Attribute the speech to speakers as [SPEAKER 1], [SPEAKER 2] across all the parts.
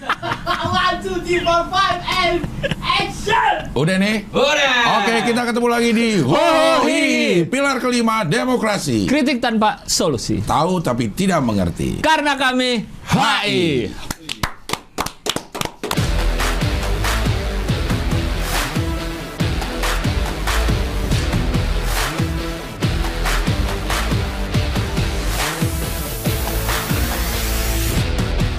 [SPEAKER 1] One, two, three, four, five, and action!
[SPEAKER 2] Udah nih.
[SPEAKER 3] Udah.
[SPEAKER 2] Oke, kita ketemu lagi di Hohi, pilar kelima demokrasi.
[SPEAKER 3] Kritik tanpa solusi.
[SPEAKER 2] Tahu tapi tidak mengerti.
[SPEAKER 3] Karena kami HI.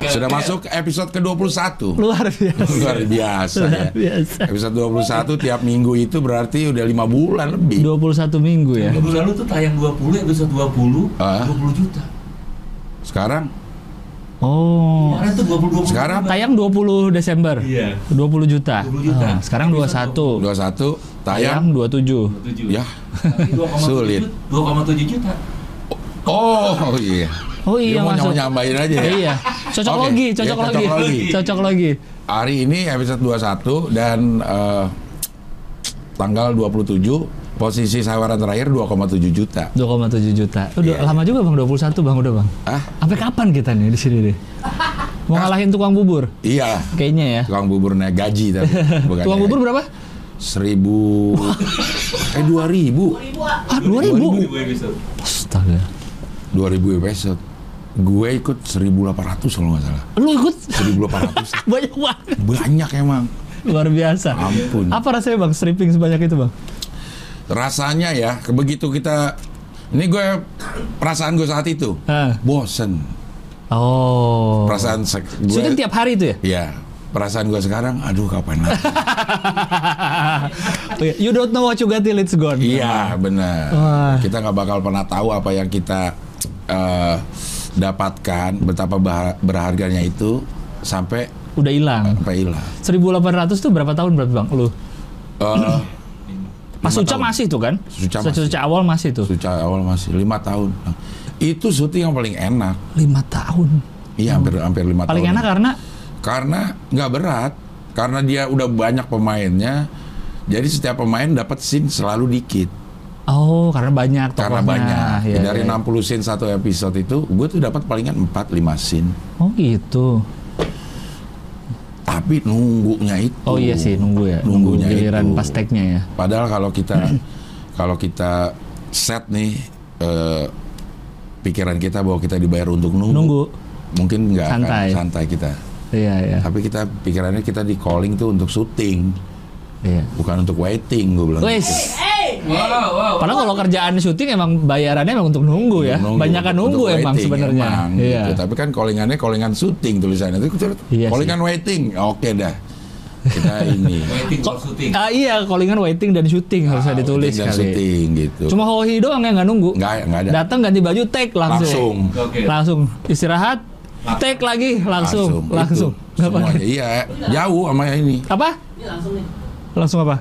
[SPEAKER 2] Sudah masuk episode ke-21.
[SPEAKER 3] Luar biasa.
[SPEAKER 2] Luar biasa ya.
[SPEAKER 3] Luar biasa.
[SPEAKER 2] Episode 21 tiap minggu itu berarti udah lima bulan lebih.
[SPEAKER 3] 21 minggu ya.
[SPEAKER 4] Minggu lalu tuh tayang 20 episode 20
[SPEAKER 2] Ah.
[SPEAKER 4] 20 juta.
[SPEAKER 2] Sekarang
[SPEAKER 3] Oh.
[SPEAKER 4] Kemarin tuh 20 20.
[SPEAKER 2] Sekarang?
[SPEAKER 3] Tayang 20 Desember.
[SPEAKER 4] Iya.
[SPEAKER 3] 20 juta.
[SPEAKER 4] 20 juta.
[SPEAKER 3] Ah, sekarang 21.
[SPEAKER 2] 21
[SPEAKER 3] Tayang
[SPEAKER 2] tayang
[SPEAKER 3] 27.
[SPEAKER 4] 7.
[SPEAKER 2] ya.
[SPEAKER 4] Tapi 2,7
[SPEAKER 2] Sulit.
[SPEAKER 4] juta- 2,7 juta.
[SPEAKER 2] Oh iya.
[SPEAKER 3] Oh iya
[SPEAKER 2] Dia mau
[SPEAKER 3] masuk.
[SPEAKER 2] nyambain aja ya.
[SPEAKER 3] Iya. Cocok
[SPEAKER 2] Oke,
[SPEAKER 3] lagi,
[SPEAKER 2] iya,
[SPEAKER 3] cocok
[SPEAKER 2] cocok
[SPEAKER 3] lagi.
[SPEAKER 2] lagi.
[SPEAKER 3] Cocok lagi.
[SPEAKER 2] Hari ini episode 21 dan eh, tanggal 27 posisi sawaran terakhir 2,7 juta.
[SPEAKER 3] 2,7 juta. Udah
[SPEAKER 2] Iya.
[SPEAKER 3] lama juga Bang 21 Bang udah Bang.
[SPEAKER 2] Ah,
[SPEAKER 3] Sampai kapan kita nih di sini deh? Mau ngalahin tukang bubur
[SPEAKER 2] iya.
[SPEAKER 3] kayaknya ya.
[SPEAKER 2] Tukang bubur naik gaji tapi bukan.
[SPEAKER 3] Tukang
[SPEAKER 2] naik
[SPEAKER 3] bubur
[SPEAKER 2] gaji.
[SPEAKER 3] berapa?
[SPEAKER 2] seribu eh dua ribu
[SPEAKER 1] Ibu, ah,
[SPEAKER 3] Ah, 2000.
[SPEAKER 4] 20 episode.
[SPEAKER 3] Astaga.
[SPEAKER 2] dua ribu episode gue ikut 1800 kalau nggak salah
[SPEAKER 3] Lu ikut
[SPEAKER 2] 1800
[SPEAKER 3] banyak banget.
[SPEAKER 2] banyak emang
[SPEAKER 3] Luar biasa.
[SPEAKER 2] Ampun.
[SPEAKER 3] Apa rasanya Bang stripping sebanyak itu Bang?
[SPEAKER 2] rasanya ya begitu kita ini gue perasaan gue saat itu
[SPEAKER 3] Hah.
[SPEAKER 2] bosen
[SPEAKER 3] Oh.
[SPEAKER 2] perasaan se- gue
[SPEAKER 3] Syuting tiap hari itu ya?
[SPEAKER 2] ya perasaan gue sekarang aduh kapan lagi
[SPEAKER 3] Oke, Oh, iya. You don't know what you got till it's gone.
[SPEAKER 2] iya benar
[SPEAKER 3] Wah.
[SPEAKER 2] kita nggak bakal pernah tahu apa yang kita eh, dapatkan betapa bah- berharganya itu sampai
[SPEAKER 3] Udah hilang.
[SPEAKER 2] sampai hilang
[SPEAKER 3] 1800 tuh berapa tahun berarti Bang? Lu?
[SPEAKER 2] Eh,
[SPEAKER 3] Pas
[SPEAKER 2] Lima
[SPEAKER 3] Suca
[SPEAKER 2] tahun.
[SPEAKER 3] masih tuh kan?
[SPEAKER 2] Suca
[SPEAKER 3] Suca-
[SPEAKER 2] masih.
[SPEAKER 3] Suca awal masih tuh.
[SPEAKER 2] Suca awal masih lima tahun. Itu syuting yang paling enak.
[SPEAKER 3] 5 tahun.
[SPEAKER 2] Iya hampir hampir lima
[SPEAKER 3] Paling
[SPEAKER 2] tahun.
[SPEAKER 3] enak karena
[SPEAKER 2] Karena nggak berat. Karena dia udah banyak pemainnya. Jadi setiap pemain dapat scene selalu dikit.
[SPEAKER 3] Oh, karena banyak
[SPEAKER 2] Karena
[SPEAKER 3] tokohnya.
[SPEAKER 2] banyak.
[SPEAKER 3] Ya,
[SPEAKER 2] Dari
[SPEAKER 3] ya.
[SPEAKER 2] 60 scene satu episode itu, gue tuh dapat palingan 4-5 scene.
[SPEAKER 3] Oh gitu.
[SPEAKER 2] Tapi nunggunya itu.
[SPEAKER 3] Oh iya sih nunggu ya. Nunggu
[SPEAKER 2] Nunggunya
[SPEAKER 3] giliran
[SPEAKER 2] itu.
[SPEAKER 3] pas tag-nya ya.
[SPEAKER 2] Padahal kalau kita kalau kita set nih eh, pikiran kita bahwa kita dibayar untuk nunggu,
[SPEAKER 3] Nunggu.
[SPEAKER 2] mungkin nggak akan
[SPEAKER 3] Santai.
[SPEAKER 2] santai kita.
[SPEAKER 3] Iya iya.
[SPEAKER 2] Tapi kita pikirannya kita di calling tuh untuk syuting,
[SPEAKER 3] Iya.
[SPEAKER 2] bukan untuk waiting gue bilang. gitu.
[SPEAKER 3] Wes.
[SPEAKER 1] hey!
[SPEAKER 4] Wow, wow.
[SPEAKER 3] Padahal kalau kerjaan syuting emang bayarannya emang untuk nunggu ya.
[SPEAKER 2] Nunggu,
[SPEAKER 3] Banyakan
[SPEAKER 2] untuk
[SPEAKER 3] nunggu
[SPEAKER 2] waiting
[SPEAKER 3] emang sebenarnya.
[SPEAKER 2] emang,
[SPEAKER 3] Iya.
[SPEAKER 2] gitu. Tapi kan callingannya callingan syuting tulisannya. Itu kita
[SPEAKER 3] Iya sih.
[SPEAKER 2] callingan waiting. Oke dah. Kita ini.
[SPEAKER 4] Waiting for shooting.
[SPEAKER 3] Ah iya, callingan waiting dan syuting harusnya ditulis
[SPEAKER 2] Ah, Waiting dan
[SPEAKER 3] kali.
[SPEAKER 2] syuting gitu.
[SPEAKER 3] Cuma Hohi doang yang nggak nunggu.
[SPEAKER 2] nggak nggak ada.
[SPEAKER 3] Datang ganti baju take
[SPEAKER 2] Langsung.
[SPEAKER 3] langsung.
[SPEAKER 4] Oke.
[SPEAKER 3] Langsung istirahat, take lagi langsung,
[SPEAKER 2] Itu.
[SPEAKER 3] langsung. Nggak pakai.
[SPEAKER 2] Semuanya. Iya, jauh sama yang ini.
[SPEAKER 3] Apa?
[SPEAKER 1] Ini Iya, langsung nih.
[SPEAKER 3] Langsung apa?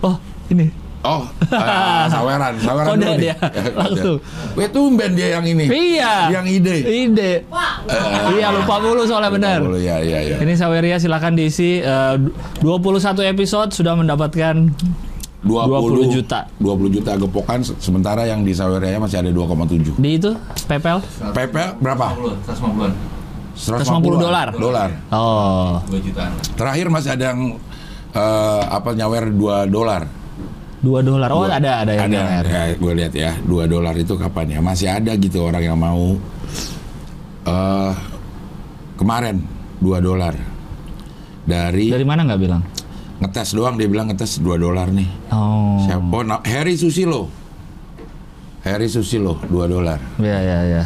[SPEAKER 3] Oh, ini.
[SPEAKER 2] Oh, eh, saweran, saweran
[SPEAKER 3] Kode
[SPEAKER 2] dulu nih.
[SPEAKER 3] dia, langsung.
[SPEAKER 2] Weh tumben dia yang ini.
[SPEAKER 3] Iya.
[SPEAKER 2] Yang ide.
[SPEAKER 3] Ide.
[SPEAKER 1] Pak,
[SPEAKER 2] Eh,
[SPEAKER 3] Iya, lupa mulu soalnya benar.
[SPEAKER 2] Boleh, ya, ya, ya.
[SPEAKER 3] Ini Saweria silakan diisi eh, du- 21 episode sudah mendapatkan 20 juta.
[SPEAKER 2] 20 juta gepokan se- sementara yang di Saweria masih ada 2,7.
[SPEAKER 3] di itu PPL.
[SPEAKER 2] PP berapa?
[SPEAKER 4] 150-an, 150-an.
[SPEAKER 3] 150 dolar.
[SPEAKER 2] Dolar.
[SPEAKER 3] Oh.
[SPEAKER 4] 2 jutaan.
[SPEAKER 2] Terakhir masih ada yang eh, apa nyawer 2 dolar.
[SPEAKER 3] 2 dolar. Oh,
[SPEAKER 2] Dua-
[SPEAKER 3] ada ada yang
[SPEAKER 2] ada.
[SPEAKER 3] DNR.
[SPEAKER 2] Ya, gue lihat ya, 2 dolar itu kapan ya? Masih ada gitu orang yang mau eh kemarin 2 dolar. Dari,
[SPEAKER 3] Dari mana nggak bilang?
[SPEAKER 2] ngetes doang dia bilang ngetes 2 dolar nih.
[SPEAKER 3] Oh.
[SPEAKER 2] Siapa? Oh, na- Harry Susilo. Harry Susilo 2 dolar.
[SPEAKER 3] Iya, iya, iya.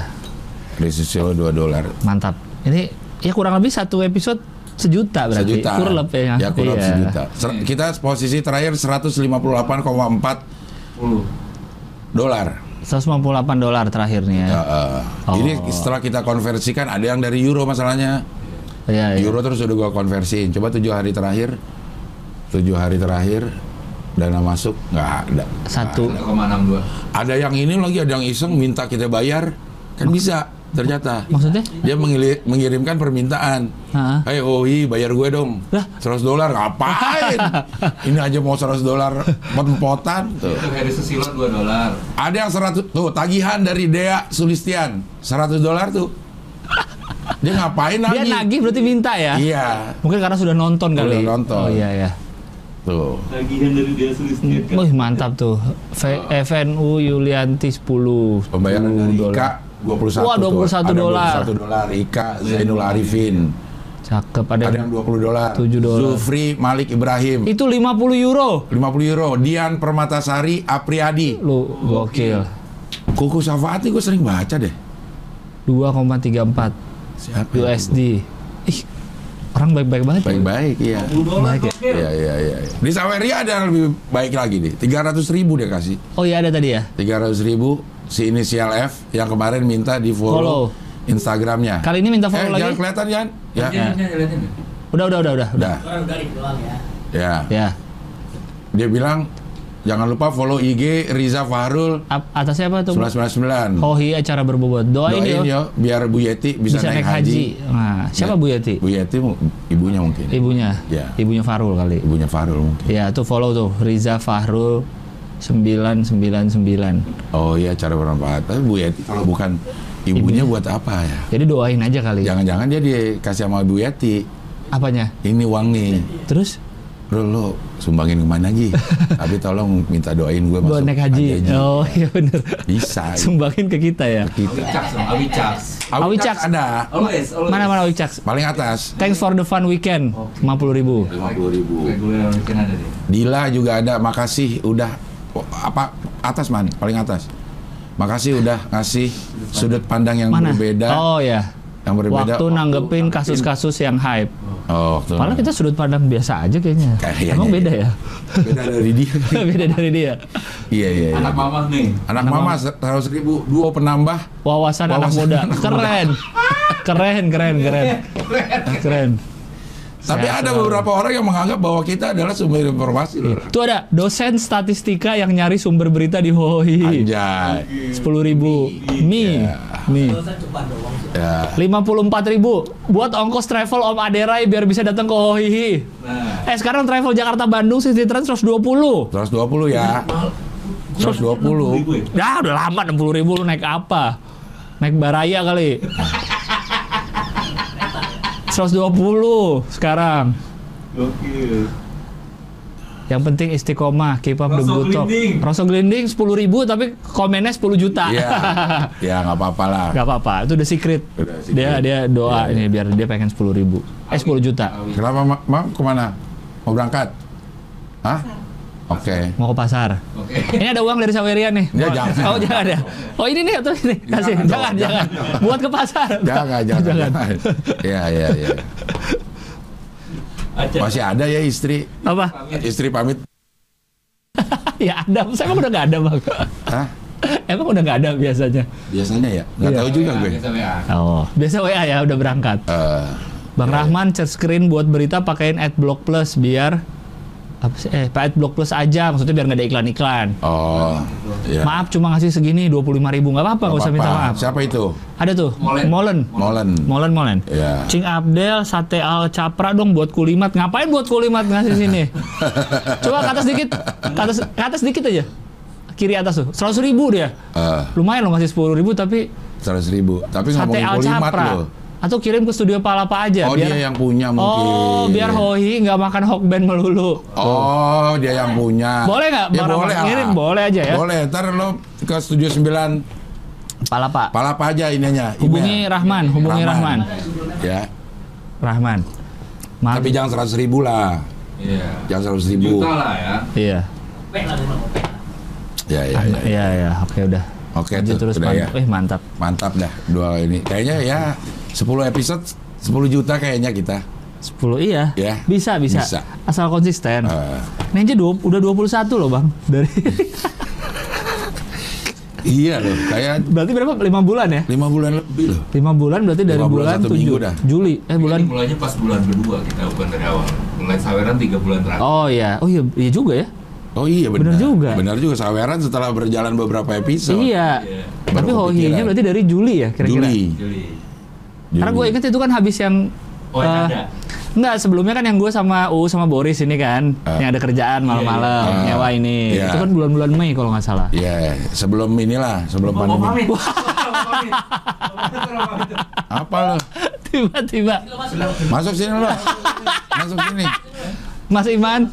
[SPEAKER 2] Harry Susilo 2 dolar.
[SPEAKER 3] Mantap. Ini ya kurang lebih satu episode sejuta berarti.
[SPEAKER 2] sejuta.
[SPEAKER 3] Kurang lebih ya.
[SPEAKER 2] Ya, kurang
[SPEAKER 3] Iya.
[SPEAKER 2] sejuta. Ser- kita posisi terakhir 158,4
[SPEAKER 4] 10.
[SPEAKER 2] dolar.
[SPEAKER 3] 198 dolar terakhir nih ya.
[SPEAKER 2] Ya, eh, Jadi
[SPEAKER 3] Oh.
[SPEAKER 2] setelah kita konversikan ada yang dari euro masalahnya.
[SPEAKER 3] Iya, iya.
[SPEAKER 2] Euro terus udah gua konversiin. Coba tujuh hari terakhir, tujuh hari terakhir dana masuk nggak ada.
[SPEAKER 3] Satu.
[SPEAKER 2] Ah,
[SPEAKER 4] 1,62.
[SPEAKER 2] Ada yang ini lagi ada yang iseng minta kita bayar kan bisa ternyata.
[SPEAKER 3] Maksudnya?
[SPEAKER 2] Dia mengili- mengirimkan permintaan.
[SPEAKER 3] Ha-ha.
[SPEAKER 2] Hei Ohi bayar gue dong.
[SPEAKER 3] Lah?
[SPEAKER 2] 100 dolar ngapain? Ini aja mau 100 dolar pot-potan tuh.
[SPEAKER 4] Itu Harry Susilo 2 dolar.
[SPEAKER 2] Ada yang 100 tuh tagihan dari Dea Sulistian 100 dolar tuh. Dia ngapain
[SPEAKER 3] Dia
[SPEAKER 2] nagih?
[SPEAKER 3] nagih berarti minta ya?
[SPEAKER 2] Iya.
[SPEAKER 3] Mungkin karena sudah nonton kali.
[SPEAKER 2] Sudah nonton.
[SPEAKER 3] Oh iya ya.
[SPEAKER 2] Tuh.
[SPEAKER 4] Tagihan dari dia sulit
[SPEAKER 2] Gitu.
[SPEAKER 3] Wih mantap tuh. V- FNU Yulianti 10.
[SPEAKER 2] Pembayaran dari
[SPEAKER 3] 10
[SPEAKER 2] Ika 21
[SPEAKER 3] dolar. Wah, 21
[SPEAKER 2] tuh.
[SPEAKER 3] dolar.
[SPEAKER 2] Ada 21 dolar Ika Zainul Arifin.
[SPEAKER 3] Cakep ada.
[SPEAKER 2] Ada yang 20 dolar.
[SPEAKER 3] 7 dolar.
[SPEAKER 2] Zulfri Malik Ibrahim.
[SPEAKER 3] Itu 50 euro.
[SPEAKER 2] 50 euro. Dian Permatasari Apriadi.
[SPEAKER 3] Lu gokil.
[SPEAKER 2] Kuku Safaati gue sering baca deh.
[SPEAKER 3] 2,34
[SPEAKER 2] Siapa? ya?
[SPEAKER 3] USD. Ih, orang Iya, baik-baik banget. ya?
[SPEAKER 2] Baik-baik iya.
[SPEAKER 4] dolar
[SPEAKER 3] Baik ya?
[SPEAKER 4] gokil.
[SPEAKER 2] Iya iya iya. iya. Di Saweria ada yang lebih baik lagi nih. 300 ribu dia kasih.
[SPEAKER 3] Oh iya ada tadi ya.
[SPEAKER 2] 300 ribu si inisial F yang kemarin minta di
[SPEAKER 3] Follow.
[SPEAKER 2] follow, Instagramnya.
[SPEAKER 3] Kali ini minta follow
[SPEAKER 2] eh, jangan
[SPEAKER 3] lagi. Iya.
[SPEAKER 2] kelihatan Jan. Ya.
[SPEAKER 4] Ini, ini, ini, ini.
[SPEAKER 3] Udah udah udah udah.
[SPEAKER 2] Udah.
[SPEAKER 1] Orang garing doang ya.
[SPEAKER 2] Ya.
[SPEAKER 3] Ya.
[SPEAKER 2] Dia bilang jangan lupa follow IG Riza Fahrul
[SPEAKER 3] Ap- atasnya apa tuh?
[SPEAKER 2] 1999.
[SPEAKER 3] Hohi acara berbobot. Oh, Doain,
[SPEAKER 2] Doain
[SPEAKER 3] yo.
[SPEAKER 2] yo biar Bu Yeti bisa,
[SPEAKER 3] Bisa, naik, haji. Nah,
[SPEAKER 2] Ya.
[SPEAKER 3] siapa Bu Iya. Yati?
[SPEAKER 2] Bu Yeti mu- ibunya mungkin.
[SPEAKER 3] Ibunya.
[SPEAKER 2] Ya.
[SPEAKER 3] Ibunya Farul kali.
[SPEAKER 2] Ibunya Fahrul mungkin.
[SPEAKER 3] Ya, tuh follow tuh Riza Fahrul 999.
[SPEAKER 2] Oh iya cara bermanfaat. Tapi Bu Yeti kalau bukan ibunya buat apa ya?
[SPEAKER 3] Jadi doain aja kali.
[SPEAKER 2] Jangan-jangan dia dikasih sama Bu Yeti
[SPEAKER 3] Apanya?
[SPEAKER 2] ini uang nih.
[SPEAKER 3] Terus
[SPEAKER 2] Bro lo sumbangin kemana Ji? Tapi tolong minta doain gue
[SPEAKER 3] buat
[SPEAKER 2] masuk
[SPEAKER 3] naik haji. Oh, iya bener.
[SPEAKER 2] Bisa.
[SPEAKER 3] Sumbangin ke kita ya.
[SPEAKER 2] Kita.
[SPEAKER 4] Awicaks dong, Awicaks.
[SPEAKER 3] Awicak.
[SPEAKER 2] ada.
[SPEAKER 4] Always, always.
[SPEAKER 3] Mana mana Wicak?
[SPEAKER 2] Paling atas.
[SPEAKER 3] Thanks for the fun weekend. 50 ribu.
[SPEAKER 2] 50 ribu.
[SPEAKER 4] Reguler weekend ada deh.
[SPEAKER 2] Dila juga ada. Makasih udah. Oh, Apa? Atas man. Paling atas. Makasih udah ngasih sudut pandang yang
[SPEAKER 3] Mana?
[SPEAKER 2] berbeda.
[SPEAKER 3] Oh ya.
[SPEAKER 2] Yang berbeda.
[SPEAKER 3] Waktu nanggepin kasus-kasus yang hype.
[SPEAKER 2] Oh, waktu
[SPEAKER 3] Malah kita sudut pandang biasa aja kayaknya.
[SPEAKER 2] Kayaknya,
[SPEAKER 3] Emang beda
[SPEAKER 2] iya.
[SPEAKER 3] ya?
[SPEAKER 2] Beda dari dia.
[SPEAKER 3] beda dari dia.
[SPEAKER 2] iya, iya, iya.
[SPEAKER 4] Anak mama nih.
[SPEAKER 2] Anak mama 100 ribu. Duo penambah.
[SPEAKER 3] Wawasan, anak
[SPEAKER 2] Wawasan
[SPEAKER 3] muda.
[SPEAKER 2] anak
[SPEAKER 3] Keren. keren, keren, keren. Keren.
[SPEAKER 2] Tapi
[SPEAKER 3] Sehat
[SPEAKER 2] ada
[SPEAKER 3] selalu.
[SPEAKER 2] beberapa orang yang menganggap bahwa kita adalah sumber informasi loh.
[SPEAKER 3] Tuh ada dosen statistika yang nyari sumber berita di Hohi.
[SPEAKER 2] Anjay.
[SPEAKER 3] 10.000 ribu. Mi.
[SPEAKER 2] Ya.
[SPEAKER 3] Mi.
[SPEAKER 1] Dosen cuma doang sih.
[SPEAKER 2] Ya.
[SPEAKER 3] 54 ribu buat ongkos travel Om Aderai biar bisa datang ke Hohihi. Eh
[SPEAKER 4] Nah,
[SPEAKER 3] sekarang travel Jakarta Bandung City Trans 120.
[SPEAKER 2] 120 ya. 120.
[SPEAKER 4] ribu ya?
[SPEAKER 3] Dah udah lama 60 ribu lu naik apa? Naik Baraya kali. 120 sekarang.
[SPEAKER 4] Gokil.
[SPEAKER 3] Yang penting istiqomah, keep up the
[SPEAKER 4] Rosso
[SPEAKER 3] good talk.
[SPEAKER 4] Glinding.
[SPEAKER 3] Rosso Glinding 10 ribu tapi komennya 10 juta.
[SPEAKER 2] Ya. Ya nggak apa-apa lah.
[SPEAKER 3] Gak apa-apa, itu udah secret.
[SPEAKER 2] Udah secret. Iya,
[SPEAKER 3] Dia dia doa ini biar dia pengen 10 ribu. Eh 10 juta.
[SPEAKER 4] Awi.
[SPEAKER 2] Kenapa Ma- mam kemana? Mau berangkat? Hah? Oke.
[SPEAKER 3] Mau ke pasar.
[SPEAKER 4] Oke.
[SPEAKER 3] Ini ada uang dari Saweria nih.
[SPEAKER 2] Ya,
[SPEAKER 3] Oh,
[SPEAKER 2] jangan.
[SPEAKER 3] Oh, jangan ya. Oh, ini nih atau ini? Kasih.
[SPEAKER 2] Jangan dong,
[SPEAKER 3] Jangan, jangan. Buat ke pasar.
[SPEAKER 2] Jangan, jangan, jangan. Ya, ya, ya.
[SPEAKER 4] Aja.
[SPEAKER 2] Masih ada ya istri?
[SPEAKER 3] Apa?
[SPEAKER 2] Istri pamit.
[SPEAKER 3] Ya ada. Saya emang udah nggak ada, Bang.
[SPEAKER 2] Hah?
[SPEAKER 3] Emang udah nggak ada biasanya.
[SPEAKER 2] Biasanya ya? Nggak
[SPEAKER 3] Iya.
[SPEAKER 2] tahu juga gue.
[SPEAKER 4] Biasa WA.
[SPEAKER 3] Oh. Biasa WA ya udah berangkat.
[SPEAKER 2] Eh,
[SPEAKER 3] Bang Rahman share screen buat berita pakaiin adblock plus biar apa sih? Eh, pakai adblock plus aja maksudnya biar nggak ada iklan-iklan.
[SPEAKER 2] oh, ya.
[SPEAKER 3] Maaf cuma ngasih segini 25.000 ribu nggak apa-apa nggak usah minta
[SPEAKER 2] Apa-apa.
[SPEAKER 3] maaf.
[SPEAKER 2] Siapa itu?
[SPEAKER 3] Ada tuh
[SPEAKER 4] Molen.
[SPEAKER 3] Molen.
[SPEAKER 2] Molen.
[SPEAKER 3] Molen molen.
[SPEAKER 2] Ya.
[SPEAKER 3] Cing Abdel sate al capra dong buat kulimat. Ngapain buat kulimat ngasih sini? Coba ke atas dikit. Ke atas, ke atas dikit aja. Kiri atas tuh. 100 ribu dia.
[SPEAKER 2] Eh,
[SPEAKER 3] Lumayan loh ngasih 10 ribu tapi
[SPEAKER 2] 100 ribu. Tapi
[SPEAKER 3] sate
[SPEAKER 2] ngomongin
[SPEAKER 3] al
[SPEAKER 2] kulimat
[SPEAKER 3] capra.
[SPEAKER 2] loh.
[SPEAKER 3] Atau kirim ke studio Palapa aja
[SPEAKER 2] Oh, dia yang punya mungkin.
[SPEAKER 3] Oh, biar Hohi nggak makan Hokben melulu.
[SPEAKER 2] Oh, dia yang punya.
[SPEAKER 3] Boleh nggak?
[SPEAKER 2] Ya,
[SPEAKER 3] Barang
[SPEAKER 2] boleh lah.
[SPEAKER 3] ngirim, boleh aja ya.
[SPEAKER 2] Boleh. Ntar lo ke Studio 9
[SPEAKER 3] Palapa.
[SPEAKER 2] Palapa aja ininya. email.
[SPEAKER 3] Hubungi Rahman, hubungi Rahman.
[SPEAKER 2] Iya. Rahman. Ya.
[SPEAKER 3] Rahman. Maaf.
[SPEAKER 2] Tapi jangan seratus ribu lah.
[SPEAKER 4] Iya.
[SPEAKER 2] Jangan seratus ribu.
[SPEAKER 4] Juta lah ya.
[SPEAKER 3] Iya.
[SPEAKER 1] Kopek lah memang kopek.
[SPEAKER 2] Ya, ya, ya.
[SPEAKER 3] Iya, iya, oke udah.
[SPEAKER 2] Oke,
[SPEAKER 3] Lanjut
[SPEAKER 2] tuh,
[SPEAKER 3] terus
[SPEAKER 2] udah ya.
[SPEAKER 3] mantap. Wih, mantap.
[SPEAKER 2] Mantap dah dua ini. Kayaknya ya 10 episode 10 juta kayaknya kita.
[SPEAKER 3] 10 iya.
[SPEAKER 2] Ya.
[SPEAKER 3] Bisa, bisa,
[SPEAKER 2] Bisa.
[SPEAKER 3] Asal konsisten.
[SPEAKER 2] Eh,
[SPEAKER 3] Ini aja dua, udah 21 loh, Bang. Dari
[SPEAKER 2] iya loh, kayak
[SPEAKER 3] berarti berapa? 5 bulan ya?
[SPEAKER 2] 5 bulan lebih loh.
[SPEAKER 3] 5 bulan berarti dari
[SPEAKER 2] Lima bulan,
[SPEAKER 3] bulan,
[SPEAKER 2] satu
[SPEAKER 3] 7
[SPEAKER 2] minggu dah.
[SPEAKER 3] Juli. Eh bulan
[SPEAKER 4] Ini mulainya pas bulan kedua kita bukan dari awal. Mulai saweran 3 bulan terakhir.
[SPEAKER 3] Oh iya. Oh iya, iya juga ya.
[SPEAKER 2] Oh iya
[SPEAKER 3] Bener
[SPEAKER 2] benar.
[SPEAKER 3] juga.
[SPEAKER 2] Benar juga saweran setelah berjalan beberapa episode.
[SPEAKER 3] Iya.
[SPEAKER 4] Iya.
[SPEAKER 3] Tapi
[SPEAKER 2] Baru
[SPEAKER 3] hohinya
[SPEAKER 2] kepikiran.
[SPEAKER 3] berarti dari Juli ya kira-kira.
[SPEAKER 2] Juli.
[SPEAKER 4] Juli.
[SPEAKER 3] Karena gue
[SPEAKER 2] Juli.
[SPEAKER 3] inget itu kan habis yang
[SPEAKER 4] Oh,
[SPEAKER 3] eh,
[SPEAKER 4] yang ada.
[SPEAKER 3] Enggak, sebelumnya kan yang gue sama U sama Boris ini kan
[SPEAKER 2] Ah.
[SPEAKER 3] yang ada kerjaan malam-malam
[SPEAKER 2] iya. Ah,
[SPEAKER 3] nyewa ini.
[SPEAKER 2] iya.
[SPEAKER 3] Itu kan bulan-bulan Mei kalau nggak salah.
[SPEAKER 2] Ya, sebelum inilah, sebelum
[SPEAKER 4] Mau
[SPEAKER 2] pandemi.
[SPEAKER 4] pamit. Mau pamit.
[SPEAKER 2] Apa lo?
[SPEAKER 3] tiba-tiba
[SPEAKER 2] Masuk sini lo. Masuk sini.
[SPEAKER 3] Mas Iman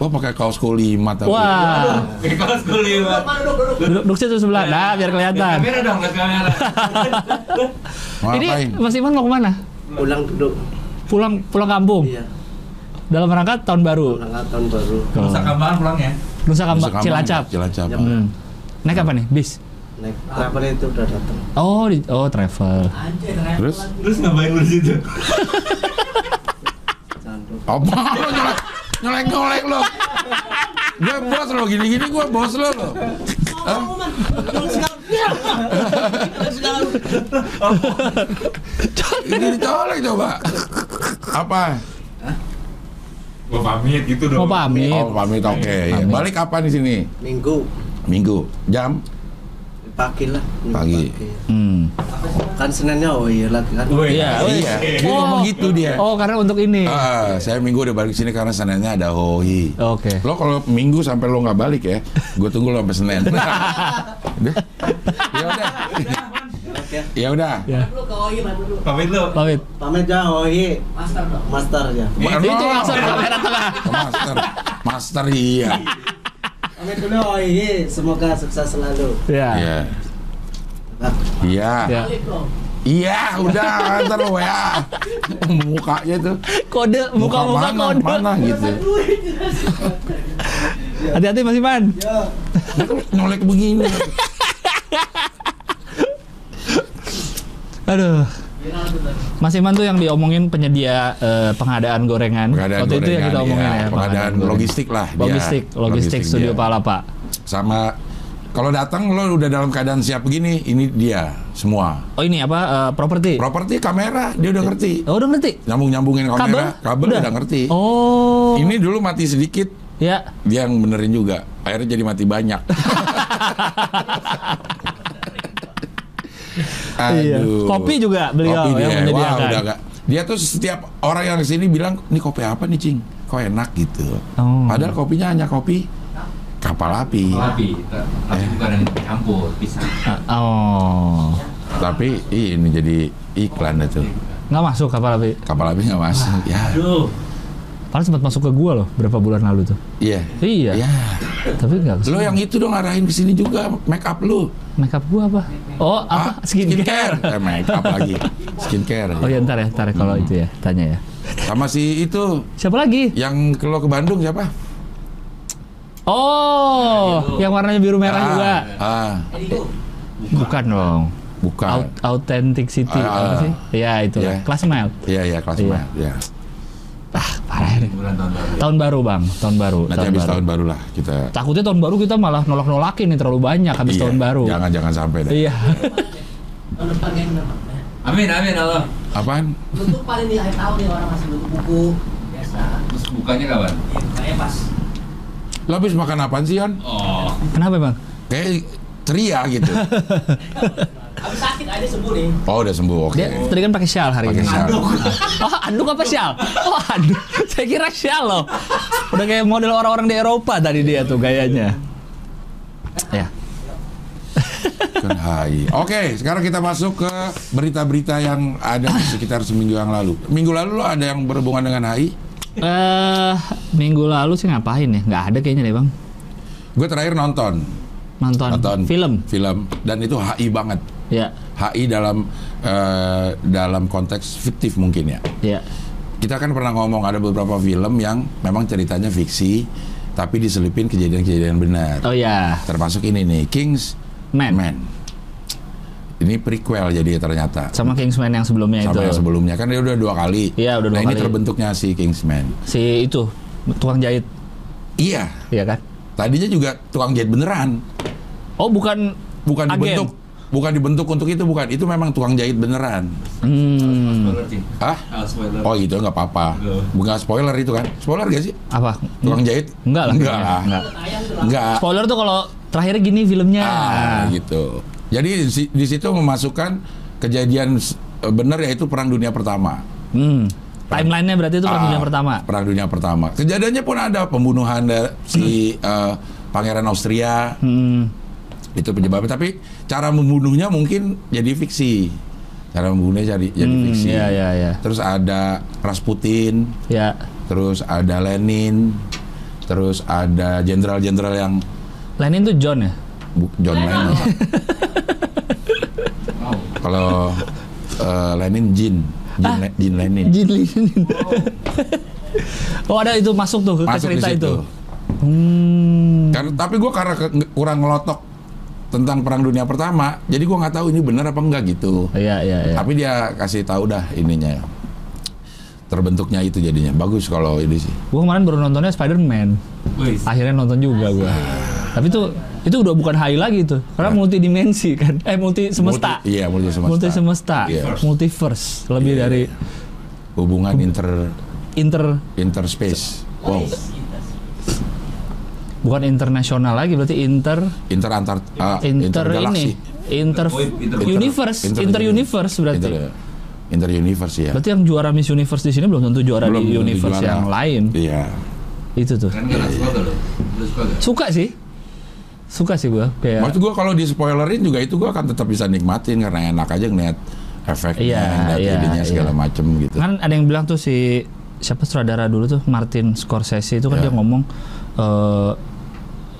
[SPEAKER 2] Wah pakai kaos kolimat tapi.
[SPEAKER 3] wah
[SPEAKER 4] Kayak kaos kuliah.
[SPEAKER 3] duduk, duduk situ sebelah
[SPEAKER 4] Iya.
[SPEAKER 3] nah biar kelihatan
[SPEAKER 4] Kamera dong, lihat kamera.
[SPEAKER 2] Mau
[SPEAKER 3] ini
[SPEAKER 2] Iya. ngapain?
[SPEAKER 3] Mas Iman mau kemana
[SPEAKER 5] pulang duduk
[SPEAKER 3] pulang pulang kampung
[SPEAKER 5] iya
[SPEAKER 3] dalam rangka tahun baru
[SPEAKER 5] pulang tahun baru
[SPEAKER 4] Nusa Kambangan pulang ya.
[SPEAKER 3] Nusa
[SPEAKER 2] Nusa
[SPEAKER 3] Kambangan
[SPEAKER 2] Kambangan,
[SPEAKER 3] Cilacap
[SPEAKER 2] Cilacap.
[SPEAKER 5] Jam-
[SPEAKER 3] hmm. naik apa nih bis
[SPEAKER 5] naik kapal itu udah datang
[SPEAKER 3] oh di, oh travel
[SPEAKER 2] Terus
[SPEAKER 4] Terus ngapain lu di situ?
[SPEAKER 5] candu
[SPEAKER 2] apa lo nyolek nyolek lo? Gue bos lo gini-gini gue bos lo lo. Ini dicolek coba. Apa?
[SPEAKER 4] Gua pamit gitu dong.
[SPEAKER 3] mau pamit
[SPEAKER 2] Oh pamit oke. ya.
[SPEAKER 3] Pamit.
[SPEAKER 2] Balik kapan di sini?
[SPEAKER 5] minggu
[SPEAKER 2] Minggu jam
[SPEAKER 5] pagi lah minggu
[SPEAKER 2] Pagi. Hmm.
[SPEAKER 5] kan senennya oh iya lagi kan
[SPEAKER 4] Woi,
[SPEAKER 3] Iya.
[SPEAKER 4] woi.
[SPEAKER 2] Iya, dia ngomong gitu dia.
[SPEAKER 3] oh karena untuk ini
[SPEAKER 2] Ah, saya minggu udah balik sini karena senennya ada hoi.
[SPEAKER 3] oke
[SPEAKER 2] Lo kalau minggu sampai lo nggak balik ya, gue tunggu lo sampai senin. Udah? ya udah,
[SPEAKER 5] ya
[SPEAKER 2] ya udah.
[SPEAKER 3] ya
[SPEAKER 4] Pamit lu.
[SPEAKER 3] pamit
[SPEAKER 5] pamit ya oh iya master master ya
[SPEAKER 2] Bukan
[SPEAKER 3] itu
[SPEAKER 2] lo.
[SPEAKER 3] langsung kamera tengah
[SPEAKER 2] master, master iya.
[SPEAKER 5] pamit dulu oh iya semoga sukses selalu
[SPEAKER 3] ya
[SPEAKER 2] Iya,
[SPEAKER 5] Nah,
[SPEAKER 2] iya,
[SPEAKER 3] ya
[SPEAKER 2] iya. Udah, ntar lo ya. Mukanya tuh,
[SPEAKER 3] kode muka-muka
[SPEAKER 2] mana,
[SPEAKER 3] kode
[SPEAKER 2] mana gitu.
[SPEAKER 3] hati-hati Mas Iman
[SPEAKER 2] Nyolek begini.
[SPEAKER 3] Aduh. Mas Iman tuh yang diomongin penyedia eh, pengadaan gorengan.
[SPEAKER 2] Pengadaan
[SPEAKER 3] Waktu itu yang
[SPEAKER 2] gorengan,
[SPEAKER 3] kita omongin
[SPEAKER 2] ya.
[SPEAKER 3] ya.
[SPEAKER 2] Pengadaan
[SPEAKER 3] gorengan.
[SPEAKER 2] logistik lah dia.
[SPEAKER 3] Logistik, logistik,
[SPEAKER 2] Logistik
[SPEAKER 3] Studio
[SPEAKER 2] dia.
[SPEAKER 3] Palapa.
[SPEAKER 2] Sama kalau datang lo udah dalam keadaan siap begini, ini dia semua.
[SPEAKER 3] Oh ini apa eh, properti?
[SPEAKER 2] Properti kamera, dia udah ngerti.
[SPEAKER 3] oh udah ngerti.
[SPEAKER 2] Nyambung nyambungin kamera, kabel, udah? ngerti.
[SPEAKER 3] Oh.
[SPEAKER 2] Ini dulu mati sedikit,
[SPEAKER 3] Ya.
[SPEAKER 2] dia yang benerin juga. Akhirnya jadi mati banyak.
[SPEAKER 3] Iya.
[SPEAKER 2] Aduh.
[SPEAKER 3] Kopi juga beliau
[SPEAKER 2] Kopi
[SPEAKER 3] yang
[SPEAKER 2] dia.
[SPEAKER 3] menyediakan.
[SPEAKER 2] Wah, udah nggak- Dia tuh setiap orang yang kesini bilang, ini kopi apa nih Cing? Kok enak gitu.
[SPEAKER 3] Oh.
[SPEAKER 2] Padahal kopinya hanya kopi kapal api.
[SPEAKER 4] Tapi, tapi bukan yang campur, pisah.
[SPEAKER 3] Ah, Oh.
[SPEAKER 2] Tapi ih, ini jadi iklan itu.
[SPEAKER 3] Nggak masuk kapal api.
[SPEAKER 2] Kapal api nggak masuk. Ya,
[SPEAKER 4] Aduh.
[SPEAKER 3] Padahal sempat masuk ke gua loh berapa bulan lalu tuh.
[SPEAKER 2] iya.
[SPEAKER 3] Iya.
[SPEAKER 2] Ya.
[SPEAKER 3] Tapi nggak kesini.
[SPEAKER 2] Lo yang itu dong arahin ke sini juga make up lu.
[SPEAKER 3] Makeup gua apa? Oh apa?
[SPEAKER 2] Ah,
[SPEAKER 3] Skincare.
[SPEAKER 2] Eh, make up lagi. Skincare.
[SPEAKER 3] Oh ya ntar ya, ntar ya kalau
[SPEAKER 2] Hmm.
[SPEAKER 3] itu ya, tanya ya.
[SPEAKER 2] Sama si itu
[SPEAKER 3] Siapa lagi?
[SPEAKER 2] yang ke- lo ke Bandung siapa?
[SPEAKER 3] Oh, yang warnanya biru merah
[SPEAKER 2] ah,
[SPEAKER 3] juga.
[SPEAKER 2] Ah,
[SPEAKER 3] Bukan dong.
[SPEAKER 2] bukan.
[SPEAKER 3] Aut- authenticity
[SPEAKER 2] Iya. Ah,
[SPEAKER 3] apa sih? Iya itu.
[SPEAKER 2] Iya.
[SPEAKER 3] Kelas mile.
[SPEAKER 2] Iya, iya kelas
[SPEAKER 3] Iya.
[SPEAKER 2] mah. Iya.
[SPEAKER 3] Parah ini.
[SPEAKER 4] Bulan tahun baru.
[SPEAKER 3] Tahun baru, Bang. Tahun baru.
[SPEAKER 2] Nanti ya. habis tahun baru lah kita.
[SPEAKER 3] Takutnya tahun baru kita malah nolak-nolakin nih terlalu banyak habis
[SPEAKER 2] Iya,
[SPEAKER 3] tahun baru.
[SPEAKER 2] Jangan jangan sampai deh.
[SPEAKER 3] Iya.
[SPEAKER 4] Amin, amin Allah.
[SPEAKER 2] Apaan?
[SPEAKER 1] Lu tuh paling di akhir tahun nih orang masih butuh buku biasa.
[SPEAKER 4] Terus bukanya kapan?
[SPEAKER 1] Ya, kayak pas.
[SPEAKER 2] Lo habis makan apaan sih, Yon?
[SPEAKER 4] Oh,
[SPEAKER 3] Kenapa, Bang?
[SPEAKER 2] Kayak ceria gitu.
[SPEAKER 1] Habis sakit aja sembuh nih.
[SPEAKER 2] Oh, udah sembuh. Oke.
[SPEAKER 3] Dia tadi kan pakai shawl hari
[SPEAKER 2] Pakai
[SPEAKER 3] ini.
[SPEAKER 2] shawl. Anduk.
[SPEAKER 3] Oh, anduk apa shawl? Oh, anduk. Saya kira shawl loh. Udah kayak model orang-orang di Eropa tadi dia tuh gayanya. Ya.
[SPEAKER 2] Kan hai. Oke, sekarang kita masuk ke berita-berita yang ada di sekitar seminggu yang lalu. Minggu lalu lo ada yang berhubungan dengan HI?
[SPEAKER 3] Eh, minggu lalu sih ngapain ya? Nggak ada kayaknya deh, Bang.
[SPEAKER 2] Gue terakhir nonton,
[SPEAKER 3] Nonton,
[SPEAKER 2] nonton
[SPEAKER 3] film.
[SPEAKER 2] film dan itu HI banget.
[SPEAKER 3] Ya,
[SPEAKER 2] HI dalam eh, dalam konteks fiktif mungkin ya.
[SPEAKER 3] ya.
[SPEAKER 2] Kita kan pernah ngomong ada beberapa film yang memang ceritanya fiksi tapi diselipin kejadian-kejadian benar.
[SPEAKER 3] Oh ya.
[SPEAKER 2] Termasuk ini nih Kings
[SPEAKER 3] Man.
[SPEAKER 2] Ini prequel jadi ternyata.
[SPEAKER 3] sama Kingsman yang sebelumnya itu.
[SPEAKER 2] sama yang sebelumnya kan dia udah dua kali.
[SPEAKER 3] Iya, udah dua
[SPEAKER 2] nah, ini
[SPEAKER 3] kali.
[SPEAKER 2] terbentuknya si Kingsman.
[SPEAKER 3] Si itu tukang jahit,
[SPEAKER 2] Iya,
[SPEAKER 3] ya kan?
[SPEAKER 2] tadinya juga tukang jahit beneran,
[SPEAKER 3] Oh, bukan
[SPEAKER 2] bukan
[SPEAKER 3] Agen.
[SPEAKER 2] dibentuk, bukan dibentuk untuk itu bukan. Itu memang tukang jahit beneran.
[SPEAKER 3] hmm,
[SPEAKER 4] spoiler sih.
[SPEAKER 2] Hah?
[SPEAKER 4] Ah, spoiler.
[SPEAKER 2] Oh gitu nggak apa-apa.
[SPEAKER 4] Loh.
[SPEAKER 2] Bukan spoiler itu kan? Spoiler gak sih?
[SPEAKER 3] apa?
[SPEAKER 2] Tukang jahit?
[SPEAKER 3] Enggak lah.
[SPEAKER 2] Enggak
[SPEAKER 3] kayaknya.
[SPEAKER 2] lah.
[SPEAKER 3] Enggak.
[SPEAKER 1] Ayam tuh
[SPEAKER 2] Enggak.
[SPEAKER 3] Spoiler tuh kalau terakhir gini filmnya.
[SPEAKER 2] Ah, gitu. Jadi di si- di situ memasukkan kejadian s- eh, bener yaitu perang dunia pertama.
[SPEAKER 3] Hmm. Timelinenya berarti itu perang
[SPEAKER 2] Ah,
[SPEAKER 3] dunia pertama.
[SPEAKER 2] Perang dunia pertama. Kejadiannya pun ada pembunuhan da- si eh, pangeran Austria
[SPEAKER 3] Hmm.
[SPEAKER 2] itu penyebabnya. Tapi cara membunuhnya mungkin jadi fiksi. cara membunuhnya jadi jadi
[SPEAKER 3] Hmm,
[SPEAKER 2] fiksi.
[SPEAKER 3] iya, iya, iya.
[SPEAKER 2] Terus ada Rasputin,
[SPEAKER 3] Ya.
[SPEAKER 2] terus ada Lenin, terus ada jenderal-jenderal yang
[SPEAKER 3] Lenin tuh John ya?
[SPEAKER 2] Bu- John Lennon.
[SPEAKER 4] Wow.
[SPEAKER 2] Kalau eh, Lenin Jin, Jin, Le- Jin Lenin.
[SPEAKER 3] Ah. Jin Lenin. oh ada itu masuk tuh ke
[SPEAKER 2] Masuk di
[SPEAKER 3] cerita itu.
[SPEAKER 2] situ.
[SPEAKER 3] Hmm.
[SPEAKER 2] Kan- tapi gue karena ke- nge- kurang ngelotok tentang Perang Dunia Pertama, jadi gue nggak tahu ini benar apa enggak gitu.
[SPEAKER 3] Iya iya iya.
[SPEAKER 2] Tapi dia kasih tahu dah ininya. Terbentuknya itu jadinya. Bagus kalau ini sih.
[SPEAKER 3] Gue kemarin baru nontonnya Spider-Man.
[SPEAKER 4] Wih,
[SPEAKER 3] Akhirnya nonton
[SPEAKER 2] Ah.
[SPEAKER 3] juga gue. Tapi itu itu udah bukan high lagi tuh. Karena multidimensi kan. Eh multi semesta.
[SPEAKER 2] Multi- iya, multi semesta.
[SPEAKER 3] Multi semesta.
[SPEAKER 2] Iya.
[SPEAKER 3] Multiverse. Lebih
[SPEAKER 2] Iya.
[SPEAKER 3] dari
[SPEAKER 2] Hubungan inter
[SPEAKER 3] inter
[SPEAKER 2] interspace.
[SPEAKER 3] Oh.
[SPEAKER 2] Wow.
[SPEAKER 3] bukan internasional lagi berarti inter
[SPEAKER 2] Inter antar ah,
[SPEAKER 3] inter ini
[SPEAKER 2] intergalaksi.
[SPEAKER 3] inter
[SPEAKER 4] Oh, Inter-
[SPEAKER 3] universe
[SPEAKER 2] inter-
[SPEAKER 3] inter universe berarti
[SPEAKER 2] Inter, iya. inter universe ya.
[SPEAKER 3] berarti yang juara Miss Universe di sini belum tentu juara
[SPEAKER 2] Belum
[SPEAKER 3] di
[SPEAKER 2] tentu
[SPEAKER 3] universe
[SPEAKER 2] juara.
[SPEAKER 3] yang lain
[SPEAKER 2] Iya.
[SPEAKER 3] itu tuh
[SPEAKER 4] kan nggak suka gak lo? Lu suka
[SPEAKER 2] Eh,
[SPEAKER 4] gak?
[SPEAKER 3] suka sih suka sih gua kayak
[SPEAKER 2] Maksud gua kalau di spoilerin juga itu gua akan tetap bisa nikmatin karena enak aja ngeliat efeknya,
[SPEAKER 3] Iya,
[SPEAKER 2] ngeliat
[SPEAKER 3] iya,
[SPEAKER 2] ininya segala
[SPEAKER 3] iya.
[SPEAKER 2] macem gitu.
[SPEAKER 3] kan ada yang bilang tuh si siapa sutradara dulu tuh Martin Scorsese itu kan
[SPEAKER 2] Ya.
[SPEAKER 3] dia ngomong eh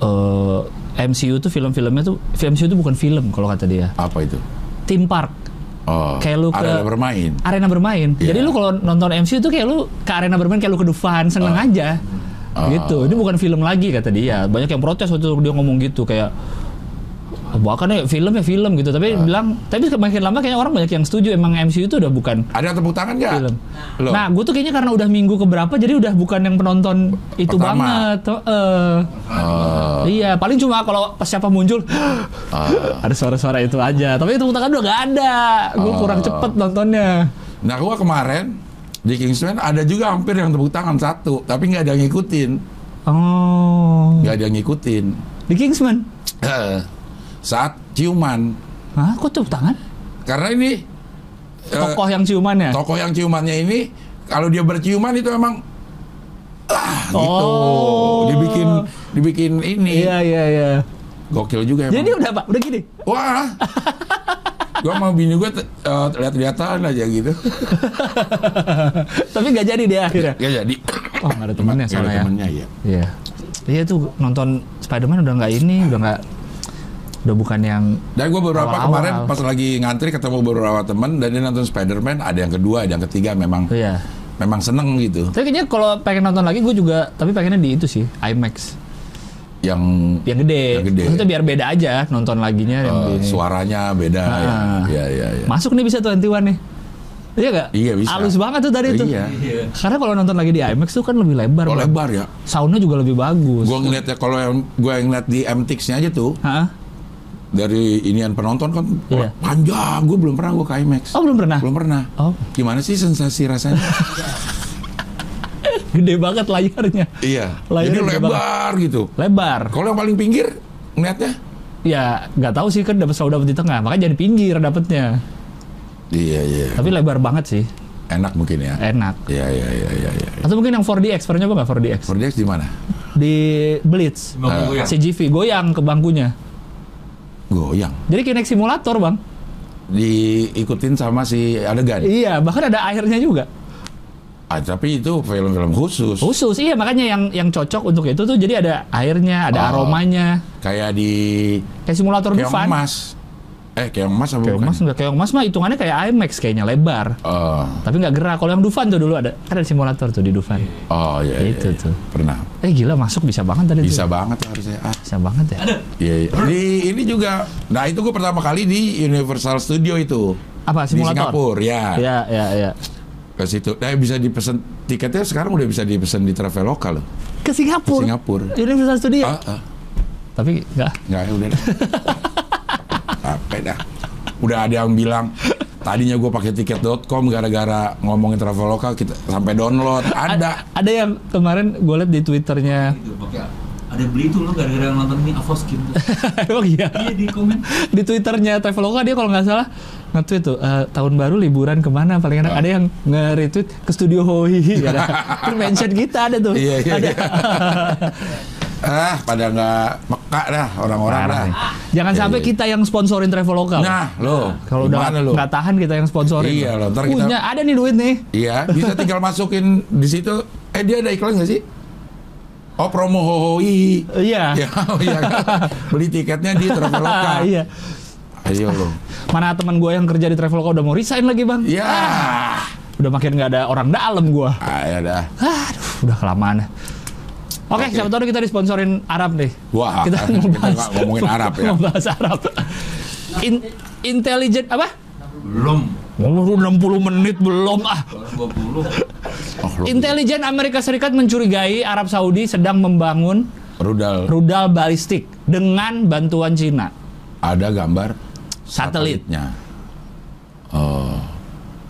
[SPEAKER 3] eh, MCU tuh film-filmnya tuh MCU tuh bukan film kalau kata dia
[SPEAKER 2] Apa itu?
[SPEAKER 3] theme park
[SPEAKER 2] Oh,
[SPEAKER 3] Kayak lu ke-
[SPEAKER 2] ada bermain.
[SPEAKER 3] arena bermain
[SPEAKER 2] Iya.
[SPEAKER 3] jadi lu kalau nonton MCU tuh kayak lu ke arena bermain kayak lu ke Dufan seneng aja gitu ini bukan film lagi kata dia banyak yang protes waktu itu dia ngomong gitu kayak bahkan ya film ya film gitu tapi bilang tapi makin lama kayaknya orang banyak yang setuju emang MCU itu udah bukan
[SPEAKER 2] Ada tepuk tangan nggak?
[SPEAKER 3] film.
[SPEAKER 2] Loh,
[SPEAKER 3] Nah, gue tuh kayaknya karena udah minggu keberapa, jadi udah bukan yang penonton itu
[SPEAKER 2] Pertama.
[SPEAKER 3] banget. Heeh.
[SPEAKER 2] eh,
[SPEAKER 3] Iya, paling cuma kalau pas siapa muncul
[SPEAKER 2] Ah.
[SPEAKER 3] ada suara-suara itu aja. Tapi itu tangan udah gak ada.
[SPEAKER 2] Oh.
[SPEAKER 3] Gue kurang cepet nontonnya.
[SPEAKER 2] nah gua kemarin di Kingsman ada juga hampir yang tepuk tangan satu, tapi nggak ada yang ngikutin,
[SPEAKER 3] Oh,
[SPEAKER 2] nggak ada yang ngikutin.
[SPEAKER 3] di Kingsman.
[SPEAKER 2] Saat ciuman,
[SPEAKER 3] Hah, kok tepuk tangan?
[SPEAKER 2] karena ini eh,
[SPEAKER 3] Tokoh yang ya? ciumannya.
[SPEAKER 2] tokoh yang ciumannya ini kalau dia berciuman itu emang ah gitu
[SPEAKER 3] Oh.
[SPEAKER 2] dibikin dibikin ini
[SPEAKER 3] Iya, iya, iya.
[SPEAKER 2] gokil juga emang
[SPEAKER 3] Jadi udah pak, udah gini.
[SPEAKER 2] wah gua mau bini gue lihat-lihatan aja gitu
[SPEAKER 3] Tapi gak jadi dia akhirnya.
[SPEAKER 2] ya jadi
[SPEAKER 3] Oh, gak ada temannya
[SPEAKER 2] Nggak ada
[SPEAKER 3] soalnya ya.
[SPEAKER 2] temennya, iya.
[SPEAKER 3] Iya. Iya tuh nonton Spider-Man udah nggak ini, udah nggak udah bukan yang
[SPEAKER 2] dan gue beberapa
[SPEAKER 3] Awal-awal.
[SPEAKER 2] kemarin pas lagi ngantri ketemu beberapa teman dan dia nonton Spider-Man ada yang kedua ada yang ketiga memang
[SPEAKER 3] iya.
[SPEAKER 2] memang seneng gitu
[SPEAKER 3] Tapi kayaknya kalau pengen nonton lagi gue juga tapi pengennya di itu sih IMAX
[SPEAKER 2] yang,
[SPEAKER 3] yang gede.
[SPEAKER 2] Yang gede.
[SPEAKER 3] Maksudnya biar beda aja nonton laginya yang
[SPEAKER 2] eh,
[SPEAKER 3] gini.
[SPEAKER 2] suaranya beda ya.
[SPEAKER 3] Ah.
[SPEAKER 2] ya ya ya
[SPEAKER 3] Masuk nih bisa tuh antiwan nih. Iya gak?
[SPEAKER 2] Iya, bisa.
[SPEAKER 3] Halus banget tuh tadi tuh.
[SPEAKER 2] Iya.
[SPEAKER 4] Iya.
[SPEAKER 3] Karena kalau nonton lagi di IMAX tuh kan lebih lebar.
[SPEAKER 2] Oh,
[SPEAKER 3] Bang.
[SPEAKER 2] lebar ya
[SPEAKER 3] Soundnya juga lebih bagus.
[SPEAKER 2] gue ngeliat ya kalau yang gue ngeliat di MTX-nya aja tuh
[SPEAKER 3] Hah?
[SPEAKER 2] dari inian penonton kan
[SPEAKER 3] Iya.
[SPEAKER 2] panjang gue belum pernah gue ke IMAX
[SPEAKER 3] Oh belum pernah?
[SPEAKER 2] belum pernah
[SPEAKER 3] Oh
[SPEAKER 2] gimana sih sensasi rasanya
[SPEAKER 3] gede banget layarnya.
[SPEAKER 2] iya
[SPEAKER 3] Layarnya
[SPEAKER 2] jadi
[SPEAKER 3] gede
[SPEAKER 2] lebar gitu
[SPEAKER 3] Lebar.
[SPEAKER 2] kalau yang paling pinggir ngeliatnya
[SPEAKER 3] Ya nggak tahu sih kan dapat selalu dapat di tengah. Makanya jadi pinggir dapatnya.
[SPEAKER 2] iya iya
[SPEAKER 3] Tapi lebar banget sih.
[SPEAKER 2] enak mungkin ya
[SPEAKER 3] Enak.
[SPEAKER 2] iya iya iya iya iya
[SPEAKER 3] Atau mungkin yang 4DX pernah nyoba nggak 4DX?
[SPEAKER 2] Verdex di mana
[SPEAKER 3] Di Blitz.
[SPEAKER 4] Cuma gue
[SPEAKER 2] Iya.
[SPEAKER 4] yang
[SPEAKER 3] CGV goyang ke bangkunya.
[SPEAKER 2] goyang
[SPEAKER 3] Jadi kayak naik simulator bang.
[SPEAKER 2] diikutin sama si adegan
[SPEAKER 3] Iya, bahkan ada airnya juga.
[SPEAKER 2] ah, tapi itu film-film khusus
[SPEAKER 3] Khusus, iya makanya yang yang cocok untuk itu tuh jadi ada airnya, ada
[SPEAKER 2] Oh.
[SPEAKER 3] aromanya.
[SPEAKER 2] kayak di
[SPEAKER 3] Kayak kan? simulator
[SPEAKER 2] keong
[SPEAKER 3] Dufan.
[SPEAKER 2] emas eh keong emas apa
[SPEAKER 3] Keong
[SPEAKER 2] bukan
[SPEAKER 3] Mas enggak, Keong Mas mah hitungannya kayak IMAX kayaknya lebar.
[SPEAKER 2] Eh,
[SPEAKER 3] Tapi nggak gerak. Kalau yang Dufan tuh dulu ada, kan ada simulator tuh di Dufan.
[SPEAKER 2] oh iya iya,
[SPEAKER 3] Itu
[SPEAKER 2] iya.
[SPEAKER 3] tuh.
[SPEAKER 2] pernah
[SPEAKER 3] Eh gila masuk bisa banget tadi
[SPEAKER 2] bisa
[SPEAKER 3] tuh.
[SPEAKER 2] banget harusnya ah
[SPEAKER 3] Bisa banget ya.
[SPEAKER 2] Iya, iya. Di ini juga. Nah, itu gue pertama kali di Universal Studio itu.
[SPEAKER 3] Apa
[SPEAKER 2] Di
[SPEAKER 3] simulator?
[SPEAKER 2] Singapura, ya.
[SPEAKER 3] Iya, iya, iya.
[SPEAKER 2] Ke situ. Nah, bisa dipesan tiketnya sekarang udah bisa dipesan di Traveloka loh.
[SPEAKER 3] Ke Singapura.
[SPEAKER 2] Singapura.
[SPEAKER 3] Universal Studio.
[SPEAKER 2] Ah, ah.
[SPEAKER 3] Tapi nggak.
[SPEAKER 2] Nggak, udah dah. Capek dah. Udah ada yang bilang tadinya gue pakai tiket.com gara-gara ngomongin Traveloka kita sampai download. Ada.
[SPEAKER 3] Ada yang kemarin gue liat di twitternya.
[SPEAKER 4] itu Gitu, pakai ada beli tuh lo gara-gara nonton ini Avoskin tuh.
[SPEAKER 3] Emang iya.
[SPEAKER 4] Iya di komen.
[SPEAKER 3] di twitternya Traveloka dia kalau nggak salah nge-tweet tuh eh, tahun baru liburan kemana paling enak ada yang nge-retweet ke studio Hoi ya kan? terus mention kita ada tuh
[SPEAKER 2] Iya, iya,
[SPEAKER 3] ada
[SPEAKER 2] iya. ah pada nggak peka dah orang-orang
[SPEAKER 3] Parah
[SPEAKER 2] dah.
[SPEAKER 3] nih. Jangan
[SPEAKER 2] Iya,
[SPEAKER 3] sampai
[SPEAKER 2] iya.
[SPEAKER 3] kita yang sponsorin Traveloka. loh.
[SPEAKER 2] Nah, lo
[SPEAKER 3] kalau udah
[SPEAKER 2] gimana lo?
[SPEAKER 3] nggak tahan kita yang sponsorin.
[SPEAKER 2] Iya, lo, ntar kita-
[SPEAKER 3] Punya ada nih duit nih.
[SPEAKER 2] Iya, bisa tinggal masukin di situ. Eh dia ada iklan nggak sih? Oh promo hohoi.
[SPEAKER 3] Iya.
[SPEAKER 2] Ya, iya kan? Beli tiketnya di Traveloka.
[SPEAKER 3] Ah, iya.
[SPEAKER 2] Ayo lo.
[SPEAKER 3] Mana teman gue yang kerja di Traveloka udah mau resign lagi bang? Ah,
[SPEAKER 2] Ya.
[SPEAKER 3] Udah makin nggak ada orang dalam gue.
[SPEAKER 2] Ayo ya dah.
[SPEAKER 3] Aduh, udah kelamaan. Oke,
[SPEAKER 2] Oke.
[SPEAKER 3] siapa tahu kita disponsorin Arab nih.
[SPEAKER 2] Wah,
[SPEAKER 3] kita
[SPEAKER 2] Ah, kita
[SPEAKER 3] mau bahas,
[SPEAKER 2] nggak ngomongin Arab ya.
[SPEAKER 3] mau bahas Arab. In, intelligent apa?
[SPEAKER 4] Belum.
[SPEAKER 3] Ngomong 60 menit belum ah.
[SPEAKER 4] Baru 20.
[SPEAKER 2] Oh, lo.
[SPEAKER 3] Intelijen Amerika Serikat mencurigai Arab Saudi sedang membangun
[SPEAKER 2] Rudal.
[SPEAKER 3] rudal balistik dengan bantuan Cina.
[SPEAKER 2] Ada gambar
[SPEAKER 3] Satelit.
[SPEAKER 2] satelitnya.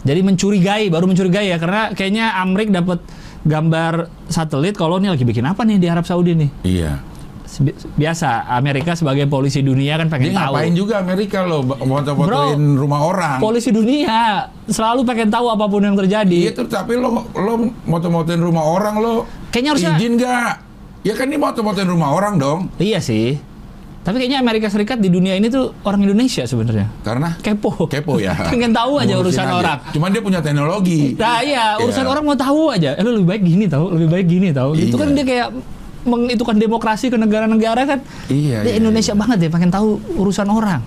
[SPEAKER 3] Jadi mencurigai, baru mencurigai ya karena kayaknya Amrik dapat gambar satelit kalau ini lagi bikin apa nih di Arab Saudi nih.
[SPEAKER 2] Iya.
[SPEAKER 3] Bi- Biasa Amerika sebagai polisi dunia kan
[SPEAKER 2] Dia
[SPEAKER 3] pengen tahu.
[SPEAKER 2] ngapain juga Amerika lo ba- foto-fotoin rumah orang.
[SPEAKER 3] Polisi dunia selalu pengen tahu apapun yang
[SPEAKER 2] Iya
[SPEAKER 3] terjadi.
[SPEAKER 2] tuh, tapi lo lo moto-motoin rumah orang lo.
[SPEAKER 3] Kayaknya harusnya-
[SPEAKER 2] izin nggak? Ya kan ini moto-motoin rumah orang dong.
[SPEAKER 3] Iya sih. Tapi kayaknya Amerika Serikat di dunia ini tuh orang Indonesia sebenarnya.
[SPEAKER 2] Karena
[SPEAKER 3] Kepo.
[SPEAKER 2] kepo ya.
[SPEAKER 3] pengen tahu aja
[SPEAKER 2] Ngurusin
[SPEAKER 3] urusan orang.
[SPEAKER 2] Cuman dia punya teknologi.
[SPEAKER 3] Nah iya, urusan
[SPEAKER 2] Iya.
[SPEAKER 3] orang mau tahu aja. Eh, lu lebih baik gini tahu, lebih baik gini tahu. Itu
[SPEAKER 2] Iya.
[SPEAKER 3] kan dia kayak mengitukan demokrasi ke negara-negara kan.
[SPEAKER 2] Iya,
[SPEAKER 3] Dia
[SPEAKER 2] iya,
[SPEAKER 3] Indonesia banget ya, pengen tahu urusan orang.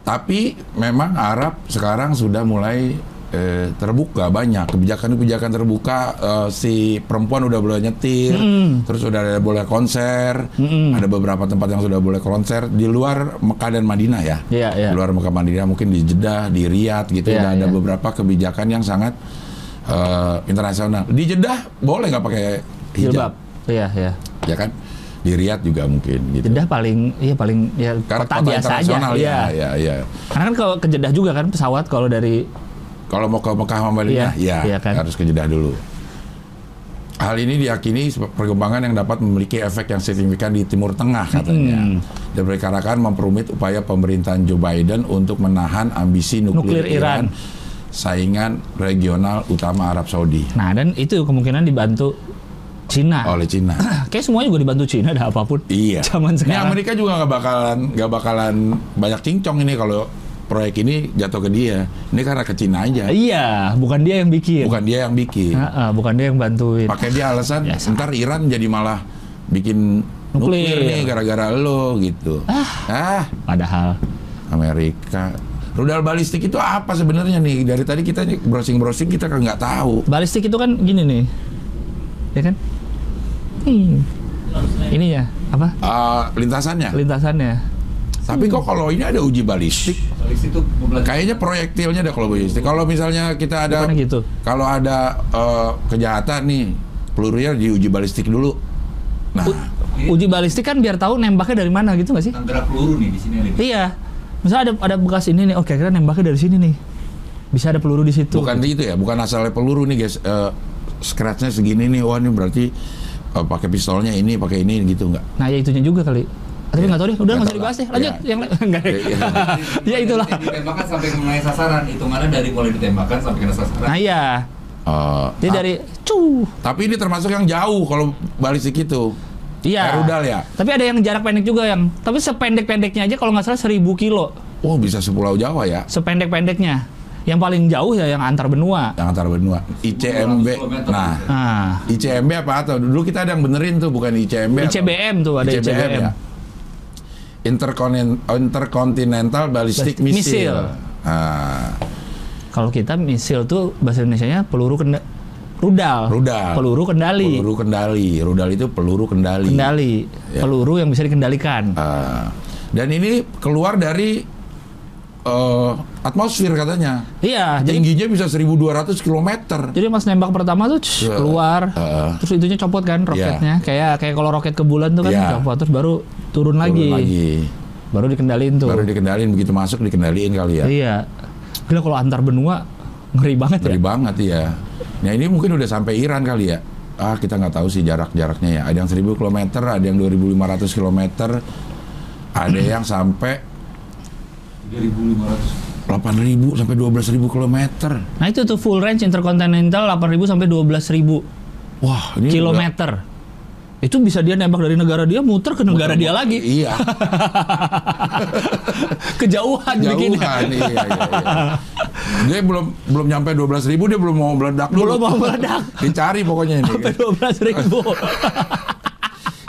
[SPEAKER 2] Tapi memang Arab sekarang sudah mulai eh, terbuka banyak kebijakan-kebijakan terbuka eh, si perempuan udah boleh nyetir, terus sudah ada boleh konser, ada beberapa tempat yang sudah boleh konser di luar Mekah dan Madinah ya.
[SPEAKER 3] Iya, iya.
[SPEAKER 2] Di luar Mekah Madinah mungkin di Jeddah, di Riyadh gitu
[SPEAKER 3] Iya,
[SPEAKER 2] udah ada
[SPEAKER 3] iya.
[SPEAKER 2] beberapa kebijakan yang sangat eh, internasional. Di Jeddah boleh nggak pakai hijab?
[SPEAKER 3] Jilbab. Iya, iya.
[SPEAKER 2] Ya kan? Di Riyadh juga mungkin gitu.
[SPEAKER 3] Jeddah paling iya paling ya
[SPEAKER 2] Karena
[SPEAKER 3] kota, biasa aja.
[SPEAKER 2] internasional,
[SPEAKER 3] Iya.
[SPEAKER 2] ya, ya, ya.
[SPEAKER 3] Karena kan kalau ke Jeddah juga kan pesawat kalau dari
[SPEAKER 2] Kalau mau ke Mekah sama Madinah,
[SPEAKER 3] Iya,
[SPEAKER 2] ya
[SPEAKER 3] iya kan.
[SPEAKER 2] harus ke Jeddah dulu. Hal ini diyakini sebe- perkembangan yang dapat memiliki efek yang signifikan di Timur Tengah katanya.
[SPEAKER 3] Mm.
[SPEAKER 2] Dan diperkirakan memperumit upaya pemerintahan Joe Biden untuk menahan ambisi nuklir,
[SPEAKER 3] Nuklir
[SPEAKER 2] Iran,
[SPEAKER 3] Iran.
[SPEAKER 2] saingan regional utama Arab Saudi
[SPEAKER 3] nah dan itu kemungkinan dibantu Cina.
[SPEAKER 2] oleh Cina.
[SPEAKER 3] Kayak semuanya juga dibantu Cina ada apapun.
[SPEAKER 2] iya.
[SPEAKER 3] Ah. Zaman
[SPEAKER 2] Ini
[SPEAKER 3] sekarang.
[SPEAKER 2] Amerika juga nggak bakalan nggak bakalan banyak cincong ini kalau proyek ini jatuh ke dia. Ini karena ke Cina aja.
[SPEAKER 3] Iya, bukan dia yang bikin.
[SPEAKER 2] Bukan dia yang bikin.
[SPEAKER 3] Ah, ah, bukan dia yang bantuin.
[SPEAKER 2] pakai dia alasan
[SPEAKER 3] Biasa.
[SPEAKER 2] ntar Iran jadi malah bikin nuklir,
[SPEAKER 3] Nuklir.
[SPEAKER 2] nih gara-gara lo gitu ah,
[SPEAKER 3] Padahal
[SPEAKER 2] Amerika rudal balistik itu apa sebenarnya nih dari tadi kita browsing-browsing kita kan nggak tahu
[SPEAKER 3] balistik itu kan gini nih, ya kan? Hmm. Ini ya apa?
[SPEAKER 2] Eh, lintasannya
[SPEAKER 3] Lintasannya.
[SPEAKER 2] tapi kok kalau ini ada uji balistik
[SPEAKER 4] Polisi itu pembelajaran.
[SPEAKER 2] kayaknya proyektilnya ada kalau balistik kalau misalnya kita ada
[SPEAKER 3] Bukannya gitu.
[SPEAKER 2] kalau ada eh, kejahatan nih pelurunya diuji balistik dulu nah
[SPEAKER 3] Uji balistik kan biar tahu nembaknya dari mana gitu nggak sih?
[SPEAKER 4] Antara peluru nih di sini ada.
[SPEAKER 3] Iya. Misalnya ada ada bekas ini nih, oke kira nembaknya dari sini nih. Bisa ada peluru di situ.
[SPEAKER 2] Bukan gitu ya, bukan asalnya peluru nih guys. Eh, scratchnya segini nih, wah ini berarti eh, pakai pistolnya ini, pakai ini gitu nggak?
[SPEAKER 3] Nah, ya itunya juga kali. Ah, Tapi nggak tahu deh, udah
[SPEAKER 2] Iya. Nggak tahu
[SPEAKER 3] nggak usah dibahas
[SPEAKER 2] lah.
[SPEAKER 3] deh. Lanjut,
[SPEAKER 2] Iya.
[SPEAKER 3] yang lain. Nggak.
[SPEAKER 2] Iya, iya.
[SPEAKER 3] Ya itulah.
[SPEAKER 4] Jadi Ditembakkan sampai mengenai sasaran. Hitungannya dari mulai ditembakkan sampai kena sasaran.
[SPEAKER 3] Nah, iya.
[SPEAKER 2] Eh,
[SPEAKER 3] Jadi
[SPEAKER 2] ta-
[SPEAKER 3] dari cuh.
[SPEAKER 2] Tapi ini termasuk yang jauh kalau balistik itu.
[SPEAKER 3] Iya.
[SPEAKER 2] Kayak rudal ya.
[SPEAKER 3] Tapi ada yang jarak pendek juga yang. Tapi sependek-pendeknya aja kalau nggak salah 1000 kilo.
[SPEAKER 2] Oh bisa sepulau Jawa ya,
[SPEAKER 3] Sependek-pendeknya. Yang paling jauh ya yang antar benua.
[SPEAKER 2] yang antar benua. ICMB.
[SPEAKER 4] 200 kilometer.
[SPEAKER 2] Nah,
[SPEAKER 3] Nah,
[SPEAKER 2] ICMB apa atau dulu kita ada yang benerin tuh bukan ICMB. atau-
[SPEAKER 3] ICBM tuh ada ICBM.
[SPEAKER 2] ya. Interkonen- Intercontinental Ballistic
[SPEAKER 3] Ballistic
[SPEAKER 2] Missile.
[SPEAKER 3] Missile.
[SPEAKER 2] Ah,
[SPEAKER 3] Kalau kita misil tuh bahasa Indonesianya peluru kenda rudal.
[SPEAKER 2] rudal.
[SPEAKER 3] Peluru kendali.
[SPEAKER 2] Peluru kendali. Rudal itu peluru kendali.
[SPEAKER 3] Kendali.
[SPEAKER 2] Ya.
[SPEAKER 3] Peluru yang bisa dikendalikan.
[SPEAKER 2] Ah, dan ini keluar dari eh, atmosfer katanya.
[SPEAKER 3] Iya, jadi Iya,
[SPEAKER 2] Tingginya bisa 1200 km.
[SPEAKER 3] jadi pas nembak pertama tuh cus,
[SPEAKER 2] Ya.
[SPEAKER 3] keluar,
[SPEAKER 2] Heeh.
[SPEAKER 3] terus itunya copot kan roketnya, kayak kayak kalau roket ke bulan tuh kan
[SPEAKER 2] Ya.
[SPEAKER 3] copot, terus baru turun, lagi,
[SPEAKER 2] Turun lagi.
[SPEAKER 3] baru dikendalin tuh.
[SPEAKER 2] Baru dikendalin begitu masuk dikendaliin kali ya.
[SPEAKER 3] Iya. Gila kalau antar benua ngeri banget
[SPEAKER 2] Ngeri
[SPEAKER 3] ya.
[SPEAKER 2] banget ya. Nah, ini mungkin udah sampai Iran kali ya. Ah, kita nggak tahu sih jarak-jaraknya ya. Ada yang 1000 km, ada yang 2500 km, ada yang sampai
[SPEAKER 4] 3500.
[SPEAKER 2] 8000 sampai 12000 km.
[SPEAKER 3] Nah itu tuh full range interkontinental 8.000 sampai 12.000
[SPEAKER 2] Wah, ini udah-
[SPEAKER 3] kilometer. itu bisa dia nembak dari negara dia muter ke negara dia lagi
[SPEAKER 2] Iya.
[SPEAKER 3] kejauhan
[SPEAKER 2] Jauhan.
[SPEAKER 3] bikinnya.
[SPEAKER 2] iya, iya, iya. Dia belum belum nyampe 12.000 ribu dia belum mau meledak dulu.
[SPEAKER 3] Belum mau meledak.
[SPEAKER 2] Dicari pokoknya ini.
[SPEAKER 3] sampai dua belas ribu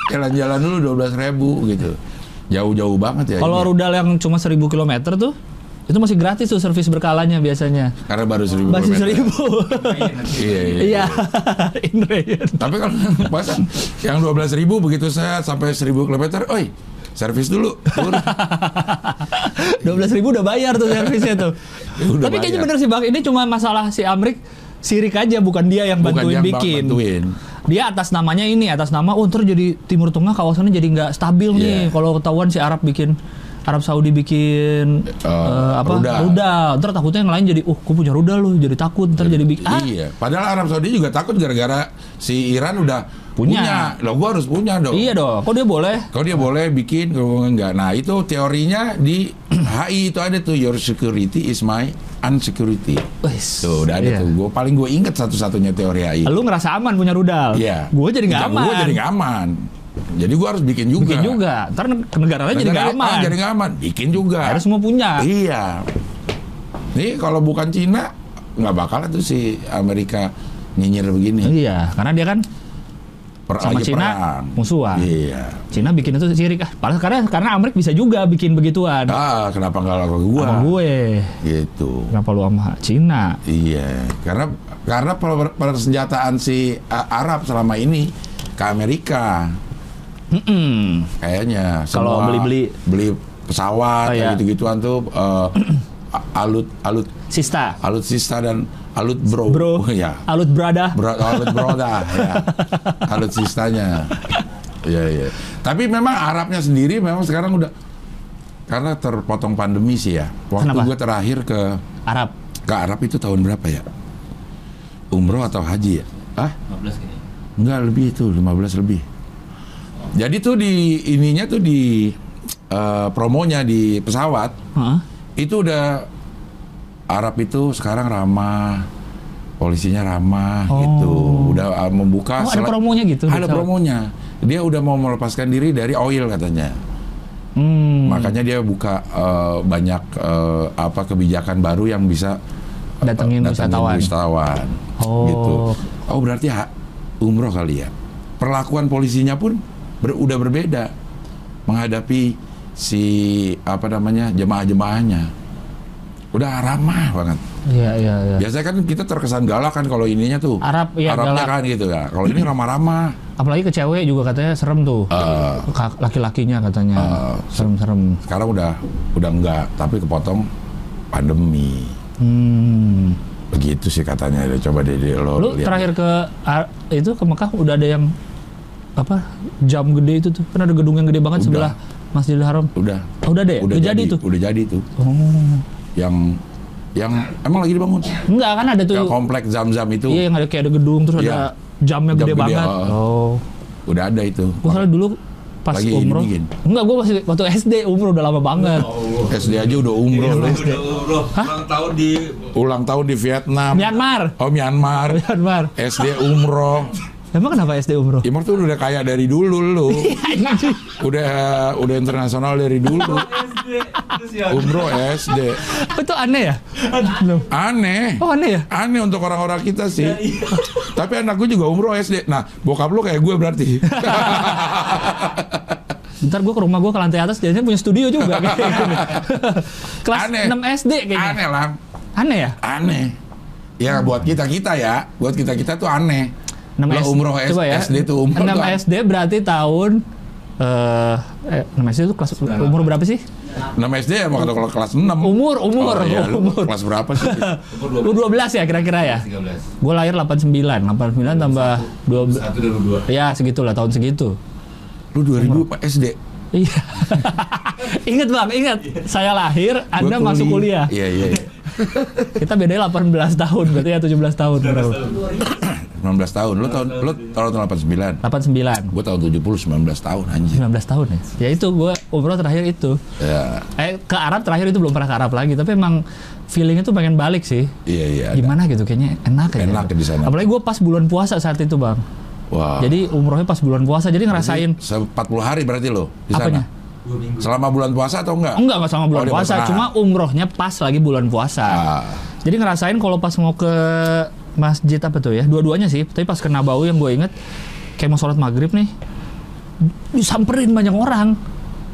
[SPEAKER 2] Jalan-jalan dulu 12.000 gitu. Jauh-jauh banget ya.
[SPEAKER 3] kalau
[SPEAKER 2] ini.
[SPEAKER 3] rudal yang cuma 1000 kilometer tuh itu masih gratis tuh servis berkalanya biasanya
[SPEAKER 2] karena baru 1.000
[SPEAKER 3] masih
[SPEAKER 2] kilometer.
[SPEAKER 3] seribu
[SPEAKER 2] Iya, iya.
[SPEAKER 3] iya in rayon
[SPEAKER 2] Tapi kalau pas yang 12.000 begitu saya sampai 1.000 kilometer, oi, servis dulu. Turun.
[SPEAKER 3] dua ribu udah bayar tuh servisnya tuh
[SPEAKER 2] Udah
[SPEAKER 3] tapi
[SPEAKER 2] bayar.
[SPEAKER 3] kayaknya bener sih bang ini cuma masalah si Amrik sirik aja bukan dia yang
[SPEAKER 2] Bukan
[SPEAKER 3] bantuin
[SPEAKER 2] yang
[SPEAKER 3] bikin
[SPEAKER 2] bantuin.
[SPEAKER 3] dia atas namanya ini atas nama oh ntar jadi Timur Tengah kawasannya jadi nggak stabil nih
[SPEAKER 2] Iya.
[SPEAKER 3] kalau ketahuan si Arab bikin Arab Saudi bikin
[SPEAKER 2] Eh,
[SPEAKER 3] eh, apa
[SPEAKER 2] rudal.
[SPEAKER 3] rudal ntar takutnya yang lain jadi oh gue punya rudal loh jadi takut ntar jadi bikin ah
[SPEAKER 2] Iya. Padahal Arab Saudi juga takut gara-gara si Iran udah
[SPEAKER 3] Punya.
[SPEAKER 2] punya. Loh, gua harus punya dong.
[SPEAKER 3] iya dong kok dia boleh
[SPEAKER 2] Kalau dia boleh bikin, kalau enggak. Nah, itu teorinya di HI itu ada tuh your security is my unsecurity.
[SPEAKER 3] Wes.
[SPEAKER 2] Tuh, udah ada
[SPEAKER 3] Iya.
[SPEAKER 2] tuh. Gua paling gue inget satu-satunya teori HI.
[SPEAKER 3] lu ngerasa aman punya rudal
[SPEAKER 2] Iya.
[SPEAKER 3] gue jadi nggak aman
[SPEAKER 2] Gue jadi nggak aman. Jadi gue harus bikin juga.
[SPEAKER 3] bikin juga ntar neg- negara lain jadi
[SPEAKER 2] Negara-
[SPEAKER 3] nggak aman
[SPEAKER 2] ah, jadi nggak aman. Bikin juga.
[SPEAKER 3] harus semua punya
[SPEAKER 2] Iya. Nih kalau bukan Cina nggak bakal tuh si Amerika nyinyir begini.
[SPEAKER 3] iya karena dia kan
[SPEAKER 2] Per-
[SPEAKER 3] Sama
[SPEAKER 2] lagi
[SPEAKER 3] Cina,
[SPEAKER 2] perang.
[SPEAKER 3] musuhan.
[SPEAKER 2] Iya.
[SPEAKER 3] Cina bikin itu sirik ah padahal karena karena Amerika bisa juga bikin begituan
[SPEAKER 2] Ah, kenapa nggak laku ke gua?
[SPEAKER 3] sama gue
[SPEAKER 2] Gitu.
[SPEAKER 3] Kenapa lu sama Cina?
[SPEAKER 2] Iya, karena karena per- persenjataan si uh, Arab selama ini ke Amerika
[SPEAKER 3] Mm-mm.
[SPEAKER 2] kayaknya
[SPEAKER 3] Kalau
[SPEAKER 2] Semua
[SPEAKER 3] beli-beli-
[SPEAKER 2] beli pesawat
[SPEAKER 3] Oh,
[SPEAKER 2] kayak
[SPEAKER 3] iya.
[SPEAKER 2] gitu-gituan tuh uh, a- alut alut
[SPEAKER 3] Sista,
[SPEAKER 2] alutsista dan alut bro.
[SPEAKER 3] bro,
[SPEAKER 2] ya.
[SPEAKER 3] alut berada.
[SPEAKER 2] Bro, alut broda ya. Alutsistanya. Iya, iya. Tapi memang Arabnya sendiri memang sekarang udah karena terpotong pandemi sih ya. Waktu
[SPEAKER 3] Kenapa?
[SPEAKER 2] gue terakhir ke
[SPEAKER 3] Arab.
[SPEAKER 2] Ke Arab itu tahun berapa ya? Umroh atau haji ya? Ah,
[SPEAKER 4] 15 kayaknya.
[SPEAKER 2] enggak lebih itu, 15 lebih. Jadi tuh di ininya tuh di eh, promonya di pesawat
[SPEAKER 3] Hah?
[SPEAKER 2] itu udah Arab itu sekarang ramah, polisinya ramah
[SPEAKER 3] Oh.
[SPEAKER 2] gitu. Udah eh, membuka
[SPEAKER 3] Oh, ada
[SPEAKER 2] selek-
[SPEAKER 3] promonya gitu di
[SPEAKER 2] Ada
[SPEAKER 3] pesawat?
[SPEAKER 2] promonya. Dia udah mau melepaskan diri dari oil katanya.
[SPEAKER 3] Hmm.
[SPEAKER 2] Makanya dia buka eh, banyak eh, apa kebijakan baru yang bisa eh,
[SPEAKER 3] Datengin wisatawan.
[SPEAKER 2] wisatawan.
[SPEAKER 3] Oh.
[SPEAKER 2] Gitu. Oh berarti ha- umroh kali ya. Perlakuan polisinya pun ber- udah berbeda menghadapi si apa namanya jemaah-jemaahnya. Udah ramah banget.
[SPEAKER 3] Iya, iya, iya.
[SPEAKER 2] Biasanya kan kita terkesan galak kan kalau ininya tuh.
[SPEAKER 3] Arab, iya,
[SPEAKER 2] Arabnya
[SPEAKER 3] galak.
[SPEAKER 2] kan gitu ya. Kalau ini ramah-ramah.
[SPEAKER 3] Apalagi ke cewek juga katanya serem tuh.
[SPEAKER 2] Eh.
[SPEAKER 3] Ka- Laki-lakinya katanya
[SPEAKER 2] Eh.
[SPEAKER 3] serem-serem.
[SPEAKER 2] Sekarang udah udah enggak, tapi kepotong pandemi.
[SPEAKER 3] Hmm.
[SPEAKER 2] begitu sih katanya Dia coba deh deh, lo
[SPEAKER 3] Lu
[SPEAKER 2] lihat.
[SPEAKER 3] terakhir ke Ar- itu ke Mekah udah ada yang apa? Jam gede itu tuh. Kan ada gedung yang gede
[SPEAKER 2] Udah.
[SPEAKER 3] banget sebelah Masjidil Haram.
[SPEAKER 2] udah
[SPEAKER 3] Oh, udah ada ya?
[SPEAKER 2] udah
[SPEAKER 3] Udah jadi tuh?
[SPEAKER 2] udah jadi tuh
[SPEAKER 3] Oh.
[SPEAKER 2] yang yang emang lagi dibangun
[SPEAKER 3] Enggak kan ada tuh.
[SPEAKER 2] yang komplek zam zam itu
[SPEAKER 3] Iya, yang ada kayak ada gedung terus
[SPEAKER 2] Iya.
[SPEAKER 3] ada jamnya
[SPEAKER 2] Jam
[SPEAKER 3] gede,
[SPEAKER 2] gede,
[SPEAKER 3] banget.
[SPEAKER 2] eh.
[SPEAKER 3] Oh.
[SPEAKER 2] udah ada itu
[SPEAKER 3] Gue soalnya dulu pas
[SPEAKER 2] Lagi
[SPEAKER 3] umroh.
[SPEAKER 2] ini Oh. bikin.
[SPEAKER 3] Enggak, gue masih waktu SD umroh udah lama banget.
[SPEAKER 2] SD aja udah umroh
[SPEAKER 3] Iya.
[SPEAKER 2] lu.
[SPEAKER 4] Udah umroh, ulang tahun di
[SPEAKER 2] ulang tahun di Vietnam
[SPEAKER 3] Myanmar.
[SPEAKER 2] oh Myanmar
[SPEAKER 3] Myanmar.
[SPEAKER 2] SD umroh
[SPEAKER 3] Emang kenapa SD umroh?
[SPEAKER 2] Imor tuh udah kaya dari dulu lu udah udah internasional dari dulu
[SPEAKER 4] SD. Terus ya.
[SPEAKER 2] umroh SD
[SPEAKER 3] Itu aneh ya?
[SPEAKER 2] aneh
[SPEAKER 3] Oh aneh ya?
[SPEAKER 2] aneh untuk orang-orang kita sih
[SPEAKER 3] iya.
[SPEAKER 2] tapi anak gue juga umroh SD nah bokap lu kayak gue berarti
[SPEAKER 3] Ntar gue ke rumah gue ke lantai atas, jadinya punya studio juga. kayak gitu. Kelas
[SPEAKER 2] Aneh.
[SPEAKER 3] 6 SD kayaknya. Aneh,
[SPEAKER 2] aneh lah
[SPEAKER 3] ya?
[SPEAKER 2] aneh ya buat kita kita ya buat kita kita tuh aneh
[SPEAKER 3] 6
[SPEAKER 2] Lo
[SPEAKER 3] S-
[SPEAKER 2] umroh S-
[SPEAKER 3] coba ya.
[SPEAKER 2] SD tuh umroh kan?
[SPEAKER 3] 6
[SPEAKER 2] tuh aneh.
[SPEAKER 3] SD berarti tahun eh, eh, 6 SD itu kelas umur berapa sih?
[SPEAKER 2] 6 SD ya mau kalau kalau kelas 6
[SPEAKER 3] Umur, umur,
[SPEAKER 2] Oh, iya, lu
[SPEAKER 3] umur.
[SPEAKER 2] kelas berapa sih
[SPEAKER 4] Umur
[SPEAKER 3] Lu 12 ya kira-kira ya?
[SPEAKER 4] 13.
[SPEAKER 3] Gue lahir 89, 89 tambah 12.
[SPEAKER 4] 1 dan 2.
[SPEAKER 3] Ya segitulah tahun segitu.
[SPEAKER 2] lu 2000 Pak SD
[SPEAKER 3] Iya. ingat bang, ingat. Saya lahir, Anda
[SPEAKER 2] Gua
[SPEAKER 3] masuk kuliah.
[SPEAKER 2] iya iya iya.
[SPEAKER 3] Kita bedanya 18 tahun, berarti ya 17 tahun.
[SPEAKER 2] 19 tahun lu tahun lu tahun 89
[SPEAKER 3] 89.
[SPEAKER 2] gue tahun 70 19 tahun anjir
[SPEAKER 3] 19 tahun ya. Ya itu gue umroh terakhir itu.
[SPEAKER 2] ya
[SPEAKER 3] Eh ke Arab terakhir itu belum pernah ke Arab lagi, tapi emang feelingnya tuh pengen balik sih.
[SPEAKER 2] iya iya ada.
[SPEAKER 3] Gimana gitu kayaknya enak ya.
[SPEAKER 2] Enak ya di sana. Ah.
[SPEAKER 3] Apalagi gue pas bulan puasa saat itu bang.
[SPEAKER 2] Wah.
[SPEAKER 3] Jadi umrohnya pas bulan puasa, jadi ngerasain
[SPEAKER 2] Se- 40 hari berarti lo di
[SPEAKER 3] Apanya?
[SPEAKER 2] sana. Selama bulan puasa atau enggak?
[SPEAKER 3] enggak enggak sama bulan
[SPEAKER 2] Oh, di
[SPEAKER 3] puasa,
[SPEAKER 2] Basrah.
[SPEAKER 3] cuma umrohnya pas lagi bulan puasa.
[SPEAKER 2] Ah.
[SPEAKER 3] Jadi ngerasain kalau pas mau ke masjid apa tuh ya, dua-duanya sih. Tapi pas ke Nabawi yang gue inget, kayak mau sholat maghrib nih, disamperin banyak orang.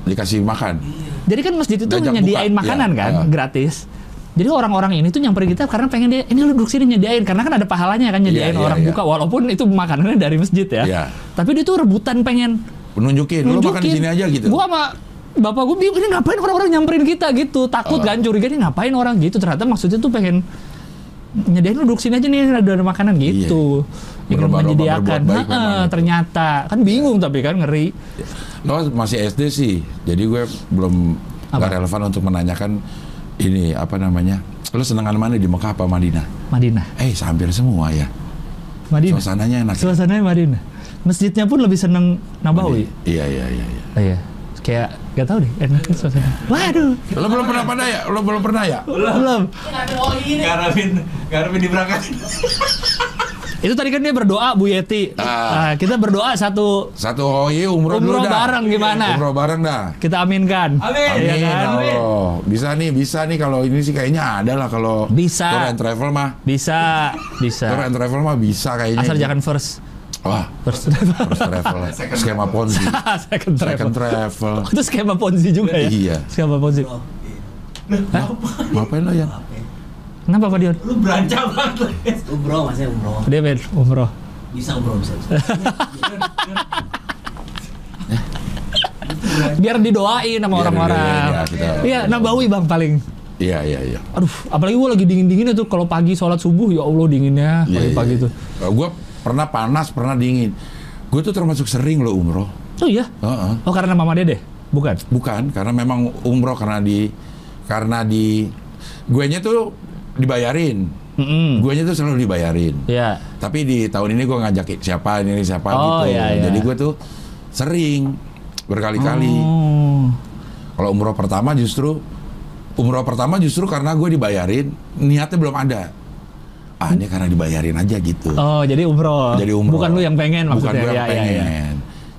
[SPEAKER 2] dikasih makan.
[SPEAKER 3] Jadi kan masjid itu
[SPEAKER 2] Diajak
[SPEAKER 3] menyediain
[SPEAKER 2] buka,
[SPEAKER 3] makanan
[SPEAKER 2] ya,
[SPEAKER 3] kan,
[SPEAKER 2] ya.
[SPEAKER 3] gratis. Jadi orang-orang ini tuh nyamperin kita karena pengen dia ini lu duduk sini nyediain karena kan ada pahalanya kan nyediain
[SPEAKER 2] Iya, iya,
[SPEAKER 3] orang
[SPEAKER 2] iya.
[SPEAKER 3] buka walaupun itu makanannya dari masjid ya.
[SPEAKER 2] Iya.
[SPEAKER 3] Tapi dia tuh rebutan pengen
[SPEAKER 2] Nunjukin, lo makan di
[SPEAKER 3] nunjukin.
[SPEAKER 2] sini aja gitu.
[SPEAKER 3] Gua sama bapak gue bingung ini ngapain orang-orang nyamperin kita
[SPEAKER 2] Oh.
[SPEAKER 3] gitu. Takut kan curiga ini ngapain orang gitu. Ternyata maksudnya tuh pengen nyediain lu duduk sini aja nih ada, ada makanan gitu.
[SPEAKER 2] Iya.
[SPEAKER 3] Ikut
[SPEAKER 2] Berlomba-lomba
[SPEAKER 3] menyediakan.
[SPEAKER 2] berbuat baik
[SPEAKER 3] Nah,
[SPEAKER 2] memang gitu.
[SPEAKER 3] ternyata kan bingung tapi kan ngeri.
[SPEAKER 2] Lo masih SD sih, jadi gue belum
[SPEAKER 3] Apa?
[SPEAKER 2] nggak relevan untuk menanyakan ini apa namanya. Lo senengan mana di Mekah apa Madinah?
[SPEAKER 3] Madinah.
[SPEAKER 2] Eh, hampir semua ya.
[SPEAKER 3] Madinah.
[SPEAKER 2] Suasananya enak. ya?
[SPEAKER 3] Suasananya Madinah. Masjidnya pun lebih seneng Nabawi.
[SPEAKER 2] Iya iya iya. iya.
[SPEAKER 3] Oh, iya. Kayak gak tau deh, enaknya suasana. Waduh,
[SPEAKER 2] Lo belum pernah pada ya? Lo belum pernah ya?
[SPEAKER 3] belum.
[SPEAKER 1] Kenapa oli ini?
[SPEAKER 3] Iya.
[SPEAKER 4] Karabin, karabin diberangkatin.
[SPEAKER 3] Itu tadi kan dia berdoa Bu Yeti.
[SPEAKER 2] Ah.
[SPEAKER 3] Nah, kita berdoa satu
[SPEAKER 2] Satu OI umroh, dulu
[SPEAKER 3] umroh
[SPEAKER 2] dah.
[SPEAKER 3] bareng gimana?
[SPEAKER 2] Umroh bareng dah.
[SPEAKER 3] Kita aminkan.
[SPEAKER 4] Amin.
[SPEAKER 3] Iya
[SPEAKER 2] Amin, ya
[SPEAKER 3] kan?
[SPEAKER 2] Allah. Bisa nih, bisa nih kalau ini sih kayaknya ada lah kalau
[SPEAKER 3] Bisa.
[SPEAKER 2] tour and travel mah.
[SPEAKER 3] Bisa,
[SPEAKER 2] Tour
[SPEAKER 3] bisa.
[SPEAKER 2] and travel mah bisa kayaknya.
[SPEAKER 3] Asal jangan first.
[SPEAKER 2] Wah,
[SPEAKER 3] First travel.
[SPEAKER 2] first travel.
[SPEAKER 4] Second
[SPEAKER 2] Skema
[SPEAKER 4] travel.
[SPEAKER 2] Ponzi.
[SPEAKER 3] Second travel.
[SPEAKER 2] Second travel.
[SPEAKER 3] Oh, itu skema ponzi juga ya?
[SPEAKER 2] Iya.
[SPEAKER 3] Skema ponzi.
[SPEAKER 2] Ngapain lo ya?
[SPEAKER 3] Kenapa Pak Dion?
[SPEAKER 4] Lu beranca banget. lu.
[SPEAKER 5] Umroh masnya Oh, umroh.
[SPEAKER 3] Dia main umroh.
[SPEAKER 5] Bisa umroh bisa. bisa.
[SPEAKER 3] Biar didoain sama
[SPEAKER 2] Biar
[SPEAKER 3] orang-orang.
[SPEAKER 2] didoain, ya, kita-
[SPEAKER 3] Iya, Nabawi Bang paling.
[SPEAKER 2] Iya, iya, iya.
[SPEAKER 3] Aduh, apalagi gue lagi dingin-dinginnya tuh kalau pagi sholat subuh ya Allah dinginnya
[SPEAKER 2] Iya,
[SPEAKER 3] pagi-pagi
[SPEAKER 2] iya,
[SPEAKER 3] tuh.
[SPEAKER 2] iya. Gue pernah panas, pernah dingin. Gue tuh termasuk sering lo umroh.
[SPEAKER 3] Oh iya.
[SPEAKER 2] Heeh.
[SPEAKER 3] Oh karena mama dede, bukan?
[SPEAKER 2] Bukan, karena memang umroh karena di karena di guenya tuh dibayarin.
[SPEAKER 3] Mm-mm.
[SPEAKER 2] Guenya tuh selalu dibayarin.
[SPEAKER 3] Iya.
[SPEAKER 2] Tapi di tahun ini gue ngajak siapa ini siapa
[SPEAKER 3] Oh,
[SPEAKER 2] gitu.
[SPEAKER 3] iya, iya.
[SPEAKER 2] Jadi gue tuh sering berkali-kali.
[SPEAKER 3] Oh.
[SPEAKER 2] Kalau umroh pertama justru umroh pertama justru karena gue dibayarin niatnya belum ada. Ah ini karena dibayarin aja gitu.
[SPEAKER 3] Oh, jadi umroh.
[SPEAKER 2] Jadi umroh.
[SPEAKER 3] Bukan lu yang pengen
[SPEAKER 2] Bukan
[SPEAKER 3] maksudnya.
[SPEAKER 2] gue yang
[SPEAKER 3] Iya, iya,
[SPEAKER 2] pengen.
[SPEAKER 3] iya.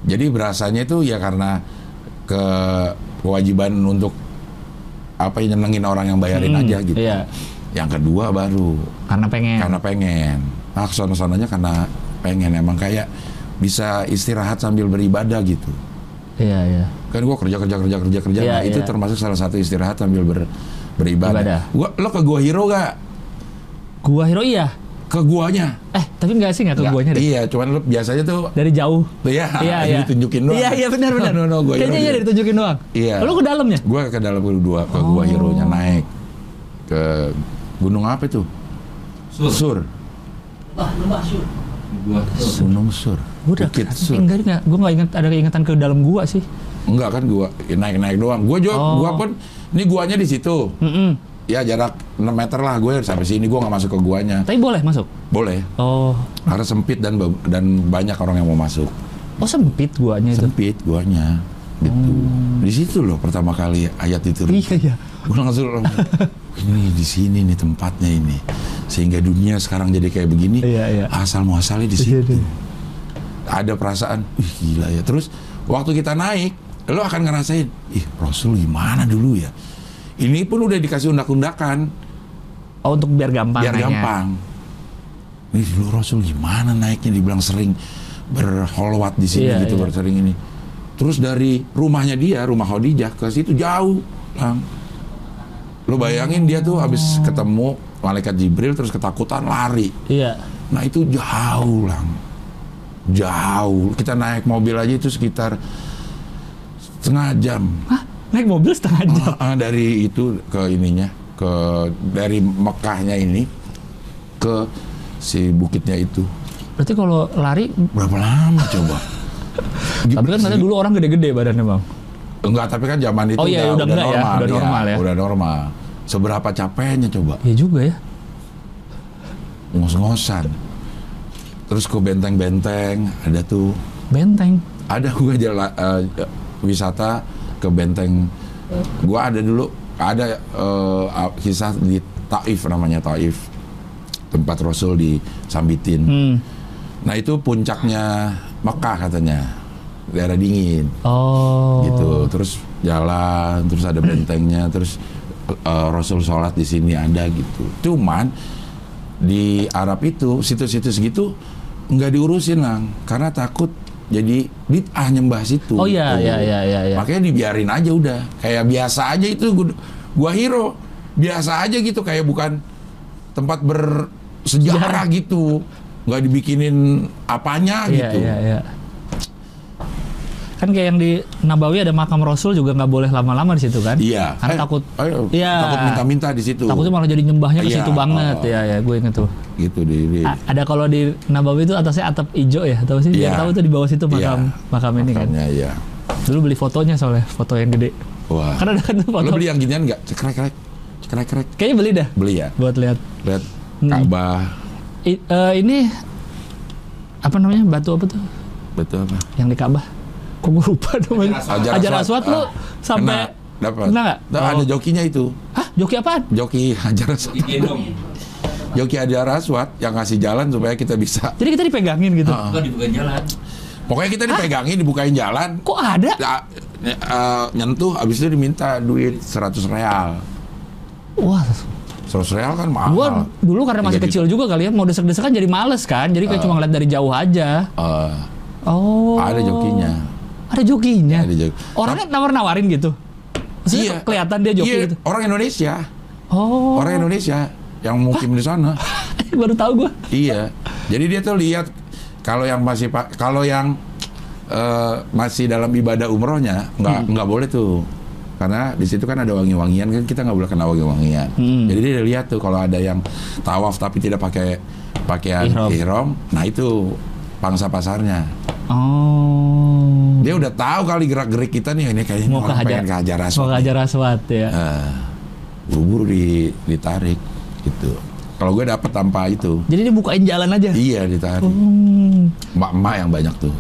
[SPEAKER 2] Jadi berasanya itu ya karena ke kewajiban untuk apa yang nyenengin orang yang bayarin
[SPEAKER 3] Mm-mm,
[SPEAKER 2] aja gitu.
[SPEAKER 3] iya.
[SPEAKER 2] Yang kedua baru
[SPEAKER 3] Karena pengen.
[SPEAKER 2] karena pengen. Nah, sono-sononya karena pengen emang kayak bisa istirahat sambil beribadah gitu.
[SPEAKER 3] Iya, iya.
[SPEAKER 2] Kan gua kerja kerja kerja kerja kerja.
[SPEAKER 3] Iya,
[SPEAKER 2] nah, itu
[SPEAKER 3] iya.
[SPEAKER 2] termasuk salah satu istirahat sambil ber- beribadah.
[SPEAKER 3] Ibadah.
[SPEAKER 2] Gua lo ke gua hero gak?
[SPEAKER 3] Gua Hero iya.
[SPEAKER 2] Ke guanya.
[SPEAKER 3] Eh, tapi nggak sih nggak ke
[SPEAKER 2] Nggak,
[SPEAKER 3] guanya deh.
[SPEAKER 2] Iya, cuman lo biasanya tuh
[SPEAKER 3] Dari jauh.
[SPEAKER 2] Iya,
[SPEAKER 3] Iya,
[SPEAKER 2] ini
[SPEAKER 3] iya.
[SPEAKER 2] ditunjukin doang.
[SPEAKER 3] Iya, iya benar benar.
[SPEAKER 2] No, no, no, gua
[SPEAKER 3] Kayaknya
[SPEAKER 2] hero
[SPEAKER 3] iya
[SPEAKER 2] dia.
[SPEAKER 3] ditunjukin doang.
[SPEAKER 2] Iya.
[SPEAKER 3] Lu ke dalamnya?
[SPEAKER 2] Gua ke dalam kedua ke gua
[SPEAKER 3] Oh.
[SPEAKER 2] hero-nya naik ke gunung apa itu?
[SPEAKER 4] Sur.
[SPEAKER 2] Sur.
[SPEAKER 5] Wah, lembah syur.
[SPEAKER 4] Gua tuh.
[SPEAKER 2] Gunung Sur.
[SPEAKER 3] Gua udah
[SPEAKER 2] Bukit Sur.
[SPEAKER 3] enggak enggak gua enggak ingat ada keingetan ke dalam gua sih.
[SPEAKER 2] Enggak kan gua naik-naik doang. Gua juga
[SPEAKER 3] Oh. Hmm.
[SPEAKER 2] gua pun ini guanya di situ.
[SPEAKER 3] Mm-mm.
[SPEAKER 2] Ya jarak 6 meter lah gue sampai sini gua nggak masuk ke guanya.
[SPEAKER 3] Tapi boleh masuk.
[SPEAKER 2] Boleh.
[SPEAKER 3] Oh.
[SPEAKER 2] Karena sempit dan ba- dan banyak orang yang mau masuk.
[SPEAKER 3] Oh, sempit guanya itu.
[SPEAKER 2] Sempit guanya. Gitu. Di situ loh pertama kali ayat itu.
[SPEAKER 3] Oh. Iya, iya.
[SPEAKER 2] Gue langsung ini di sini nih tempatnya ini. Sehingga dunia sekarang jadi kayak begini.
[SPEAKER 3] Iya, iya.
[SPEAKER 2] Asal muasalnya di
[SPEAKER 3] Iya,
[SPEAKER 2] situ.
[SPEAKER 3] iya.
[SPEAKER 2] Ada perasaan, wih gila ya. Terus waktu kita naik, lo akan ngerasain, ih Rasul gimana dulu ya. Ini pun udah dikasih undak-undakan
[SPEAKER 3] Oh, untuk biar gampang
[SPEAKER 2] biar
[SPEAKER 3] nanya.
[SPEAKER 2] gampang. Ini dulu Rasul gimana naiknya dibilang sering berholwat di sini
[SPEAKER 3] Iya,
[SPEAKER 2] gitu
[SPEAKER 3] iya.
[SPEAKER 2] bersering ini. Terus dari rumahnya dia, rumah Khadijah ke situ jauh. Lang. Lu bayangin dia tuh habis
[SPEAKER 3] Oh.
[SPEAKER 2] ketemu malaikat Jibril terus ketakutan lari.
[SPEAKER 3] Iya.
[SPEAKER 2] Nah itu jauh lang. Jauh. Kita naik mobil aja itu sekitar setengah jam.
[SPEAKER 3] Hah? Naik mobil setengah jam.
[SPEAKER 2] Ah, ah, dari itu ke ininya ke dari Mekahnya ini ke si bukitnya itu
[SPEAKER 3] Berarti kalau lari
[SPEAKER 2] berapa lama coba?
[SPEAKER 3] Tapi kan katanya dulu orang gede-gede badannya bang.
[SPEAKER 2] enggak tapi kan zaman itu
[SPEAKER 3] Oh iya, udah enggak ya,
[SPEAKER 2] normal,
[SPEAKER 3] udah normal ya.
[SPEAKER 2] udah normal. Seberapa capeknya coba
[SPEAKER 3] Ya juga ya.
[SPEAKER 2] ngos-ngosan. Terus ke benteng-benteng ada tuh
[SPEAKER 3] Benteng.
[SPEAKER 2] ada gua jalan eh, wisata ke benteng gua ada dulu ada eh, kisah di Taif namanya Taif tempat Rasul disambitin
[SPEAKER 3] Hmm.
[SPEAKER 2] Nah itu puncaknya Mekah katanya daerah dingin
[SPEAKER 3] Oh.
[SPEAKER 2] gitu. Terus jalan, terus ada bentengnya, terus eh, Rasul sholat di sini ada gitu. Cuman di Arab itu situs-situs gitu nggak diurusin lang karena takut jadi bid'ah nyembah situ.
[SPEAKER 3] Oh, iya,
[SPEAKER 2] gitu.
[SPEAKER 3] iya, iya, iya, iya.
[SPEAKER 2] Makanya dibiarin aja udah. Kayak biasa aja itu gua, gua hero. Biasa aja gitu kayak bukan tempat bersejarah gitu. nggak dibikinin apanya
[SPEAKER 3] Iya,
[SPEAKER 2] gitu.
[SPEAKER 3] iya, iya. Kan kayak yang di Nabawi ada makam Rasul juga nggak boleh lama-lama di situ kan?
[SPEAKER 2] Iya. Eh,
[SPEAKER 3] Kan takut.
[SPEAKER 2] ayo,
[SPEAKER 3] Iya.
[SPEAKER 2] Takut minta-minta di situ.
[SPEAKER 3] Takutnya malah jadi nyembahnya ke
[SPEAKER 2] Iya,
[SPEAKER 3] situ banget.
[SPEAKER 2] oh.
[SPEAKER 3] Iya, ya, gue inget tuh.
[SPEAKER 2] gitu di, di
[SPEAKER 3] A- ada kalau di Nabawi itu atasnya atap ijo ya, tahu sih?
[SPEAKER 2] Iya.
[SPEAKER 3] Biar tahu tuh di bawah situ makam
[SPEAKER 2] Iya.
[SPEAKER 3] makam ini kan.
[SPEAKER 2] makamnya, ya.
[SPEAKER 3] Dulu beli fotonya soalnya, foto yang gede.
[SPEAKER 2] Wah.
[SPEAKER 3] Kan ada kan tuh foto.
[SPEAKER 2] Lo beli yang ginian nggak? Cekrek-krek. Cekrek-krek.
[SPEAKER 3] Kayaknya beli dah
[SPEAKER 2] Beli ya.
[SPEAKER 3] buat lihat.
[SPEAKER 2] Lihat
[SPEAKER 3] Hmm.
[SPEAKER 2] Ka'bah.
[SPEAKER 3] I- eh, ini apa namanya? Batu apa tuh?
[SPEAKER 2] Betul apa?
[SPEAKER 3] Yang di Ka'bah. Kok gue lupa namanya?
[SPEAKER 2] Hajar
[SPEAKER 3] Ajar Aswad
[SPEAKER 2] ah.
[SPEAKER 3] lu sampai
[SPEAKER 2] Kena, dapat.
[SPEAKER 3] Kena nggak? Oh.
[SPEAKER 2] Nah, Ada jokinya itu.
[SPEAKER 3] Hah, joki apaan?
[SPEAKER 2] Joki Hajar Aswad.
[SPEAKER 4] digendong
[SPEAKER 2] Joki Hajar Aswad yang ngasih jalan supaya kita bisa.
[SPEAKER 3] Jadi kita dipegangin gitu.
[SPEAKER 2] Ah.
[SPEAKER 4] bukan dibuka jalan
[SPEAKER 2] Pokoknya kita dipegangin, dibukain jalan.
[SPEAKER 3] Kok ada?
[SPEAKER 2] Ya, ya, eh, nyentuh habis itu diminta duit 100 real.
[SPEAKER 3] Wah,
[SPEAKER 2] 100 real kan mahal.
[SPEAKER 3] gua dulu karena masih
[SPEAKER 2] Tiga
[SPEAKER 3] kecil
[SPEAKER 2] juta.
[SPEAKER 3] juga kali ya, mau desek-desekan jadi males kan. Jadi kayak cuma ngeliat dari jauh aja.
[SPEAKER 2] Eh,
[SPEAKER 3] Oh.
[SPEAKER 2] Ada jokinya.
[SPEAKER 3] Ada jokinya.
[SPEAKER 2] Ada joki.
[SPEAKER 3] Orangnya nawar-nawarin gitu. Maksudnya kelihatan dia joki
[SPEAKER 2] Iya,
[SPEAKER 3] gitu.
[SPEAKER 2] Orang Indonesia.
[SPEAKER 3] Oh.
[SPEAKER 2] orang Indonesia yang mukim di sana.
[SPEAKER 3] baru tahu gua.
[SPEAKER 2] iya. Jadi dia tuh lihat kalau yang masih pa- kalau yang eh, masih dalam ibadah umrohnya nggak
[SPEAKER 3] Hmm.
[SPEAKER 2] nggak boleh tuh. Karena di situ kan ada wangi-wangian kan kita nggak boleh kena wangi-wangian.
[SPEAKER 3] Hmm.
[SPEAKER 2] Jadi dia udah lihat tuh kalau ada yang tawaf tapi tidak pakai pakaian
[SPEAKER 3] Ihram.
[SPEAKER 2] ihram, nah itu pangsa pasarnya.
[SPEAKER 3] Oh.
[SPEAKER 2] Dia udah tahu kali gerak-gerik kita nih ini kayaknya
[SPEAKER 3] mau ke
[SPEAKER 2] orang
[SPEAKER 3] Hajar.
[SPEAKER 2] pengen ke Hajar Aswad
[SPEAKER 3] Mau ke
[SPEAKER 2] nih.
[SPEAKER 3] Hajar Aswad ya.
[SPEAKER 2] Eh, buru-buru di- ditarik gitu. Kalau gue dapet tanpa itu.
[SPEAKER 3] Jadi dia bukain jalan aja.
[SPEAKER 2] Iya ditarik.
[SPEAKER 3] Hmm.
[SPEAKER 2] Emak-emak yang banyak tuh.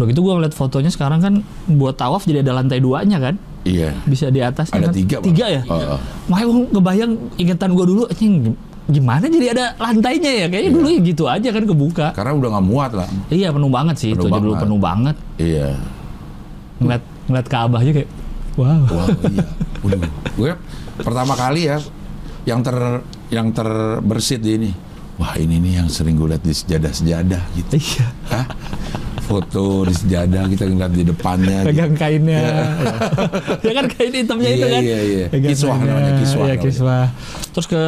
[SPEAKER 3] Udah gitu gua ngeliat fotonya sekarang kan buat tawaf jadi ada lantai duanya kan.
[SPEAKER 2] Iya.
[SPEAKER 3] Bisa di atas
[SPEAKER 2] Ada
[SPEAKER 3] kan?
[SPEAKER 2] tiga, Iya. Bang.
[SPEAKER 3] Tiga ya?
[SPEAKER 2] Heeh.
[SPEAKER 3] Makanya gua ngebayang ingetan gua dulu anjing gimana jadi ada lantainya ya? Kayaknya dulu
[SPEAKER 2] Iya.
[SPEAKER 3] ya gitu aja kan kebuka.
[SPEAKER 2] Karena udah nggak muat lah.
[SPEAKER 3] Iya penuh banget sih
[SPEAKER 2] Penuh
[SPEAKER 3] itu aja dulu
[SPEAKER 2] banget.
[SPEAKER 3] penuh banget.
[SPEAKER 2] Iya.
[SPEAKER 3] Ngeliat ngeliat Ka'bahnya kayak wow.
[SPEAKER 2] Wah, iya. Waduh. Gue pertama kali ya yang ter yang terbersit di ini. Wah ini nih yang sering gue lihat di sejadah-sejadah gitu.
[SPEAKER 3] Iya.
[SPEAKER 2] Hah? Foto di sejadah kita ngeliat di depannya. gitu.
[SPEAKER 3] pegang kainnya ya kan kain hitamnya
[SPEAKER 2] Iya,
[SPEAKER 3] itu kan
[SPEAKER 2] iya, iya.
[SPEAKER 3] Pegang
[SPEAKER 2] Kiswah
[SPEAKER 3] kainnya.
[SPEAKER 2] namanya, kiswah
[SPEAKER 3] Iya,
[SPEAKER 2] namanya.
[SPEAKER 3] kiswah. terus ke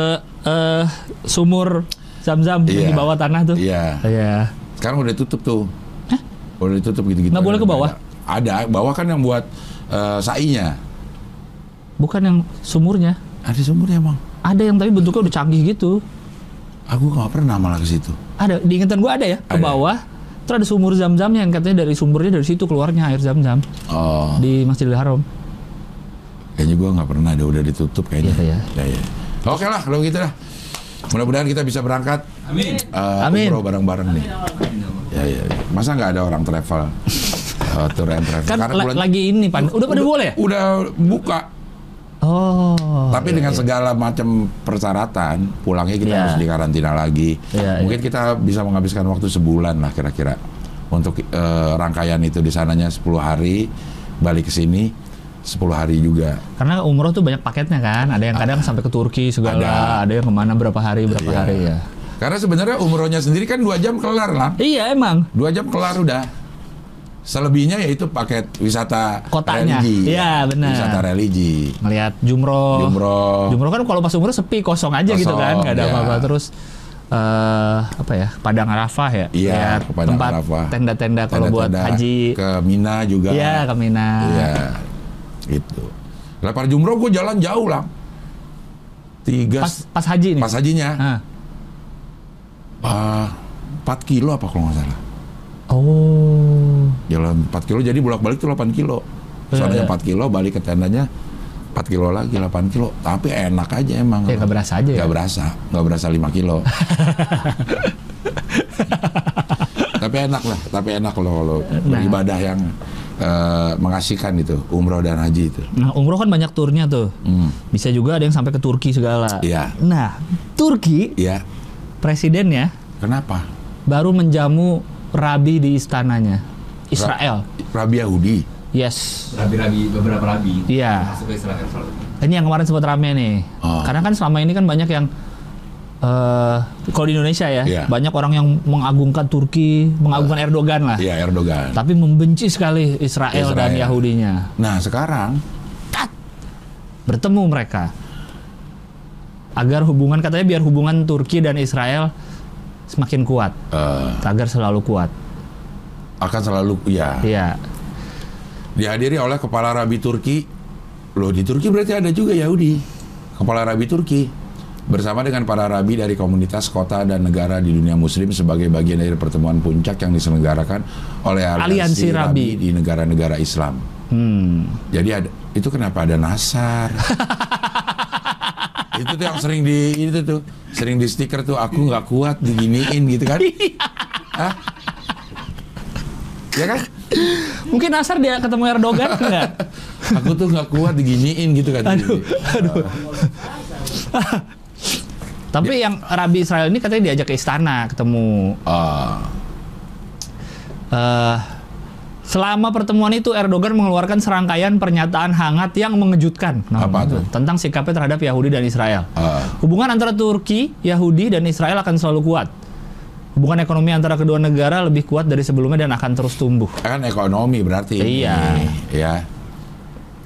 [SPEAKER 3] eh, sumur zam-zam
[SPEAKER 2] Iya.
[SPEAKER 3] yang di bawah tanah tuh
[SPEAKER 2] Iya.
[SPEAKER 3] iya
[SPEAKER 2] Sekarang udah tutup tuh. Udah ditutup gitu-gitu.
[SPEAKER 3] Nggak boleh ke bawah?
[SPEAKER 2] Ada. Bawah kan yang buat eh, sainya.
[SPEAKER 3] bukan yang sumurnya
[SPEAKER 2] Ada ya, sumurnya emang.
[SPEAKER 3] ada yang tapi bentuknya udah canggih gitu
[SPEAKER 2] Aku nggak pernah malah ke situ.
[SPEAKER 3] ada di ingatan gua ada ya ke
[SPEAKER 2] Ada.
[SPEAKER 3] bawah terus ada sumur zam-zamnya yang katanya dari sumbernya dari situ keluarnya air zam-zam
[SPEAKER 2] Oh.
[SPEAKER 3] di Masjidil Haram
[SPEAKER 2] Kayaknya gua nggak pernah ada udah ditutup kayaknya.
[SPEAKER 3] Iya,
[SPEAKER 2] Ya, ya. Oke lah kalau gitu lah. Mudah-mudahan kita bisa berangkat
[SPEAKER 4] amin
[SPEAKER 2] eh,
[SPEAKER 3] Amin.
[SPEAKER 2] umroh bareng-bareng nih. Ya, ya, ya. Masa nggak ada orang travel eh, tour and travel?
[SPEAKER 3] kan
[SPEAKER 2] Karena
[SPEAKER 3] la-
[SPEAKER 2] bulan-
[SPEAKER 3] lagi ini pan udah pada boleh ya?
[SPEAKER 2] udah buka,
[SPEAKER 3] oh
[SPEAKER 2] tapi dengan segala macam persyaratan, pulangnya kita
[SPEAKER 3] Iya.
[SPEAKER 2] harus dikarantina lagi.
[SPEAKER 3] Iya,
[SPEAKER 2] Mungkin kita bisa menghabiskan waktu sebulan lah kira-kira untuk eh, rangkaian itu di sananya 10 hari, balik ke sini 10 hari juga.
[SPEAKER 3] Karena umroh tuh banyak paketnya kan, ada yang kadang sampai ke Turki segala, ada,
[SPEAKER 2] Ada.
[SPEAKER 3] yang kemana berapa hari berapa
[SPEAKER 2] Iya.
[SPEAKER 3] hari ya.
[SPEAKER 2] Karena sebenarnya umrohnya sendiri kan dua jam kelar lah.
[SPEAKER 3] Iya emang
[SPEAKER 2] dua jam kelar udah selebihnya yaitu paket wisata
[SPEAKER 3] Kotanya.
[SPEAKER 2] religi
[SPEAKER 3] Iya, benar.
[SPEAKER 2] wisata religi
[SPEAKER 3] ngelihat jumroh.
[SPEAKER 2] Jumroh.
[SPEAKER 3] Jumroh kan kalau pas umroh sepi kosong aja gitu
[SPEAKER 2] Kosong,
[SPEAKER 3] kan, nggak ada
[SPEAKER 2] iya.
[SPEAKER 3] apa-apa terus eh apa ya Padang Arafah ya,
[SPEAKER 2] Iya,
[SPEAKER 3] Lihat
[SPEAKER 2] ke Padang
[SPEAKER 3] tempat
[SPEAKER 2] Arafah.
[SPEAKER 3] tenda-tenda kalau buat
[SPEAKER 2] Tenda-tenda
[SPEAKER 3] haji.
[SPEAKER 2] ke Mina juga
[SPEAKER 3] Iya ke Mina.
[SPEAKER 2] iya
[SPEAKER 3] Ah.
[SPEAKER 2] gitu lepar jumroh gue jalan jauh lah tiga
[SPEAKER 3] Pas pas haji nih.
[SPEAKER 2] pas hajinya
[SPEAKER 3] Hah.
[SPEAKER 2] ah, empat kilo apa kalau nggak salah
[SPEAKER 3] Oh.
[SPEAKER 2] jalan 4 kilo jadi bolak balik tuh 8 kilo
[SPEAKER 3] Iya,
[SPEAKER 2] soalnya
[SPEAKER 3] iya.
[SPEAKER 2] 4 kilo balik ke tendanya 4 kilo lagi 8 kilo tapi enak aja emang
[SPEAKER 3] Ya, nggak berasa aja ya?
[SPEAKER 2] Nggak berasa nggak berasa 5 kilo tapi enak lah tapi enak loh kalau beribadah yang eh, mengasihkan itu umroh dan haji itu
[SPEAKER 3] Nah umroh kan banyak turnya tuh.
[SPEAKER 2] Hmm.
[SPEAKER 3] Bisa juga ada yang sampai ke Turki segala.
[SPEAKER 2] Iya.
[SPEAKER 3] Nah Turki
[SPEAKER 2] ya
[SPEAKER 3] presidennya
[SPEAKER 2] kenapa
[SPEAKER 3] baru menjamu rabi di istananya Israel.
[SPEAKER 2] Rabi Yahudi.
[SPEAKER 3] Yes.
[SPEAKER 4] Rabi-rabi, beberapa rabi.
[SPEAKER 3] Iya.
[SPEAKER 4] Masuk ke Israel selalu.
[SPEAKER 3] Ini yang kemarin sempat rame nih.
[SPEAKER 2] Ah.
[SPEAKER 3] Karena kan selama ini kan banyak yang eh kalau di Indonesia ya,
[SPEAKER 2] Iya.
[SPEAKER 3] banyak orang yang mengagungkan Turki, mengagungkan Erdogan lah.
[SPEAKER 2] Iya Erdogan.
[SPEAKER 3] Tapi membenci sekali Israel, dan
[SPEAKER 2] Israel.
[SPEAKER 3] Yahudinya.
[SPEAKER 2] Nah sekarang
[SPEAKER 3] Tat! Bertemu mereka. Agar hubungan katanya biar hubungan Turki dan Israel semakin kuat,
[SPEAKER 2] eh,
[SPEAKER 3] agar selalu kuat.
[SPEAKER 2] akan selalu ya
[SPEAKER 3] Iya.
[SPEAKER 2] dihadiri oleh kepala rabi Turki. Loh di Turki berarti ada juga Yahudi. Kepala rabi Turki bersama dengan para rabi dari komunitas kota dan negara di dunia muslim sebagai bagian dari pertemuan puncak yang diselenggarakan oleh
[SPEAKER 3] Aliansi
[SPEAKER 2] aliansi,
[SPEAKER 3] Rabi.
[SPEAKER 2] rabi. di negara-negara Islam.
[SPEAKER 3] Hmm.
[SPEAKER 2] Jadi ada itu kenapa ada Nasar? itu tuh yang sering di itu tuh sering di stiker tuh aku nggak kuat diginiin gitu kan? Hah? Ya kan?
[SPEAKER 3] Mungkin Nasar dia ketemu Erdogan enggak?
[SPEAKER 2] Aku tuh nggak kuat diginiin gitu kan?
[SPEAKER 3] Aduh, aduh. Tapi
[SPEAKER 2] Ya.
[SPEAKER 3] yang Rabi Israel ini katanya diajak ke istana ketemu.
[SPEAKER 2] Ah,
[SPEAKER 3] eh selama pertemuan itu Erdogan mengeluarkan serangkaian pernyataan hangat yang mengejutkan Nah,
[SPEAKER 2] Apa tuh?
[SPEAKER 3] gitu. tentang sikapnya terhadap Yahudi dan Israel.
[SPEAKER 2] ah.
[SPEAKER 3] Hubungan antara Turki, Yahudi, dan Israel akan selalu kuat. Hubungan ekonomi antara kedua negara lebih kuat dari sebelumnya dan akan terus tumbuh.
[SPEAKER 2] kan ekonomi berarti.
[SPEAKER 3] Iya.
[SPEAKER 2] ini, Ya.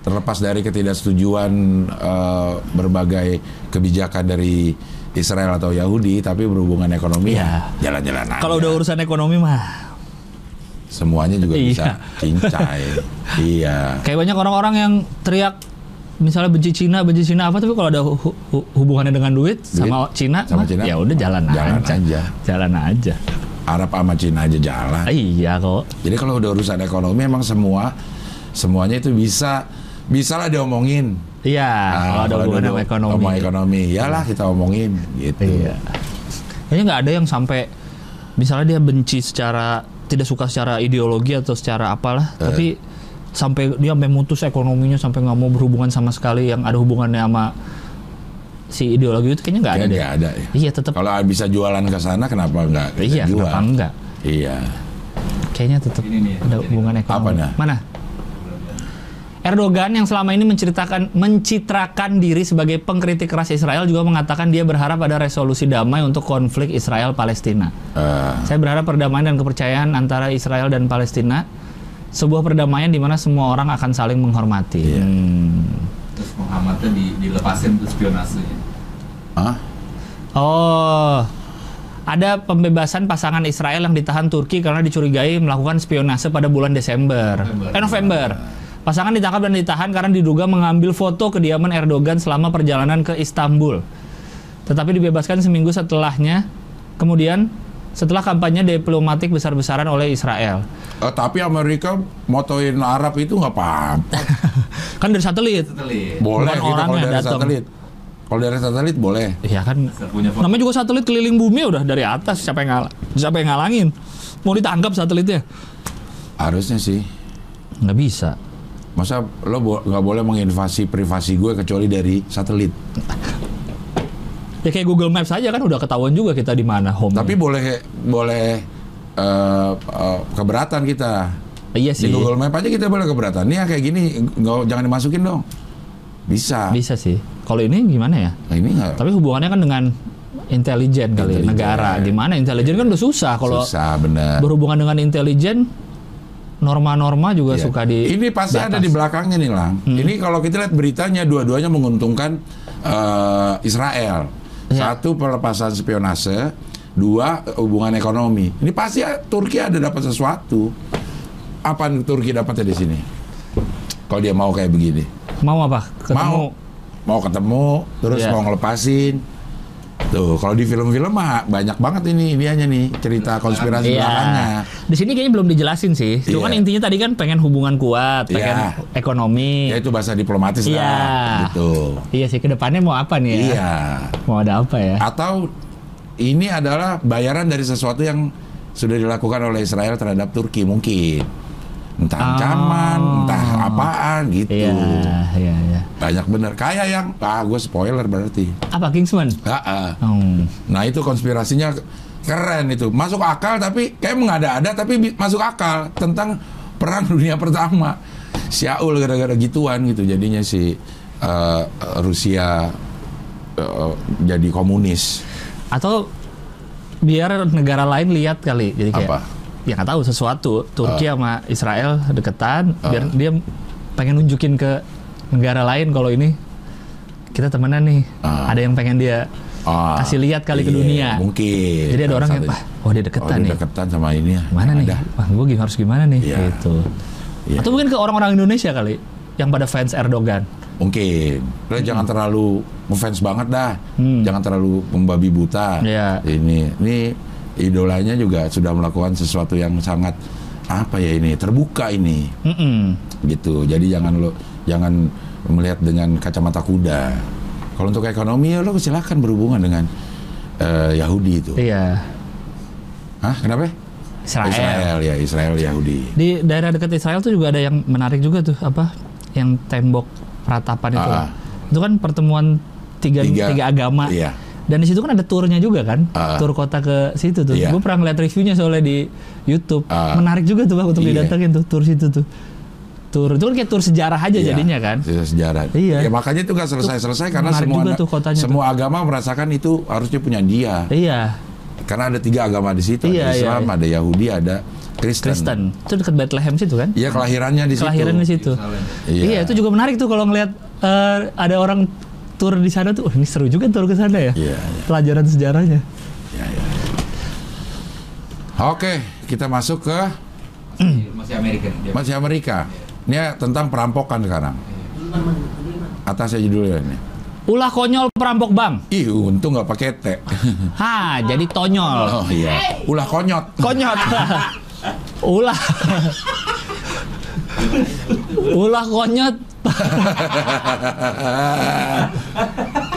[SPEAKER 2] Terlepas dari ketidaksetujuan eh, berbagai kebijakan dari Israel atau Yahudi, tapi berhubungan ekonomi
[SPEAKER 3] Iya.
[SPEAKER 2] ya jalan-jalan aja.
[SPEAKER 3] Kalau udah urusan ekonomi mah,
[SPEAKER 2] semuanya juga
[SPEAKER 3] Iya.
[SPEAKER 2] bisa cincai iya
[SPEAKER 3] kayak banyak orang-orang yang teriak misalnya benci Cina, benci Cina apa tapi kalau ada hu- hu- hubungannya dengan duit sama Cina,
[SPEAKER 2] sama
[SPEAKER 3] mah,
[SPEAKER 2] Cina,
[SPEAKER 3] ya udah jalan,
[SPEAKER 2] jalan
[SPEAKER 3] aja.
[SPEAKER 2] aja.
[SPEAKER 3] Jalan aja.
[SPEAKER 2] Arab sama Cina aja jalan
[SPEAKER 3] Ah, Iya kok.
[SPEAKER 2] jadi kalau udah urusan ekonomi emang semua semuanya itu bisa bisalah diomongin
[SPEAKER 3] Iya,
[SPEAKER 2] Ah,
[SPEAKER 3] kalau ada hubungan
[SPEAKER 2] duduk
[SPEAKER 3] sama ekonomi.
[SPEAKER 2] sama ekonomi iyalah kita omongin gitu
[SPEAKER 3] Iya. Kayaknya nggak ada yang sampai misalnya dia benci secara tidak suka secara ideologi atau secara apalah,
[SPEAKER 2] Eh.
[SPEAKER 3] tapi sampai dia sampai mutus ekonominya sampai nggak mau berhubungan sama sekali yang ada hubungannya sama si ideologi itu kayaknya nggak ada
[SPEAKER 2] Kayaknya
[SPEAKER 3] deh.
[SPEAKER 2] nggak ada ya
[SPEAKER 3] Iya tetap.
[SPEAKER 2] kalau bisa jualan ke sana kenapa nggak kita
[SPEAKER 3] Iya,
[SPEAKER 2] jual
[SPEAKER 3] kenapa enggak?
[SPEAKER 2] iya
[SPEAKER 3] Kayaknya tetap
[SPEAKER 4] Ini nih, ya.
[SPEAKER 3] ada
[SPEAKER 4] ini.
[SPEAKER 3] hubungan ekonomi.
[SPEAKER 2] Apa dah?
[SPEAKER 3] Mana? Erdogan yang selama ini menceritakan mencitrakan diri sebagai pengkritik keras Israel juga mengatakan dia berharap ada resolusi damai untuk konflik Israel Palestina.
[SPEAKER 2] Eh,
[SPEAKER 3] Saya berharap perdamaian dan kepercayaan antara Israel dan Palestina sebuah perdamaian di mana semua orang akan saling menghormati.
[SPEAKER 2] iya.
[SPEAKER 3] Hmm.
[SPEAKER 4] Terus Muhammadnya di, dilepasin tuh spionasenya.
[SPEAKER 2] ah,
[SPEAKER 3] Oh. Ada pembebasan pasangan Israel yang ditahan Turki karena dicurigai melakukan spionase pada bulan Desember.
[SPEAKER 4] November.
[SPEAKER 3] Eh November. Pasangan ditangkap dan ditahan karena diduga mengambil foto kediaman Erdogan selama perjalanan ke Istanbul. Tetapi dibebaskan seminggu setelahnya. Kemudian setelah kampanye diplomatik besar-besaran oleh Israel.
[SPEAKER 2] Eh, tapi Amerika motoin Arab itu nggak paham
[SPEAKER 3] Kan dari satelit.
[SPEAKER 4] Setelit.
[SPEAKER 2] boleh
[SPEAKER 3] Bukan
[SPEAKER 2] gitu
[SPEAKER 3] orang
[SPEAKER 2] kalau
[SPEAKER 3] yang
[SPEAKER 2] dari
[SPEAKER 3] datang.
[SPEAKER 2] satelit kalau dari satelit boleh
[SPEAKER 3] Iya kan.
[SPEAKER 4] Asal punya foto.
[SPEAKER 3] Namanya juga satelit keliling bumi udah dari atas siapa yang ngalah, siapa yang ngalangin? Mau ditangkap satelitnya?
[SPEAKER 2] harusnya sih
[SPEAKER 3] Nggak bisa.
[SPEAKER 2] Masa lo bo- nggak boleh menginvasi privasi gue kecuali dari satelit.
[SPEAKER 3] Hmm. Ya kayak Google Maps aja kan udah ketahuan juga kita di mana home.
[SPEAKER 2] Tapi boleh boleh eh, eh, keberatan kita.
[SPEAKER 3] iya
[SPEAKER 2] Di
[SPEAKER 3] sih.
[SPEAKER 2] Google Map aja kita boleh keberatan. Nih ya kayak gini nggak jangan dimasukin dong. Bisa.
[SPEAKER 3] Bisa sih. Kalau ini gimana ya?
[SPEAKER 2] Nah, ini nggak
[SPEAKER 3] Tapi hubungannya kan dengan intelijen kali ya,
[SPEAKER 2] Intelijen.
[SPEAKER 3] negara. Gimana intelijen kan udah susah kalau
[SPEAKER 2] susah bener.
[SPEAKER 3] berhubungan dengan intelijen norma-norma juga
[SPEAKER 2] Iya.
[SPEAKER 3] suka di Hmm.
[SPEAKER 2] ini pasti
[SPEAKER 3] batas.
[SPEAKER 2] ada di belakangnya nih lang. Ini kalau kita lihat beritanya dua-duanya menguntungkan eh, Israel.
[SPEAKER 3] Iya.
[SPEAKER 2] Satu pelepasan spionase, dua eh, hubungan ekonomi. Ini pasti eh, Turki ada dapat sesuatu. Apa yang Turki dapatnya di sini? Kalau dia mau kayak begini,
[SPEAKER 3] Mau apa? Ketemu.
[SPEAKER 2] mau mau ketemu, terus
[SPEAKER 3] Iya.
[SPEAKER 2] mau ngelepasin. Tuh, kalau di film-film mah banyak banget ini dianya nih cerita konspirasi belakangnya.
[SPEAKER 3] Iya. Di sini kayaknya belum dijelasin sih. Cuman
[SPEAKER 2] Iya.
[SPEAKER 3] intinya tadi kan pengen hubungan kuat, pengen
[SPEAKER 2] Iya.
[SPEAKER 3] ekonomi.
[SPEAKER 2] Ya itu bahasa diplomatis lah,
[SPEAKER 3] Iya.
[SPEAKER 2] gitu.
[SPEAKER 3] Iya sih, kedepannya mau apa nih ya?
[SPEAKER 2] Iya.
[SPEAKER 3] Mau ada apa ya?
[SPEAKER 2] atau ini adalah bayaran dari sesuatu yang sudah dilakukan oleh Israel terhadap Turki mungkin entah ancaman
[SPEAKER 3] Oh.
[SPEAKER 2] entah apaan gitu
[SPEAKER 3] Iya, iya, iya.
[SPEAKER 2] banyak bener kayak yang ah gue spoiler berarti
[SPEAKER 3] Apa Kingsman?
[SPEAKER 2] Ah, ah.
[SPEAKER 3] Hmm.
[SPEAKER 2] nah itu konspirasinya Keren itu. Masuk akal tapi kayak mengada-ada tapi bi- masuk akal tentang perang dunia pertama. Syaul gara-gara gituan gitu jadinya si eh, Rusia eh, jadi komunis.
[SPEAKER 3] atau biar negara lain lihat kali jadi kayak
[SPEAKER 2] Apa? Ah.
[SPEAKER 3] ya nggak tahu sesuatu Turki sama Israel deketan biar dia pengen nunjukin ke negara lain kalau ini kita temenan nih
[SPEAKER 2] Ah.
[SPEAKER 3] ada yang pengen dia
[SPEAKER 2] Ah,
[SPEAKER 3] Kasih lihat kali ke dunia.
[SPEAKER 2] Mungkin.
[SPEAKER 3] jadi ada orang
[SPEAKER 2] Iya,
[SPEAKER 3] yang
[SPEAKER 2] Satu-
[SPEAKER 3] ah oh dia
[SPEAKER 2] oh,
[SPEAKER 3] deketan
[SPEAKER 2] dia
[SPEAKER 3] nih
[SPEAKER 2] deketan sama ini ya.
[SPEAKER 3] mana nih
[SPEAKER 2] Ada.
[SPEAKER 3] wah gue gim- harus gimana nih
[SPEAKER 2] Iya.
[SPEAKER 3] gitu
[SPEAKER 2] Iya.
[SPEAKER 3] atau mungkin ke orang-orang Indonesia kali yang pada fans Erdogan
[SPEAKER 2] Mungkin. Lo jangan terlalu ngefans banget dah.
[SPEAKER 3] Hmm.
[SPEAKER 2] Jangan terlalu membabi buta.
[SPEAKER 3] Iya.
[SPEAKER 2] Ini ini idolanya juga sudah melakukan sesuatu yang sangat apa ya ini terbuka ini
[SPEAKER 3] Mm-mm.
[SPEAKER 2] gitu jadi jangan lo jangan melihat dengan kacamata kuda kalau untuk ekonomi ya lo silakan berhubungan dengan eh, Yahudi itu
[SPEAKER 3] iya
[SPEAKER 2] Hah, kenapa
[SPEAKER 3] Israel
[SPEAKER 2] Israel ya Israel Yahudi
[SPEAKER 3] di daerah dekat Israel tuh juga ada yang menarik juga tuh apa yang tembok peratapan itu
[SPEAKER 2] Ah,
[SPEAKER 3] lah. itu kan pertemuan tiga tiga,
[SPEAKER 2] Tiga.
[SPEAKER 3] agama
[SPEAKER 2] Iya.
[SPEAKER 3] dan di situ kan ada turnya juga kan
[SPEAKER 2] Ah.
[SPEAKER 3] tur kota ke situ tuh
[SPEAKER 2] Iya.
[SPEAKER 3] gue pernah ngeliat reviewnya soalnya di YouTube
[SPEAKER 2] Ah.
[SPEAKER 3] menarik juga tuh bang untuk
[SPEAKER 2] Iya.
[SPEAKER 3] didatengin tuh tur situ tuh tur itu kan kayak tur sejarah aja
[SPEAKER 2] Iya,
[SPEAKER 3] jadinya kan
[SPEAKER 2] se- sejarah.
[SPEAKER 3] Iya.
[SPEAKER 2] Ya makanya itu nggak selesai-selesai karena
[SPEAKER 3] menarik
[SPEAKER 2] semua
[SPEAKER 3] juga tuh kotanya
[SPEAKER 2] semua agama merasakan itu harusnya punya dia.
[SPEAKER 3] iya
[SPEAKER 2] Karena ada tiga agama di situ,
[SPEAKER 3] Iya,
[SPEAKER 2] ada
[SPEAKER 3] iya,
[SPEAKER 2] Islam,
[SPEAKER 3] iya.
[SPEAKER 2] ada Yahudi, ada Kristen.
[SPEAKER 3] Kristen itu dekat Bethlehem situ kan
[SPEAKER 2] Iya kelahirannya di
[SPEAKER 3] kelahiran di
[SPEAKER 2] situ.
[SPEAKER 3] situ
[SPEAKER 2] Iya.
[SPEAKER 3] iya itu juga menarik tuh kalau ngeliat eh, ada orang tur di sana tuh "Wah, ini seru juga tur ke sana ya
[SPEAKER 2] Iya, iya.
[SPEAKER 3] pelajaran sejarahnya
[SPEAKER 2] Oke, kita masuk ke
[SPEAKER 4] Masih, masih American. Dia.
[SPEAKER 2] masih Amerika. Ini ya tentang perampokan sekarang. Atasnya judulnya ini.
[SPEAKER 3] Ulah konyol perampok bang.
[SPEAKER 2] Ih, untung nggak pakai T.
[SPEAKER 3] Ha, jadi tonyol.
[SPEAKER 2] Oh iya. Ulah konyot.
[SPEAKER 3] Konyol. Ulah. Ulah konyol.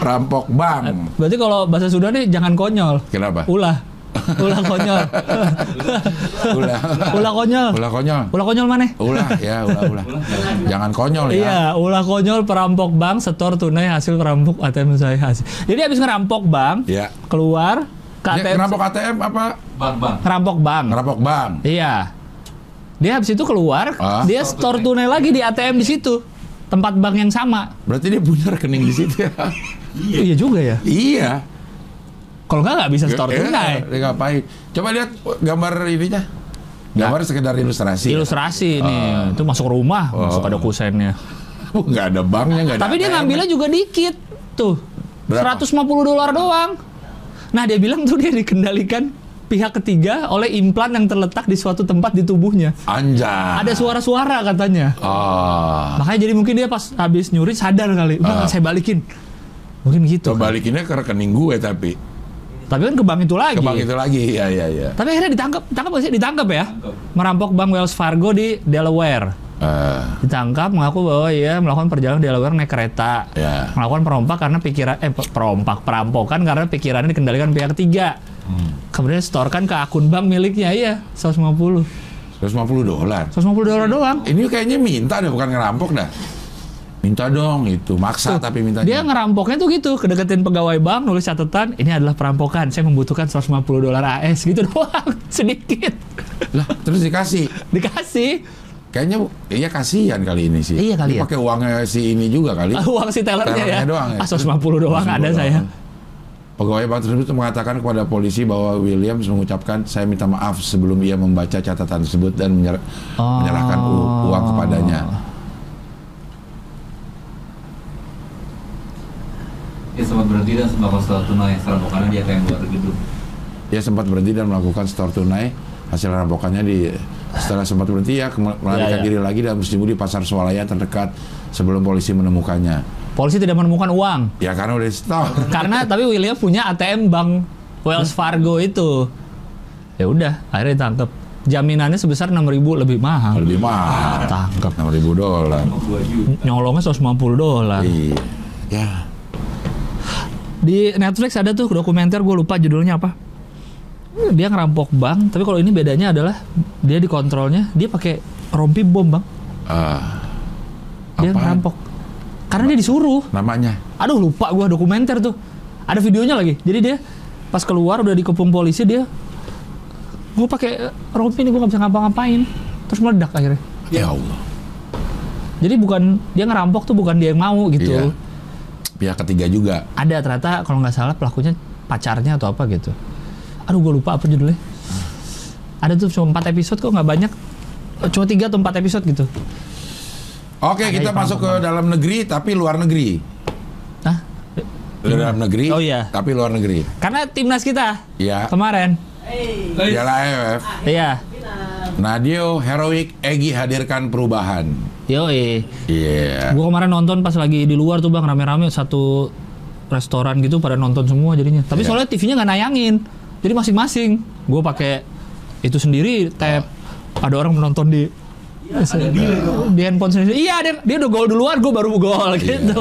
[SPEAKER 2] Perampok bang.
[SPEAKER 3] Berarti kalau bahasa Sunda nih jangan konyol.
[SPEAKER 2] Kenapa?
[SPEAKER 3] Ulah. Ulah konyol.
[SPEAKER 2] Ulah.
[SPEAKER 3] Ulah konyol.
[SPEAKER 2] Ulah konyol.
[SPEAKER 3] Ulah konyol mana?
[SPEAKER 2] Ulah ya, ulah ulah. Jangan konyol ya.
[SPEAKER 3] Iya, ulah konyol perampok bank setor tunai hasil perampok ATM saya hasil. Jadi habis ngerampok bank,
[SPEAKER 2] Iya.
[SPEAKER 3] keluar ke
[SPEAKER 2] Dia
[SPEAKER 3] ATM
[SPEAKER 2] ngerampok ATM apa?
[SPEAKER 4] Bang, bang.
[SPEAKER 3] ngerampok bank.
[SPEAKER 2] Ngerampok bank.
[SPEAKER 3] Iya. Dia habis itu keluar,
[SPEAKER 2] Ah.
[SPEAKER 3] dia store tunai lagi di ATM di situ. Tempat bank yang sama.
[SPEAKER 2] Berarti dia punya rekening di situ. ya?
[SPEAKER 3] Iya juga ya.
[SPEAKER 2] iya.
[SPEAKER 3] Kalau nggak nggak bisa store
[SPEAKER 2] Iya,
[SPEAKER 3] tunai.
[SPEAKER 2] Dia ngapain? Coba lihat gambar ininya. Gambar sekedar ilustrasi.
[SPEAKER 3] Ilustrasi
[SPEAKER 2] Ah.
[SPEAKER 3] nih, itu masuk rumah, masuk ada kusennya.
[SPEAKER 2] Oh, nggak ada banknya, nggak ada.
[SPEAKER 3] Tapi dia
[SPEAKER 2] ATM.
[SPEAKER 3] ngambilnya juga dikit tuh.
[SPEAKER 2] Nah, Berapa?
[SPEAKER 3] 150 dolar doang. Nah, dia bilang tuh dia dikendalikan pihak ketiga oleh implan yang terletak di suatu tempat di tubuhnya.
[SPEAKER 2] Anjay.
[SPEAKER 3] Ada suara-suara katanya.
[SPEAKER 2] Ah.
[SPEAKER 3] Makanya jadi mungkin dia pas habis nyuri sadar kali. Udah
[SPEAKER 2] Ah.
[SPEAKER 3] saya balikin. Mungkin
[SPEAKER 2] Tuh
[SPEAKER 3] gitu.
[SPEAKER 2] balikinnya ke rekening gue tapi
[SPEAKER 3] Tapi kan ke bank itu lagi.
[SPEAKER 2] ke bank itu lagi. Iya, iya, iya.
[SPEAKER 3] Tapi akhirnya ditangkap, tangkap nggak sih? Ditangkap ya? Merampok bank Wells Fargo di Delaware.
[SPEAKER 2] Eh,
[SPEAKER 3] Ditangkap mengaku bahwa ia melakukan perjalanan di Delaware naik kereta.
[SPEAKER 2] Ya.
[SPEAKER 3] Melakukan perompak karena pikiran eh pe- perompak perampokan karena pikirannya dikendalikan pihak ketiga.
[SPEAKER 2] Hmm.
[SPEAKER 3] Kemudian setorkan ke akun bank miliknya iya 150.
[SPEAKER 2] 150 dolar.
[SPEAKER 3] 150 dolar doang.
[SPEAKER 2] Ini kayaknya minta deh, bukan ngerampok dah. Minta dong itu, maksa tapi minta.
[SPEAKER 3] Dia ngerampoknya tuh gitu, kedeketin pegawai bank, nulis catatan, ini adalah perampokan, saya membutuhkan 150 dolar AS gitu doang, sedikit.
[SPEAKER 2] lah, terus dikasih.
[SPEAKER 3] Dikasih
[SPEAKER 2] Kayaknya iya kasihan kali ini sih.
[SPEAKER 3] Iya kali
[SPEAKER 2] Dia
[SPEAKER 3] ya.
[SPEAKER 2] pakai uangnya si ini juga kali.
[SPEAKER 3] Ah, uang si tellernya ya.
[SPEAKER 2] Tellernya doang ya?
[SPEAKER 3] Ah, 150
[SPEAKER 2] 150
[SPEAKER 3] doang ada
[SPEAKER 2] doang.
[SPEAKER 3] saya.
[SPEAKER 2] Pegawai bank tersebut mengatakan kepada polisi bahwa Williams mengucapkan saya minta maaf sebelum ia membaca catatan tersebut dan menyer-
[SPEAKER 3] Oh.
[SPEAKER 2] menyerahkan u- uang kepadanya.
[SPEAKER 4] Dia sempat berhenti dan sempat konsul tunai selama karena dia kayak keluar gedung.
[SPEAKER 2] Ia sempat berhenti dan melakukan setor tunai hasil rampokannya di setelah sempat berhenti ya kema- melarikan
[SPEAKER 3] ya.
[SPEAKER 2] diri lagi dan berjemur di pasar swalayan terdekat sebelum polisi menemukannya.
[SPEAKER 3] Polisi tidak menemukan uang
[SPEAKER 2] Ya karena udah setor.
[SPEAKER 3] karena tapi William punya ATM Bank Wells Fargo itu. Ya udah, akhirnya ditangkap. Jaminannya sebesar 6.000 lebih mahal.
[SPEAKER 2] Lebih mahal.
[SPEAKER 3] Tangkap.
[SPEAKER 2] Enam ribu dolar.
[SPEAKER 4] Oh, gua juga.
[SPEAKER 3] Nyolongnya 150 dolar.
[SPEAKER 2] Iya. Ya.
[SPEAKER 3] Di Netflix ada tuh dokumenter gue lupa judulnya apa. Dia ngerampok bank, tapi kalau ini bedanya adalah dia dikontrolnya dia pakai rompi bom, Bang.
[SPEAKER 2] eh,
[SPEAKER 3] Dia
[SPEAKER 2] Apaan?
[SPEAKER 3] ngerampok. Karena dia disuruh.
[SPEAKER 2] namanya
[SPEAKER 3] Aduh lupa gua dokumenter tuh. Ada videonya lagi. Jadi dia pas keluar udah dikepung polisi dia gue pakai rompi nih gue nggak bisa ngapa-ngapain terus meledak akhirnya
[SPEAKER 2] Ya Allah.
[SPEAKER 3] jadi bukan dia ngerampok tuh bukan dia yang mau gitu
[SPEAKER 2] Iya. Pihak ketiga juga.
[SPEAKER 3] ada ternyata kalau nggak salah pelakunya pacarnya atau apa gitu aduh gue lupa apa judulnya ada tuh cuma 4 episode kok nggak banyak cuma 3 atau 4 episode gitu
[SPEAKER 2] Oke,
[SPEAKER 3] Ada
[SPEAKER 2] kita
[SPEAKER 3] yang
[SPEAKER 2] masuk ke dalam negeri tapi luar negeri.
[SPEAKER 3] nah
[SPEAKER 2] Dalam negeri
[SPEAKER 3] Oh, iya.
[SPEAKER 2] tapi luar negeri.
[SPEAKER 3] karena timnas kita
[SPEAKER 2] Iya.
[SPEAKER 3] kemarin
[SPEAKER 1] Hey,
[SPEAKER 2] Piala AFF.
[SPEAKER 3] iya
[SPEAKER 2] Nadio Heroic Egi hadirkan perubahan.
[SPEAKER 3] yoi
[SPEAKER 2] Iya.
[SPEAKER 3] Gue kemarin nonton pas lagi di luar tuh bang rame-rame satu restoran gitu pada nonton semua jadinya.
[SPEAKER 2] Iya.
[SPEAKER 3] Tapi soalnya TV-nya nggak nayangin, jadi masing-masing. Gue pakai itu sendiri tab. Ada orang menonton Iya, di di handphone sendiri. Iya, dia, dia udah gol duluan, gue baru gol
[SPEAKER 2] Iya.
[SPEAKER 3] gitu.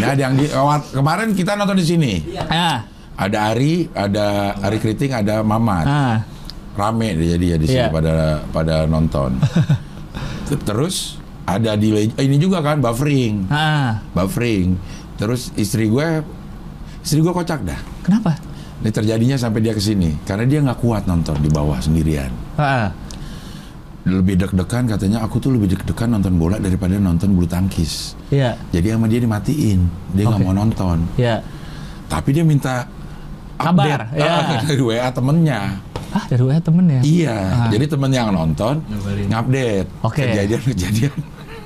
[SPEAKER 2] Nah, ada yang di, awat- kemarin kita nonton di sini.
[SPEAKER 3] nah,
[SPEAKER 2] Ada Ari, ada Ari Kriting, ada Mamat.
[SPEAKER 3] nah,
[SPEAKER 2] Rame dia jadi ya di sini
[SPEAKER 3] Iya.
[SPEAKER 2] pada pada nonton. Terus ada di le- ini juga kan buffering.
[SPEAKER 3] nah.
[SPEAKER 2] Buffering. Terus istri gue istri gue kocak dah.
[SPEAKER 3] Kenapa?
[SPEAKER 2] Ini terjadinya sampai dia ke sini karena dia nggak kuat nonton di bawah sendirian.
[SPEAKER 3] Ah,
[SPEAKER 2] Lebih deg-degan katanya aku tuh lebih deg-degan nonton bola daripada nonton bulu tangkis.
[SPEAKER 3] iya,
[SPEAKER 2] Jadi sama dia dimatiin, dia nggak
[SPEAKER 3] Oke.
[SPEAKER 2] mau nonton.
[SPEAKER 3] iya.
[SPEAKER 2] Tapi dia minta
[SPEAKER 3] Kabar,
[SPEAKER 2] update, eh,
[SPEAKER 3] ya.
[SPEAKER 2] dari WA temennya.
[SPEAKER 3] Ah, dari WA temen ya.
[SPEAKER 2] Iya,
[SPEAKER 3] Ah.
[SPEAKER 2] jadi temen yang nonton
[SPEAKER 4] Ngabarin.
[SPEAKER 2] ngupdate
[SPEAKER 3] Oke.
[SPEAKER 2] kejadian-kejadian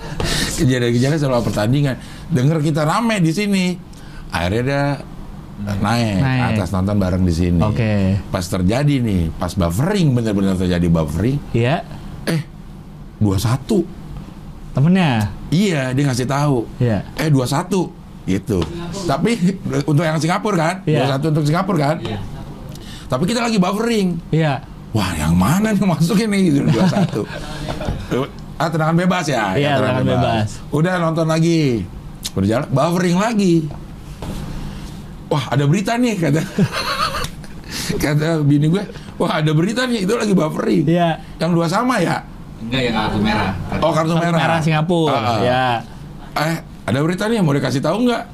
[SPEAKER 2] kejadian-kejadian selama pertandingan. Dengar kita rame di sini, akhirnya dia naik,
[SPEAKER 3] Naik.
[SPEAKER 2] atas nonton bareng di sini.
[SPEAKER 3] Oke.
[SPEAKER 2] Pas terjadi nih, pas buffering bener-bener terjadi buffering
[SPEAKER 3] Iya,
[SPEAKER 2] 21.
[SPEAKER 3] temennya.
[SPEAKER 2] Iya, dia ngasih tahu.
[SPEAKER 3] Iya.
[SPEAKER 2] Eh 21 gitu. Tapi untuk yang Singapura kan?
[SPEAKER 3] Iya.
[SPEAKER 2] 21 untuk Singapura kan? Tapi kita lagi buffering.
[SPEAKER 3] Iya,
[SPEAKER 2] Wah, yang mana nih masukin nih gitu 21. Eh, ah, tendangan bebas ya. Ya,
[SPEAKER 3] Iya, tendangan bebas.
[SPEAKER 2] Udah nonton lagi. Berjalan buffering lagi. Wah, ada berita nih kata kata bini gue. Wah, ada berita nih itu lagi buffering.
[SPEAKER 3] iya.
[SPEAKER 2] Yang dua sama ya?
[SPEAKER 4] Enggak ya kartu merah.
[SPEAKER 2] Oh, kartu merah.
[SPEAKER 3] Merah Singapura.
[SPEAKER 2] Ah, ah.
[SPEAKER 3] Ya.
[SPEAKER 2] eh ada berita nih mau dikasih tahu nggak?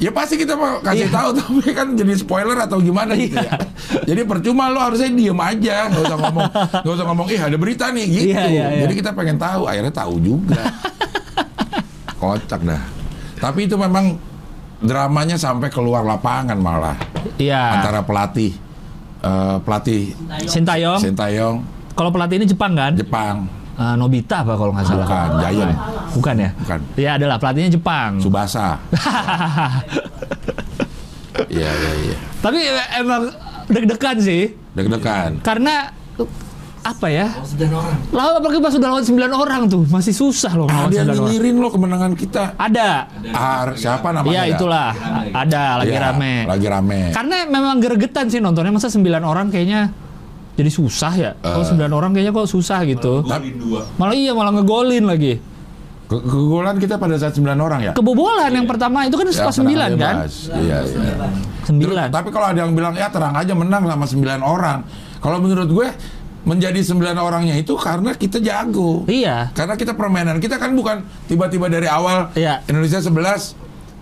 [SPEAKER 2] Ya pasti kita mau kasih
[SPEAKER 3] Iya.
[SPEAKER 2] tahu tapi kan jadi spoiler atau gimana gitu ya. Jadi percuma lo harusnya diem aja, nggak usah ngomong, nggak usah ngomong, ih ada berita nih gitu.
[SPEAKER 3] Iya, iya, iya.
[SPEAKER 2] Jadi kita pengen tahu, akhirnya tahu juga. Kocak dah. Tapi itu memang dramanya sampai keluar lapangan malah
[SPEAKER 3] Iya.
[SPEAKER 2] antara pelatih eh, pelatih
[SPEAKER 3] Sintayong.
[SPEAKER 2] Sintayong
[SPEAKER 3] Kalau pelatih ini Jepang kan?
[SPEAKER 2] Jepang
[SPEAKER 3] Eh, Nobita apa kalau nggak salah?
[SPEAKER 2] bukan Giant
[SPEAKER 3] Bukan ya?
[SPEAKER 2] Bukan.
[SPEAKER 3] Ya adalah pelatihnya Jepang.
[SPEAKER 2] Subasa. Iya iya iya.
[SPEAKER 3] Tapi e- emang deg-degan sih
[SPEAKER 2] Deg-degan.
[SPEAKER 3] karena eh, apa ya?
[SPEAKER 4] Oh, sembilan orang.
[SPEAKER 3] Lawan apalagi pas sudah lawan 9 orang tuh masih susah loh
[SPEAKER 2] Ah,
[SPEAKER 3] lawan
[SPEAKER 2] dia
[SPEAKER 3] 9 orang.
[SPEAKER 2] nyinyirin lo kemenangan kita.
[SPEAKER 3] Ada.
[SPEAKER 2] Ah, siapa namanya?
[SPEAKER 3] Iya
[SPEAKER 2] ya?
[SPEAKER 3] itulah.
[SPEAKER 4] Lagi rame.
[SPEAKER 3] Ada lagi
[SPEAKER 2] Iya,
[SPEAKER 3] rame.
[SPEAKER 2] Lagi rame.
[SPEAKER 3] Karena memang gergetan sih nontonnya masa 9 orang kayaknya jadi susah ya. Kalau
[SPEAKER 2] Eh.
[SPEAKER 3] 9 orang kayaknya kok susah gitu.
[SPEAKER 4] Golin dua.
[SPEAKER 3] Malah iya malah ngegolin lagi.
[SPEAKER 2] Ke- kegolan kita pada saat 9 orang ya?
[SPEAKER 3] Kebobolan yang pertama itu kan
[SPEAKER 2] Ya,
[SPEAKER 3] pas 9
[SPEAKER 2] tendangan
[SPEAKER 3] kan?
[SPEAKER 2] bebas. Iya, iya. Terus,
[SPEAKER 3] 9.
[SPEAKER 2] tapi kalau ada yang bilang ya terang aja menang sama 9 orang. Kalau menurut gue menjadi 9 orangnya itu karena kita jago.
[SPEAKER 3] Iya.
[SPEAKER 2] Karena kita permainan kita kan bukan tiba-tiba dari awal
[SPEAKER 3] Iya.
[SPEAKER 2] Indonesia 11,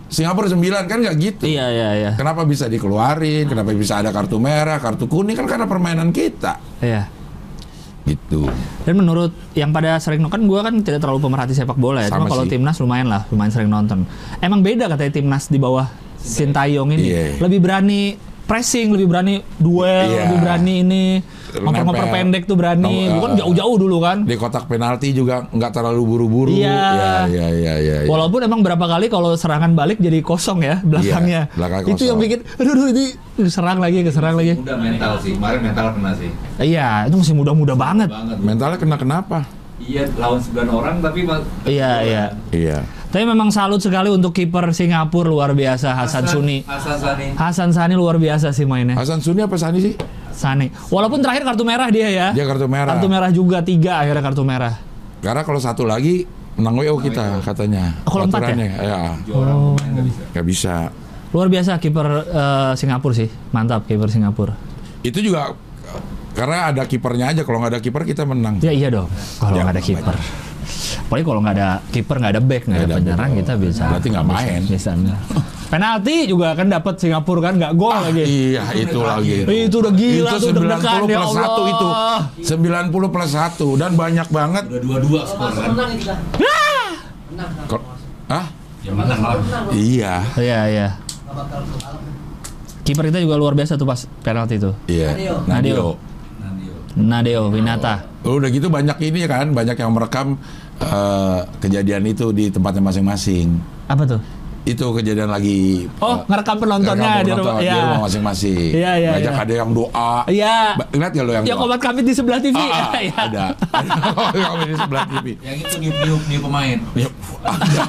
[SPEAKER 2] Singapura 9 kan nggak gitu.
[SPEAKER 3] Iya iya iya.
[SPEAKER 2] Kenapa bisa dikeluarin? Kenapa bisa ada kartu merah, kartu kuning kan karena permainan kita.
[SPEAKER 3] Iya.
[SPEAKER 2] Gitu.
[SPEAKER 3] Dan menurut yang pada sering nonton gue kan tidak terlalu pemerhati sepak bola ya. Cuma
[SPEAKER 2] Sama
[SPEAKER 3] kalau
[SPEAKER 2] sih.
[SPEAKER 3] timnas lumayan lah, lumayan sering nonton. Emang beda katanya timnas di bawah Sintayong ini.
[SPEAKER 2] Iya.
[SPEAKER 3] Lebih berani pressing, lebih berani duel,
[SPEAKER 2] Iya.
[SPEAKER 3] lebih berani ini
[SPEAKER 2] Nempel.
[SPEAKER 3] ngoper-ngoper pendek tuh berani.
[SPEAKER 2] Nong-
[SPEAKER 3] Bukan
[SPEAKER 2] eh,
[SPEAKER 3] jauh-jauh dulu kan.
[SPEAKER 2] Di kotak penalti juga nggak terlalu buru-buru.
[SPEAKER 3] Iya.
[SPEAKER 2] Iya, iya, iya, iya.
[SPEAKER 3] Walaupun emang berapa kali kalau serangan balik jadi kosong ya
[SPEAKER 2] Iya,
[SPEAKER 3] belakangnya.
[SPEAKER 2] belakang
[SPEAKER 3] Itu yang
[SPEAKER 2] kosong.
[SPEAKER 3] bikin aduh, aduh ini serang lagi, serang lagi.
[SPEAKER 4] Udah mental sih. Kemarin mental kena sih.
[SPEAKER 3] Iya, itu masih muda-muda banget.
[SPEAKER 4] Banget.
[SPEAKER 2] Mentalnya kena kenapa?
[SPEAKER 4] Iya, lawan sembilan orang tapi ma-
[SPEAKER 3] Iya, iya.
[SPEAKER 2] Iya.
[SPEAKER 3] Tapi memang salut sekali untuk kiper Singapura luar biasa Hasan Suni.
[SPEAKER 4] Hasan Suni.
[SPEAKER 3] Hasan Sani luar biasa sih mainnya.
[SPEAKER 2] Hasan Suni apa Sani sih?
[SPEAKER 3] Sani. Walaupun terakhir kartu merah dia ya.
[SPEAKER 2] Dia kartu merah.
[SPEAKER 3] Kartu merah juga tiga akhirnya kartu merah.
[SPEAKER 2] Karena kalau satu lagi menang WO kita katanya.
[SPEAKER 3] Oh, kalau empat ya?
[SPEAKER 2] Aturannya, ya?
[SPEAKER 4] Tujuh orang
[SPEAKER 3] Oh.
[SPEAKER 4] pemain nggak bisa.
[SPEAKER 2] nggak bisa.
[SPEAKER 3] Luar biasa kiper eh, Singapura sih. Mantap kiper Singapura.
[SPEAKER 2] Itu juga eh, karena ada kipernya aja. Kalau nggak ada kiper kita menang.
[SPEAKER 3] Ya iya dong. Kalau
[SPEAKER 2] Ya,
[SPEAKER 3] nggak ada kiper. Apalagi kalau nggak ada kiper, nggak ada back, nggak ada
[SPEAKER 2] Nggak ada
[SPEAKER 3] penyerang
[SPEAKER 2] back.
[SPEAKER 3] kita bisa.
[SPEAKER 2] Berarti nggak main.
[SPEAKER 3] Bisa. bisa. Penalti juga kan dapat Singapura kan nggak gol lagi.
[SPEAKER 2] Iya, itu lagi.
[SPEAKER 3] Itu udah gila tuh,
[SPEAKER 2] itu
[SPEAKER 3] deg-degan,
[SPEAKER 2] 90
[SPEAKER 3] ya
[SPEAKER 2] plus
[SPEAKER 3] Allah.
[SPEAKER 2] 1 itu. 90 plus 1 dan banyak banget.
[SPEAKER 4] Udah dua-dua skor
[SPEAKER 1] Masuk
[SPEAKER 4] kan.
[SPEAKER 1] menang ini kita. Menang. nggak
[SPEAKER 2] Ko- Hah?
[SPEAKER 4] Ya menang lah.
[SPEAKER 1] Menang. nggak
[SPEAKER 2] Iya.
[SPEAKER 3] Iya iya.
[SPEAKER 1] bakal kalah.
[SPEAKER 3] Kiper kita juga luar biasa tuh pas penalti itu.
[SPEAKER 2] Iya.
[SPEAKER 1] Nadeo.
[SPEAKER 2] Nadeo.
[SPEAKER 4] Nah, dia.
[SPEAKER 3] Nadeo Winata.
[SPEAKER 2] Udah gitu banyak ini kan, banyak yang merekam eh, kejadian itu di tempatnya masing-masing.
[SPEAKER 3] Apa tuh?
[SPEAKER 2] Itu kejadian lagi
[SPEAKER 3] Oh,
[SPEAKER 2] eh,
[SPEAKER 3] ngerekam
[SPEAKER 2] ngerekam
[SPEAKER 3] penontonnya di
[SPEAKER 2] penonton
[SPEAKER 3] rumah.
[SPEAKER 2] di
[SPEAKER 3] Iya.
[SPEAKER 2] rumah masing-masing.
[SPEAKER 3] Iya, iya,
[SPEAKER 2] Ngajak
[SPEAKER 3] iya.
[SPEAKER 2] ada yang doa.
[SPEAKER 3] Iya.
[SPEAKER 2] Ba- Ngeliat gak lo yang
[SPEAKER 3] Yang
[SPEAKER 2] doa?
[SPEAKER 3] obat kami di sebelah TV.
[SPEAKER 2] Ah, ah,
[SPEAKER 3] Iya.
[SPEAKER 2] ada. Ada yang di sebelah TV.
[SPEAKER 4] Yang itu niup-niup niup pemain.
[SPEAKER 2] Ya, ada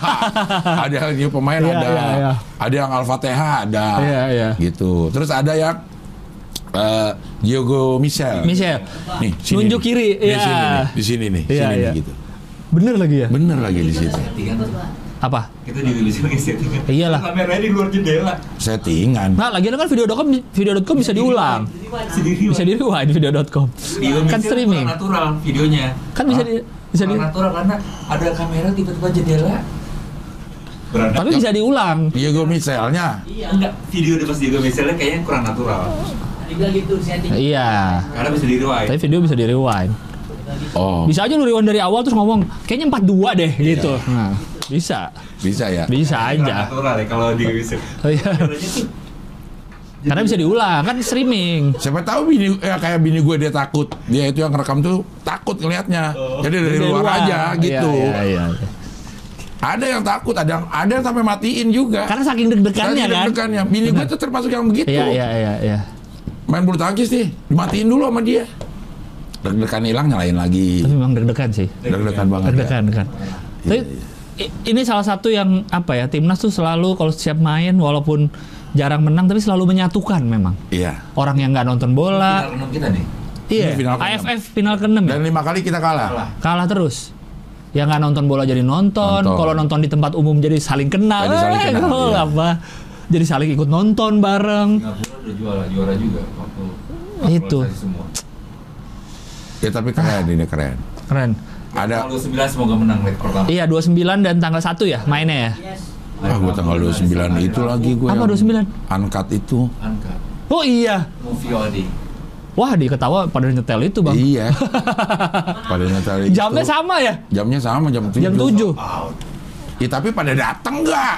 [SPEAKER 2] ada yang new pemain
[SPEAKER 3] Iya,
[SPEAKER 2] ada
[SPEAKER 3] iya, iya.
[SPEAKER 2] ada yang al-fatihah ada
[SPEAKER 3] Iya, iya.
[SPEAKER 2] gitu terus ada yang eh, Diogo Michel
[SPEAKER 3] Michel.
[SPEAKER 2] nih sini
[SPEAKER 3] Nunjuk
[SPEAKER 2] nih.
[SPEAKER 3] kiri,
[SPEAKER 2] Nih,
[SPEAKER 3] iya.
[SPEAKER 2] sini nih, di sini nih
[SPEAKER 3] Iya,
[SPEAKER 2] sini
[SPEAKER 3] iya.
[SPEAKER 2] nih gitu
[SPEAKER 3] Bener lagi ya?
[SPEAKER 2] bener lagi di situ
[SPEAKER 4] Tiga.
[SPEAKER 3] Apa?
[SPEAKER 4] Kita diurusin lagi settingan.
[SPEAKER 3] Iyalah.
[SPEAKER 4] Kameranya di luar jendela.
[SPEAKER 2] settingan
[SPEAKER 3] Nah, lagi kan video.com video.com bisa diulang.
[SPEAKER 1] Jadi mana?
[SPEAKER 4] Sendiri.
[SPEAKER 3] Bisa di rewind video.com. Kan streaming.
[SPEAKER 4] Natural videonya.
[SPEAKER 3] Kan bisa di bisa di
[SPEAKER 4] Kurang natural karena ada kamera tiba-tiba jendela. Berada.
[SPEAKER 3] tapi bisa diulang.
[SPEAKER 2] Diogo Michelnya
[SPEAKER 1] Iya.
[SPEAKER 4] Enggak, video di pas Diego misalnya kayaknya kurang natural.
[SPEAKER 1] Tadi bilang gitu setting.
[SPEAKER 3] Iya.
[SPEAKER 4] Karena bisa di-rewind.
[SPEAKER 3] Tapi video bisa di rewind.
[SPEAKER 2] oh bisa,
[SPEAKER 3] Bisa aja lu rewind dari awal terus ngomong kayaknya 42
[SPEAKER 2] Iya.
[SPEAKER 3] deh gitu. Nah, bisa.
[SPEAKER 2] ya
[SPEAKER 3] Bisa
[SPEAKER 4] Kurang
[SPEAKER 3] aja.
[SPEAKER 4] Natural ya kalau Diego Michel.
[SPEAKER 3] Oh, iya.
[SPEAKER 4] Kameranya tuh
[SPEAKER 3] Karena bisa diulang kan streaming.
[SPEAKER 2] siapa tahu bini eh, kayak bini gue dia takut dia itu yang rekam tuh takut ngelihatnya jadi dari luar aja gitu
[SPEAKER 3] Oh. Iya, iya, iya.
[SPEAKER 2] ada yang takut ada yang ada yang sampai matiin juga
[SPEAKER 3] Karena saking deg-degannya
[SPEAKER 2] Saya
[SPEAKER 3] kan.
[SPEAKER 2] deg-degannya. Bini gue tuh termasuk yang begitu.
[SPEAKER 3] Iya, iya, iya, iya.
[SPEAKER 2] Main bulu tangkis nih, dimatiin dulu sama dia. Deg-degan hilang nyalain lagi.
[SPEAKER 3] Tapi memang deg-degan sih.
[SPEAKER 2] Deg-degan Iya. banget. ya. iya.
[SPEAKER 3] Deg-degan kan. Tapi i- ini salah satu yang apa ya timnas tuh selalu kalau setiap main walaupun jarang menang tapi selalu menyatukan memang
[SPEAKER 2] Iya.
[SPEAKER 3] orang yang nggak nonton
[SPEAKER 4] Kita
[SPEAKER 3] bola
[SPEAKER 4] renung kita nih.
[SPEAKER 3] iya
[SPEAKER 2] Ini final keenam.
[SPEAKER 3] AFF final keenam ya
[SPEAKER 2] Dan lima kali kita kalah.
[SPEAKER 4] Kalah.
[SPEAKER 3] kalah terus yang nggak nonton bola jadi nonton,
[SPEAKER 2] Nonton.
[SPEAKER 3] kalau nonton di tempat umum jadi saling kenal,
[SPEAKER 2] Jadi saling
[SPEAKER 3] Eh,
[SPEAKER 2] kenal,
[SPEAKER 3] gol
[SPEAKER 2] iya.
[SPEAKER 3] apa jadi saling ikut nonton bareng
[SPEAKER 4] Singapura udah juara juara juga waktu
[SPEAKER 3] Itu.
[SPEAKER 4] naturalisasi semua.
[SPEAKER 2] Ya tapi keren ini keren.
[SPEAKER 3] keren
[SPEAKER 2] Ada
[SPEAKER 4] Kalau 9 semoga menang leg pertama.
[SPEAKER 3] iya 29 dan tanggal 1 ya mainnya ya
[SPEAKER 1] Yes.
[SPEAKER 2] ah gue tanggal 29 itu lagi gue.
[SPEAKER 3] Apa
[SPEAKER 2] yang
[SPEAKER 3] 29?
[SPEAKER 2] Uncut itu.
[SPEAKER 4] Angka.
[SPEAKER 3] oh iya
[SPEAKER 4] Movie all day.
[SPEAKER 3] wah dia ketawa pada nyetel itu bang
[SPEAKER 2] Iya. pada Natal itu.
[SPEAKER 3] jamnya sama ya
[SPEAKER 2] Jamnya sama jam 7.
[SPEAKER 3] jam 7
[SPEAKER 2] Ya tapi pada datang nggak?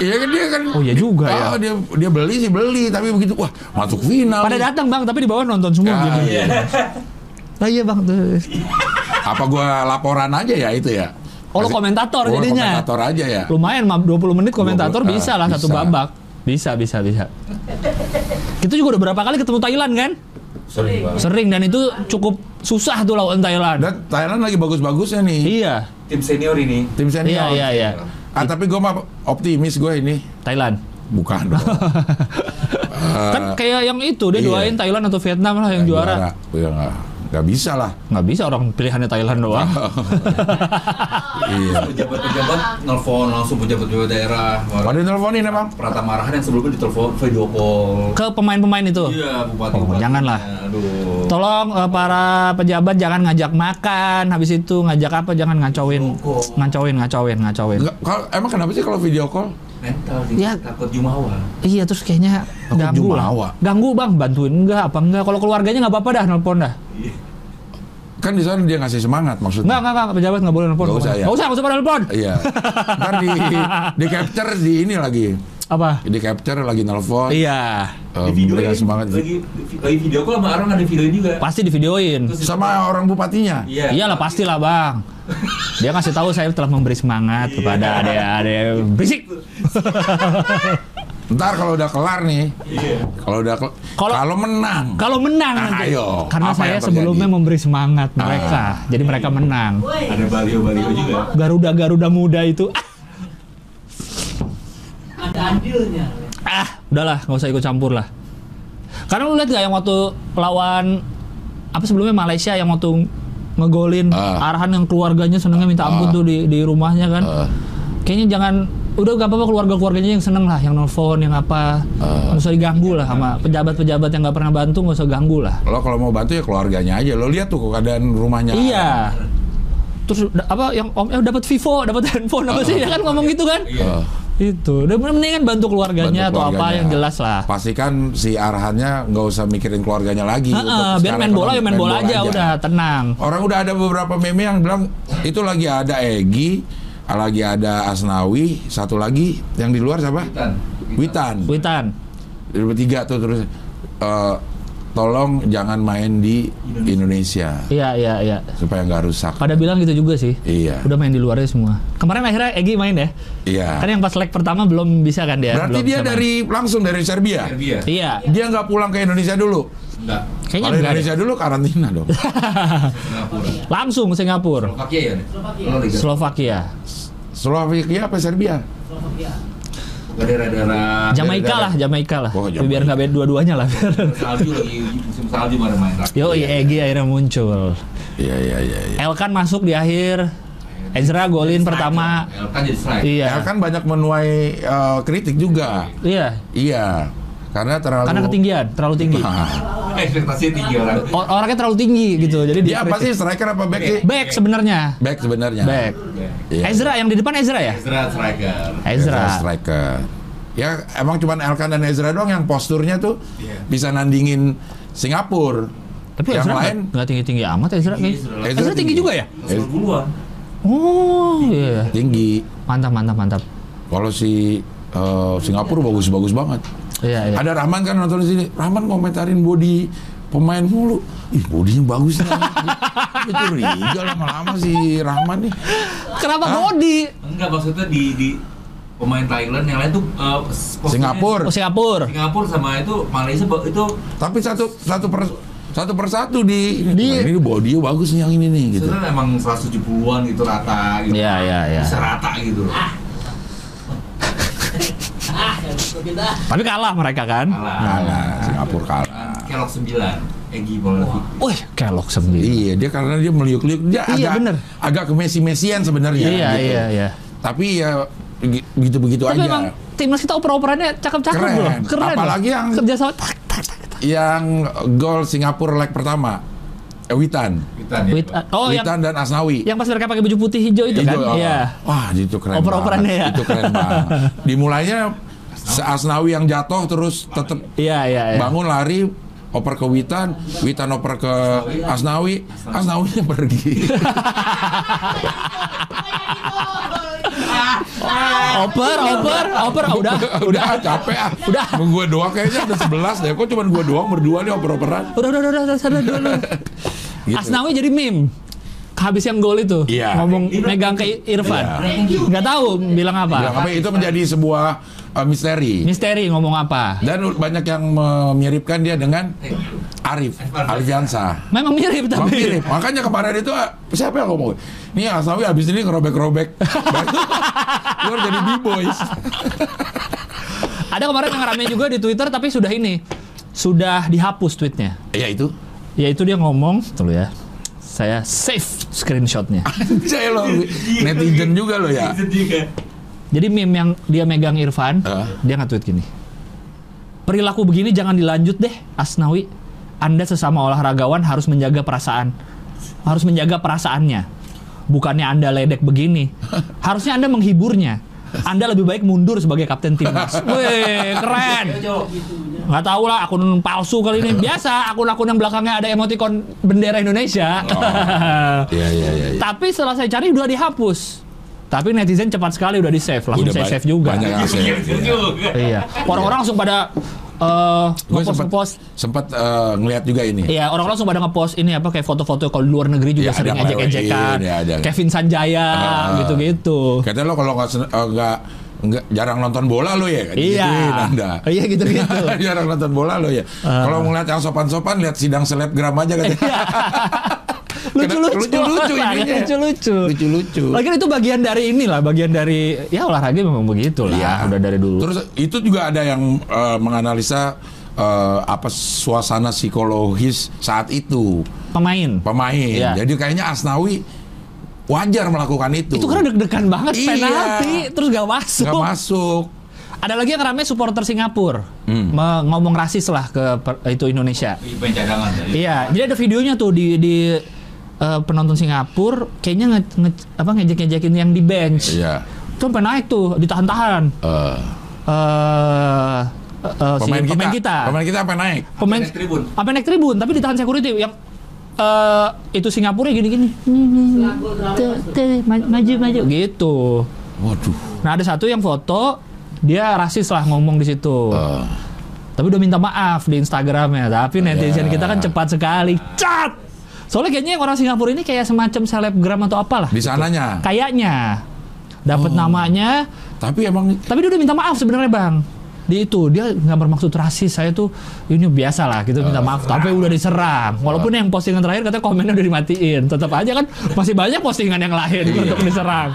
[SPEAKER 2] Iya kan dia kan.
[SPEAKER 3] Oh, iya juga ya.
[SPEAKER 2] Ah, Dia dia beli sih beli tapi begitu wah masuk final.
[SPEAKER 3] pada
[SPEAKER 2] nih.
[SPEAKER 3] datang bang tapi di bawah nonton
[SPEAKER 2] Ah,
[SPEAKER 3] semua gitu
[SPEAKER 2] iya.
[SPEAKER 3] Lah iya bang tuh.
[SPEAKER 2] apa gua laporan aja ya itu ya
[SPEAKER 3] Oh, lu
[SPEAKER 2] Kasih-
[SPEAKER 3] komentator
[SPEAKER 2] Gua
[SPEAKER 3] jadinya.
[SPEAKER 2] komentator aja ya
[SPEAKER 3] Lumayan mah, 20 menit komentator
[SPEAKER 2] 20,
[SPEAKER 3] bisa lah
[SPEAKER 2] ah,
[SPEAKER 3] satu
[SPEAKER 2] bisa.
[SPEAKER 3] babak. Bisa bisa bisa. Kita juga udah berapa kali ketemu Thailand kan?
[SPEAKER 4] Sering banget.
[SPEAKER 3] Sering dan itu cukup susah tuh lawan Thailand.
[SPEAKER 2] dan Thailand lagi bagus-bagusnya nih
[SPEAKER 3] iya.
[SPEAKER 4] Tim senior ini.
[SPEAKER 2] tim senior
[SPEAKER 3] Iya iya iya.
[SPEAKER 2] ah tapi gua mah optimis gua ini
[SPEAKER 3] Thailand.
[SPEAKER 2] bukan dong Eh,
[SPEAKER 3] kan kayak yang itu dia
[SPEAKER 2] iya.
[SPEAKER 3] doain Thailand atau Vietnam lah yang juara.
[SPEAKER 2] ya nggak nggak bisa lah
[SPEAKER 3] Nggak bisa orang pilihannya Thailand doang.
[SPEAKER 2] iya
[SPEAKER 4] Pejabat-pejabat nelfon langsung pejabat-pejabat daerah.
[SPEAKER 2] pada teleponin emang
[SPEAKER 4] Pratama Rahan yang sebelumnya ditelepon video call.
[SPEAKER 3] Ke pemain-pemain itu.
[SPEAKER 4] Iya, bupati.
[SPEAKER 3] Oh, janganlah.
[SPEAKER 4] Aduh.
[SPEAKER 3] Tolong eh, para pejabat jangan ngajak makan, habis itu ngajak apa jangan ngacauin,
[SPEAKER 4] Rokok.
[SPEAKER 3] ngacauin, ngacauin, ngacauin.
[SPEAKER 2] Nggak- kalau emang kenapa sih kalau video call
[SPEAKER 4] Mental sih.
[SPEAKER 3] Ya.
[SPEAKER 4] Takut jumawa.
[SPEAKER 3] Iya terus kayaknya
[SPEAKER 2] Aku
[SPEAKER 3] ganggu lah.
[SPEAKER 2] jumawa.
[SPEAKER 3] Ganggu bang, bantuin enggak apa enggak. Kalau keluarganya nggak apa-apa dah nelpon dah.
[SPEAKER 2] kan di sana dia ngasih semangat
[SPEAKER 3] Enggak
[SPEAKER 2] maksudnya
[SPEAKER 3] enggak enggak pejabat nggak boleh nelpon.
[SPEAKER 2] Nggak usah, ya?
[SPEAKER 3] Nggak usah, nggak usah pada nelpon.
[SPEAKER 2] iya ntar di di capture di ini lagi
[SPEAKER 3] Apa?
[SPEAKER 2] di capture lagi nelfon
[SPEAKER 3] Iya.
[SPEAKER 2] eh, memberikan semangat
[SPEAKER 4] lagi, lagi video call sama orang ada videoin juga.
[SPEAKER 3] Pasti divideoin.
[SPEAKER 4] Terus-
[SPEAKER 2] sama orang bupatinya
[SPEAKER 4] Iya.
[SPEAKER 3] Iyalah pastilah bang. Dia ngasih tahu saya telah memberi
[SPEAKER 4] Iya.
[SPEAKER 3] semangat kepada ada-ada berisik.
[SPEAKER 2] Ntar kalau udah kelar nih,
[SPEAKER 4] Iya.
[SPEAKER 2] kalau udah kel-
[SPEAKER 3] Kalau-
[SPEAKER 2] kalau menang,
[SPEAKER 3] Kalau menang
[SPEAKER 2] Ah,
[SPEAKER 3] nanti.
[SPEAKER 2] ayo.
[SPEAKER 3] Karena
[SPEAKER 2] Apa
[SPEAKER 3] saya
[SPEAKER 2] yang terjadi? Ah.
[SPEAKER 3] sebelumnya memberi semangat mereka. Jadi mereka menang.
[SPEAKER 1] Woi.
[SPEAKER 4] Ada balio-balio juga.
[SPEAKER 3] Garuda-garuda muda itu. ah,
[SPEAKER 1] Ada andilnya.
[SPEAKER 3] ah udahlah nggak usah ikut campur lah karena lu lihat gak yang waktu lawan apa sebelumnya Malaysia yang waktu ngegolin
[SPEAKER 2] Ah.
[SPEAKER 3] arahan yang keluarganya senengnya minta ampun
[SPEAKER 2] Ah.
[SPEAKER 3] tuh di, di rumahnya kan
[SPEAKER 2] Ah.
[SPEAKER 3] kayaknya jangan udah gak apa-apa keluarga keluarganya yang seneng lah yang nelfon yang apa
[SPEAKER 2] Ah.
[SPEAKER 3] nggak usah diganggu lah sama pejabat-pejabat yang nggak pernah bantu nggak usah ganggu lah
[SPEAKER 2] lo kalau mau bantu ya keluarganya aja. Lo lihat tuh keadaan rumahnya.
[SPEAKER 3] iya
[SPEAKER 2] Ah.
[SPEAKER 3] terus da- apa yang om eh dapat Vivo dapat handphone apa sih dia kan ngomong gitu kan
[SPEAKER 4] Iya.
[SPEAKER 2] Eh,
[SPEAKER 3] Itu. Udah mendingan bantu keluarganya
[SPEAKER 2] Bantu
[SPEAKER 3] atau apa
[SPEAKER 2] keluarganya.
[SPEAKER 3] yang jelas lah.
[SPEAKER 2] Pastikan si arahannya nggak usah mikirin keluarganya lagi.
[SPEAKER 3] Heeh,
[SPEAKER 2] untuk
[SPEAKER 3] Ah, biar
[SPEAKER 2] secara
[SPEAKER 3] main bola ya
[SPEAKER 2] ekonomi,
[SPEAKER 3] main bola aja udah tenang.
[SPEAKER 2] Orang udah ada beberapa meme yang bilang itu lagi ada Egi, lagi ada Asnawi, satu lagi yang di luar siapa?
[SPEAKER 4] Witan.
[SPEAKER 2] Witan.
[SPEAKER 3] Witan.
[SPEAKER 2] Jadi bertiga tuh terus eh, tolong jangan main di Indonesia
[SPEAKER 3] Iya iya iya.
[SPEAKER 2] supaya nggak rusak.
[SPEAKER 3] Pada bilang gitu juga sih.
[SPEAKER 2] Iya.
[SPEAKER 3] Udah main di luarnya semua. Kemarin akhirnya Egi main ya.
[SPEAKER 2] Iya.
[SPEAKER 3] Kan yang pas leg pertama belum bisa kan dia.
[SPEAKER 2] Berarti
[SPEAKER 3] belum
[SPEAKER 2] dia
[SPEAKER 3] bisa main.
[SPEAKER 2] dari langsung dari Serbia.
[SPEAKER 4] Serbia.
[SPEAKER 3] Iya.
[SPEAKER 2] Dia nggak pulang ke Indonesia dulu.
[SPEAKER 4] Enggak.
[SPEAKER 3] Kayaknya
[SPEAKER 2] Kalau
[SPEAKER 3] enggak deh.
[SPEAKER 2] Indonesia dulu karantina dong.
[SPEAKER 4] Singapura.
[SPEAKER 3] Langsung Singapura.
[SPEAKER 4] Slovakia ya?
[SPEAKER 1] Slovakia.
[SPEAKER 4] Kalau
[SPEAKER 2] Iya.
[SPEAKER 4] liga.
[SPEAKER 3] Slovakia.
[SPEAKER 2] Slovakia apa Serbia?
[SPEAKER 1] Slovakia.
[SPEAKER 4] Daerah-daerah
[SPEAKER 3] Jamaika
[SPEAKER 2] dari-
[SPEAKER 3] lah, Jamaika lah.
[SPEAKER 2] Oh, Jamaika.
[SPEAKER 3] Biar nggak beda dua-duanya lah. Biar.
[SPEAKER 4] salju lagi musim salju pada main tapi
[SPEAKER 3] Yo, iya, Egi akhirnya muncul.
[SPEAKER 2] Iya iya iya. iya.
[SPEAKER 3] Elkan masuk di akhir. Ezra golin pertama.
[SPEAKER 4] kan jadi strike.
[SPEAKER 2] Ya
[SPEAKER 3] Iya.
[SPEAKER 2] kan banyak menuai eh, kritik juga.
[SPEAKER 3] Iya.
[SPEAKER 2] Iya. Karena terlalu
[SPEAKER 3] Karena ketinggian, terlalu tinggi.
[SPEAKER 2] Ah.
[SPEAKER 4] Ekspektasinya tinggi orang.
[SPEAKER 3] O- orangnya terlalu tinggi gitu. Jadi
[SPEAKER 2] Dia
[SPEAKER 3] dia
[SPEAKER 2] apa sih
[SPEAKER 3] kritik.
[SPEAKER 2] striker apa back sih?
[SPEAKER 3] Back sebenarnya.
[SPEAKER 2] Back sebenarnya.
[SPEAKER 3] Back.
[SPEAKER 4] Ya.
[SPEAKER 2] Iya.
[SPEAKER 3] Ezra yang di depan Ezra ya?
[SPEAKER 4] Ezra striker.
[SPEAKER 3] Eh. Ezra.
[SPEAKER 2] striker. Ya emang cuman Elkan dan Ezra doang yang posturnya tuh
[SPEAKER 4] Iya.
[SPEAKER 2] bisa nandingin Singapura.
[SPEAKER 3] Tapi
[SPEAKER 2] yang
[SPEAKER 3] Ezra
[SPEAKER 2] lain eh,
[SPEAKER 3] nggak- nggak tinggi-tinggi amat Ezra
[SPEAKER 4] Tinggi
[SPEAKER 3] kayaknya.
[SPEAKER 4] Ezra.
[SPEAKER 3] Ezra tinggi juga ya?
[SPEAKER 4] Terus duluan.
[SPEAKER 3] Oh, iya.
[SPEAKER 2] tinggi.
[SPEAKER 3] Mantap, mantap, mantap.
[SPEAKER 2] Kalau si eh, Singapura bagus-bagus banget.
[SPEAKER 3] Iya, iya.
[SPEAKER 2] Ada Rahman kan nonton di sini. Rahman komentarin body pemain mulu. Ih, bodinya bagus nih. Gue curiga lama-lama si Rahman nih.
[SPEAKER 3] Kenapa
[SPEAKER 2] Hah?
[SPEAKER 3] body?
[SPEAKER 4] Enggak maksudnya di di pemain Thailand yang lain tuh eh, posturnya-
[SPEAKER 2] Singapura.
[SPEAKER 3] Oh, Singapura.
[SPEAKER 4] Singapura sama itu Malaysia ba- itu
[SPEAKER 2] Tapi satu satu per satu persatu di
[SPEAKER 3] Di-
[SPEAKER 2] Wah, ini bodinya bagus nih yang ini nih gitu.
[SPEAKER 4] sebenarnya emang 170-an gitu rata gitu.
[SPEAKER 3] Iya, iya, iya.
[SPEAKER 4] Bisa rata gitu loh.
[SPEAKER 1] Ah, kalau kita.
[SPEAKER 3] Tapi kalah mereka kan?
[SPEAKER 4] Kalah.
[SPEAKER 2] Kalah, Nah, Singapura kalah.
[SPEAKER 4] Kelok 9. Egi bola fikir.
[SPEAKER 3] Wih, kelok sendiri.
[SPEAKER 2] Iya, dia karena dia meliuk-liuk dia
[SPEAKER 3] Iya,
[SPEAKER 2] agak
[SPEAKER 3] bener.
[SPEAKER 2] agak ke Messi-Mesian sebenarnya
[SPEAKER 3] Iya,
[SPEAKER 2] gitu.
[SPEAKER 3] iya, iya.
[SPEAKER 2] Tapi ya gi- begitu-begitu
[SPEAKER 3] Tapi
[SPEAKER 2] aja.
[SPEAKER 3] emang timnas kita oper-operannya cakep-cakep
[SPEAKER 2] Keren.
[SPEAKER 3] loh. Keren.
[SPEAKER 2] Apalagi
[SPEAKER 3] loh.
[SPEAKER 2] yang-
[SPEAKER 3] kerja sama tak tak tak. tak.
[SPEAKER 2] Yang gol Singapura leg pertama eh, Witan.
[SPEAKER 4] Witan ya.
[SPEAKER 3] Wait, uh, oh
[SPEAKER 2] Witan
[SPEAKER 3] yang
[SPEAKER 2] dan Asnawi.
[SPEAKER 3] yang pas mereka pakai baju putih hijau itu kan?
[SPEAKER 2] Hijau,
[SPEAKER 3] Iya.
[SPEAKER 2] oh. Wah, itu keren
[SPEAKER 3] Oper-operannya
[SPEAKER 2] banget.
[SPEAKER 3] ya.
[SPEAKER 2] Itu keren banget. Dimulainya se- Asnawi yang jatuh terus tetap
[SPEAKER 3] Iya, iya, iya.
[SPEAKER 2] bangun lari oper ke Witan, Witan oper ke Asnawi, Asnawinya pergi.
[SPEAKER 3] Oper, oper, oper, Ah, udah.
[SPEAKER 2] udah capek ah.
[SPEAKER 3] Udah.
[SPEAKER 2] Gua doang kayaknya ada 11 deh. Kok cuma gua doang berdua nih oper-operan.
[SPEAKER 3] Udah, udah, udah, udah, udah, udah, udah, udah.
[SPEAKER 2] Gitu.
[SPEAKER 3] Asnawi jadi meme. Habis yang gol itu,
[SPEAKER 2] Iya.
[SPEAKER 3] ngomong
[SPEAKER 4] Iya.
[SPEAKER 3] megang ke I- Irfan.
[SPEAKER 1] Iya.
[SPEAKER 3] Nggak tahu bilang
[SPEAKER 2] Bilang
[SPEAKER 3] apa.
[SPEAKER 2] apa itu menjadi sebuah uh, misteri.
[SPEAKER 3] Misteri ngomong apa.
[SPEAKER 2] Dan banyak yang memiripkan dia dengan
[SPEAKER 4] Eh,
[SPEAKER 2] Arif, Arif Yansa.
[SPEAKER 3] Memang mirip
[SPEAKER 2] Bang
[SPEAKER 3] tapi.
[SPEAKER 2] Mirip. Makanya kemarin itu ah, siapa yang ngomong? Nih Asnawi abis ini ngerobek-robek. Luar jadi B-boys.
[SPEAKER 3] Ada kemarin yang rame juga di Twitter tapi sudah ini. Sudah dihapus tweetnya.
[SPEAKER 2] Ya itu.
[SPEAKER 3] Yaitu dia ngomong, tuh lu ya. Saya save screenshotnya.
[SPEAKER 2] Anjay lo. Netizen juga lo ya.
[SPEAKER 4] Itu juga.
[SPEAKER 3] Jadi meme yang dia megang Irfan,
[SPEAKER 2] Eh.
[SPEAKER 3] dia nge-tweet gini. Perilaku begini jangan dilanjut deh, Asnawi. Anda sesama olahragawan harus menjaga perasaan. Harus menjaga perasaannya. Bukannya Anda ledek begini. Harusnya Anda menghiburnya. Anda lebih baik mundur sebagai kapten timnas. Wih, keren. Nggak tahu lah akun palsu kali ini. Biasa akun-akun yang belakangnya ada emoticon bendera Indonesia.
[SPEAKER 2] Iya, iya, iya. iya.
[SPEAKER 3] Tapi setelah saya cari udah dihapus. Tapi netizen cepat sekali udah di save, langsung
[SPEAKER 2] Udah
[SPEAKER 3] saya
[SPEAKER 2] ba-
[SPEAKER 3] save juga.
[SPEAKER 2] Banyak yang save.
[SPEAKER 4] Itu
[SPEAKER 2] Iya.
[SPEAKER 4] juga.
[SPEAKER 3] Iya. Orang-orang langsung pada eh
[SPEAKER 2] Gue
[SPEAKER 3] ngepost
[SPEAKER 2] sempat
[SPEAKER 3] ngepost.
[SPEAKER 2] sempat eh, ngeliat juga ini.
[SPEAKER 3] Iya, orang langsung pada ngepost ini apa kayak foto-foto kalau di luar negeri
[SPEAKER 2] Iya,
[SPEAKER 3] juga sering
[SPEAKER 2] ada
[SPEAKER 3] ejek-ejekan.
[SPEAKER 2] iya, ada.
[SPEAKER 3] Kevin Sanjaya
[SPEAKER 2] Ah.
[SPEAKER 3] gitu-gitu.
[SPEAKER 2] Katanya lo kalau nggak sen- eh, nggak nggak jarang nonton bola lo ya.
[SPEAKER 3] Iya.
[SPEAKER 2] Gituin Anda.
[SPEAKER 3] Iya, gitu-gitu.
[SPEAKER 2] jarang nonton bola lo ya. Kalau ngeliat yang sopan-sopan lihat sidang selebgram aja katanya.
[SPEAKER 3] Lucu-lucu.
[SPEAKER 2] Lucu-lucu
[SPEAKER 3] orang,
[SPEAKER 2] ininya.
[SPEAKER 3] Lucu-lucu.
[SPEAKER 2] Lucu-lucu.
[SPEAKER 3] Lagian itu bagian dari inilah, bagian dari ya olahraga memang begitu lah.
[SPEAKER 2] Iya.
[SPEAKER 3] Udah dari dulu.
[SPEAKER 2] Terus itu juga ada yang eh, menganalisa eh, apa suasana psikologis saat itu
[SPEAKER 3] Pemain.
[SPEAKER 2] pemain.
[SPEAKER 3] Iya.
[SPEAKER 2] Jadi kayaknya Asnawi wajar melakukan itu.
[SPEAKER 3] Itu karena deg-degan banget
[SPEAKER 2] Iya.
[SPEAKER 3] penalti terus gak masuk.
[SPEAKER 2] nggak masuk.
[SPEAKER 3] Ada lagi yang rame supporter Singapura
[SPEAKER 2] Hmm.
[SPEAKER 3] Me- ngomong rasis lah ke per- itu Indonesia.
[SPEAKER 4] Pemain cadangan tadi.
[SPEAKER 3] Iya, jadi ada videonya tuh di di eh, penonton Singapura kayaknya nge, nge- apa ngejek-ngejekin yang di bench.
[SPEAKER 2] Iya.
[SPEAKER 3] Itu sampai naik tuh, ditahan-tahan.
[SPEAKER 2] Eh,
[SPEAKER 3] eh eh, si
[SPEAKER 2] pemain, kita,
[SPEAKER 3] pemain kita.
[SPEAKER 2] pemain kita apa naik?
[SPEAKER 3] Pemain-
[SPEAKER 4] Naik tribun.
[SPEAKER 3] apa naik tribun, tapi ditahan security yang eh itu Singapura gini-gini. Tuh, tuh, ma- maju maju gitu.
[SPEAKER 2] Waduh.
[SPEAKER 3] Nah ada satu yang foto dia rasis lah ngomong di situ.
[SPEAKER 2] Eh,
[SPEAKER 3] Tapi udah minta maaf di Instagramnya. Tapi netizen kita kan cepat sekali. Cat. Soalnya kayaknya yang orang Singapura ini kayak semacam selebgram atau apalah.
[SPEAKER 2] di sananya.
[SPEAKER 3] Kayaknya dapat namanya.
[SPEAKER 2] Tapi emang
[SPEAKER 3] Tapi dia udah minta maaf sebenarnya bang. Di itu dia nggak bermaksud rasis. Saya tuh ini biasa lah gitu minta maaf. Tapi udah diserang. Walaupun yang postingan terakhir katanya komennya udah dimatiin. Tetap aja kan masih banyak postingan yang lain untuk diserang.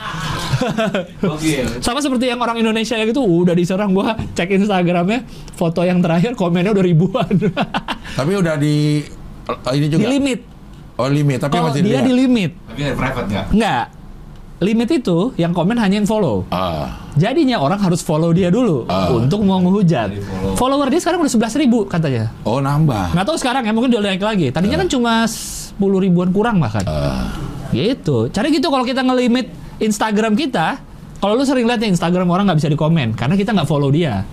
[SPEAKER 4] Oke. iya.
[SPEAKER 3] Sama seperti yang orang Indonesia yang itu udah diserang gua cek Instagramnya foto yang terakhir komennya udah ribuan.
[SPEAKER 2] tapi udah di eh, ini
[SPEAKER 3] di
[SPEAKER 2] juga.
[SPEAKER 3] limit.
[SPEAKER 2] Oh limit, tapi
[SPEAKER 3] Kalau
[SPEAKER 2] masih
[SPEAKER 3] dia
[SPEAKER 2] dilihat.
[SPEAKER 3] di limit.
[SPEAKER 4] Tapi ada private nggak?
[SPEAKER 3] Enggak. Limit itu yang komen hanya yang follow.
[SPEAKER 2] Ah,
[SPEAKER 3] Jadinya orang harus follow dia dulu
[SPEAKER 2] Ah.
[SPEAKER 3] untuk mau ngehujat.
[SPEAKER 4] Jadi follow.
[SPEAKER 3] Follower dia sekarang udah 11.000 ribu katanya.
[SPEAKER 2] oh nambah.
[SPEAKER 3] Nggak tahu sekarang ya mungkin udah naik lagi.
[SPEAKER 2] Ah.
[SPEAKER 3] Tadinya kan cuma 10 ribuan kurang bahkan.
[SPEAKER 2] Eh,
[SPEAKER 3] Gitu. Cara gitu kalau kita ngelimit Instagram kita, kalau lu sering lihat ya Instagram orang nggak bisa dikomen karena kita nggak follow dia.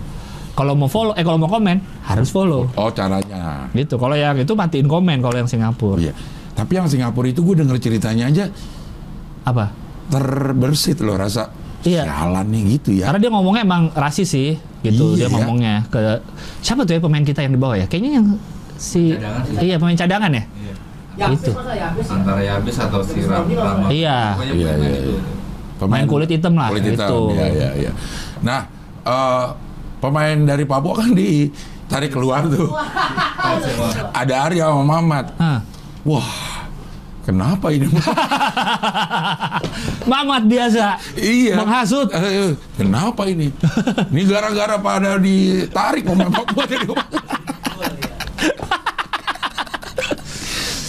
[SPEAKER 3] Kalau mau follow, eh kalau mau komen harus follow.
[SPEAKER 2] Oh caranya.
[SPEAKER 3] Gitu. Kalau yang itu matiin komen kalau yang Singapura.
[SPEAKER 2] Iya. Tapi yang Singapura itu gue denger ceritanya aja
[SPEAKER 3] Apa?
[SPEAKER 2] terbersit loh rasa
[SPEAKER 3] Iya.
[SPEAKER 2] sialan nih gitu ya.
[SPEAKER 3] Karena dia ngomongnya emang rasis sih, gitu
[SPEAKER 2] Iya,
[SPEAKER 3] dia
[SPEAKER 2] ya.
[SPEAKER 3] ngomongnya ke siapa tuh ya pemain kita yang di bawah ya? Kayaknya yang si
[SPEAKER 4] Cadangan sih.
[SPEAKER 3] iya pemain cadangan ya.
[SPEAKER 4] Iya.
[SPEAKER 3] Itu.
[SPEAKER 4] Antara Yabes atau si Ram Rama.
[SPEAKER 3] Iya.
[SPEAKER 4] Pokoknya
[SPEAKER 2] Iya,
[SPEAKER 4] pemain
[SPEAKER 2] iya,
[SPEAKER 4] itu.
[SPEAKER 2] iya.
[SPEAKER 3] Main kulit hitam lah,
[SPEAKER 2] Kulit hitam,
[SPEAKER 3] gitu.
[SPEAKER 2] iya, iya, iya. Nah, eh, pemain dari Papua kan ditarik keluar tuh.
[SPEAKER 4] Tahu semua.
[SPEAKER 2] Ada Arya sama Mamat.
[SPEAKER 3] Hah.
[SPEAKER 2] Wah, kenapa ini?
[SPEAKER 3] Mamat biasa.
[SPEAKER 2] iya.
[SPEAKER 3] Menghasut.
[SPEAKER 2] Eh, eh, kenapa ini? Ini gara-gara pada ditarik pemain Papua dari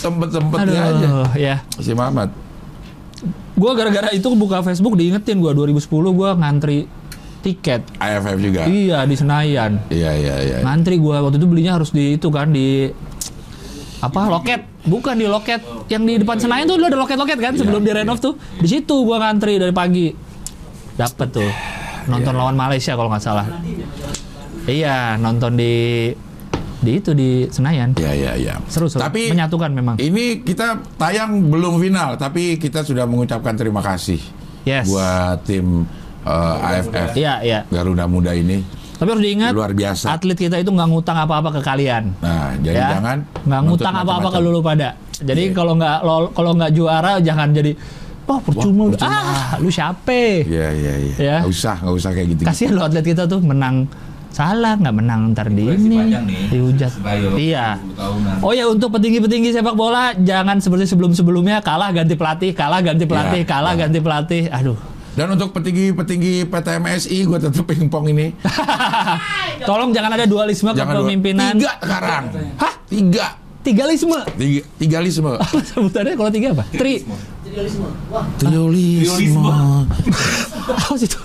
[SPEAKER 2] Sempet-sempetnya aja.
[SPEAKER 3] Aduh, ya.
[SPEAKER 2] Si Mamat.
[SPEAKER 3] Gua gara-gara itu buka Facebook diingetin gua 2010 gua ngantri tiket.
[SPEAKER 2] AFF juga.
[SPEAKER 3] Iya di Senayan.
[SPEAKER 2] Iya, iya, iya.
[SPEAKER 3] Ngantri gua waktu itu belinya harus di itu kan di apa loket bukan di loket yang di depan Senayan tuh dulu ada loket-loket kan sebelum
[SPEAKER 2] Iya,
[SPEAKER 3] direnov tuh di situ gua ngantri dari pagi dapet tuh nonton
[SPEAKER 2] Iya.
[SPEAKER 3] lawan Malaysia kalau nggak salah iya nonton di di itu di Senayan
[SPEAKER 2] Iya, iya, iya.
[SPEAKER 3] seru seru
[SPEAKER 2] Tapi
[SPEAKER 3] menyatukan memang
[SPEAKER 2] Ini kita tayang belum final, tapi kita sudah mengucapkan terima kasih
[SPEAKER 3] yes
[SPEAKER 2] buat tim eh, AFF
[SPEAKER 3] iya iya
[SPEAKER 2] Garuda Muda ini
[SPEAKER 3] tapi harus diingat
[SPEAKER 2] luar biasa.
[SPEAKER 3] atlet kita itu nggak ngutang apa-apa ke kalian
[SPEAKER 2] Nah, jadi
[SPEAKER 3] ya.
[SPEAKER 2] jangan
[SPEAKER 3] nggak
[SPEAKER 2] nuntut
[SPEAKER 3] ngutang apa-apa ke
[SPEAKER 2] macam-macam.
[SPEAKER 3] lulu pada. Jadi
[SPEAKER 2] Iya.
[SPEAKER 3] kalau nggak lo- kalau nggak juara jangan jadi wah percuma,
[SPEAKER 2] Wah,
[SPEAKER 3] udah.
[SPEAKER 2] percuma.
[SPEAKER 3] ah lu siapa?
[SPEAKER 2] Iya, iya, iya.
[SPEAKER 3] Ya.
[SPEAKER 2] Nggak usah, nggak usah kayak gitu.
[SPEAKER 3] Kasihan lo atlet kita tuh menang salah nggak menang ntar di
[SPEAKER 4] Proyeksi
[SPEAKER 3] ini
[SPEAKER 4] panjang nih.
[SPEAKER 3] dihujat.
[SPEAKER 4] Sebayo,
[SPEAKER 3] Iya.
[SPEAKER 4] 10 tahunan.
[SPEAKER 3] Oh ya untuk petinggi-petinggi sepak bola jangan seperti sebelum-sebelumnya kalah ganti pelatih, kalah ganti pelatih,
[SPEAKER 2] Iya,
[SPEAKER 3] kalah
[SPEAKER 2] iya.
[SPEAKER 3] ganti pelatih. Aduh.
[SPEAKER 2] Dan untuk petinggi-petinggi PTMSI gue tetap pingpong ini.
[SPEAKER 3] Tolong jangan ada dualisme
[SPEAKER 2] jangan dua-
[SPEAKER 3] kepemimpinan.
[SPEAKER 2] Tiga sekarang. Hah? Tiga.
[SPEAKER 3] Tigalisme.
[SPEAKER 2] Tiga, tigalisme.
[SPEAKER 3] Apa sebutannya kalau tiga apa? Tri.
[SPEAKER 2] Triolisme.
[SPEAKER 3] Apa sih itu?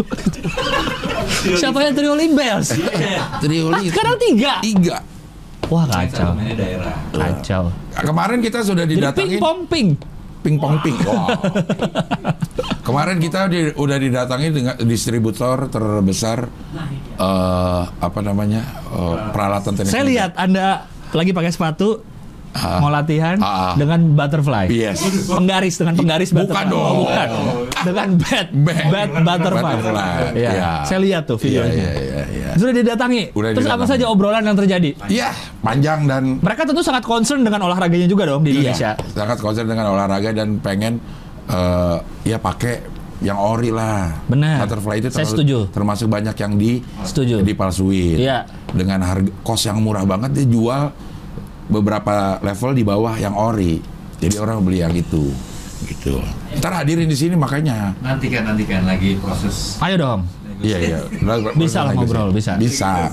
[SPEAKER 3] Siapa yang Triolin Bells?
[SPEAKER 2] Triolisme.
[SPEAKER 3] Sekarang tiga.
[SPEAKER 2] Tiga.
[SPEAKER 3] Wah
[SPEAKER 4] Main
[SPEAKER 3] kacau.
[SPEAKER 4] satu mainnya daerah.
[SPEAKER 3] Kacau.
[SPEAKER 2] Nah, Kemarin kita sudah
[SPEAKER 3] Jadi
[SPEAKER 2] didatangi
[SPEAKER 3] Iya. ping pong ping.
[SPEAKER 2] pingpong ping. Wow. Kemarin kita di- udah didatangi dengan distributor terbesar eh, apa namanya eh, peralatan tenis.
[SPEAKER 3] Saya
[SPEAKER 2] meja.
[SPEAKER 3] lihat Anda lagi pakai sepatu
[SPEAKER 2] Ah.
[SPEAKER 3] mau latihan
[SPEAKER 2] Ah, ah.
[SPEAKER 3] dengan butterfly.
[SPEAKER 2] Yes.
[SPEAKER 3] Penggaris dengan penggaris
[SPEAKER 2] Bukan
[SPEAKER 3] butterfly.
[SPEAKER 2] dong.
[SPEAKER 3] Oh, bukan. Dengan bat
[SPEAKER 2] Bat.
[SPEAKER 3] bat butterfly.
[SPEAKER 2] Butterfly.
[SPEAKER 3] Iya.
[SPEAKER 2] Iya.
[SPEAKER 3] Saya lihat tuh
[SPEAKER 2] Iya
[SPEAKER 3] videonya.
[SPEAKER 2] iya iya. iya.
[SPEAKER 3] Sudah didatangi.
[SPEAKER 2] Udah
[SPEAKER 3] Terus apa
[SPEAKER 2] didatangi.
[SPEAKER 3] saja obrolan yang terjadi?
[SPEAKER 2] Iya, panjang dan
[SPEAKER 3] Mereka tentu sangat concern dengan olahraganya juga dong di Indonesia.
[SPEAKER 2] Iya, sangat konsen dengan olahraga dan pengen eh, ya pakai yang ori lah.
[SPEAKER 3] Benar.
[SPEAKER 2] Butterfly itu
[SPEAKER 3] Saya
[SPEAKER 2] terlalu-
[SPEAKER 3] setuju.
[SPEAKER 2] termasuk banyak yang di
[SPEAKER 3] Setuju.
[SPEAKER 2] dipalsuin.
[SPEAKER 3] Iya.
[SPEAKER 2] Dengan harga kos yang murah banget dia jual beberapa level di bawah yang ori. Jadi orang beli yang itu gitu. Ntar hadirin di sini makanya.
[SPEAKER 4] Nantikan nantikan lagi proses.
[SPEAKER 3] Ayo dong.
[SPEAKER 2] Iya iya.
[SPEAKER 3] Bisa lah ngobrol, bisa.
[SPEAKER 2] Bisa.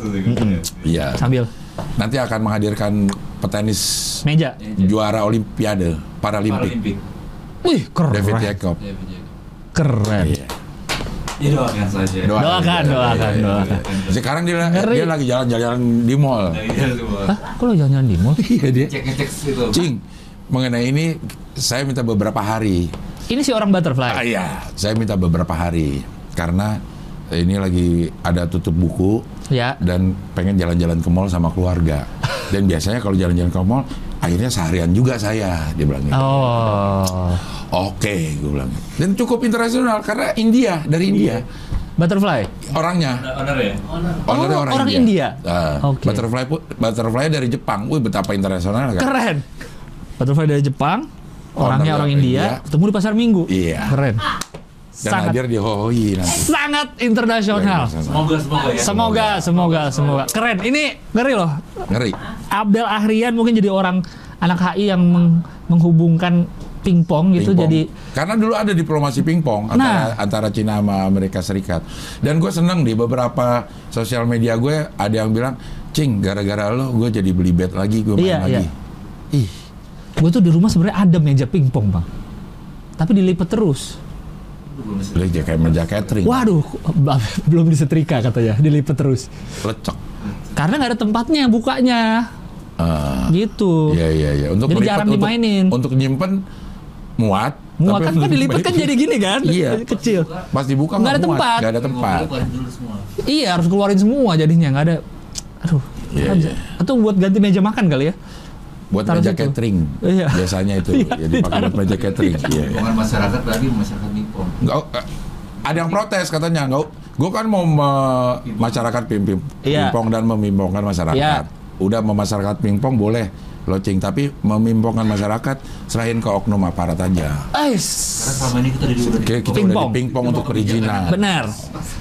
[SPEAKER 2] Iya.
[SPEAKER 3] Sambil
[SPEAKER 2] Nanti akan menghadirkan petenis
[SPEAKER 3] meja.
[SPEAKER 2] juara Olimpiade, Paralimpik,
[SPEAKER 4] Paralimpik.
[SPEAKER 3] Wih,
[SPEAKER 2] David
[SPEAKER 3] keren.
[SPEAKER 2] Jacob.
[SPEAKER 4] Ya, begitu.
[SPEAKER 3] Keren.
[SPEAKER 2] Iya.
[SPEAKER 4] Ya doakan saja.
[SPEAKER 2] Doakan,
[SPEAKER 3] Doakan,
[SPEAKER 2] iya,
[SPEAKER 3] doakan,
[SPEAKER 2] iya, iya.
[SPEAKER 3] doakan.
[SPEAKER 2] Sekarang dia,
[SPEAKER 3] Ngeri.
[SPEAKER 2] dia lagi jalan-jalan di mall.
[SPEAKER 4] Iya, semua.
[SPEAKER 3] Hah, kok lo jalan-jalan di mall?
[SPEAKER 2] Iya dia.
[SPEAKER 4] Cek-cek itu.
[SPEAKER 2] Cing, mengenai ini saya minta beberapa hari.
[SPEAKER 3] Ini si orang butterfly.
[SPEAKER 2] Ah iya, saya minta beberapa hari. karena ini lagi ada tutup buku
[SPEAKER 3] Ya.
[SPEAKER 2] dan pengen jalan-jalan ke mall sama keluarga. Dan biasanya kalau jalan-jalan ke mall, akhirnya seharian juga saya dia bilang gitu.
[SPEAKER 3] Oh.
[SPEAKER 2] Oke, gue bilang. Dan cukup internasional karena India dari India
[SPEAKER 3] Iya. Butterfly.
[SPEAKER 2] orangnya.
[SPEAKER 4] Honor ya?
[SPEAKER 2] Ownernya
[SPEAKER 3] Oh, orang India?
[SPEAKER 2] Ah,
[SPEAKER 3] Oke.
[SPEAKER 2] Butterfly pun- butterfly dari Jepang. Wih betapa internasional kan.
[SPEAKER 3] Keren. Butterfly dari Jepang, orangnya
[SPEAKER 2] Owner
[SPEAKER 3] orang
[SPEAKER 2] Oh, dari
[SPEAKER 3] India,
[SPEAKER 2] India.
[SPEAKER 3] ketemu di pasar Minggu.
[SPEAKER 2] Iya.
[SPEAKER 3] Keren.
[SPEAKER 2] Dan
[SPEAKER 3] sangat
[SPEAKER 2] hadir Iya, di Hohoi nanti.
[SPEAKER 3] sangat internasional.
[SPEAKER 4] Semoga, semoga ya.
[SPEAKER 3] Semoga, semoga, semoga. Keren. Ini ngeri loh.
[SPEAKER 2] Ngeri.
[SPEAKER 3] Abdel Ahrian mungkin jadi orang anak HI yang meng- menghubungkan pingpong gitu
[SPEAKER 2] Pingpong.
[SPEAKER 3] jadi Nah.
[SPEAKER 2] karena dulu ada diplomasi pingpong antara antara Cina sama Amerika Serikat. Dan gue seneng di beberapa sosial media gue ada yang bilang, "Cing, gara-gara lo gue jadi beli bet lagi, gue main
[SPEAKER 3] Iya,
[SPEAKER 2] lagi."
[SPEAKER 3] iya.
[SPEAKER 2] Ih,
[SPEAKER 3] gue tuh di rumah sebenarnya ada meja pingpong bang tapi dilipat terus
[SPEAKER 2] beli aja kayak meja catering.
[SPEAKER 3] waduh belum disetrika katanya dilipat terus
[SPEAKER 2] Lecek.
[SPEAKER 3] karena nggak ada tempatnya bukanya
[SPEAKER 2] Ah,
[SPEAKER 3] gitu
[SPEAKER 2] Iya, iya, iya. Untuk
[SPEAKER 3] Jadi
[SPEAKER 2] melipet,
[SPEAKER 3] jarang
[SPEAKER 2] untuk-
[SPEAKER 3] dimainin.
[SPEAKER 2] Untuk nyimpen muat. tapi
[SPEAKER 3] muat kan
[SPEAKER 2] untuk
[SPEAKER 3] kan dilipat kan jadi
[SPEAKER 2] dimaikin-
[SPEAKER 3] gini kan
[SPEAKER 2] Iya.
[SPEAKER 3] kecil
[SPEAKER 2] Pas dibuka
[SPEAKER 3] Nggak ada
[SPEAKER 2] muat,
[SPEAKER 3] tempat.
[SPEAKER 2] nggak ada tempat.
[SPEAKER 4] Ngobrol dulu semua.
[SPEAKER 3] iya harus keluarin semua jadinya nggak ada aduh
[SPEAKER 2] Iya,
[SPEAKER 3] nggak bisa.
[SPEAKER 2] iya.
[SPEAKER 3] atau buat ganti meja makan kali ya
[SPEAKER 2] Buat
[SPEAKER 3] Taruh
[SPEAKER 2] meja
[SPEAKER 3] situ.
[SPEAKER 2] catering.
[SPEAKER 3] Iya.
[SPEAKER 2] Biasanya itu.
[SPEAKER 3] Iya,
[SPEAKER 2] ya dipakai buat
[SPEAKER 3] ditaruh.
[SPEAKER 2] meja catering. Iya, iya.
[SPEAKER 4] Bukan masyarakat tadi, masyarakat Nippon.
[SPEAKER 2] Nggak, eh, ada yang protes katanya, nggak, gue kan mau me- masyarakat pimpin,
[SPEAKER 3] Iya.
[SPEAKER 2] pimpong dan membimbangkan masyarakat.
[SPEAKER 3] Iya.
[SPEAKER 2] Udah memasyarakat pingpong boleh locing, tapi membimbangkan masyarakat selain ke oknum aparat aja.
[SPEAKER 3] Ais.
[SPEAKER 4] Karena selama ini kita udah di- udah di-
[SPEAKER 2] Oke, kita
[SPEAKER 3] Pingpong.
[SPEAKER 2] udah di pingpong untuk perizinan.
[SPEAKER 3] Benar.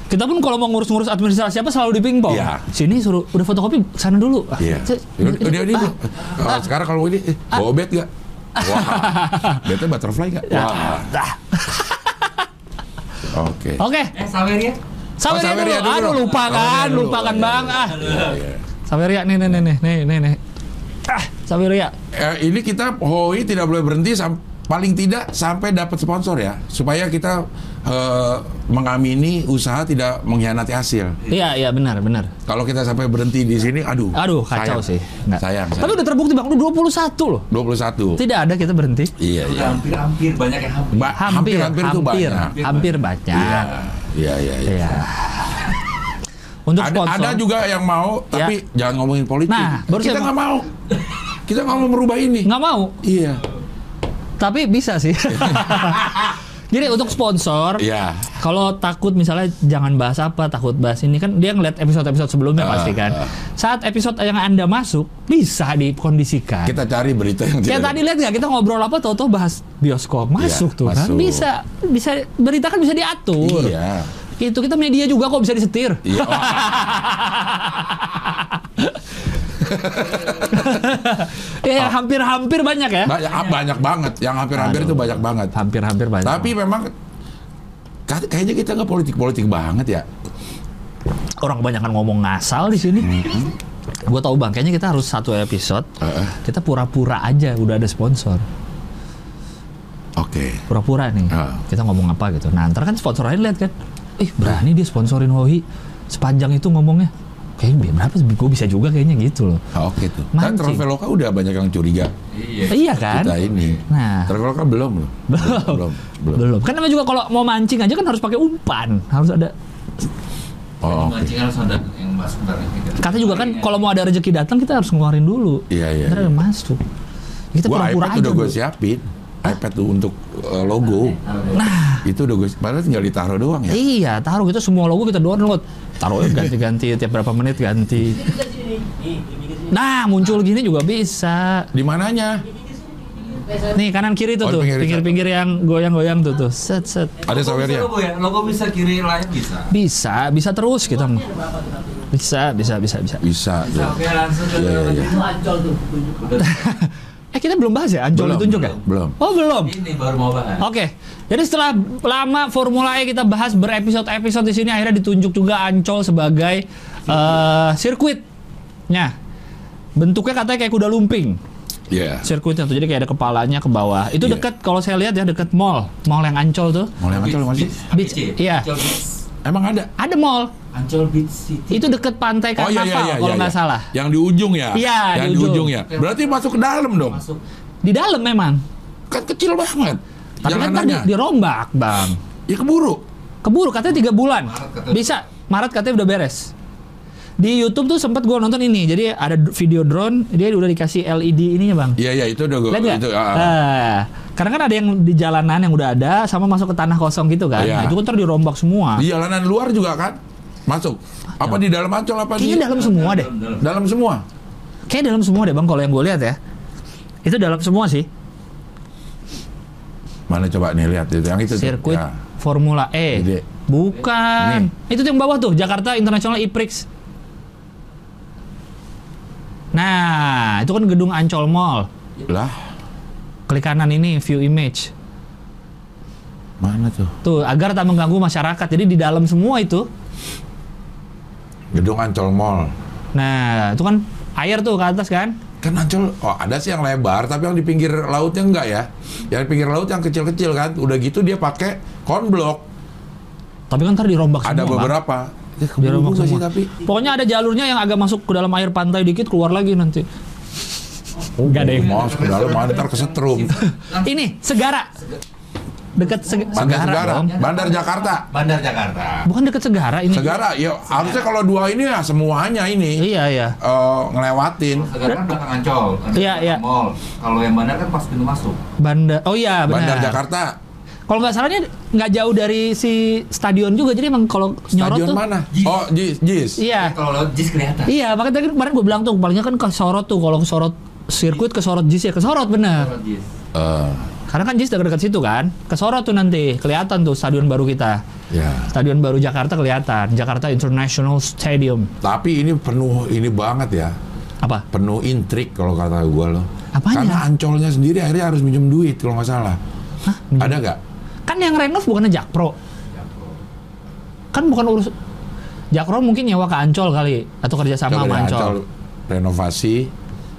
[SPEAKER 3] Kita pun kalau mau ngurus-ngurus administrasi apa selalu di pingpong.
[SPEAKER 2] Iya.
[SPEAKER 3] Sini suruh udah fotokopi sana dulu. Ah,
[SPEAKER 2] Iya.
[SPEAKER 3] cek.
[SPEAKER 2] Udah udah, udah.
[SPEAKER 3] Ah.
[SPEAKER 2] Kalau sekarang kalau ini eh, bawa bed nggak? Wah, bednya butterfly nggak? Wah,
[SPEAKER 3] Ya. Dah.
[SPEAKER 2] oke.
[SPEAKER 3] Oke,
[SPEAKER 4] Eh, Saweria?
[SPEAKER 3] sampai
[SPEAKER 2] Oh, Saweria
[SPEAKER 3] dulu.
[SPEAKER 2] dulu.
[SPEAKER 3] Aduh lupa kan,
[SPEAKER 2] Saweria dulu.
[SPEAKER 3] lupa kan
[SPEAKER 2] Iya,
[SPEAKER 3] Bang. Ah.
[SPEAKER 2] Iya, iya.
[SPEAKER 3] Sampai Ria nih nih nih nih nih nih. nih. Ah, sampai Ria.
[SPEAKER 2] Eh, ini kita Hoi tidak boleh berhenti sam- paling tidak sampai dapat sponsor ya supaya kita eh, mengamini usaha tidak mengkhianati hasil.
[SPEAKER 3] Iya, iya benar, benar.
[SPEAKER 2] Kalau kita sampai berhenti di sini aduh.
[SPEAKER 3] Aduh,
[SPEAKER 2] sayang.
[SPEAKER 3] kacau sih. Nggak.
[SPEAKER 2] Sayang.
[SPEAKER 3] Tapi
[SPEAKER 2] sayang.
[SPEAKER 3] udah terbukti Bang, udah 21 loh.
[SPEAKER 2] 21.
[SPEAKER 3] Tidak ada kita berhenti.
[SPEAKER 2] Iya,
[SPEAKER 4] Udah
[SPEAKER 2] iya.
[SPEAKER 4] hampir-hampir, banyak yang hampir.
[SPEAKER 2] Ba-
[SPEAKER 3] Hampir,
[SPEAKER 2] hampir-hampir itu
[SPEAKER 3] hampir,
[SPEAKER 2] banyak.
[SPEAKER 3] hampir banyak.
[SPEAKER 2] Iya, iya, iya.
[SPEAKER 3] Iya. Untuk
[SPEAKER 2] Ada,
[SPEAKER 3] sponsor. Ya.
[SPEAKER 2] ada juga yang mau tapi jangan ngomongin politik.
[SPEAKER 3] Nah, baru
[SPEAKER 2] kita
[SPEAKER 3] saya-
[SPEAKER 2] nggak mau. kita nggak mau merubah ini.
[SPEAKER 3] nggak mau.
[SPEAKER 2] Iya.
[SPEAKER 3] Tapi bisa sih. Jadi untuk sponsor,
[SPEAKER 2] Iya.
[SPEAKER 3] kalau takut misalnya jangan bahas apa, takut bahas ini kan dia ngeliat episode-episode sebelumnya
[SPEAKER 2] Ah,
[SPEAKER 3] pasti kan.
[SPEAKER 2] ah.
[SPEAKER 3] Saat episode yang anda masuk bisa dikondisikan.
[SPEAKER 2] Kita cari berita yang
[SPEAKER 3] Kayak
[SPEAKER 2] tidak-
[SPEAKER 3] tadi lihat nggak kita ngobrol apa, tau-tau bahas bioskop masuk
[SPEAKER 2] Iya,
[SPEAKER 3] tuh kan
[SPEAKER 2] masuk.
[SPEAKER 3] bisa bisa berita kan bisa diatur.
[SPEAKER 2] Iya.
[SPEAKER 3] Itu kita media juga kok bisa disetir.
[SPEAKER 2] Iya. Oh, Oh.
[SPEAKER 3] Ya yang hampir-hampir banyak ya.
[SPEAKER 2] Banyak, ah, banyak banget. Yang hampir-hampir
[SPEAKER 3] Aduh.
[SPEAKER 2] itu banyak banget.
[SPEAKER 3] Hampir-hampir banyak.
[SPEAKER 2] Tapi memang ka- kayaknya kita nggak politik-politik banget ya.
[SPEAKER 3] orang kebanyakan ngomong ngasal di sini.
[SPEAKER 2] Mm-hmm.
[SPEAKER 3] Gue tau bang, kayaknya kita harus satu episode.
[SPEAKER 2] Heeh.
[SPEAKER 3] Kita pura-pura aja udah ada sponsor.
[SPEAKER 2] Oke.
[SPEAKER 3] Pura-pura nih.
[SPEAKER 2] Heeh.
[SPEAKER 3] Kita ngomong apa gitu. Nah ntar kan sponsor lain lihat kan. Ih berani dia sponsorin Hohi. Sepanjang itu ngomongnya. Kayaknya berapa sih? Gue bisa juga kayaknya gitu loh.
[SPEAKER 2] Ah, Oke tuh. Kan
[SPEAKER 3] Mancing.
[SPEAKER 2] Traveloka udah banyak yang curiga
[SPEAKER 4] Iya.
[SPEAKER 3] Iya kan?
[SPEAKER 2] kita ini.
[SPEAKER 3] Nah.
[SPEAKER 2] Traveloka belum loh.
[SPEAKER 3] Belum.
[SPEAKER 2] Belum. Belum.
[SPEAKER 3] Belum. Kan namanya juga kalau mau mancing aja kan harus pakai umpan. Harus ada.
[SPEAKER 2] Oh, oke.
[SPEAKER 4] Mancing harus ada yang bahas bentar ya.
[SPEAKER 3] Katanya juga kan kalau mau ada rezeki datang kita harus ngeluarin dulu.
[SPEAKER 2] Iya, iya, iya.
[SPEAKER 3] Ntar masuk. Kita
[SPEAKER 2] Gua
[SPEAKER 3] pura-pura
[SPEAKER 2] iPad
[SPEAKER 3] aja.
[SPEAKER 2] udah gue
[SPEAKER 3] dulu.
[SPEAKER 2] siapin. iPad tuh untuk eh, logo. Nah, itu udah gue padahal tinggal ditaruh doang ya.
[SPEAKER 3] Iya, taruh kita semua logo kita download. Taruh eh, ganti-ganti tiap berapa menit ganti.
[SPEAKER 1] Gigi ke sini. Nih, gigi ke sini.
[SPEAKER 3] Nah, muncul gini juga bisa.
[SPEAKER 2] Di mananya?
[SPEAKER 1] Gigi ke sini. Gigi ke sini.
[SPEAKER 3] Nih kanan kiri tuh
[SPEAKER 2] Oh,
[SPEAKER 3] tuh,
[SPEAKER 2] pinggir-
[SPEAKER 3] pinggir-pinggir yang goyang-goyang tuh tuh. Set set.
[SPEAKER 2] Ada sawernya.
[SPEAKER 4] Logo ya? Logo bisa kiri layar bisa.
[SPEAKER 3] Bisa, bisa terus kita. Bisa, bisa, bisa, bisa.
[SPEAKER 2] Bisa.
[SPEAKER 4] Bisa,
[SPEAKER 2] tuh.
[SPEAKER 4] oke langsung ke
[SPEAKER 2] Iya, iya, iya.
[SPEAKER 1] Itu ancol tuh.
[SPEAKER 4] Udah,
[SPEAKER 3] Eh, kita belum bahas ya Ancol
[SPEAKER 2] Belum,
[SPEAKER 3] ditunjuk ya?
[SPEAKER 2] belum.
[SPEAKER 3] Oh, belum.
[SPEAKER 4] ini baru mau bahas.
[SPEAKER 3] Oke, jadi setelah lama Formula E kita bahas berepisode-episode di sini akhirnya ditunjuk juga Ancol sebagai eh, sirkuitnya. Bentuknya katanya kayak kuda lumping.
[SPEAKER 2] Iya.
[SPEAKER 3] sirkuitnya tuh jadi kayak ada kepalanya ke bawah itu
[SPEAKER 2] Iya.
[SPEAKER 3] dekat kalau saya lihat ya dekat mall mall yang ancol tuh
[SPEAKER 2] Mulai ngaco lu masih?
[SPEAKER 3] Beach, iya.
[SPEAKER 4] Ancol Beach.
[SPEAKER 2] Emang ada? Oh, iya,
[SPEAKER 3] ada mall
[SPEAKER 4] Ancol Beach City.
[SPEAKER 3] itu dekat pantai karnaval kan kalau nggak salah
[SPEAKER 2] Yang di ujung ya? Yang
[SPEAKER 3] Iya, di
[SPEAKER 2] di
[SPEAKER 3] ujung.
[SPEAKER 2] ujung ya. Berarti masuk ke dalam dong.
[SPEAKER 4] Masuk.
[SPEAKER 3] di dalam memang
[SPEAKER 2] Kan kecil banget.
[SPEAKER 3] tapi kan ntar
[SPEAKER 2] Jalanannya.
[SPEAKER 3] di- dirombak bang
[SPEAKER 2] Ya keburu.
[SPEAKER 3] Keburu katanya tiga bulan.
[SPEAKER 4] Maret katanya.
[SPEAKER 3] Bisa. Maret katanya udah beres. Di YouTube tuh sempat gua nonton ini. Jadi ada d- video drone, dia udah dikasih LED ininya, Bang.
[SPEAKER 2] Iya iya itu udah gue
[SPEAKER 3] Lihat nggak?
[SPEAKER 2] itu ah, ah.
[SPEAKER 3] Eh, karena kan ada yang di jalanan yang udah ada sama masuk ke tanah kosong gitu kan.
[SPEAKER 2] Iya.
[SPEAKER 3] Nah, itu kan ntar dirombak semua.
[SPEAKER 2] di jalanan luar juga kan masuk apa di dalam ancol apa di
[SPEAKER 3] Iya. Kayaknya dalam semua deh.
[SPEAKER 4] Dalam, dalam.
[SPEAKER 2] dalam semua
[SPEAKER 3] Kayaknya dalam semua deh, Bang, kalau yang gue lihat ya. Itu dalam semua sih.
[SPEAKER 2] mana coba nih lihat itu yang itu tuh.
[SPEAKER 3] Sirkuit
[SPEAKER 2] Ya.
[SPEAKER 3] Formula E.
[SPEAKER 2] Gede.
[SPEAKER 3] Bukan. Itu tuh yang bawah tuh, Jakarta International E-Prix. Nah, itu kan gedung Ancol Mall.
[SPEAKER 2] lah
[SPEAKER 3] Klik kanan ini view image.
[SPEAKER 2] mana tuh
[SPEAKER 3] Tuh, agar tak mengganggu masyarakat. Jadi di dalam semua itu.
[SPEAKER 2] gedung ancol mall
[SPEAKER 3] Nah, itu kan air tuh ke atas kan?
[SPEAKER 2] kan ancol oh ada sih yang lebar tapi yang di pinggir lautnya enggak ya yang di pinggir laut yang kecil-kecil kan udah gitu dia pakai konblok
[SPEAKER 3] Tapi kan ntar dirombak semua.
[SPEAKER 2] ada
[SPEAKER 3] Bang.
[SPEAKER 2] beberapa ya, keburu
[SPEAKER 3] Dirombak
[SPEAKER 2] juga sih
[SPEAKER 3] semua.
[SPEAKER 2] tapi
[SPEAKER 3] Pokoknya ada jalurnya yang agak masuk ke dalam air pantai dikit keluar lagi nanti. Nggak ada yang-
[SPEAKER 2] masuk ke dalam antar kesetrum
[SPEAKER 4] Oh.
[SPEAKER 3] Ini Segara. Dekat Seg-
[SPEAKER 2] Bandar
[SPEAKER 3] Segara.
[SPEAKER 2] Segara,
[SPEAKER 3] dong.
[SPEAKER 2] Bandar Jakarta.
[SPEAKER 4] Bandar Jakarta.
[SPEAKER 3] Bukan dekat Segara ini.
[SPEAKER 2] Segara, ya harusnya kalau dua ini ya semuanya ini
[SPEAKER 3] Iya, iya.
[SPEAKER 2] eh, ngelewatin
[SPEAKER 4] Sekarang kan belakang Ancol, ada
[SPEAKER 3] Iya,
[SPEAKER 4] belakang
[SPEAKER 3] iya.
[SPEAKER 4] mall. Kalau yang bandar kan pas pintu masuk.
[SPEAKER 3] Bandar. Oh iya, benar.
[SPEAKER 2] Bandar Jakarta.
[SPEAKER 3] Kalau nggak salahnya nggak jauh dari si stadion juga. Jadi emang kalau nyorot
[SPEAKER 2] Stadion
[SPEAKER 3] tuh.
[SPEAKER 2] mana? Oh, Jis, Jis.
[SPEAKER 3] Iya.
[SPEAKER 4] Eh, Kalau lewat JIS kelihatan.
[SPEAKER 3] Iya, makanya tadi kemarin gue bilang tuh palingnya kan kesorot tuh kalau kesorot sirkuit kesorot JIS ya kesorot bener.
[SPEAKER 4] Lewat JIS.
[SPEAKER 2] Eh,
[SPEAKER 3] Karena kan JIS dekat-dekat situ kan. Kesorot tuh nanti kelihatan tuh stadion baru kita.
[SPEAKER 2] ya.
[SPEAKER 3] Stadion baru Jakarta kelihatan. Jakarta International Stadium.
[SPEAKER 2] Tapi ini penuh ini banget ya.
[SPEAKER 3] Apa?
[SPEAKER 2] Penuh intrik kalau kata gua loh.
[SPEAKER 3] Apanya?
[SPEAKER 2] Karena Ancolnya sendiri akhirnya harus minjem duit kalau nggak salah.
[SPEAKER 3] Hah?
[SPEAKER 2] Ada nggak?
[SPEAKER 3] Kan yang renov bukannya Jakpro. Kan bukan urus Jakpro mungkin nyewa ke Ancol kali atau kerja
[SPEAKER 2] Coba
[SPEAKER 3] sama sama
[SPEAKER 2] deh,
[SPEAKER 3] Ancol.
[SPEAKER 2] renovasi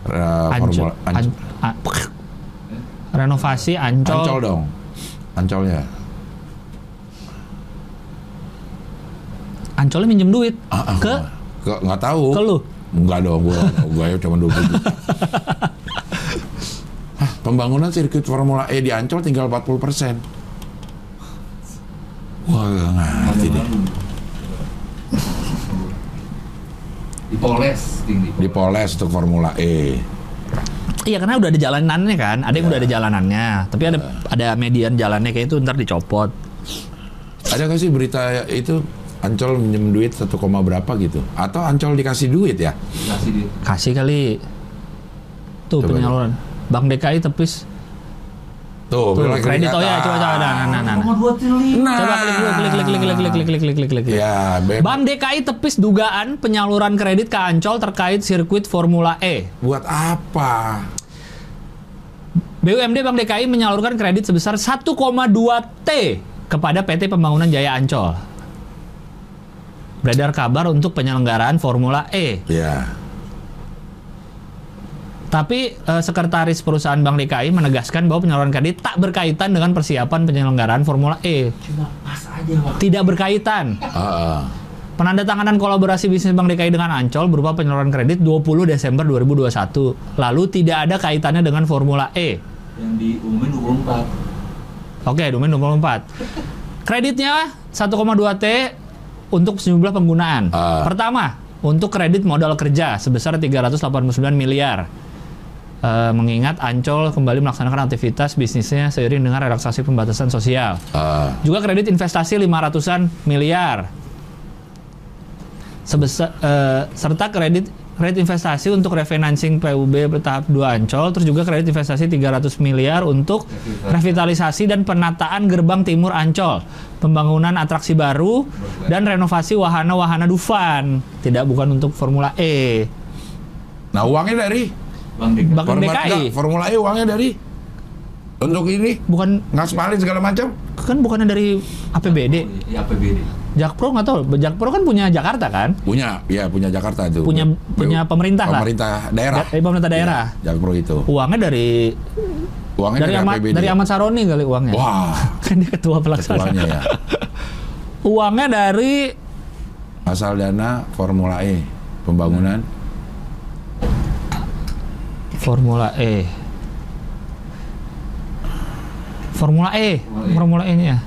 [SPEAKER 2] eh,
[SPEAKER 3] Ancol.
[SPEAKER 2] formula Ancol.
[SPEAKER 3] An- a- pek. Renovasi Ancol.
[SPEAKER 2] Ancol dong. Ancolnya.
[SPEAKER 3] Ancolnya minjem duit
[SPEAKER 2] Ah, ah,
[SPEAKER 3] ke
[SPEAKER 2] ke nggak tahu.
[SPEAKER 3] ke lu.
[SPEAKER 2] Enggak dong, gua gua ya cuma 20 juta. Hah, pembangunan sirkuit Formula E di Ancol tinggal 40 persen. Wah, gak ngerti deh.
[SPEAKER 4] Dipoles, ding, dipoles.
[SPEAKER 2] Dipoles untuk Formula E.
[SPEAKER 3] Iya karena udah ada jalanannya kan. Ada yang udah
[SPEAKER 2] Iya.
[SPEAKER 3] ada jalanannya. Tapi ada ada median jalannya kayak itu ntar dicopot.
[SPEAKER 2] Ada gak sih berita itu Ancol minjem duit 1, koma berapa gitu? Atau Ancol dikasih duit ya?
[SPEAKER 4] Dikasih di
[SPEAKER 3] Kasih kali. Tuh
[SPEAKER 2] Coba
[SPEAKER 3] penyaluran. Bank DKI tepis.
[SPEAKER 2] Tuh,
[SPEAKER 3] Tuh,
[SPEAKER 2] lagi
[SPEAKER 3] kredit oh ya
[SPEAKER 2] dikata.
[SPEAKER 3] coba coba nah nah nah. nah.
[SPEAKER 4] 2 triliun.
[SPEAKER 2] Nah.
[SPEAKER 3] Coba klik dulu, klik klik klik klik klik klik klik klik klik klik.
[SPEAKER 2] Ya, be-
[SPEAKER 3] Bank DKI tepis dugaan penyaluran kredit ke Ancol terkait sirkuit Formula E.
[SPEAKER 2] buat apa?
[SPEAKER 3] BUMD Bank DKI menyalurkan kredit sebesar 1,2 T kepada PT Pembangunan Jaya Ancol. Beredar kabar untuk penyelenggaraan Formula E.
[SPEAKER 2] Ya,
[SPEAKER 3] Tapi eh, sekretaris perusahaan Bank DKI menegaskan bahwa penyaluran kredit tak berkaitan dengan persiapan penyelenggaraan Formula E.
[SPEAKER 4] Cuma pas aja waktu.
[SPEAKER 3] Tidak berkaitan.
[SPEAKER 2] ah, ah.
[SPEAKER 3] Penandatanganan kolaborasi bisnis Bank DKI dengan Ancol berupa penyaluran kredit 20 Desember 2021. Lalu tidak ada kaitannya dengan Formula E.
[SPEAKER 4] Yang diumumin 24.
[SPEAKER 3] Oke, domain 24. Kreditnya 1,2T untuk sejumlah penggunaan.
[SPEAKER 2] Ah.
[SPEAKER 3] Pertama, untuk kredit modal kerja sebesar 389 miliar. Eh, mengingat Ancol kembali melaksanakan aktivitas bisnisnya seiring dengan relaksasi pembatasan sosial.
[SPEAKER 2] ah.
[SPEAKER 3] Juga kredit investasi 500-an miliar. Sebesar eh, serta kredit kredit investasi untuk refinancing PUB tahap 2 Ancol, terus juga kredit investasi 300 miliar untuk revitalisasi dan penataan gerbang timur Ancol, pembangunan atraksi baru dan renovasi wahana-wahana Dufan. Tidak bukan untuk Formula E.
[SPEAKER 2] Nah, uangnya dari
[SPEAKER 4] Bang
[SPEAKER 3] Bang-
[SPEAKER 4] Dika.
[SPEAKER 3] Bank
[SPEAKER 2] Formula-
[SPEAKER 3] DKI.
[SPEAKER 2] enggak, Formula E uangnya dari untuk ini
[SPEAKER 3] Bukan
[SPEAKER 2] ngaspalin segala macam.
[SPEAKER 3] kan bukannya dari APBD.
[SPEAKER 4] Ya APBD.
[SPEAKER 3] Jakpro nggak tahu, Jakpro kan punya Jakarta kan?
[SPEAKER 2] Punya, ya punya Jakarta itu.
[SPEAKER 3] Punya- punya pemerintah lah.
[SPEAKER 2] Pemerintah daerah.
[SPEAKER 3] Da- eh, pemerintah daerah.
[SPEAKER 2] Ya, Jakpro itu.
[SPEAKER 3] Uangnya dari
[SPEAKER 2] Uangnya
[SPEAKER 3] dari
[SPEAKER 2] dari,
[SPEAKER 3] Ahmad
[SPEAKER 2] APBD.
[SPEAKER 3] dari Ahmad Saroni kali uangnya.
[SPEAKER 2] ya? Wah,
[SPEAKER 3] Kan dia ketua pelaksana.
[SPEAKER 2] ketuanya ya.
[SPEAKER 3] Uangnya dari
[SPEAKER 2] Asal dana Formula E pembangunan.
[SPEAKER 3] Nah. Formula E. Formula E,
[SPEAKER 4] Formula E.
[SPEAKER 3] Formula E-nya. ya?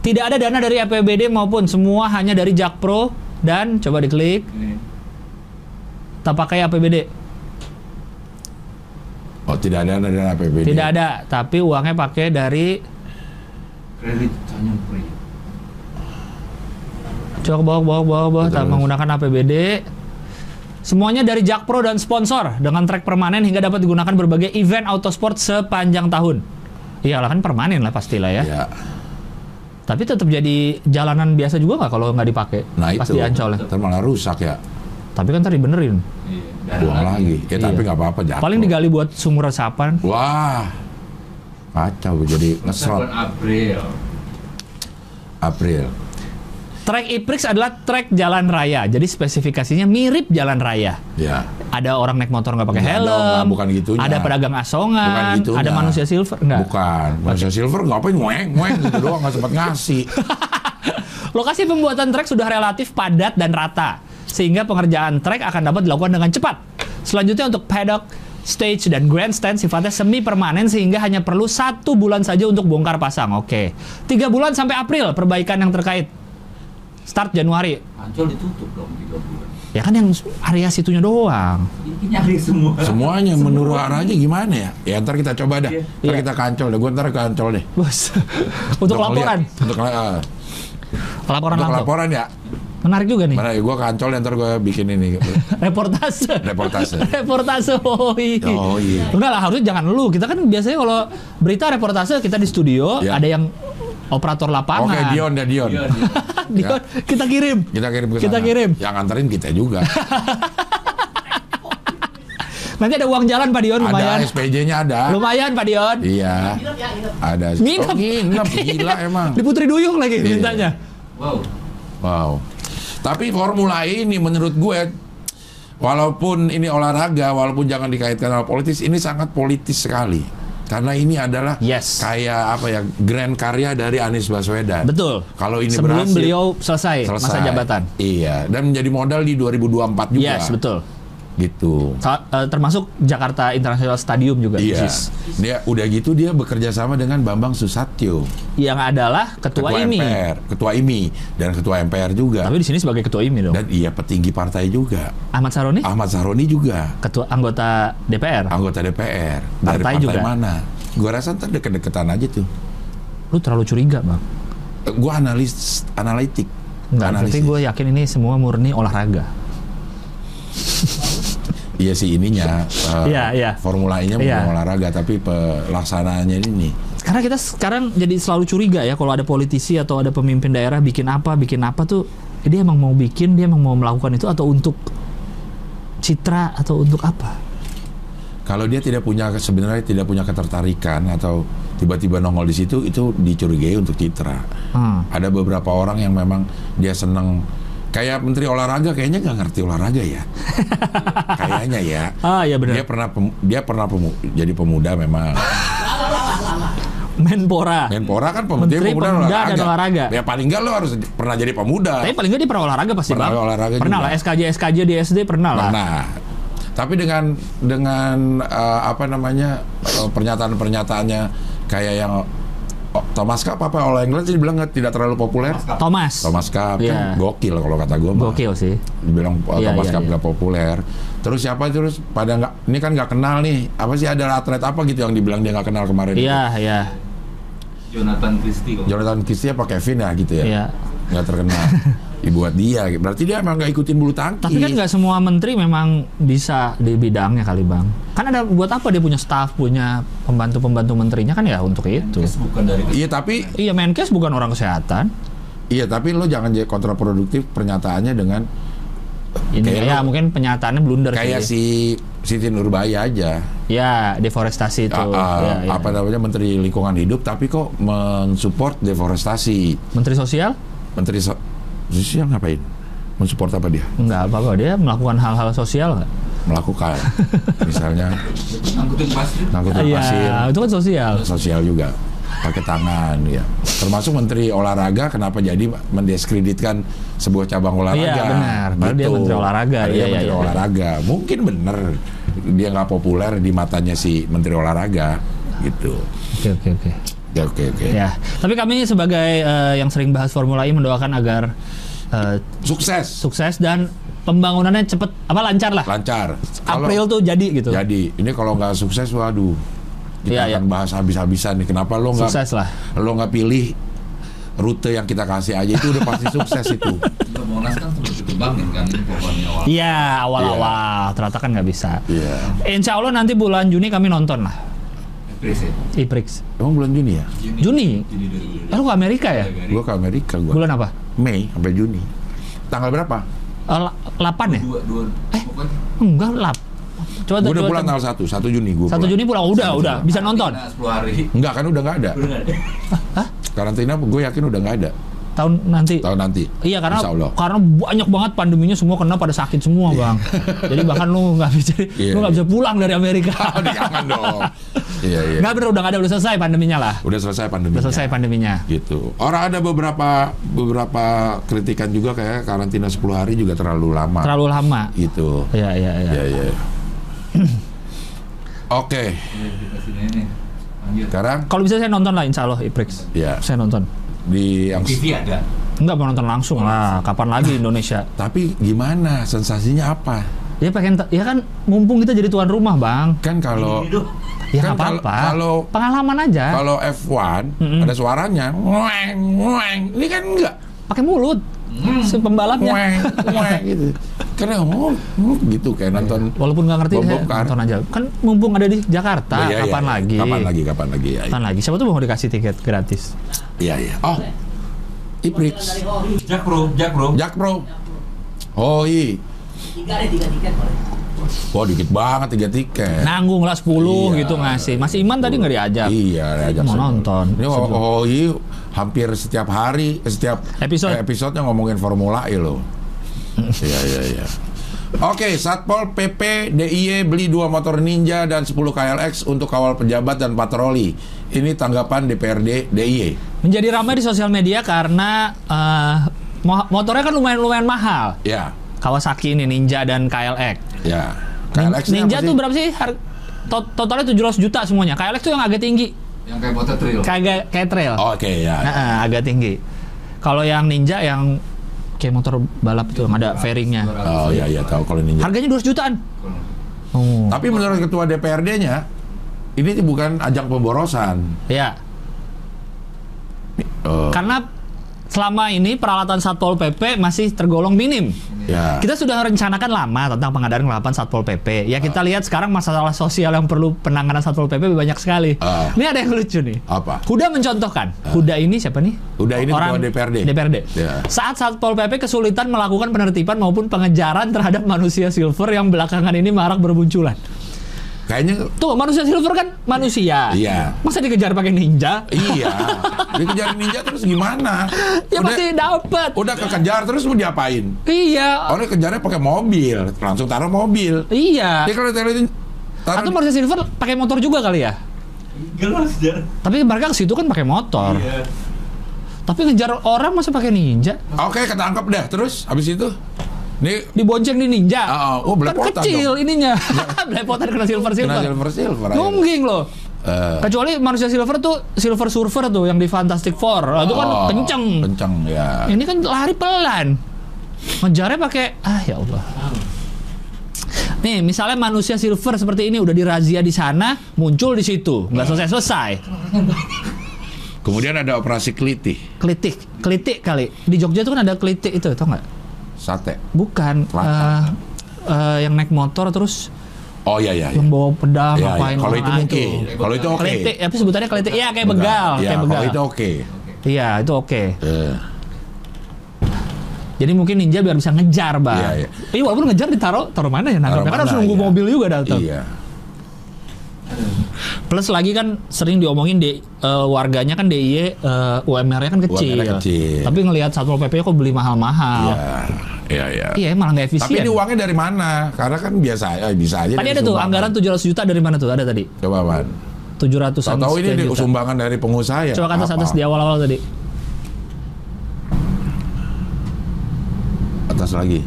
[SPEAKER 3] Tidak ada dana dari APBD maupun semua hanya dari Jakpro dan coba diklik
[SPEAKER 4] Ini.
[SPEAKER 3] tak pakai APBD.
[SPEAKER 2] Oh tidak ada dana APBD.
[SPEAKER 3] Tidak ada, tapi uangnya pakai dari
[SPEAKER 4] Kredit Tanjung Priok.
[SPEAKER 3] coba ke bawah ke bawah ke bawah, ke bawah tak
[SPEAKER 2] Terus.
[SPEAKER 3] menggunakan APBD. Semuanya dari Jakpro dan sponsor dengan track permanen hingga dapat digunakan berbagai event autosport sepanjang tahun. Iyalah kan permanen lah pastilah ya.
[SPEAKER 2] Ya.
[SPEAKER 3] Tapi tetap jadi jalanan biasa juga nggak kalau nggak dipakai?
[SPEAKER 2] Nah
[SPEAKER 3] Pas
[SPEAKER 2] itu.
[SPEAKER 3] di Ancol ya.
[SPEAKER 2] Ntar malah rusak ya.
[SPEAKER 3] Tapi kan tadi benerin.
[SPEAKER 4] Iya,
[SPEAKER 2] Buang lagi. Ya
[SPEAKER 3] Iya.
[SPEAKER 2] tapi nggak apa-apa. jatuh.
[SPEAKER 3] Paling digali buat sumur resapan.
[SPEAKER 2] Wah. Kacau jadi
[SPEAKER 4] Masa bulan
[SPEAKER 2] ngesot
[SPEAKER 4] April.
[SPEAKER 2] April.
[SPEAKER 3] Trek Iprix adalah trek jalan raya. Jadi spesifikasinya mirip jalan raya.
[SPEAKER 2] Ya.
[SPEAKER 3] Ada orang naik motor nggak pakai
[SPEAKER 2] Nggak
[SPEAKER 3] helm.
[SPEAKER 2] dong, nggak, bukan gitunya.
[SPEAKER 3] Ada pedagang
[SPEAKER 2] Bukan
[SPEAKER 3] asongan.
[SPEAKER 2] gitu.
[SPEAKER 3] ada
[SPEAKER 2] nggak.
[SPEAKER 3] manusia silver. Nggak.
[SPEAKER 2] Bukan. Manusia silver ngapain ngeng ngeng gitu doang nggak sempat ngasih.
[SPEAKER 3] Lokasi pembuatan trek sudah relatif padat dan rata, sehingga pengerjaan trek akan dapat dilakukan dengan cepat. Selanjutnya untuk paddock, stage dan grandstand sifatnya semi permanen sehingga hanya perlu satu bulan saja untuk bongkar pasang. Oke, tiga bulan sampai April perbaikan yang terkait. Start Januari.
[SPEAKER 4] Ancol ditutup dong 3 bulan.
[SPEAKER 3] Ya kan yang area situnya doang.
[SPEAKER 4] Ini nyari semua.
[SPEAKER 2] Semuanya menurut arahnya gimana ya? Ya ntar kita coba dah.
[SPEAKER 4] Iya.
[SPEAKER 2] Ntar
[SPEAKER 3] Iya.
[SPEAKER 2] kita kancol deh. Gue ntar kancol deh.
[SPEAKER 3] Bos. untuk laporan,
[SPEAKER 2] ngeliat. Untuk, la- eh,
[SPEAKER 3] laporan
[SPEAKER 2] untuk
[SPEAKER 3] langsung.
[SPEAKER 2] laporan ya.
[SPEAKER 3] Menarik juga nih.
[SPEAKER 2] Mana gue kancol ntar gue bikin ini.
[SPEAKER 3] Reportase.
[SPEAKER 2] Reportase.
[SPEAKER 3] reportase. Oh iya.
[SPEAKER 2] Oh, iya.
[SPEAKER 3] Enggak lah harusnya jangan lu. Kita kan biasanya kalau berita reportase kita di studio
[SPEAKER 2] Iya.
[SPEAKER 3] ada yang operator lapangan.
[SPEAKER 2] Oke Dion dah Dion.
[SPEAKER 4] Iya, dia.
[SPEAKER 3] Dion, kita kirim.
[SPEAKER 2] Kita kirim ke sana.
[SPEAKER 3] Kita kirim.
[SPEAKER 2] Yang anterin kita juga.
[SPEAKER 3] Nanti ada uang jalan Pak Dion lumayan.
[SPEAKER 2] ada SPJ-nya ada.
[SPEAKER 3] Lumayan Pak Dion.
[SPEAKER 2] Iya.
[SPEAKER 1] Nginep ya, nginep.
[SPEAKER 2] Ada.
[SPEAKER 3] Nginep.
[SPEAKER 2] Oh, nginep. Gila emang.
[SPEAKER 3] Di Putri Duyung lagi
[SPEAKER 2] Iya.
[SPEAKER 3] mintanya.
[SPEAKER 4] Wow.
[SPEAKER 2] Wow. Tapi formula E ini menurut gue walaupun ini olahraga, walaupun jangan dikaitkan sama politis, ini sangat politis sekali. Karena ini adalah
[SPEAKER 3] Yes.
[SPEAKER 2] kayak apa ya grand karya dari Anies Baswedan.
[SPEAKER 3] Betul.
[SPEAKER 2] Kalau ini
[SPEAKER 3] Sebelum
[SPEAKER 2] berhasil,
[SPEAKER 3] beliau selesai, masa
[SPEAKER 2] selesai.
[SPEAKER 3] jabatan.
[SPEAKER 2] Iya, dan menjadi modal di 2024 juga.
[SPEAKER 3] Yes, betul.
[SPEAKER 2] Gitu.
[SPEAKER 3] Sa- eh, termasuk Jakarta International Stadium juga.
[SPEAKER 2] Iya.
[SPEAKER 3] Jis.
[SPEAKER 2] Dia udah gitu dia bekerja sama dengan Bambang Susatyo,
[SPEAKER 3] Yang adalah ketua, IMI.
[SPEAKER 2] MPR, ketua IMI dan ketua MPR juga.
[SPEAKER 3] Tapi di sini sebagai ketua IMI dong.
[SPEAKER 2] dan iya petinggi partai juga.
[SPEAKER 3] Ahmad Saroni
[SPEAKER 2] Ahmad Sahroni juga
[SPEAKER 3] ketua anggota DPR.
[SPEAKER 2] anggota DPR dari partai
[SPEAKER 3] Partai juga.
[SPEAKER 2] mana? Gua rasa ntar deket-deketan aja tuh.
[SPEAKER 3] Lu terlalu curiga, Bang.
[SPEAKER 2] Eh, Gua analis analitik.
[SPEAKER 3] Enggak, tapi
[SPEAKER 2] Analisis.
[SPEAKER 3] gue yakin ini semua murni olahraga.
[SPEAKER 2] Iya sih ininya. eh,
[SPEAKER 3] Iya, iya.
[SPEAKER 2] Formulanya bukan
[SPEAKER 3] Iya.
[SPEAKER 2] olahraga tapi pelaksanaannya ini.
[SPEAKER 3] Karena kita sekarang jadi selalu curiga ya kalau ada politisi atau ada pemimpin daerah bikin apa, bikin apa tuh eh, dia emang mau bikin, dia emang mau melakukan itu atau untuk citra atau untuk apa?
[SPEAKER 2] Kalau dia tidak punya sebenarnya tidak punya ketertarikan atau tiba-tiba nongol di situ itu dicurigai untuk citra.
[SPEAKER 3] Hmm.
[SPEAKER 2] Ada beberapa orang yang memang dia seneng kayak menteri olahraga kayaknya nggak ngerti olahraga ya. kayaknya ya.
[SPEAKER 3] Ah, ya
[SPEAKER 2] Dia
[SPEAKER 3] benar.
[SPEAKER 2] pernah pem- dia pernah pemu- jadi pemuda memang.
[SPEAKER 3] Menpora.
[SPEAKER 2] Menpora kan pemuda,
[SPEAKER 3] Menteri
[SPEAKER 2] pemuda
[SPEAKER 3] Pemuda dan olahraga.
[SPEAKER 2] Ya paling enggak lo harus pernah jadi pemuda.
[SPEAKER 3] Tapi paling nggak dia pernah olahraga pasti
[SPEAKER 2] Pernah
[SPEAKER 3] Bang.
[SPEAKER 2] olahraga
[SPEAKER 3] Pernah
[SPEAKER 2] juga.
[SPEAKER 3] lah SKJ SKJ di SD pernah, lah.
[SPEAKER 2] Pernah. Tapi dengan dengan eh, apa namanya eh, pernyataan-pernyataannya kayak yang oh, Thomas Cup apa oleh England sih dibilang nggak tidak terlalu populer.
[SPEAKER 3] Thomas.
[SPEAKER 2] Thomas Cup kan
[SPEAKER 3] Iya.
[SPEAKER 2] gokil kalau kata gue.
[SPEAKER 3] Gokil sih.
[SPEAKER 2] Dibilang eh,
[SPEAKER 3] Iya,
[SPEAKER 2] Thomas
[SPEAKER 3] iya,
[SPEAKER 2] Cup
[SPEAKER 3] iya.
[SPEAKER 2] nggak populer. Terus siapa terus pada nggak ini kan nggak kenal nih apa sih ada atlet apa gitu yang dibilang dia nggak kenal kemarin.
[SPEAKER 3] Iya, iya.
[SPEAKER 4] Jonathan Christie kok.
[SPEAKER 2] Jonathan Christie apa Kevin ya gitu ya.
[SPEAKER 3] Iya.
[SPEAKER 2] nggak terkenal dibuat dia gitu. berarti dia emang nggak ikutin bulu tangkis
[SPEAKER 3] Tapi kan nggak semua menteri memang bisa di bidangnya kali bang. Kan ada buat apa dia punya staff, punya pembantu-pembantu menterinya kan ya untuk itu.
[SPEAKER 4] Kes bukan dari
[SPEAKER 2] iya tapi
[SPEAKER 3] Iya Menkes bukan orang kesehatan.
[SPEAKER 2] iya tapi lo jangan jadi kontraproduktif pernyataannya dengan
[SPEAKER 3] Ini
[SPEAKER 2] Kayak
[SPEAKER 3] ya
[SPEAKER 2] lu-
[SPEAKER 3] mungkin penyataannya blunder
[SPEAKER 2] kayak
[SPEAKER 3] sih.
[SPEAKER 2] si Siti Nurbaya aja
[SPEAKER 3] Ya deforestasi itu.
[SPEAKER 2] Ah, ah,
[SPEAKER 3] Ya, ya.
[SPEAKER 2] apa namanya Menteri Lingkungan Hidup tapi kok mensupport deforestasi
[SPEAKER 3] Menteri Sosial?
[SPEAKER 2] Menteri so Sosial ngapain mensupport apa dia
[SPEAKER 3] Enggak apa-apa dia melakukan hal-hal sosial nggak?
[SPEAKER 2] melakukan misalnya
[SPEAKER 4] angkutin pasir.
[SPEAKER 2] ngangkutin pasir
[SPEAKER 3] Iya itu kan sosial.
[SPEAKER 2] sosial juga pakai tangan ya termasuk menteri olahraga kenapa jadi mendiskreditkan sebuah cabang olahraga Gitu.
[SPEAKER 3] Iya, benar. Padahal dia menteri olahraga,
[SPEAKER 2] Padahal
[SPEAKER 3] iya,
[SPEAKER 2] dia
[SPEAKER 3] iya,
[SPEAKER 2] menteri
[SPEAKER 3] iya.
[SPEAKER 2] olahraga mungkin bener dia nggak populer di matanya si menteri olahraga gitu
[SPEAKER 3] Oke oke oke.
[SPEAKER 2] Ya oke oke.
[SPEAKER 3] Ya, tapi kami sebagai eh, yang sering bahas Formula E mendoakan agar eh,
[SPEAKER 2] Sukses,
[SPEAKER 3] sukses dan pembangunannya cepet apa lancar lah.
[SPEAKER 2] lancar. Kalau-
[SPEAKER 3] April tuh jadi gitu.
[SPEAKER 2] Jadi ini kalau nggak sukses, waduh, kita
[SPEAKER 3] Iya,
[SPEAKER 2] akan
[SPEAKER 3] iya.
[SPEAKER 2] bahas habis-habisan nih. Kenapa lo nggak
[SPEAKER 3] Sukses lah.
[SPEAKER 2] lo nggak pilih rute yang kita kasih aja itu udah pasti sukses itu.
[SPEAKER 4] Untuk Monas kan sempat dikembangin kan pokoknya awal.
[SPEAKER 3] Iya, awal-awal ternyata kan nggak bisa.
[SPEAKER 2] Iya.
[SPEAKER 3] Insya Allah nanti bulan Juni kami nonton lah
[SPEAKER 4] April sih.
[SPEAKER 3] Iprix.
[SPEAKER 2] Emang bulan Juni ya?
[SPEAKER 3] Juni?
[SPEAKER 4] Juni 2022.
[SPEAKER 3] Lalu ke Amerika ya?
[SPEAKER 2] Gua ke Amerika gua.
[SPEAKER 3] Bulan apa?
[SPEAKER 2] Mei sampai Juni. Tanggal berapa?
[SPEAKER 3] Eh, la- 8 ya?
[SPEAKER 4] Dua, dua,
[SPEAKER 2] Eh.
[SPEAKER 4] pokoknya.
[SPEAKER 3] Enggak, lap. Coba
[SPEAKER 2] Gua udah
[SPEAKER 3] coba-
[SPEAKER 2] pulang tanggal 1, 1 Juni gua.
[SPEAKER 3] 1
[SPEAKER 2] pulang.
[SPEAKER 3] Juni pulang udah,
[SPEAKER 2] Satu
[SPEAKER 3] udah bisa nonton.
[SPEAKER 4] Karantina 10 hari.
[SPEAKER 2] Enggak kan udah nggak ada.
[SPEAKER 4] Udah nggak ada.
[SPEAKER 2] Karantina gue yakin udah nggak ada
[SPEAKER 3] Tahun nanti.
[SPEAKER 2] tahun nanti.
[SPEAKER 3] Iya karena
[SPEAKER 2] Insya Allah.
[SPEAKER 3] karena banyak banget pandeminya semua kena pada sakit semua bang. Jadi bahkan lu nggak bisa
[SPEAKER 2] Iya,
[SPEAKER 3] lu nggak
[SPEAKER 2] iya.
[SPEAKER 3] bisa pulang dari Amerika.
[SPEAKER 2] Aduh, Oh, jangan dong. Iya iya.
[SPEAKER 3] Nggak bener udah nggak ada udah selesai pandeminya lah.
[SPEAKER 2] Udah selesai pandemi.
[SPEAKER 3] Udah selesai pandeminya.
[SPEAKER 2] gitu. Orang ada beberapa beberapa kritikan juga kayak karantina 10 hari juga terlalu lama.
[SPEAKER 3] Terlalu lama.
[SPEAKER 2] gitu.
[SPEAKER 3] Iya iya iya.
[SPEAKER 2] Ya ya. Oke,
[SPEAKER 4] Udah dikasih nenek. Lanjut.
[SPEAKER 2] sekarang
[SPEAKER 3] Kalau bisa saya nonton lah Insya Allah Iprix.
[SPEAKER 2] ya
[SPEAKER 3] Saya nonton.
[SPEAKER 2] di yang
[SPEAKER 4] TV ada.
[SPEAKER 3] Nggak mau nonton langsung
[SPEAKER 2] Nah.
[SPEAKER 3] lah. Kapan lagi Indonesia?
[SPEAKER 2] tapi gimana sensasinya apa?
[SPEAKER 3] Ya pengen ta- ya kan mumpung kita jadi tuan rumah bang.
[SPEAKER 2] Kan kalau
[SPEAKER 4] Hidup.
[SPEAKER 3] Ya
[SPEAKER 2] Kan
[SPEAKER 3] nggak
[SPEAKER 2] kalau-
[SPEAKER 3] apa-apa.
[SPEAKER 2] kalau-
[SPEAKER 3] Pengalaman aja.
[SPEAKER 2] kalau F1
[SPEAKER 3] Mm-mm.
[SPEAKER 2] ada suaranya, ngueng, ngueng. Ini kan enggak
[SPEAKER 3] Pakai mulut.
[SPEAKER 2] Hmm.
[SPEAKER 3] Si pembalapnya.
[SPEAKER 2] ngueng, ngueng gitu. Karena ngomong ngomong gitu kayak nonton
[SPEAKER 3] Iya. Walaupun nggak ngerti saya
[SPEAKER 2] Bob-bob kan.
[SPEAKER 3] nonton aja. Kan mumpung ada di Jakarta.
[SPEAKER 2] Ya, ya,
[SPEAKER 3] kapan
[SPEAKER 2] ya.
[SPEAKER 3] lagi? Kan.
[SPEAKER 2] Kapan lagi? Kapan lagi? Ya,
[SPEAKER 3] Kapan lagi? Siapa tuh mau dikasih tiket gratis?
[SPEAKER 2] Iya, iya. Oh. Iprix.
[SPEAKER 1] dari Hoi.
[SPEAKER 4] Jak bro, jak bro.
[SPEAKER 2] Jak Pro. Oh, i.
[SPEAKER 1] Tiga deh, tiga tiket boleh.
[SPEAKER 2] Wah, dikit banget tiga tiket.
[SPEAKER 3] Nanggung lah 10
[SPEAKER 2] Eh. Iya.
[SPEAKER 3] gitu ngasih. Mas Iman tadi nggak diajak.
[SPEAKER 2] Iya, diajak
[SPEAKER 3] Mau
[SPEAKER 2] semua.
[SPEAKER 3] nonton.
[SPEAKER 2] Ini oh,
[SPEAKER 3] Sebelum-
[SPEAKER 2] oh, i hampir setiap hari, eh, setiap
[SPEAKER 3] Episode.
[SPEAKER 2] eh, episodenya ngomongin Formula E loh. Iya, iya, iya. Oke, Satpol PP DIY E beli dua motor Ninja dan 10 KLX untuk kawal pejabat dan patroli. Ini tanggapan DPRD DIY.
[SPEAKER 3] Menjadi ramai di sosial media karena eh, mo- motornya kan lumayan-lumayan mahal.
[SPEAKER 2] Ya,
[SPEAKER 3] Kawasaki ini Ninja dan KLX.
[SPEAKER 2] ya.
[SPEAKER 3] Nin-
[SPEAKER 2] KLX ini
[SPEAKER 3] Ninja
[SPEAKER 2] apa sih?
[SPEAKER 3] tuh berapa sih? Har- to- totalnya 700 juta semuanya. KLX tuh yang agak tinggi.
[SPEAKER 4] Yang kayak motor trail.
[SPEAKER 3] Kayak kayak trail.
[SPEAKER 2] Oke, ya.
[SPEAKER 3] Nah, eh, agak tinggi. Kalau yang Ninja yang kayak motor balap itu yang ada fairingnya.
[SPEAKER 2] Oh, iya, iya, tahu kalau Ninja.
[SPEAKER 3] Harganya 200 jutaan. Oh.
[SPEAKER 2] Tapi menurut ketua DPRD-nya ini tuh bukan ajang pemborosan.
[SPEAKER 3] Ya.
[SPEAKER 2] Oh.
[SPEAKER 3] Karena selama ini peralatan Satpol PP masih tergolong minim.
[SPEAKER 2] Ya.
[SPEAKER 3] Kita sudah rencanakan lama tentang pengadaan peralatan Satpol PP. Ya
[SPEAKER 2] Ah.
[SPEAKER 3] kita lihat sekarang masalah sosial yang perlu penanganan Satpol PP banyak sekali.
[SPEAKER 2] Ah.
[SPEAKER 3] Ini ada yang lucu nih.
[SPEAKER 2] Apa?
[SPEAKER 3] Huda mencontohkan. Huda ini siapa nih?
[SPEAKER 2] Huda ini ketua DPRD.
[SPEAKER 3] DPRD.
[SPEAKER 2] Ya.
[SPEAKER 3] Saat Satpol PP kesulitan melakukan penertiban maupun pengejaran terhadap manusia silver yang belakangan ini marak bermunculan.
[SPEAKER 2] Kayaknya
[SPEAKER 3] Tuh, manusia silver kan manusia.
[SPEAKER 2] Iya.
[SPEAKER 3] Masa dikejar pakai ninja?
[SPEAKER 2] iya. Dikejar ninja terus gimana?
[SPEAKER 3] Ya
[SPEAKER 2] udah,
[SPEAKER 3] pasti dapat.
[SPEAKER 2] udah Oh. kekejar terus mau diapain?
[SPEAKER 3] Iya.
[SPEAKER 2] Orang kejarnya pakai mobil, langsung taruh mobil. Dia
[SPEAKER 3] Iya.
[SPEAKER 2] kan- kalau taruh taruh
[SPEAKER 3] Atau manusia silver pakai motor juga kali ya?
[SPEAKER 4] Gelas jar.
[SPEAKER 3] Tapi mereka ke situ kan pakai motor.
[SPEAKER 4] Iya.
[SPEAKER 3] Tapi ngejar orang masa pakai ninja?
[SPEAKER 2] Oke, ketangkep dah. Terus habis itu ini
[SPEAKER 3] Dibonceng di
[SPEAKER 2] Ah,
[SPEAKER 3] ninja.
[SPEAKER 2] ah. Oh, belepotan Iya.
[SPEAKER 3] kan kecil ininya. belepotan kena silver silver.
[SPEAKER 2] kena silver silver. akhirnya.
[SPEAKER 3] Mungkin loh.
[SPEAKER 2] Eh,
[SPEAKER 3] Kecuali manusia silver tuh silver surfer tuh yang di Fantastic Four. Nah, itu kan
[SPEAKER 2] oh,
[SPEAKER 3] kenceng.
[SPEAKER 2] Kenceng ya.
[SPEAKER 3] Ini kan lari pelan. Ngejarnya pakai ah ya Allah. Nih, misalnya manusia silver seperti ini udah dirazia di sana, muncul di situ, nggak selesai-selesai.
[SPEAKER 2] Kemudian ada operasi kelitih,
[SPEAKER 3] Kelitik, kelitik kali. Di Jogja tuh kan ada kelitik itu, tau nggak?
[SPEAKER 2] sate.
[SPEAKER 3] Bukan. eh,
[SPEAKER 2] Kelakar.
[SPEAKER 3] eh, yang naik motor terus
[SPEAKER 2] Oh iya iya. iya.
[SPEAKER 3] yang bawa pedang
[SPEAKER 2] Ya,
[SPEAKER 3] ngapain
[SPEAKER 2] ya, Kalau itu
[SPEAKER 3] orang
[SPEAKER 2] mungkin,
[SPEAKER 3] aja.
[SPEAKER 2] kalau itu oke.
[SPEAKER 3] Kelitik, apa sebutannya kelitik? Iya, kayak begal,
[SPEAKER 2] Ya,
[SPEAKER 3] kayak begal.
[SPEAKER 2] kalau itu oke.
[SPEAKER 3] Iya, itu oke.
[SPEAKER 2] Eh,
[SPEAKER 3] Jadi mungkin ninja biar bisa ngejar, Bang.
[SPEAKER 2] Iya,
[SPEAKER 3] Iya,
[SPEAKER 2] iya.
[SPEAKER 3] walaupun ngejar ditaruh taruh mana ya
[SPEAKER 2] taruh
[SPEAKER 3] nangkapnya? Kan
[SPEAKER 2] mana,
[SPEAKER 3] harus nunggu
[SPEAKER 2] ya.
[SPEAKER 3] mobil juga datang.
[SPEAKER 2] Iya.
[SPEAKER 3] Plus lagi kan sering diomongin di eh, warganya kan DIY eh, UMR-nya kan kecil.
[SPEAKER 2] UMR-nya kecil.
[SPEAKER 3] Tapi ngelihat Satpol PP kok beli mahal-mahal.
[SPEAKER 2] Iya, iya.
[SPEAKER 3] Iya, malah nggak efisien.
[SPEAKER 2] Tapi ini uangnya dari mana? Karena kan biasa eh, bisa aja.
[SPEAKER 3] Tadi
[SPEAKER 2] dari
[SPEAKER 3] ada tuh
[SPEAKER 2] sumbangan.
[SPEAKER 3] anggaran 700 juta dari mana tuh? Ada tadi.
[SPEAKER 2] Coba Wan.
[SPEAKER 3] 700 an
[SPEAKER 2] Tahu ini
[SPEAKER 3] sekian
[SPEAKER 2] dari
[SPEAKER 3] juta.
[SPEAKER 2] sumbangan dari pengusaha ya?
[SPEAKER 3] Coba ke atas
[SPEAKER 2] Apa?
[SPEAKER 3] atas di awal-awal tadi.
[SPEAKER 2] Atas lagi.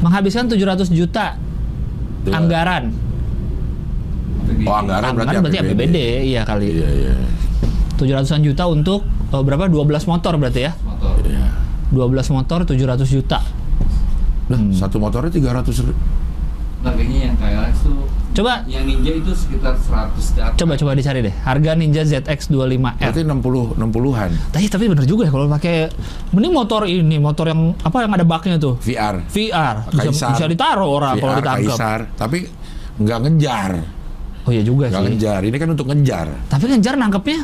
[SPEAKER 3] Menghabiskan 700 juta
[SPEAKER 2] Coba.
[SPEAKER 3] anggaran.
[SPEAKER 2] Oh anggaran Iya. berarti,
[SPEAKER 3] Anggaran berarti APBD, iya kali.
[SPEAKER 2] Iya iya.
[SPEAKER 3] 700-an juta untuk eh, berapa? 12 motor berarti ya.
[SPEAKER 4] motor
[SPEAKER 2] Iya.
[SPEAKER 3] 12 motor 700 juta.
[SPEAKER 2] Lah, satu motornya 300 ribu.
[SPEAKER 4] Ntar kayaknya yang KLX tuh
[SPEAKER 3] Coba
[SPEAKER 4] yang Ninja itu sekitar 100 ke atas.
[SPEAKER 3] coba coba dicari deh. Harga Ninja ZX25R. Ya.
[SPEAKER 2] Berarti 60 60-an
[SPEAKER 3] Tapi tapi bener juga ya kalau pakai mending motor ini, motor yang apa yang ada baknya tuh.
[SPEAKER 2] VR.
[SPEAKER 3] VR bisa,
[SPEAKER 2] Kaisar.
[SPEAKER 3] bisa ditaruh orang kalau
[SPEAKER 2] VR
[SPEAKER 3] ditangkap.
[SPEAKER 2] Kaisar, tapi nggak ngejar.
[SPEAKER 3] Oh iya juga
[SPEAKER 2] Nggak
[SPEAKER 3] sih.
[SPEAKER 2] ngejar. Ini kan untuk ngejar.
[SPEAKER 3] Tapi ngejar nangkepnya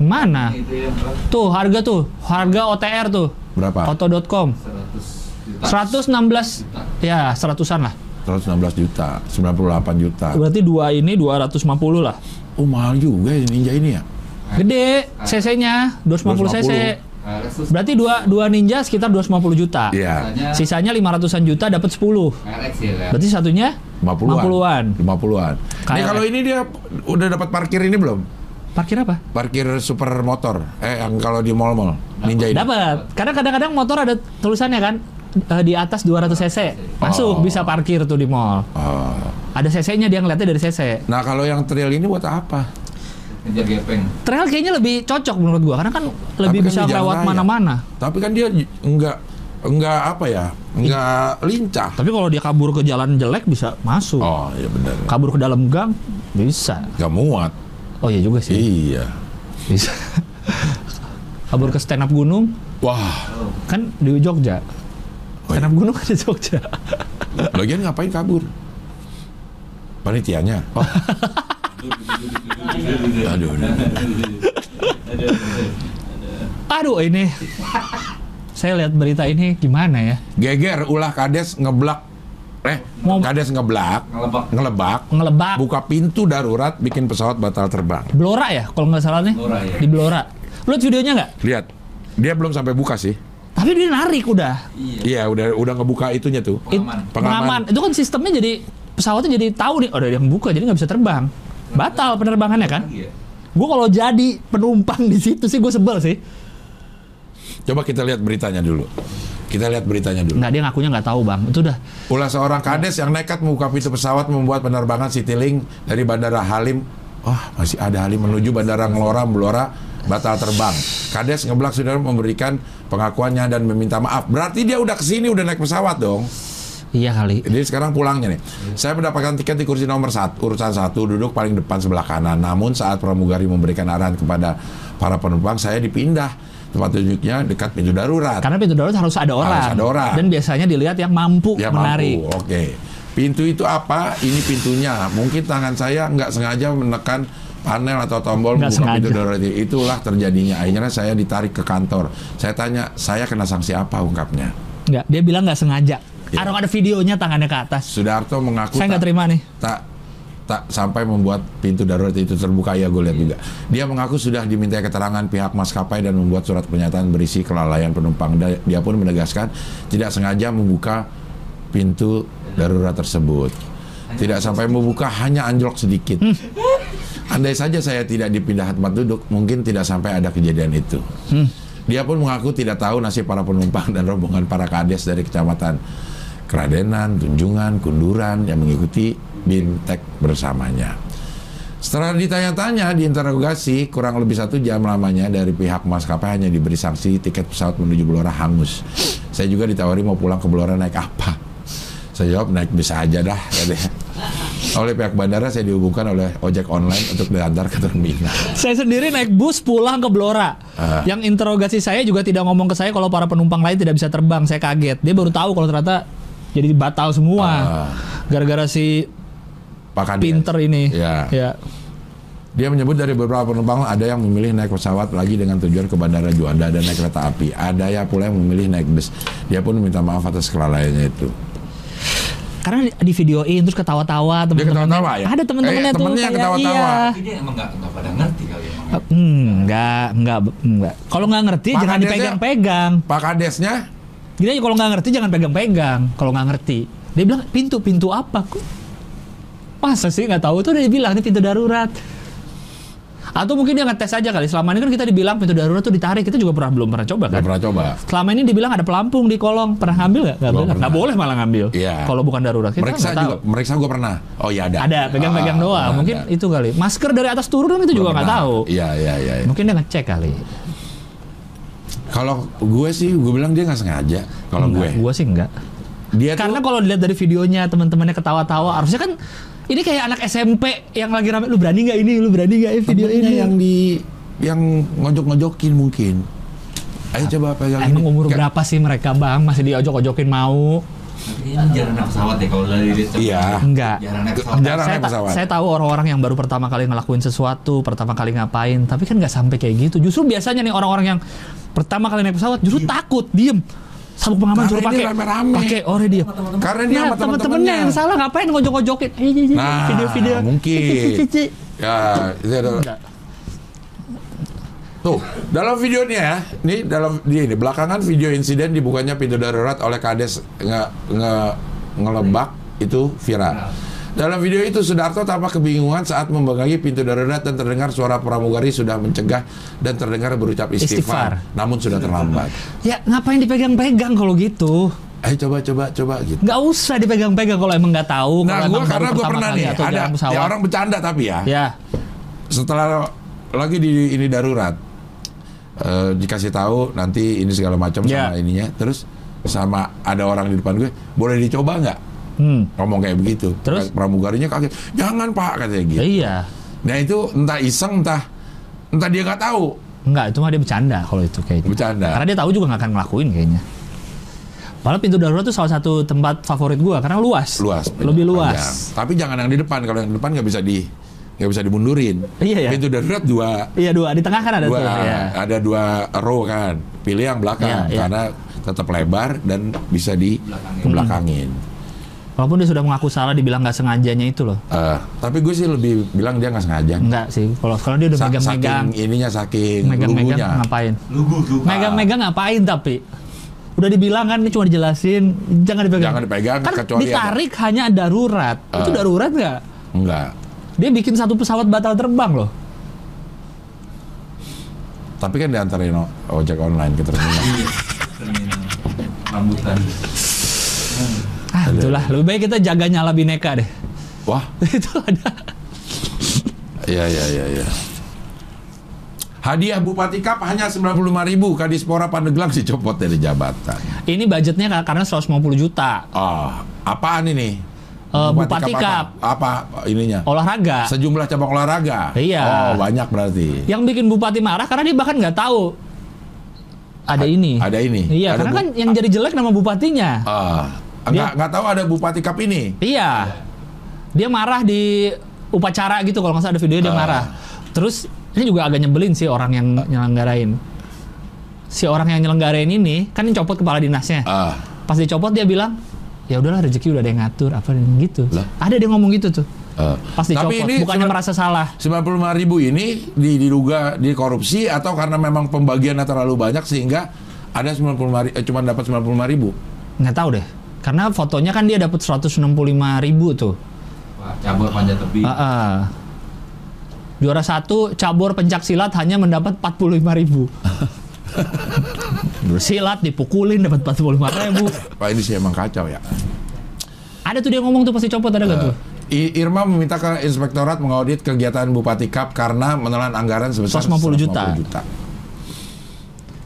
[SPEAKER 3] mana?
[SPEAKER 4] itu yang berapa?
[SPEAKER 3] Tuh harga tuh, harga OTR tuh,
[SPEAKER 2] Berapa?
[SPEAKER 3] auto.com.
[SPEAKER 4] 100 juta.
[SPEAKER 3] 116
[SPEAKER 4] Juta.
[SPEAKER 3] ya, seratusan lah.
[SPEAKER 2] 116 juta, 98 juta.
[SPEAKER 3] Berarti dua ini 250 lah.
[SPEAKER 2] Oh, mahal juga ya Ninja ini ya.
[SPEAKER 3] Gede CC-nya 250 cc.
[SPEAKER 2] 250.
[SPEAKER 4] KLX tuh
[SPEAKER 3] Berarti dua dua Ninja sekitar 250 juta.
[SPEAKER 2] Iya.
[SPEAKER 3] Sisanya
[SPEAKER 4] sisanya
[SPEAKER 3] 500-an juta dapat 10.
[SPEAKER 4] KLX ya kan.
[SPEAKER 3] Berarti satunya
[SPEAKER 2] 50-an.
[SPEAKER 3] 50-an.
[SPEAKER 2] 50-an. Ini
[SPEAKER 3] Kayak-
[SPEAKER 2] kalau ini dia udah dapat parkir ini belum?
[SPEAKER 3] Parkir apa?
[SPEAKER 2] Parkir super motor. Eh, yang kalau di mall-mall. Ninja ini.
[SPEAKER 3] Dapat. Karena kadang-kadang motor ada tulisannya kan eh, di atas 200 cc.
[SPEAKER 2] Oh.
[SPEAKER 3] Masuk bisa parkir tuh di mall.
[SPEAKER 2] Oh.
[SPEAKER 3] Ada cc-nya dia ngeliatnya dari cc.
[SPEAKER 2] Nah, kalau yang trail ini buat apa?
[SPEAKER 4] Ngejar gepeng.
[SPEAKER 3] Trail kayaknya lebih cocok menurut gua karena kan lebih
[SPEAKER 2] kan
[SPEAKER 3] bisa
[SPEAKER 2] di jalan
[SPEAKER 3] lewat
[SPEAKER 2] raya.
[SPEAKER 3] mana-mana.
[SPEAKER 2] Tapi kan dia j- nggak nggak apa ya? Nggak lincah.
[SPEAKER 3] Tapi kalau dia kabur ke jalan jelek bisa masuk.
[SPEAKER 2] Oh, iya benar.
[SPEAKER 3] Kabur ke dalam gang bisa.
[SPEAKER 2] Nggak muat.
[SPEAKER 3] Oh iya juga sih.
[SPEAKER 2] Iya.
[SPEAKER 3] Bisa. kabur ke stand up gunung
[SPEAKER 2] Wah,
[SPEAKER 3] kan di Jogja.
[SPEAKER 2] Oh,
[SPEAKER 3] Stand up gunung kan di Jogja.
[SPEAKER 2] lagian ngapain kabur? Panitianya. Oh, aduh. aduh.
[SPEAKER 3] Aduh ini. Saya lihat berita ini gimana ya?
[SPEAKER 2] Geger ulah kades ngeblak. Eh,
[SPEAKER 3] Mau-
[SPEAKER 2] kades ngeblak,
[SPEAKER 4] Ngelebak.
[SPEAKER 2] ngelebak,
[SPEAKER 3] Ngelebak.
[SPEAKER 2] buka pintu darurat bikin pesawat batal terbang.
[SPEAKER 3] Blora ya kalau nggak salah nih.
[SPEAKER 4] Blora, ya.
[SPEAKER 3] Di Blora. Lu lihat videonya nggak?
[SPEAKER 2] Lihat. Dia belum sampai buka sih.
[SPEAKER 3] Tapi dia narik udah.
[SPEAKER 4] Iya.
[SPEAKER 2] Iya, udah udah ngebuka itunya tuh.
[SPEAKER 3] It-
[SPEAKER 4] Pengaman.
[SPEAKER 2] Pengaman.
[SPEAKER 3] Itu kan sistemnya jadi pesawatnya jadi tahu nih, oh, ada yang buka jadi nggak bisa terbang. Batal penerbangannya kan?
[SPEAKER 4] Iya.
[SPEAKER 3] Gue kalau jadi penumpang di situ sih gue sebel sih.
[SPEAKER 2] Coba kita lihat beritanya dulu. Kita lihat beritanya dulu.
[SPEAKER 3] Nggak dia ngakunya nggak tahu bang. Itu udah
[SPEAKER 2] Ulah seorang kades yang nekat membuka pintu pesawat membuat penerbangan Citylink dari Bandara Halim Wah, masih ada Halim menuju Bandara Ngelora Blora batal terbang. Kades ngeblak saudara memberikan pengakuannya dan meminta maaf. Berarti dia udah kesini udah naik pesawat dong.
[SPEAKER 3] iya kali.
[SPEAKER 2] Jadi sekarang pulangnya nih.
[SPEAKER 3] Iya.
[SPEAKER 2] Saya mendapatkan tiket di kursi nomor satu, urusan satu, duduk paling depan sebelah kanan. Namun saat pramugari memberikan arahan kepada para penumpang, saya dipindah tempat tunjuknya dekat pintu darurat.
[SPEAKER 3] Karena pintu darurat harus ada orang.
[SPEAKER 2] ada orang.
[SPEAKER 3] Dan biasanya dilihat yang mampu
[SPEAKER 2] Ya
[SPEAKER 3] menarik.
[SPEAKER 2] mampu. Oke. Pintu itu apa? Ini pintunya. Mungkin tangan saya nggak sengaja menekan panel atau tombol
[SPEAKER 3] Nggak
[SPEAKER 2] membuka pintu
[SPEAKER 3] sengaja.
[SPEAKER 2] darurat. itu. Itulah terjadinya. Akhirnya saya ditarik ke kantor. Saya tanya, saya kena sanksi apa? Ungkapnya.
[SPEAKER 3] Nggak, dia bilang nggak sengaja.
[SPEAKER 2] Iya.
[SPEAKER 3] Ada ada videonya tangannya ke atas.
[SPEAKER 2] Sudarto mengaku
[SPEAKER 3] Saya
[SPEAKER 2] tak-
[SPEAKER 3] nggak terima nih.
[SPEAKER 2] tak tak sampai membuat pintu darurat itu terbuka ya gue lihat juga. Dia mengaku sudah diminta keterangan pihak maskapai dan membuat surat pernyataan berisi kelalaian penumpang. Da- Dia pun menegaskan tidak sengaja membuka pintu darurat tersebut. Tidak sampai membuka hanya anjlok sedikit. Andai saja saya tidak dipindah tempat duduk, mungkin tidak sampai ada kejadian itu. Dia pun mengaku tidak tahu nasib para penumpang dan rombongan para kades dari kecamatan Keradenan, Tunjungan, Kunduran yang mengikuti bintek bersamanya. Setelah ditanya-tanya diinterogasi kurang lebih satu jam lamanya dari pihak maskapai hanya diberi sanksi tiket pesawat menuju Blora hangus. Saya juga ditawari mau pulang ke Blora naik apa? Saya jawab naik bisa aja dah katanya. Oleh pihak bandara saya dihubungkan oleh ojek online untuk diantar ke terminal.
[SPEAKER 3] Saya sendiri naik bus pulang ke Blora.
[SPEAKER 2] Ah.
[SPEAKER 3] Yang interogasi saya juga tidak ngomong ke saya kalau para penumpang lain tidak bisa terbang. Saya kaget. Dia baru tahu kalau ternyata jadi batal semua.
[SPEAKER 2] Ah.
[SPEAKER 3] Gara-gara si
[SPEAKER 2] Pak Kades.
[SPEAKER 3] pinter ini.
[SPEAKER 2] Ya.
[SPEAKER 3] Ya.
[SPEAKER 2] Dia menyebut dari beberapa penumpang ada yang memilih naik pesawat lagi dengan tujuan ke Bandara Juanda dan naik kereta api. Ada yang pula yang memilih naik bus. Dia pun minta maaf atas kelalaiannya itu.
[SPEAKER 3] Karena di- di videoin terus ketawa-tawa
[SPEAKER 2] Dia
[SPEAKER 3] teman-teman.
[SPEAKER 2] ketawa-tawa ya?
[SPEAKER 3] Ada teman-temannya
[SPEAKER 2] Eh,
[SPEAKER 3] tuh
[SPEAKER 2] temennya
[SPEAKER 3] kayak
[SPEAKER 2] ketawa-tawa.
[SPEAKER 3] iya.
[SPEAKER 4] Tapi dia emang nggak nggak pada ngerti kali emang. ya.
[SPEAKER 3] Eh, Hmm, enggak, enggak, enggak. Kalau nggak ngerti
[SPEAKER 2] Makan
[SPEAKER 3] jangan
[SPEAKER 2] aja.
[SPEAKER 3] dipegang-pegang.
[SPEAKER 2] Pak Kadesnya
[SPEAKER 3] Gini aja kalau nggak ngerti jangan pegang-pegang. Kalau nggak ngerti, dia bilang pintu pintu apa kok? Masa sih nggak tahu tuh dia bilang ini pintu darurat. Atau mungkin dia ngetes aja kali. Selama ini kan kita dibilang pintu darurat tuh ditarik. Kita juga pernah belum pernah coba
[SPEAKER 2] Udah
[SPEAKER 3] kan?
[SPEAKER 2] pernah coba?
[SPEAKER 3] Selama ini dibilang ada pelampung di kolong. Pernah ngambil nggak? Nggak
[SPEAKER 2] Belum
[SPEAKER 3] boleh. Nggak
[SPEAKER 2] pernah.
[SPEAKER 3] boleh malah ngambil.
[SPEAKER 2] Iya.
[SPEAKER 3] Kalau bukan darurat. Kita
[SPEAKER 2] Meriksa
[SPEAKER 3] nggak tahu.
[SPEAKER 2] juga, meriksa gue pernah. Oh iya ada.
[SPEAKER 3] Ada, pegang-pegang
[SPEAKER 2] Ah,
[SPEAKER 3] doang.
[SPEAKER 2] ada.
[SPEAKER 3] Mungkin itu kali. Masker dari atas turun kan itu
[SPEAKER 2] Belum
[SPEAKER 3] juga nggak
[SPEAKER 2] pernah.
[SPEAKER 3] tahu.
[SPEAKER 2] Iya, iya, iya. iya.
[SPEAKER 3] Mungkin dia ngecek kali.
[SPEAKER 2] Kalau gue sih, gue bilang dia nggak sengaja. Kalau gue,
[SPEAKER 3] Gue sih enggak.
[SPEAKER 2] dia
[SPEAKER 3] Karena
[SPEAKER 2] Ya, tuh,
[SPEAKER 3] kalau dilihat dari videonya teman-temannya ketawa-tawa, harusnya kan ini kayak anak SMP yang lagi rame, lu berani nggak ini, lu berani nggak ini video
[SPEAKER 2] temennya
[SPEAKER 3] ini?
[SPEAKER 2] yang di yang ngojok-ngojokin mungkin. Ayo coba pegang ini.
[SPEAKER 3] Emang umur
[SPEAKER 2] Kayak-
[SPEAKER 3] berapa sih mereka bang? Masih diojok-ojokin mau?
[SPEAKER 4] Ini jarang naik pesawat ya kalau dari dia cepet.
[SPEAKER 2] Iya.
[SPEAKER 3] Enggak.
[SPEAKER 4] Jarang naik pesawat.
[SPEAKER 2] Jarang
[SPEAKER 3] saya,
[SPEAKER 2] naik
[SPEAKER 3] ta-
[SPEAKER 2] pesawat.
[SPEAKER 3] saya tahu orang-orang yang baru pertama kali ngelakuin sesuatu, pertama kali ngapain, tapi kan nggak sampai kayak gitu. Justru biasanya nih orang-orang yang pertama kali naik pesawat justru takut, diem. Sabuk pengaman
[SPEAKER 2] Iya. Karena
[SPEAKER 3] suruh
[SPEAKER 2] ini
[SPEAKER 3] pakai.
[SPEAKER 2] rame-rame.
[SPEAKER 3] Pakai ore dia.
[SPEAKER 2] Karena dia sama
[SPEAKER 3] Nah, temen-temennya yang salah ngapain ngojok-ngojokin. Eh, iya, iya,
[SPEAKER 2] Nah,
[SPEAKER 3] video-video.
[SPEAKER 2] mungkin.
[SPEAKER 3] Ci, ci, ci, ci.
[SPEAKER 2] Ya, itu ada.
[SPEAKER 3] Enggak.
[SPEAKER 2] Tuh, dalam videonya, ya, ini dalam dia ini belakangan video insiden dibukanya pintu darurat oleh Kades nge, nge- ngelebak itu viral. Dalam video itu Sudarto tampak kebingungan saat memegangi pintu darurat dan terdengar suara pramugari sudah mencegah dan terdengar berucap istighfar,
[SPEAKER 3] Istighfar.
[SPEAKER 2] namun sudah terlambat.
[SPEAKER 3] Ya ngapain dipegang-pegang kalau gitu?
[SPEAKER 2] Ayo coba coba coba gitu.
[SPEAKER 3] Nggak usah dipegang-pegang kalau emang nggak
[SPEAKER 2] Nah,
[SPEAKER 3] tahu. kalau
[SPEAKER 2] gua
[SPEAKER 3] emang baru
[SPEAKER 2] karena gue
[SPEAKER 3] pertama
[SPEAKER 2] pernah
[SPEAKER 3] kali
[SPEAKER 2] nih
[SPEAKER 3] atau
[SPEAKER 2] ada
[SPEAKER 3] jarang pesawat.
[SPEAKER 2] ya orang bercanda tapi ya.
[SPEAKER 3] Ya.
[SPEAKER 2] setelah lagi di ini darurat eh, dikasih tahu nanti ini segala macam
[SPEAKER 3] Ya.
[SPEAKER 2] sama ininya terus sama ada orang di depan gue boleh dicoba nggak
[SPEAKER 3] Hmm.
[SPEAKER 2] ngomong kayak begitu
[SPEAKER 3] Terus?
[SPEAKER 2] pramugarinya kaget jangan pak katanya gitu
[SPEAKER 3] Iya.
[SPEAKER 2] nah itu entah iseng entah entah dia nggak tahu
[SPEAKER 3] Enggak, itu mah dia bercanda kalau itu kayaknya.
[SPEAKER 2] Bercanda.
[SPEAKER 3] Karena dia tahu juga nggak akan ngelakuin kayaknya. Malah pintu darurat tuh salah satu tempat favorit gua karena luas.
[SPEAKER 2] luas
[SPEAKER 3] Lebih
[SPEAKER 2] Panjang.
[SPEAKER 3] luas.
[SPEAKER 2] tapi jangan yang di depan kalau yang di depan nggak bisa di nggak bisa dimundurin
[SPEAKER 3] Iya, ya.
[SPEAKER 2] pintu darurat dua
[SPEAKER 3] Iya dua, di tengah kan ada
[SPEAKER 2] dua
[SPEAKER 3] tuh. Ya.
[SPEAKER 2] ada dua row kan pilih yang belakang
[SPEAKER 3] Iya, iya.
[SPEAKER 2] karena tetap lebar dan bisa di
[SPEAKER 4] Belakangin.
[SPEAKER 2] belakangin
[SPEAKER 3] Walaupun dia sudah mengaku salah dibilang nggak sengajanya itu loh.
[SPEAKER 2] Eh, tapi gue sih lebih bilang dia nggak sengaja
[SPEAKER 3] Enggak sih. Kalau kalau dia udah
[SPEAKER 2] Sa-
[SPEAKER 3] megang-megang,
[SPEAKER 2] saking ininya saking
[SPEAKER 3] megang-megang
[SPEAKER 2] lugunya
[SPEAKER 3] ngapain?
[SPEAKER 4] Lugu, lugu.
[SPEAKER 3] Megang-megang ngapain tapi? Udah dibilang kan ini cuma dijelasin, jangan dipegang.
[SPEAKER 2] Jangan dipegang,
[SPEAKER 3] Kan
[SPEAKER 2] kecuali
[SPEAKER 3] ditarik hanya darurat. Itu
[SPEAKER 2] Eh.
[SPEAKER 3] darurat nggak?
[SPEAKER 2] enggak
[SPEAKER 3] Dia bikin satu pesawat batal terbang loh.
[SPEAKER 2] tapi kan diantarin o- ojek online ke terminal
[SPEAKER 4] Iya. Terminal. Rambutan.
[SPEAKER 3] Ah, itulah. Lebih baik kita jaga nyala bineka deh.
[SPEAKER 2] wah
[SPEAKER 3] itu ada.
[SPEAKER 2] iya iya iya iya Hadiah Bupati Cup hanya 95.000 ribu. Kadispora Pandeglang dicopot dari jabatan.
[SPEAKER 3] Ini budgetnya kar- karena 150 juta.
[SPEAKER 2] Ah, apaan ini?
[SPEAKER 3] Eh, Bupati
[SPEAKER 2] apa?
[SPEAKER 3] Cup.
[SPEAKER 2] Apa, ininya?
[SPEAKER 3] Olahraga.
[SPEAKER 2] Sejumlah cabang olahraga.
[SPEAKER 3] Ah. Iya.
[SPEAKER 2] Oh, banyak berarti.
[SPEAKER 3] yang bikin bupati marah karena dia bahkan nggak tahu ada
[SPEAKER 2] A-
[SPEAKER 3] ini.
[SPEAKER 2] ada ini.
[SPEAKER 3] Iya,
[SPEAKER 2] Ada
[SPEAKER 3] karena
[SPEAKER 2] bu-
[SPEAKER 3] kan yang jadi jelek nama bupatinya.
[SPEAKER 2] Ah, nggak nggak tahu ada Bupati Cup ini.
[SPEAKER 3] Iya. Dia marah di upacara gitu kalau nggak salah ada videonya dia
[SPEAKER 2] Ah.
[SPEAKER 3] marah. Terus ini juga agak nyebelin sih orang yang nyelenggarain. Si orang yang nyelenggarain ini kan yang copot kepala dinasnya.
[SPEAKER 2] Ah,
[SPEAKER 3] Pas dicopot dia bilang, "Ya udahlah rezeki udah ada yang ngatur." Apa gitu.
[SPEAKER 2] Lah.
[SPEAKER 3] Ada dia ngomong gitu tuh.
[SPEAKER 2] ah.
[SPEAKER 3] Pas dicopot, bukannya merasa salah.
[SPEAKER 2] 95 ribu ini di- diduga dikorupsi atau karena memang pembagiannya terlalu banyak sehingga ada 95 ribu, eh, cuma dapat 95 ribu.
[SPEAKER 3] Nggak tahu deh. Karena fotonya kan dia dapat 165 ribu tuh.
[SPEAKER 4] Wah, cabur panjat tebing.
[SPEAKER 3] Heeh. Iya. Juara satu cabur pencak silat hanya mendapat 45 ribu. Silat dipukulin dapat 45 ribu.
[SPEAKER 2] Pak ini sih emang kacau ya.
[SPEAKER 3] Ada tuh dia ngomong tuh pasti copot ada nggak tuh?
[SPEAKER 2] I- Irma meminta ke Inspektorat mengaudit kegiatan Bupati Cup karena menelan anggaran sebesar
[SPEAKER 3] 150 juta.
[SPEAKER 2] 150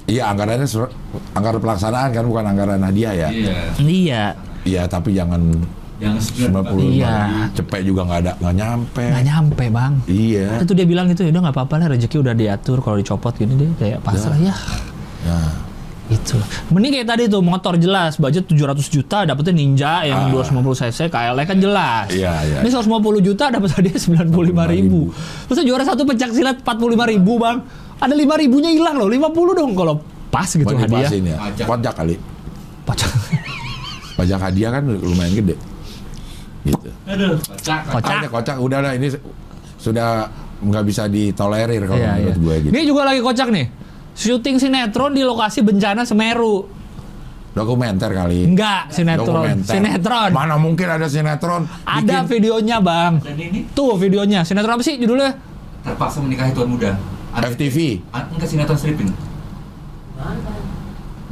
[SPEAKER 2] Iya anggarannya sur- anggaran pelaksanaan kan bukan anggaran hadiah
[SPEAKER 3] ah.
[SPEAKER 2] ya.
[SPEAKER 4] Iya.
[SPEAKER 3] Iya,
[SPEAKER 2] Iya tapi jangan
[SPEAKER 4] Yang sebenarnya
[SPEAKER 2] 95
[SPEAKER 3] Iya.
[SPEAKER 2] cepet juga nggak ada nggak nyampe.
[SPEAKER 3] nggak nyampe bang.
[SPEAKER 2] Iya.
[SPEAKER 3] Itu dia bilang gitu, udah nggak apa-apa lah rezeki udah diatur kalau dicopot gini dia kayak pasrah ya.
[SPEAKER 2] Nah,
[SPEAKER 3] Itu. Gitu. Mending kayak tadi tuh motor jelas budget 700 juta dapetnya Ninja
[SPEAKER 2] Ah.
[SPEAKER 3] yang 250 cc KLE kan jelas.
[SPEAKER 2] Iya, iya.
[SPEAKER 3] Ini 150 juta dapat hadiah 95 ribu. Terus juara satu pencak silat 45 ribu bang. Ada 5 ribunya hilang loh, 50 dong kalau pas gitu
[SPEAKER 2] mau
[SPEAKER 3] hadiah.
[SPEAKER 2] dipasin ya.
[SPEAKER 4] Pajak.
[SPEAKER 2] Pajak kali.
[SPEAKER 3] Pajak,
[SPEAKER 2] Pajak hadiah kan lumayan gede. Gitu.
[SPEAKER 4] Aduh, kocak.
[SPEAKER 3] Kocak.
[SPEAKER 2] Ah, udah kocak udah lah ini sudah nggak bisa ditolerir kalau
[SPEAKER 3] Iya, iya.
[SPEAKER 2] menurut gue gitu.
[SPEAKER 3] Ini juga lagi kocak nih. Syuting sinetron di lokasi bencana Semeru.
[SPEAKER 2] Dokumenter kali.
[SPEAKER 3] Enggak, sinetron.
[SPEAKER 2] Dokumenter.
[SPEAKER 3] Sinetron.
[SPEAKER 2] Mana mungkin ada sinetron?
[SPEAKER 3] Ada
[SPEAKER 2] bikin-
[SPEAKER 3] videonya, Bang.
[SPEAKER 4] Dan ini
[SPEAKER 3] Tuh videonya. Sinetron apa sih judulnya?
[SPEAKER 4] terpaksa menikahi tuan muda.
[SPEAKER 2] FTV.
[SPEAKER 4] An- Enggak sinetron stripping.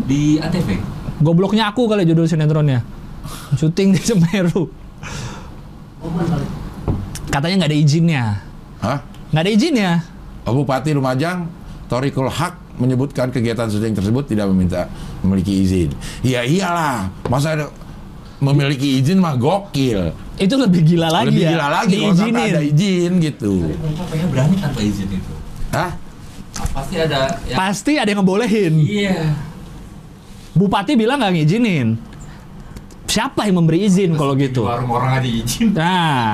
[SPEAKER 4] Di ANTV.
[SPEAKER 3] Gobloknya aku kali judul sinetronnya. Syuting di Semeru. Katanya nggak ada izinnya.
[SPEAKER 2] Hah?
[SPEAKER 3] Nggak ada izinnya.
[SPEAKER 2] Bupati Lumajang Torikul Haq menyebutkan kegiatan syuting tersebut tidak meminta memiliki izin. Ya iyalah, masa ada memiliki izin mah gokil.
[SPEAKER 3] Itu lebih gila lagi
[SPEAKER 2] Lebih
[SPEAKER 3] ya.
[SPEAKER 2] gila lagi kalau
[SPEAKER 3] Diizinin.
[SPEAKER 2] kata ada izin gitu.
[SPEAKER 4] Tapi mereka pengen berani tanpa izin itu.
[SPEAKER 2] Hah?
[SPEAKER 4] Pasti ada yang...
[SPEAKER 3] Pasti ada yang ngebolehin.
[SPEAKER 4] Iya.
[SPEAKER 3] Bupati bilang nggak ngizinin. Siapa yang memberi izin kalau gitu?
[SPEAKER 4] Di warung orang ada
[SPEAKER 2] Ya.
[SPEAKER 4] izin.
[SPEAKER 3] Nah,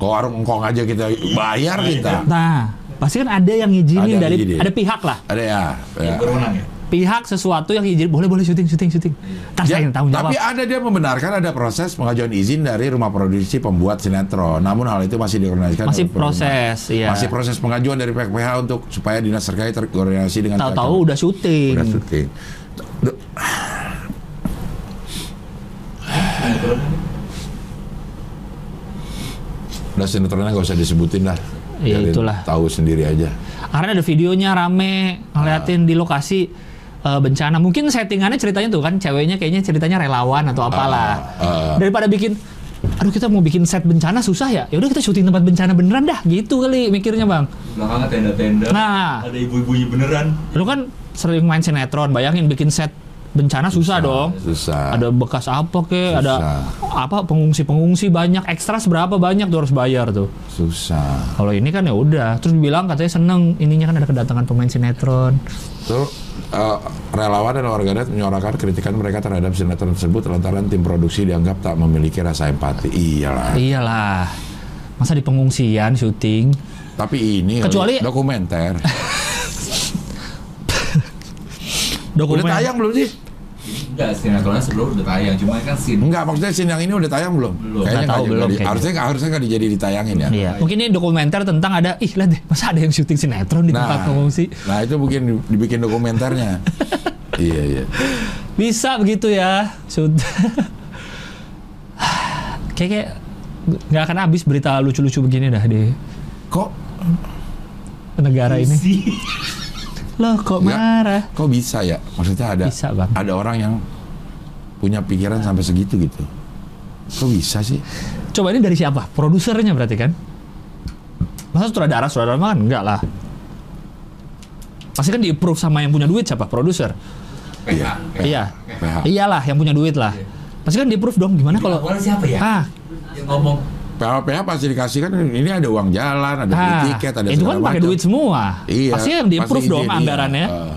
[SPEAKER 2] Kok warung engkong aja kita bayar kita.
[SPEAKER 3] nah, iya. pasti kan ada yang ngizinin
[SPEAKER 2] Ada yang
[SPEAKER 3] dari
[SPEAKER 2] ngizinin.
[SPEAKER 3] ada pihak lah.
[SPEAKER 2] Ada ya. ya.
[SPEAKER 4] Yang berwenang ya.
[SPEAKER 3] Pihak sesuatu yang izin boleh boleh syuting syuting syuting. Ntar
[SPEAKER 2] Ya,
[SPEAKER 3] saya yang tanggung jawab.
[SPEAKER 2] tapi ada dia membenarkan ada proses pengajuan izin dari rumah produksi pembuat sinetron. Namun hal itu masih dikoordinasikan
[SPEAKER 3] Masih
[SPEAKER 2] oleh pemerintah.
[SPEAKER 3] proses, iya.
[SPEAKER 2] Masih proses pengajuan dari pihak PH untuk supaya dinas terkait terkoordinasi dengan pihak-
[SPEAKER 3] Tahu-tahu udah syuting.
[SPEAKER 2] udah syuting. Duh, Udah sinetronnya nggak usah disebutin lah.
[SPEAKER 3] Ya,
[SPEAKER 2] Biarin
[SPEAKER 3] itulah.
[SPEAKER 2] Tahu sendiri aja.
[SPEAKER 3] Karena ada videonya rame ngeliatin di lokasi eh, bencana. Mungkin settingannya ceritanya tuh kan ceweknya kayaknya ceritanya relawan atau apalah.
[SPEAKER 2] Ah, ah.
[SPEAKER 3] Daripada bikin aduh kita mau bikin set bencana susah ya. Ya udah kita syuting tempat bencana beneran dah gitu kali mikirnya, Bang.
[SPEAKER 4] Belakangnya tenda-tenda.
[SPEAKER 3] Nah.
[SPEAKER 4] Ada ibu-ibunya beneran.
[SPEAKER 3] Lu kan sering main sinetron, bayangin bikin set bencana susah, dong.
[SPEAKER 2] Susah.
[SPEAKER 3] Ada bekas apa kek, ada
[SPEAKER 2] Susah.
[SPEAKER 3] apa pengungsi-pengungsi banyak, ekstra berapa banyak tuh harus bayar tuh.
[SPEAKER 2] Susah.
[SPEAKER 3] Kalau ini kan ya udah, terus bilang katanya seneng ininya kan ada kedatangan pemain sinetron.
[SPEAKER 2] Terus eh, relawan dan warganet menyuarakan kritikan mereka terhadap sinetron tersebut lantaran tim produksi dianggap tak memiliki rasa empati. Iyalah.
[SPEAKER 3] Iyalah. Masa di pengungsian syuting?
[SPEAKER 2] Tapi ini
[SPEAKER 3] Kecuali-
[SPEAKER 2] dokumenter.
[SPEAKER 3] Dokumen.
[SPEAKER 2] udah tayang belum sih?
[SPEAKER 4] Enggak, sinetronnya sebelum udah tayang. Cuma kan sin
[SPEAKER 2] Enggak, maksudnya scene yang ini udah tayang belum?
[SPEAKER 4] Belum.
[SPEAKER 2] Kayaknya
[SPEAKER 3] Nggak tahu
[SPEAKER 2] nggak- nggak
[SPEAKER 3] belum,
[SPEAKER 2] di-
[SPEAKER 3] kayaknya.
[SPEAKER 2] harusnya nggak- harusnya nggak dijadi ditayangin ya.
[SPEAKER 3] Iya. Mungkin ini dokumenter tentang ada ih lah deh, masa ada yang syuting sinetron di tempat pengungsi?
[SPEAKER 2] nah itu mungkin di- dibikin dokumenternya. iya iya.
[SPEAKER 3] Bisa begitu ya. Sudah. kayak kayak nggak akan habis berita lucu-lucu begini dah di
[SPEAKER 2] Kok
[SPEAKER 3] negara ini.
[SPEAKER 4] sih.
[SPEAKER 3] Loh kok
[SPEAKER 2] Nggak.
[SPEAKER 3] marah?
[SPEAKER 2] kok bisa ya? Maksudnya ada
[SPEAKER 3] Bisa, Bang.
[SPEAKER 2] ada orang yang punya pikiran sampai segitu gitu. Kok bisa sih?
[SPEAKER 3] Coba ini dari siapa? Produsernya berarti kan? Masa sutradara sutradara mah kan enggak lah. Pasti kan di approve sama yang punya duit siapa? Produser.
[SPEAKER 2] Iya.
[SPEAKER 4] PH.
[SPEAKER 3] Iya.
[SPEAKER 2] PH.
[SPEAKER 3] Iyalah yang punya duit
[SPEAKER 2] Iya.
[SPEAKER 3] lah. Pasti kan di approve dong. Gimana
[SPEAKER 4] Kalau
[SPEAKER 3] kalau
[SPEAKER 4] awalnya siapa ya?
[SPEAKER 3] ah,
[SPEAKER 4] Yang ngomong
[SPEAKER 2] PH pasti dikasih kan ini ada uang jalan, ada beli
[SPEAKER 3] ah
[SPEAKER 2] tiket, ada
[SPEAKER 3] itu
[SPEAKER 2] segala
[SPEAKER 3] kan pakai
[SPEAKER 2] macam.
[SPEAKER 3] duit semua.
[SPEAKER 2] Iya.
[SPEAKER 3] Pasti yang di approve
[SPEAKER 2] pasti
[SPEAKER 3] dong
[SPEAKER 2] izin, iya.
[SPEAKER 3] anggarannya.
[SPEAKER 2] Heeh.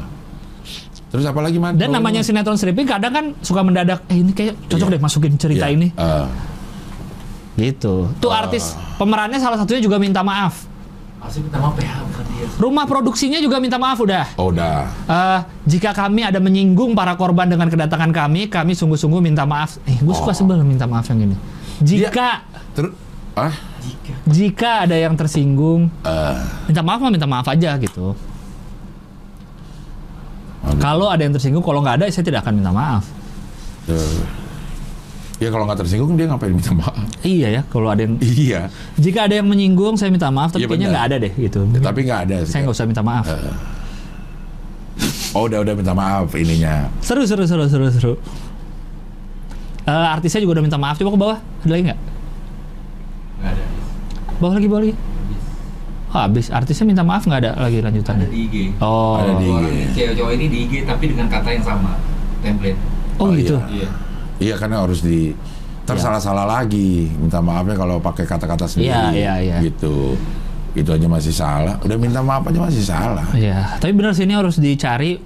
[SPEAKER 2] Terus apa lagi man?
[SPEAKER 3] Dan namanya sinetron stripping kadang kan suka mendadak, eh ini kayak cocok
[SPEAKER 2] Iya.
[SPEAKER 3] deh masukin cerita
[SPEAKER 2] Iya, Ah.
[SPEAKER 3] ini.
[SPEAKER 2] heeh.
[SPEAKER 3] Gitu. Tuh artis pemerannya salah satunya juga minta maaf.
[SPEAKER 4] Pasti minta maaf
[SPEAKER 2] ya,
[SPEAKER 4] PH bukan dia.
[SPEAKER 3] Rumah produksinya juga minta maaf udah.
[SPEAKER 2] oh udah.
[SPEAKER 3] Eh, jika kami ada menyinggung para korban dengan kedatangan kami, kami sungguh-sungguh minta maaf. Eh,
[SPEAKER 2] Oh.
[SPEAKER 3] gue suka sebel minta maaf yang ini. Jika
[SPEAKER 2] Terus ah
[SPEAKER 4] Jika
[SPEAKER 3] jika ada yang tersinggung,
[SPEAKER 2] eh,
[SPEAKER 3] minta maaf mah minta maaf aja gitu.
[SPEAKER 2] Aduh.
[SPEAKER 3] Kalau ada yang tersinggung, kalau nggak ada, saya tidak akan minta maaf.
[SPEAKER 2] eh. ya kalau nggak tersinggung dia ngapain minta maaf?
[SPEAKER 3] Iya ya, kalau ada yang
[SPEAKER 2] Iya.
[SPEAKER 3] jika ada yang menyinggung, saya minta maaf. Tapi
[SPEAKER 2] Iya,
[SPEAKER 3] kayaknya
[SPEAKER 2] benar.
[SPEAKER 3] nggak ada deh gitu.
[SPEAKER 2] Tapi nggak ada.
[SPEAKER 3] saya nggak usah minta maaf.
[SPEAKER 2] Oh udah udah minta maaf ininya.
[SPEAKER 3] Seru, seru, seru, seru, seru. Eh, artisnya juga udah minta maaf. Coba ke bawah, ada lagi nggak?
[SPEAKER 4] nggak ada.
[SPEAKER 3] Bawah lagi, bawah lagi. Oh, habis artisnya minta maaf nggak ada lagi
[SPEAKER 4] Ada
[SPEAKER 3] lanjutannya?
[SPEAKER 4] di IG.
[SPEAKER 3] Oh,
[SPEAKER 2] Ada di-
[SPEAKER 4] Dua
[SPEAKER 2] IG.
[SPEAKER 4] orang ini, cewek cowok ini di IG tapi dengan kata yang sama. Template.
[SPEAKER 3] oh,
[SPEAKER 2] Oh,
[SPEAKER 3] gitu.
[SPEAKER 2] iya.
[SPEAKER 4] Iya.
[SPEAKER 2] Iya karena harus di ntar
[SPEAKER 3] Iya.
[SPEAKER 2] salah-salah lagi minta maafnya kalau pakai kata-kata sendiri
[SPEAKER 3] Iya, iya, iya.
[SPEAKER 2] gitu itu aja masih salah udah minta maaf aja masih salah
[SPEAKER 3] Iya, tapi benar sih ini harus dicari.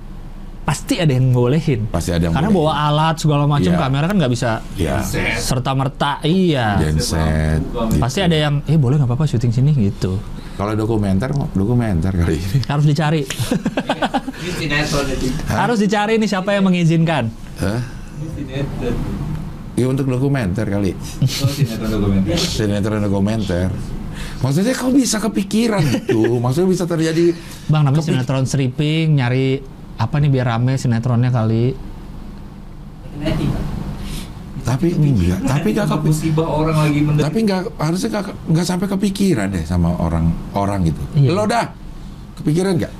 [SPEAKER 3] Pasti ada yang bolehin.
[SPEAKER 2] Pasti ada yang
[SPEAKER 3] Karena
[SPEAKER 2] bolehin.
[SPEAKER 3] bawa alat segala macam
[SPEAKER 2] Iya.
[SPEAKER 3] kamera kan nggak bisa
[SPEAKER 2] ya
[SPEAKER 4] Set.
[SPEAKER 3] serta merta. Iya.
[SPEAKER 2] genset gitu.
[SPEAKER 3] Pasti ada yang, eh boleh nggak apa-apa syuting sini gitu.
[SPEAKER 2] kalau dokumenter dokumenter kali ini
[SPEAKER 3] Harus dicari.
[SPEAKER 4] Ini sinetron jadi.
[SPEAKER 3] Harus dicari nih siapa yang mengizinkan.
[SPEAKER 2] Hah?
[SPEAKER 4] Ini sinetron.
[SPEAKER 2] ya untuk dokumenter kali
[SPEAKER 4] Oh, sinetron dokumenter.
[SPEAKER 2] sinetron dokumenter maksudnya kau bisa kepikiran itu maksudnya bisa terjadi
[SPEAKER 3] Bang namanya
[SPEAKER 2] Kepik-
[SPEAKER 3] sinetron stripping, nyari apa nih biar rame sinetronnya kali.
[SPEAKER 2] tapi enggak, tapi enggak
[SPEAKER 4] Untuk
[SPEAKER 2] kepi-
[SPEAKER 4] musibah orang lagi menderita.
[SPEAKER 2] tapi nggak harusnya nggak nggak sampai kepikiran deh sama orang orang gitu.
[SPEAKER 3] Iya.
[SPEAKER 2] Lo dah kepikiran nggak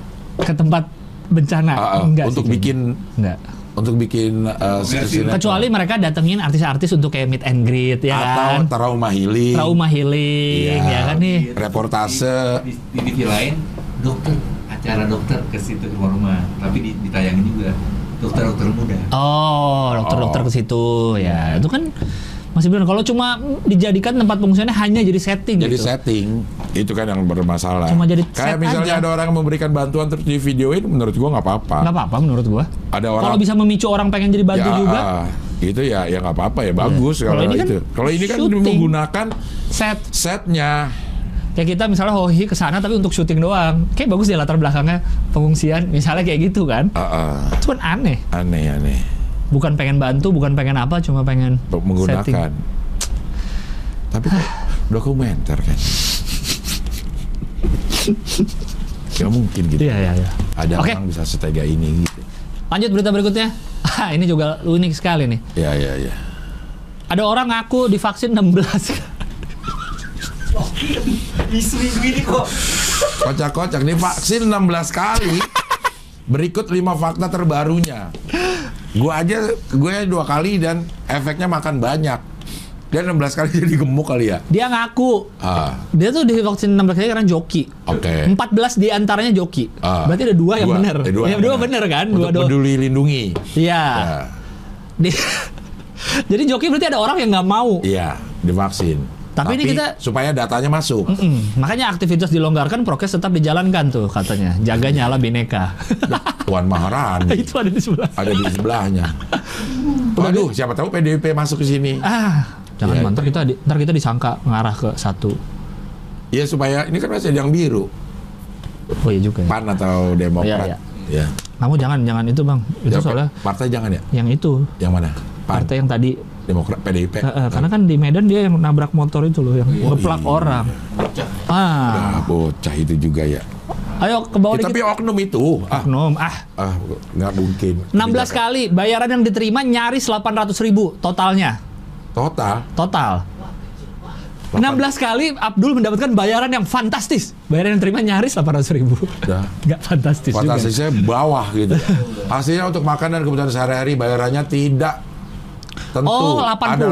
[SPEAKER 3] ke tempat bencana
[SPEAKER 2] Ah, ah,
[SPEAKER 3] enggak
[SPEAKER 2] untuk
[SPEAKER 3] sih,
[SPEAKER 2] bikin
[SPEAKER 3] kayaknya. enggak
[SPEAKER 2] untuk bikin uh, sinetron.
[SPEAKER 3] kecuali mereka datengin artis-artis untuk kayak meet and greet ya
[SPEAKER 2] atau
[SPEAKER 3] kan
[SPEAKER 2] trauma healing,
[SPEAKER 3] trauma healing
[SPEAKER 2] Iya.
[SPEAKER 3] ya kan nih
[SPEAKER 4] Iya,
[SPEAKER 2] reportase.
[SPEAKER 4] Di, di, di TV lain, dokter, acara dokter ke situ ke rumah-rumah. Tapi di, ditayangin juga dokter-dokter muda.
[SPEAKER 3] oh dokter-dokter
[SPEAKER 2] Oh. Iya.
[SPEAKER 3] ke situ ya itu kan masih benar kalau cuma dijadikan tempat pengungsiannya hanya jadi setting
[SPEAKER 2] jadi
[SPEAKER 3] gitu
[SPEAKER 2] setting itu kan yang bermasalah.
[SPEAKER 3] Cuma jadi set
[SPEAKER 2] kayak misalnya
[SPEAKER 3] aja.
[SPEAKER 2] ada orang memberikan bantuan terus di videoin, menurut gua nggak apa-apa.
[SPEAKER 3] nggak apa-apa menurut gua
[SPEAKER 2] Ada orang
[SPEAKER 3] kalau bisa memicu orang pengen jadi bantu
[SPEAKER 2] ya,
[SPEAKER 3] juga
[SPEAKER 2] ah, itu ya ya nggak apa-apa ya bagus
[SPEAKER 3] Iya.
[SPEAKER 2] kalau
[SPEAKER 3] Kalau ini kan
[SPEAKER 2] itu. Kalau ini kan
[SPEAKER 3] syuting.
[SPEAKER 2] menggunakan
[SPEAKER 3] set
[SPEAKER 2] setnya
[SPEAKER 3] kayak kita misalnya hohi ke sana tapi untuk syuting doang kayak bagus ya latar belakangnya pengungsian misalnya kayak gitu kan
[SPEAKER 2] Ah, ah,
[SPEAKER 3] cuman aneh
[SPEAKER 2] aneh aneh
[SPEAKER 3] bukan pengen bantu bukan pengen apa cuma pengen
[SPEAKER 2] menggunakan.
[SPEAKER 3] setting.
[SPEAKER 2] Tapi kok dokumenter kan? ya mungkin gitu.
[SPEAKER 3] Iya iya iya.
[SPEAKER 2] Ada
[SPEAKER 3] Oke.
[SPEAKER 2] orang bisa setega ini gitu.
[SPEAKER 3] Lanjut berita berikutnya. Ah, ini juga unik sekali nih.
[SPEAKER 2] Ya ya ya.
[SPEAKER 3] Ada orang ngaku divaksin 16 kali.
[SPEAKER 4] Minggu ini kok
[SPEAKER 2] Kocak-kocak nih vaksin 16 kali. Berikut 5 fakta terbarunya. Gua aja gue dua kali dan efeknya makan banyak. Dia 16 kali jadi gemuk kali ya.
[SPEAKER 3] Dia ngaku.
[SPEAKER 2] Ah,
[SPEAKER 3] Dia tuh divaksin 16 kali karena joki.
[SPEAKER 2] oke.
[SPEAKER 3] 14 di antaranya joki.
[SPEAKER 2] Ah.
[SPEAKER 3] Berarti ada dua yang
[SPEAKER 2] Dua.
[SPEAKER 3] benar.
[SPEAKER 2] Eh,
[SPEAKER 3] dua, ya,
[SPEAKER 2] yang
[SPEAKER 3] dua benar kan?
[SPEAKER 2] Untuk
[SPEAKER 3] Dua dua.
[SPEAKER 2] peduli lindungi.
[SPEAKER 3] Iya.
[SPEAKER 2] Ya.
[SPEAKER 3] Di- Jadi joki berarti ada orang yang nggak mau.
[SPEAKER 2] Iya, divaksin.
[SPEAKER 3] Tapi ini kita-
[SPEAKER 2] supaya datanya masuk.
[SPEAKER 3] Mm, makanya aktivitas dilonggarkan, prokes tetap dijalankan tuh katanya. Jaga nyala bineka.
[SPEAKER 2] Puan Maharani
[SPEAKER 3] Itu ada di sebelah.
[SPEAKER 2] ada di sebelahnya. Waduh, siapa tahu PDIP masuk ke sini.
[SPEAKER 3] Ah, jangan
[SPEAKER 2] Iya.
[SPEAKER 3] mantar kita di- ntar kita disangka ngarah ke satu.
[SPEAKER 2] Ya supaya ini kan masih ada yang biru,
[SPEAKER 3] Oh iya juga. ya.
[SPEAKER 2] PAN atau Demokrat.
[SPEAKER 3] Iya,
[SPEAKER 2] Ya.
[SPEAKER 3] Kamu jangan jangan itu bang. Itu
[SPEAKER 2] Ya,
[SPEAKER 3] soalnya
[SPEAKER 2] partai jangan ya?
[SPEAKER 3] yang itu
[SPEAKER 2] Yang mana? PAN,
[SPEAKER 3] partai yang tadi.
[SPEAKER 2] Demokrat, PDIP.
[SPEAKER 3] Eh, eh, karena kan di Medan dia yang nabrak motor itu loh yang ngeplak
[SPEAKER 2] iya.
[SPEAKER 3] orang.
[SPEAKER 2] Ah,
[SPEAKER 3] Ah,
[SPEAKER 2] bocah itu juga ya.
[SPEAKER 3] ayo ke bawah
[SPEAKER 2] Ya, tapi
[SPEAKER 3] Oh, dikit.
[SPEAKER 2] oknum itu, ah,
[SPEAKER 3] Oknum. Ah,
[SPEAKER 2] ah nggak mungkin.
[SPEAKER 3] 16 kali bayaran yang diterima nyaris 800 ribu totalnya.
[SPEAKER 2] Total.
[SPEAKER 3] Total. 16 kali Abdul mendapatkan bayaran yang fantastis. Bayaran yang diterima nyaris 800 ribu.
[SPEAKER 2] Dah.
[SPEAKER 3] Nggak fantastis juga.
[SPEAKER 2] Fantasisnya bawah gitu. Pastinya untuk makan dan kebutuhan sehari-hari bayarannya tidak tentu.
[SPEAKER 3] Oh, 80. Ada,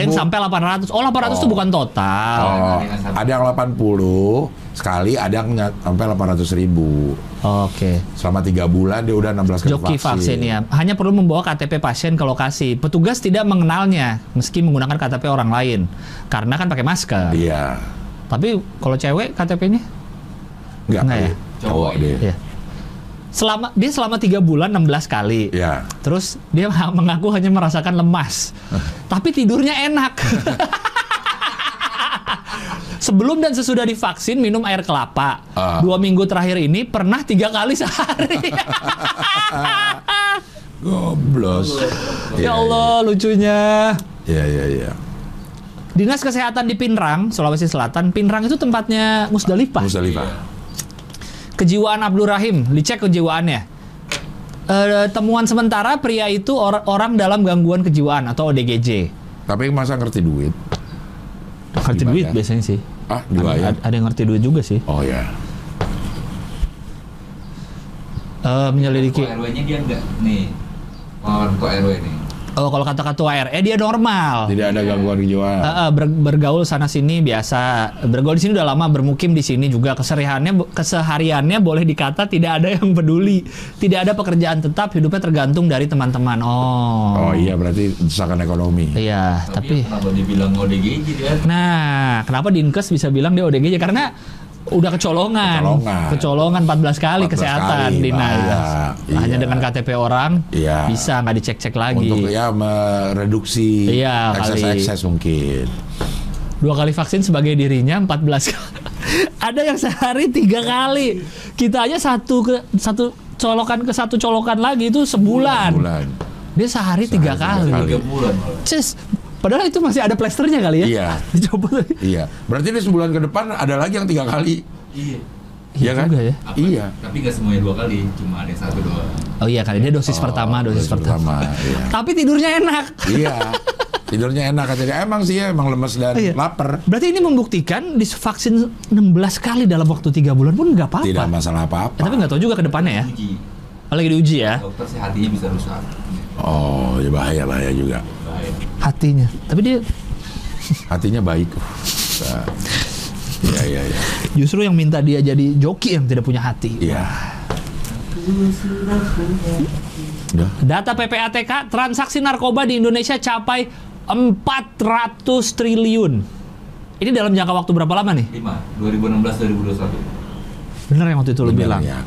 [SPEAKER 2] 80.000.
[SPEAKER 3] yang sampai 800. Oh, 800 itu
[SPEAKER 2] Oh.
[SPEAKER 3] bukan total.
[SPEAKER 2] Oh, ada yang 80 sekali, ada yang ny- sampai 800 ribu.
[SPEAKER 3] Oke.
[SPEAKER 2] Selama 3 bulan dia udah 16 kali
[SPEAKER 3] Joki vaksin ya. Hanya perlu membawa KTP pasien ke lokasi. Petugas tidak mengenalnya meski menggunakan KTP orang lain karena kan pakai masker.
[SPEAKER 2] Iya.
[SPEAKER 3] Tapi kalau cewek KTP-nya
[SPEAKER 2] Enggak
[SPEAKER 3] Nggak
[SPEAKER 2] kali.
[SPEAKER 3] ya?
[SPEAKER 2] Cowok dia.
[SPEAKER 3] ya. Selama dia selama 3 bulan 16 kali.
[SPEAKER 2] Iya.
[SPEAKER 3] Terus dia ha- mengaku hanya merasakan lemas. Tapi tidurnya enak. Sebelum dan sesudah divaksin minum air kelapa.
[SPEAKER 2] Ah. Iya,
[SPEAKER 3] Dua minggu terakhir ini pernah tiga kali sehari. Ya
[SPEAKER 2] Goblos. Iya,
[SPEAKER 3] ya Allah lucunya.
[SPEAKER 2] Iya, iya, iya.
[SPEAKER 3] Dinas Kesehatan di Pinrang, Sulawesi Selatan. Pinrang itu tempatnya Musdalifah.
[SPEAKER 2] Musdalifah.
[SPEAKER 3] Kejiwaan Abdul Rahim, dicek kejiwaannya. Eh, temuan sementara pria itu or- orang dalam gangguan kejiwaan atau ODGJ.
[SPEAKER 2] Tapi masa ngerti duit?
[SPEAKER 3] Ngerti
[SPEAKER 2] Gimana?
[SPEAKER 3] duit biasanya sih.
[SPEAKER 2] Ah, dibayar.
[SPEAKER 3] Ada, ada yang ngerti duit juga sih.
[SPEAKER 2] Oh ya.
[SPEAKER 3] Eh, menyelidiki.
[SPEAKER 4] RW-nya dia enggak nih. Lawan kok RW nih.
[SPEAKER 3] Oh, kalau kata ketua RE dia normal.
[SPEAKER 2] Tidak ada gangguan kejiwaan.
[SPEAKER 3] Eh, eh, ber- bergaul sana sini biasa. Bergaul di sini udah lama, bermukim di sini juga. Keserihannya kesehariannya boleh dikata tidak ada yang peduli. Tidak ada pekerjaan tetap, hidupnya tergantung dari teman-teman. Oh.
[SPEAKER 2] Oh iya, berarti desakan ekonomi.
[SPEAKER 3] Iya, tapi
[SPEAKER 4] kenapa dibilang ODGJ dia?
[SPEAKER 3] Nah, kenapa Dinkes bisa bilang dia ODGJ? Ya, Karena udah kecolongan.
[SPEAKER 2] Kecolongan.
[SPEAKER 3] Kecolongan 14 kali
[SPEAKER 2] 14 kali,
[SPEAKER 3] kesehatan dinas.
[SPEAKER 2] bahaya.
[SPEAKER 3] Hanya
[SPEAKER 2] Iya.
[SPEAKER 3] dengan KTP orang
[SPEAKER 2] Iya.
[SPEAKER 3] bisa nggak dicek-cek lagi.
[SPEAKER 2] Untuk ya mereduksi
[SPEAKER 3] Iya, kali.
[SPEAKER 2] ekses-ekses mungkin.
[SPEAKER 3] Dua kali vaksin sebagai dirinya 14 kali. Ada yang sehari tiga kali. Kita aja satu ke satu colokan ke satu colokan lagi itu sebulan.
[SPEAKER 2] Bulan.
[SPEAKER 3] Dia sehari,
[SPEAKER 2] Iya,
[SPEAKER 3] tiga
[SPEAKER 2] tiga
[SPEAKER 3] kali.
[SPEAKER 2] kali.
[SPEAKER 4] Tiga bulan malah.
[SPEAKER 3] Cus, padahal itu masih ada plasternya kali ya.
[SPEAKER 2] Iya.
[SPEAKER 3] Dicoba lagi.
[SPEAKER 2] Iya. Berarti di sebulan ke depan ada lagi yang tiga kali.
[SPEAKER 4] Iya.
[SPEAKER 2] Iya kan?
[SPEAKER 3] juga ya.
[SPEAKER 4] Apa-
[SPEAKER 2] Iya.
[SPEAKER 4] Tapi nggak semuanya dua kali, cuma ada yang satu doang.
[SPEAKER 2] Oh,
[SPEAKER 3] Oh iya kali dia dosis pertama, dosis, pertama.
[SPEAKER 2] iya.
[SPEAKER 3] Tapi tidurnya enak.
[SPEAKER 2] iya. tidurnya enak katanya emang sih ya, emang lemes dan
[SPEAKER 3] Iya.
[SPEAKER 2] lapar
[SPEAKER 3] Berarti ini membuktikan divaksin 16 kali dalam waktu 3 bulan pun nggak apa-apa.
[SPEAKER 2] tidak masalah
[SPEAKER 3] Ya, tapi
[SPEAKER 2] apa-apa
[SPEAKER 3] nggak tahu juga ke depannya ya.
[SPEAKER 4] Uji.
[SPEAKER 3] Oh, Lagi diuji ya
[SPEAKER 4] Dokter sih hatinya bisa rusak.
[SPEAKER 2] oh ya bahaya bahaya juga
[SPEAKER 4] Bahaya.
[SPEAKER 3] hatinya. Tapi dia
[SPEAKER 2] hatinya baik Nah, Iya, iya, iya.
[SPEAKER 3] justru yang minta dia jadi joki yang tidak punya hati.
[SPEAKER 2] Iya. Udah.
[SPEAKER 3] Data PPATK transaksi narkoba di Indonesia capai 400 triliun. Ini dalam jangka waktu berapa lama nih?
[SPEAKER 4] 5. 2016 2021.
[SPEAKER 3] Bener yang waktu itu lo
[SPEAKER 2] Bener,
[SPEAKER 3] bilang.
[SPEAKER 2] Ya.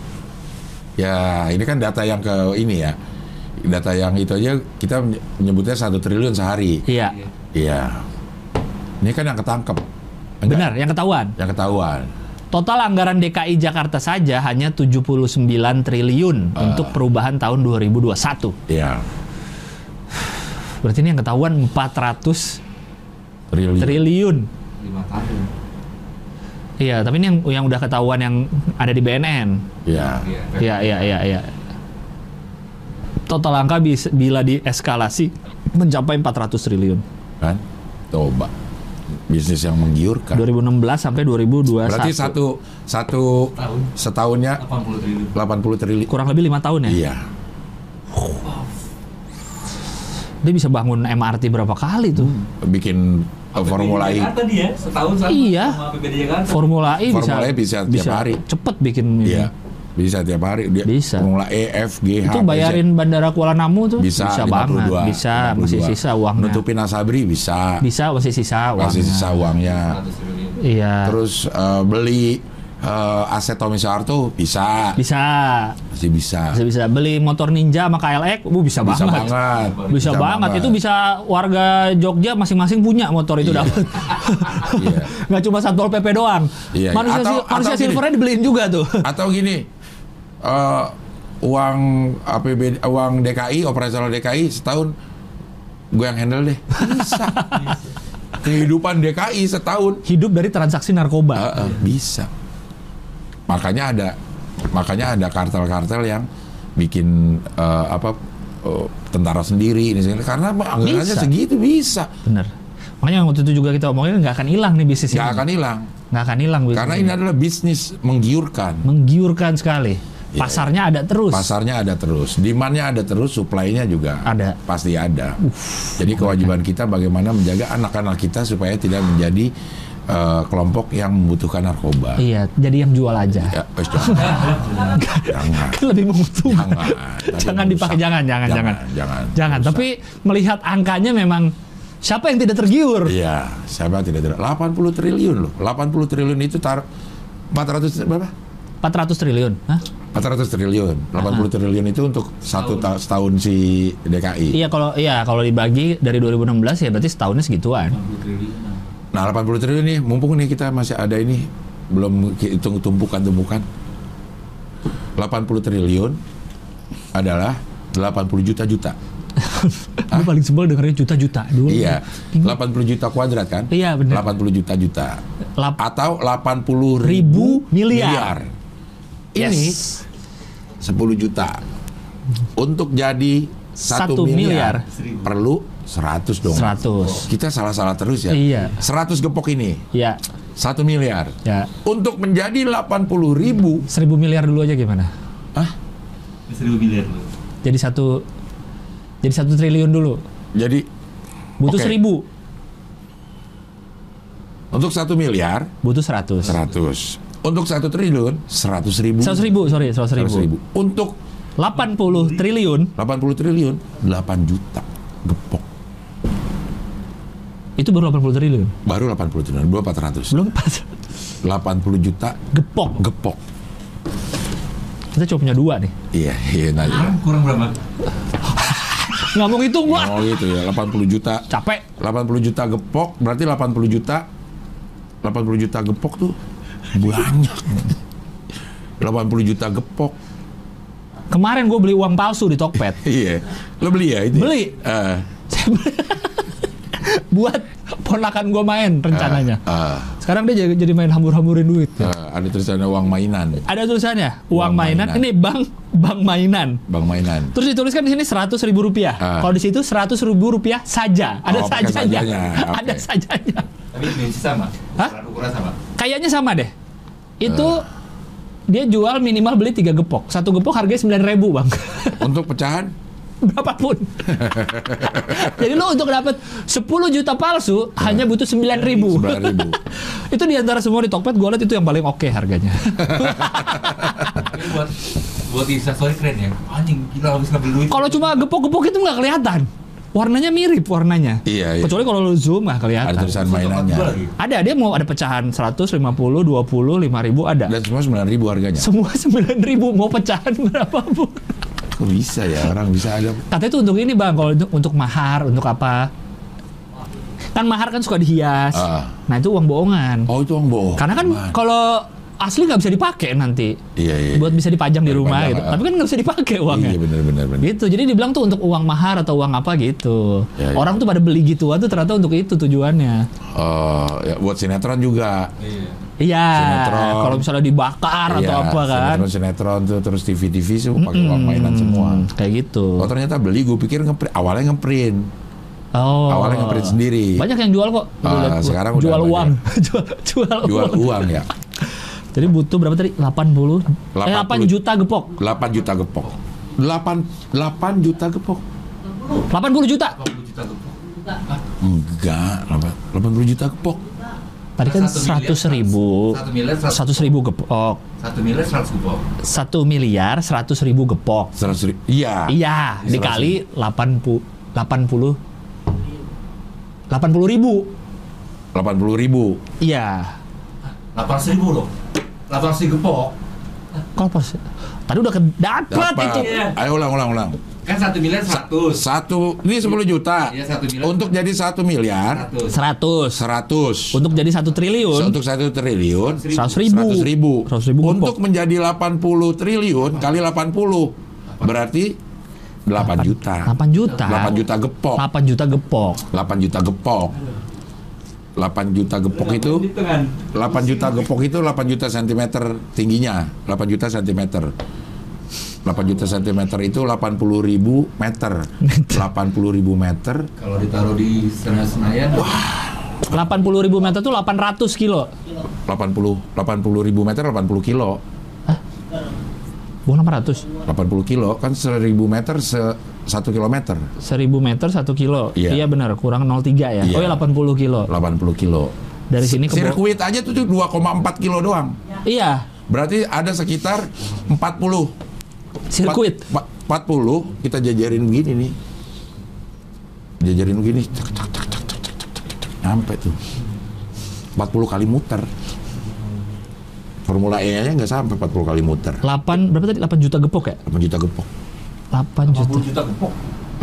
[SPEAKER 2] ya, ini kan data yang ke ini ya. Data yang itu aja kita menyebutnya satu triliun sehari.
[SPEAKER 3] Iya.
[SPEAKER 4] Iya.
[SPEAKER 2] Iya. Ini kan yang ketangkep. Enggak,
[SPEAKER 3] Benar, yang ketahuan.
[SPEAKER 2] Yang ketahuan.
[SPEAKER 3] Total anggaran DKI Jakarta saja hanya 79 triliun
[SPEAKER 2] Ah.
[SPEAKER 3] untuk perubahan tahun 2021.
[SPEAKER 2] Iya.
[SPEAKER 3] Berarti ini yang ketahuan 400
[SPEAKER 2] Triliun.
[SPEAKER 3] triliun.
[SPEAKER 4] 5 tahun.
[SPEAKER 3] Iya, tapi ini yang yang udah ketahuan yang ada di BNN.
[SPEAKER 2] Iya.
[SPEAKER 4] Iya.
[SPEAKER 3] Iya, iya, iya, iya. Total angka bis- bila dieskalasi mencapai 400 triliun.
[SPEAKER 2] Kan? Coba. Bisnis yang menggiurkan.
[SPEAKER 3] 2016 sampai 2021.
[SPEAKER 2] Berarti satu satu
[SPEAKER 4] Tahun
[SPEAKER 2] setahunnya
[SPEAKER 4] 80 triliun.
[SPEAKER 2] 80 triliun.
[SPEAKER 3] kurang lebih lima tahun
[SPEAKER 2] Iya.
[SPEAKER 3] ya. Dia bisa bangun MRT berapa kali tuh?
[SPEAKER 2] Hmm. Bikin eh, formula
[SPEAKER 4] PBD
[SPEAKER 2] E.
[SPEAKER 4] Jakarta dia Kan ya, setahun sama
[SPEAKER 3] Iya.
[SPEAKER 4] sama PBD Jakarta.
[SPEAKER 3] Formula E bisa
[SPEAKER 2] Formula E bisa tiap hari.
[SPEAKER 3] cepet bikin ini.
[SPEAKER 2] Iya. Bisa tiap hari dia
[SPEAKER 3] Bisa.
[SPEAKER 2] formula E, F, G, H.
[SPEAKER 3] Itu
[SPEAKER 2] B, Z.
[SPEAKER 3] bayarin bandara Kuala Namu tuh
[SPEAKER 2] bisa,
[SPEAKER 3] banget,
[SPEAKER 2] 52,
[SPEAKER 3] bisa masih
[SPEAKER 2] 52.
[SPEAKER 3] sisa uangnya.
[SPEAKER 2] Nutupin Asabri bisa.
[SPEAKER 3] Bisa masih sisa uangnya.
[SPEAKER 2] Masih sisa uangnya.
[SPEAKER 4] 100 triliun.
[SPEAKER 3] Iya.
[SPEAKER 2] Terus eh, beli eh, aset Tommy Soeharto bisa.
[SPEAKER 3] bisa
[SPEAKER 2] Masih bisa.
[SPEAKER 3] bisa bisa beli motor Ninja sama KLX, bu uh, bisa,
[SPEAKER 2] Bisa
[SPEAKER 3] banget.
[SPEAKER 2] banget.
[SPEAKER 3] Bisa, banget. Itu bisa warga Jogja masing-masing punya motor itu
[SPEAKER 2] Iya.
[SPEAKER 3] dapat.
[SPEAKER 2] Iya.
[SPEAKER 3] Nggak cuma satpol PP doang.
[SPEAKER 2] Iya, iya.
[SPEAKER 3] Manusia
[SPEAKER 2] Atau-
[SPEAKER 3] sil- manusia
[SPEAKER 2] atau gini.
[SPEAKER 3] silvernya dibeliin juga tuh.
[SPEAKER 2] Atau gini. eh, uang APB uang DKI operasional DKI setahun gue yang handle deh. Bisa. Kehidupan DKI setahun
[SPEAKER 3] Hidup dari transaksi narkoba.
[SPEAKER 2] Heeh, bisa. Makanya ada makanya ada kartel-kartel yang bikin eh, apa eh, tentara sendiri ini segala. karena anggarannya
[SPEAKER 3] Bisa.
[SPEAKER 2] segitu bisa.
[SPEAKER 3] Bener. Makanya waktu itu juga kita omongin nggak akan hilang nih
[SPEAKER 2] nggak
[SPEAKER 3] bisnis ini.
[SPEAKER 2] akan hilang.
[SPEAKER 3] Nggak akan hilang bisnis
[SPEAKER 2] Karena ini adalah bisnis menggiurkan.
[SPEAKER 3] Menggiurkan sekali.
[SPEAKER 2] Iya.
[SPEAKER 3] Pasarnya ada terus.
[SPEAKER 2] Pasarnya ada terus, demand-nya ada terus, supply-nya juga
[SPEAKER 3] Ada. kan?
[SPEAKER 2] Pasti ada. Jadi kewajiban kita bagaimana menjaga anak-anak kita supaya tidak menjadi eh, kelompok yang membutuhkan narkoba.
[SPEAKER 3] Iya, jadi yang jual aja.
[SPEAKER 2] Ya, wes, jangan. Jangan.
[SPEAKER 3] Lebih
[SPEAKER 2] Jangan.
[SPEAKER 3] menguntungkan.
[SPEAKER 2] Tapi
[SPEAKER 3] Jangan
[SPEAKER 2] rusak.
[SPEAKER 3] dipakai, jangan, jangan, jangan.
[SPEAKER 2] Jangan.
[SPEAKER 3] Jangan,
[SPEAKER 2] Rusak.
[SPEAKER 3] tapi melihat angkanya memang siapa yang tidak tergiur?
[SPEAKER 2] Iya, siapa yang tidak tidak 80 triliun loh. 80 triliun itu taruh 400 berapa?
[SPEAKER 3] 400 triliun. Hah?
[SPEAKER 2] 400 triliun. 80 triliun itu untuk satu ta- setahun si DKI.
[SPEAKER 3] Iya kalau iya kalau dibagi dari 2016 ya berarti setahunnya segituan.
[SPEAKER 4] 80 triliun.
[SPEAKER 2] Nah, 80 triliun nih mumpung nih kita masih ada ini belum hitung tumpukan-tumpukan. 80 triliun adalah 80 juta-juta.
[SPEAKER 3] Gue paling sebel dengerin juta-juta dulu.
[SPEAKER 2] Iya, 80 juta kuadrat kan?
[SPEAKER 3] Iya, benar.
[SPEAKER 2] 80 juta-juta.
[SPEAKER 3] Lap-
[SPEAKER 2] Atau 80
[SPEAKER 3] Ribu
[SPEAKER 2] ribu
[SPEAKER 3] miliar.
[SPEAKER 2] miliar. Ini
[SPEAKER 3] Yes.
[SPEAKER 2] 10 juta. Untuk jadi 1
[SPEAKER 3] Satu
[SPEAKER 2] miliar,
[SPEAKER 4] miliar.
[SPEAKER 2] perlu 100 dong.
[SPEAKER 3] 100.
[SPEAKER 2] Kita salah-salah terus ya.
[SPEAKER 3] Iya.
[SPEAKER 2] 100 gepok ini,
[SPEAKER 3] Ya,
[SPEAKER 2] 1 miliar.
[SPEAKER 3] ya.
[SPEAKER 2] Untuk menjadi 80 ribu,
[SPEAKER 3] Seribu miliar dulu aja gimana?
[SPEAKER 2] ah,
[SPEAKER 4] Ini 1000 miliar loh.
[SPEAKER 3] Jadi satu jadi satu triliun dulu.
[SPEAKER 2] jadi
[SPEAKER 3] Butuh
[SPEAKER 2] Oke.
[SPEAKER 3] seribu,
[SPEAKER 2] untuk 1 miliar,
[SPEAKER 3] butuh seratus.
[SPEAKER 2] 100. Untuk 1 triliun, 100 ribu.
[SPEAKER 3] Seratus ribu, sorry, seratus ribu.
[SPEAKER 2] Untuk
[SPEAKER 3] Delapan puluh triliun
[SPEAKER 2] 80 triliun, 8 juta gepok.
[SPEAKER 3] itu baru 80 triliun.
[SPEAKER 2] Baru 80 triliun, belum 400.
[SPEAKER 3] Belum pas
[SPEAKER 2] 80 juta
[SPEAKER 3] gepok.
[SPEAKER 2] gepok.
[SPEAKER 3] Kita cuma punya dua nih.
[SPEAKER 2] Iya, iya nanya.
[SPEAKER 4] Kan Kurang berapa?
[SPEAKER 3] Nggak mau hitung gua.
[SPEAKER 2] Oh gitu ya, 80 juta.
[SPEAKER 3] Capek.
[SPEAKER 2] 80 juta gepok, berarti 80 juta 80 juta gepok tuh banyak. 80 juta gepok.
[SPEAKER 3] Kemarin gue beli uang palsu di Tokped.
[SPEAKER 2] Ah, Iya. Lo beli ya itu? ya?
[SPEAKER 3] Beli.
[SPEAKER 2] Eh,
[SPEAKER 3] buat ponakan gue main rencananya.
[SPEAKER 2] Ah,
[SPEAKER 3] Sekarang dia jadi, jadi main hambur-hamburin duit.
[SPEAKER 2] ah, ah, ada tulisannya uang mainan,
[SPEAKER 3] Ada tulisannya uang,
[SPEAKER 2] Uang
[SPEAKER 3] mainan.
[SPEAKER 2] mainan.
[SPEAKER 3] Ini bank bank mainnan.
[SPEAKER 2] bang mainan.
[SPEAKER 3] Terus dituliskan di sini seratus ribu rupiah.
[SPEAKER 2] Ah.
[SPEAKER 3] Kalau di situ seratus ribu rupiah saja. Ada
[SPEAKER 2] Oh, pakai
[SPEAKER 3] sajanya.
[SPEAKER 2] sajanya. Oke.
[SPEAKER 3] Ada sajanya.
[SPEAKER 4] Tapi dimensi sama.
[SPEAKER 3] Hah?
[SPEAKER 4] Ukuran, ukuran sama.
[SPEAKER 3] Kayaknya sama deh.
[SPEAKER 2] Ah.
[SPEAKER 3] Itu dia jual minimal beli tiga gepok. Satu gepok harganya sembilan ribu bang.
[SPEAKER 2] Untuk pecahan,
[SPEAKER 3] Berapapun. Jadi lo untuk dapat 10 juta palsu hanya butuh 9 ribu.
[SPEAKER 2] Ah. sembilan ribu.
[SPEAKER 3] itu di antara semua di Tokped gue liat itu yang paling oke harganya.
[SPEAKER 4] Tapi buat buat instastory keren ya. Anjing gila habis ngambil duit.
[SPEAKER 3] kalau cuma gepok-gepok itu nggak kelihatan. Warnanya mirip warnanya.
[SPEAKER 2] Iya, iya.
[SPEAKER 3] Kecuali kalau lo zoom lah kelihatan.
[SPEAKER 2] Ada tulisan
[SPEAKER 4] Terus
[SPEAKER 2] mainannya.
[SPEAKER 4] tempat gua lagi.
[SPEAKER 3] Ada, dia mau ada pecahan 150, 20, 5 ribu ada.
[SPEAKER 2] Dan semua sembilan ribu harganya.
[SPEAKER 3] Semua 9 ribu mau pecahan berapapun.
[SPEAKER 2] Kok bisa ya orang bisa ada?
[SPEAKER 3] Katanya itu untuk ini bang, kalau untuk, untuk mahar, untuk apa? Kan mahar kan suka dihias.
[SPEAKER 2] Ah.
[SPEAKER 3] Nah itu uang bohongan.
[SPEAKER 2] Oh itu uang bohong.
[SPEAKER 3] Karena kan
[SPEAKER 2] Man.
[SPEAKER 3] kalau asli nggak bisa dipakai nanti.
[SPEAKER 2] iya iya.
[SPEAKER 3] Buat bisa dipajang di
[SPEAKER 2] Dipajang,
[SPEAKER 3] rumah gitu.
[SPEAKER 2] ah.
[SPEAKER 3] Tapi kan nggak bisa dipakai uangnya.
[SPEAKER 2] Iya benar benar benar.
[SPEAKER 3] Gitu, jadi dibilang tuh untuk uang mahar atau uang apa gitu.
[SPEAKER 2] Ya, ya.
[SPEAKER 3] Orang tuh pada beli gituan tuh ternyata untuk itu tujuannya.
[SPEAKER 2] Eh, ya, buat sinetron juga.
[SPEAKER 4] Iya.
[SPEAKER 3] Iya,
[SPEAKER 2] Sinetron.
[SPEAKER 3] kalau misalnya dibakar atau
[SPEAKER 2] Iya,
[SPEAKER 3] apa kan.
[SPEAKER 2] Sinetron sinetron tuh terus TV TV semua pakai uang
[SPEAKER 3] Hmm,
[SPEAKER 2] mainan semua.
[SPEAKER 3] Kayak gitu.
[SPEAKER 2] Oh ternyata beli, gue pikir ngeprint. Awalnya ngeprint.
[SPEAKER 3] Oh.
[SPEAKER 2] Awalnya ngeprint sendiri.
[SPEAKER 3] Banyak yang jual kok. Gua
[SPEAKER 2] Ah,
[SPEAKER 3] liat gua.
[SPEAKER 2] sekarang udah
[SPEAKER 3] jual
[SPEAKER 2] banyak.
[SPEAKER 3] uang. jual, jual,
[SPEAKER 2] Jual
[SPEAKER 3] uang.
[SPEAKER 2] uang ya.
[SPEAKER 3] Jadi butuh berapa tadi? 80. Eh,
[SPEAKER 2] 80.
[SPEAKER 3] 8 juta gepok.
[SPEAKER 2] 8 juta gepok. 8 8 juta gepok.
[SPEAKER 3] 80 juta.
[SPEAKER 4] 80 juta tuh.
[SPEAKER 2] Enggak, 80 juta gepok.
[SPEAKER 3] Tadi kan
[SPEAKER 4] Satu miliar,
[SPEAKER 3] 100 ribu.
[SPEAKER 4] satu miliar, seratus-
[SPEAKER 3] 100 ribu gepok.
[SPEAKER 4] Satu miliar seratus kupon.
[SPEAKER 3] 1 miliar 100 ribu gepok.
[SPEAKER 2] 100 ribu. Iya.
[SPEAKER 3] Iya,
[SPEAKER 2] Iya,
[SPEAKER 3] dikali 80 80 80 ribu.
[SPEAKER 2] 80 ribu.
[SPEAKER 3] Iya.
[SPEAKER 4] Delapan ribu loh. Delapan ribu gepok.
[SPEAKER 3] Kok pas tadi udah kedapat itu.
[SPEAKER 4] Iya.
[SPEAKER 2] Ayo ulang ulang ulang.
[SPEAKER 4] Kan satu miliar seratus.
[SPEAKER 2] Satu ini 10 juta.
[SPEAKER 4] Iya, satu miliar.
[SPEAKER 2] Untuk jadi 1 miliar
[SPEAKER 4] Seratus.
[SPEAKER 2] 100.
[SPEAKER 3] 100. Untuk jadi 1 triliun
[SPEAKER 2] Untuk 1 triliun
[SPEAKER 3] 100 ribu.
[SPEAKER 2] 100 ribu.
[SPEAKER 3] 100 ribu
[SPEAKER 2] Untuk menjadi 80 triliun kali 80 berarti 8 juta.
[SPEAKER 3] 8 juta.
[SPEAKER 2] 8 juta gepok.
[SPEAKER 3] 8 juta gepok.
[SPEAKER 2] 8 juta gepok. 8 juta gepok itu
[SPEAKER 4] kan?
[SPEAKER 2] 8 juta gepok itu 8 juta sentimeter tingginya, 8 juta sentimeter. 8 juta sentimeter itu 80 ribu meter. 80 ribu meter.
[SPEAKER 4] Kalau ditaruh di Senayan Senayan,
[SPEAKER 3] 80 ribu meter tuh 800 kilo.
[SPEAKER 2] 80 80 ribu meter 80 kilo.
[SPEAKER 3] Bukan 800.
[SPEAKER 2] 80 kilo kan 1000 meter se 1 kilometer.
[SPEAKER 3] 1000 meter 1 kilo.
[SPEAKER 2] Iya.
[SPEAKER 3] Iya benar, kurang 03 ya.
[SPEAKER 2] Iya.
[SPEAKER 3] Oh ya 80 kilo.
[SPEAKER 2] 80 kilo.
[SPEAKER 3] Dari sini ke bawah.
[SPEAKER 2] Sirkuit aja tuh tuh 2,4 kilo doang.
[SPEAKER 3] Iya,
[SPEAKER 2] Berarti ada sekitar 40
[SPEAKER 3] sirkuit.
[SPEAKER 2] Pa- pa- 40 kita jajarin begini nih. Jajarin begini. Cek, cek, cek, cek, cek, cek, cek, cek, cek. Nyampe tuh. 40 kali muter. Formula E-nya nggak sampai 40 kali muter.
[SPEAKER 3] 8 berapa tadi? 8 juta gepok ya?
[SPEAKER 2] 8 juta gepok.
[SPEAKER 3] 8 juta.
[SPEAKER 4] 80 juta gepok.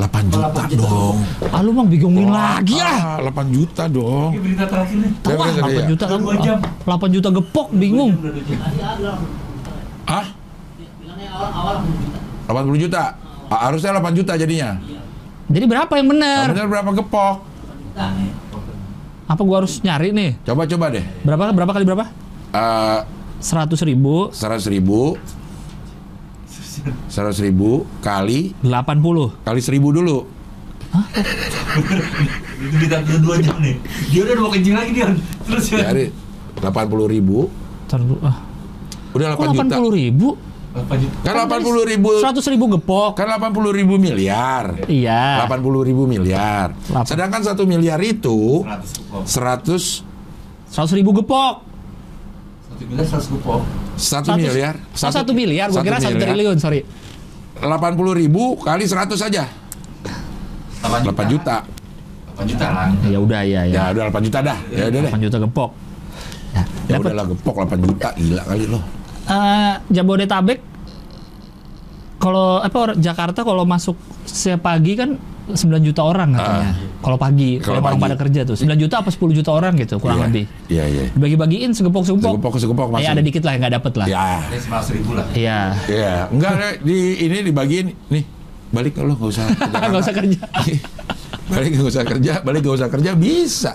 [SPEAKER 2] 8 juta dong.
[SPEAKER 3] Ah lu mang bingungin lagi
[SPEAKER 2] Ah,
[SPEAKER 3] ah.
[SPEAKER 2] 8 juta dong.
[SPEAKER 4] Ini berita terakhir nih.
[SPEAKER 3] Tahu ah,
[SPEAKER 2] Iya, iya,
[SPEAKER 3] 8
[SPEAKER 2] iya.
[SPEAKER 3] juta kan
[SPEAKER 4] Dua jam.
[SPEAKER 3] 8 juta gepok bingung.
[SPEAKER 4] Udah dua jam.
[SPEAKER 2] Hah? 80 juta. Ah, harusnya 8 juta jadinya.
[SPEAKER 3] Jadi berapa yang benar?
[SPEAKER 2] Benar berapa gepok?
[SPEAKER 3] Apa gua harus nyari nih?
[SPEAKER 2] Coba coba deh.
[SPEAKER 3] Berapa berapa kali berapa?
[SPEAKER 2] Eh
[SPEAKER 3] 100 ribu
[SPEAKER 2] 100 ribu 100 ribu kali
[SPEAKER 3] 80
[SPEAKER 2] kali 1000 dulu.
[SPEAKER 4] Itu ditanggung dua jam nih. Dia udah mau kencing lagi dia. Terus ya.
[SPEAKER 2] Dari 80 ribu
[SPEAKER 3] Ntar dulu, ah.
[SPEAKER 2] udah
[SPEAKER 3] Kok
[SPEAKER 2] 8 juta.
[SPEAKER 3] 80 ribu?
[SPEAKER 4] 8 juta.
[SPEAKER 2] Kan 80 ribu
[SPEAKER 3] 100 ribu gepok
[SPEAKER 2] kan 80 ribu miliar.
[SPEAKER 3] Iya
[SPEAKER 2] 80 ribu miliar.
[SPEAKER 3] Lapan.
[SPEAKER 2] Sedangkan 1 miliar itu
[SPEAKER 4] 100 kupon.
[SPEAKER 2] 100
[SPEAKER 3] 100 ribu gepok
[SPEAKER 4] Satu miliar 100 kupon.
[SPEAKER 2] 1 miliar.
[SPEAKER 3] satu, oh, 1 miliar Gua kira 1 triliun sorry
[SPEAKER 2] 80 ribu kali 100 aja. 8 juta.
[SPEAKER 4] 8 juta lah.
[SPEAKER 3] Ya udah ya ya
[SPEAKER 2] Ya udah 8 juta dah. Ya udah deh.
[SPEAKER 3] 8 juta gepok
[SPEAKER 2] Ya
[SPEAKER 3] Dapat.
[SPEAKER 2] udahlah gepok 8 juta gila kali lo.
[SPEAKER 3] Eh, Jabodetabek kalau apa or- Jakarta kalau masuk setiap pagi kan 9 juta orang katanya.
[SPEAKER 2] Ah.
[SPEAKER 3] Kalau pagi, kalau
[SPEAKER 2] Kalau
[SPEAKER 3] orang
[SPEAKER 2] pagi.
[SPEAKER 3] pada kerja tuh 9 juta apa 10 juta orang gitu kurang
[SPEAKER 2] Iya.
[SPEAKER 3] lebih.
[SPEAKER 2] Iya iya.
[SPEAKER 3] Dibagi-bagiin segepok-segepok.
[SPEAKER 2] Segepok segepok
[SPEAKER 3] Ya ada dikit lah yang nggak dapet lah. Iya.
[SPEAKER 2] Ya.
[SPEAKER 4] Ini 100 ribu lah.
[SPEAKER 2] Iya. Enggak Le. di ini dibagiin nih. Balik lo nggak usah. ke Jakarta.
[SPEAKER 3] Nggak usah kerja.
[SPEAKER 2] balik nggak usah kerja, balik nggak usah kerja bisa.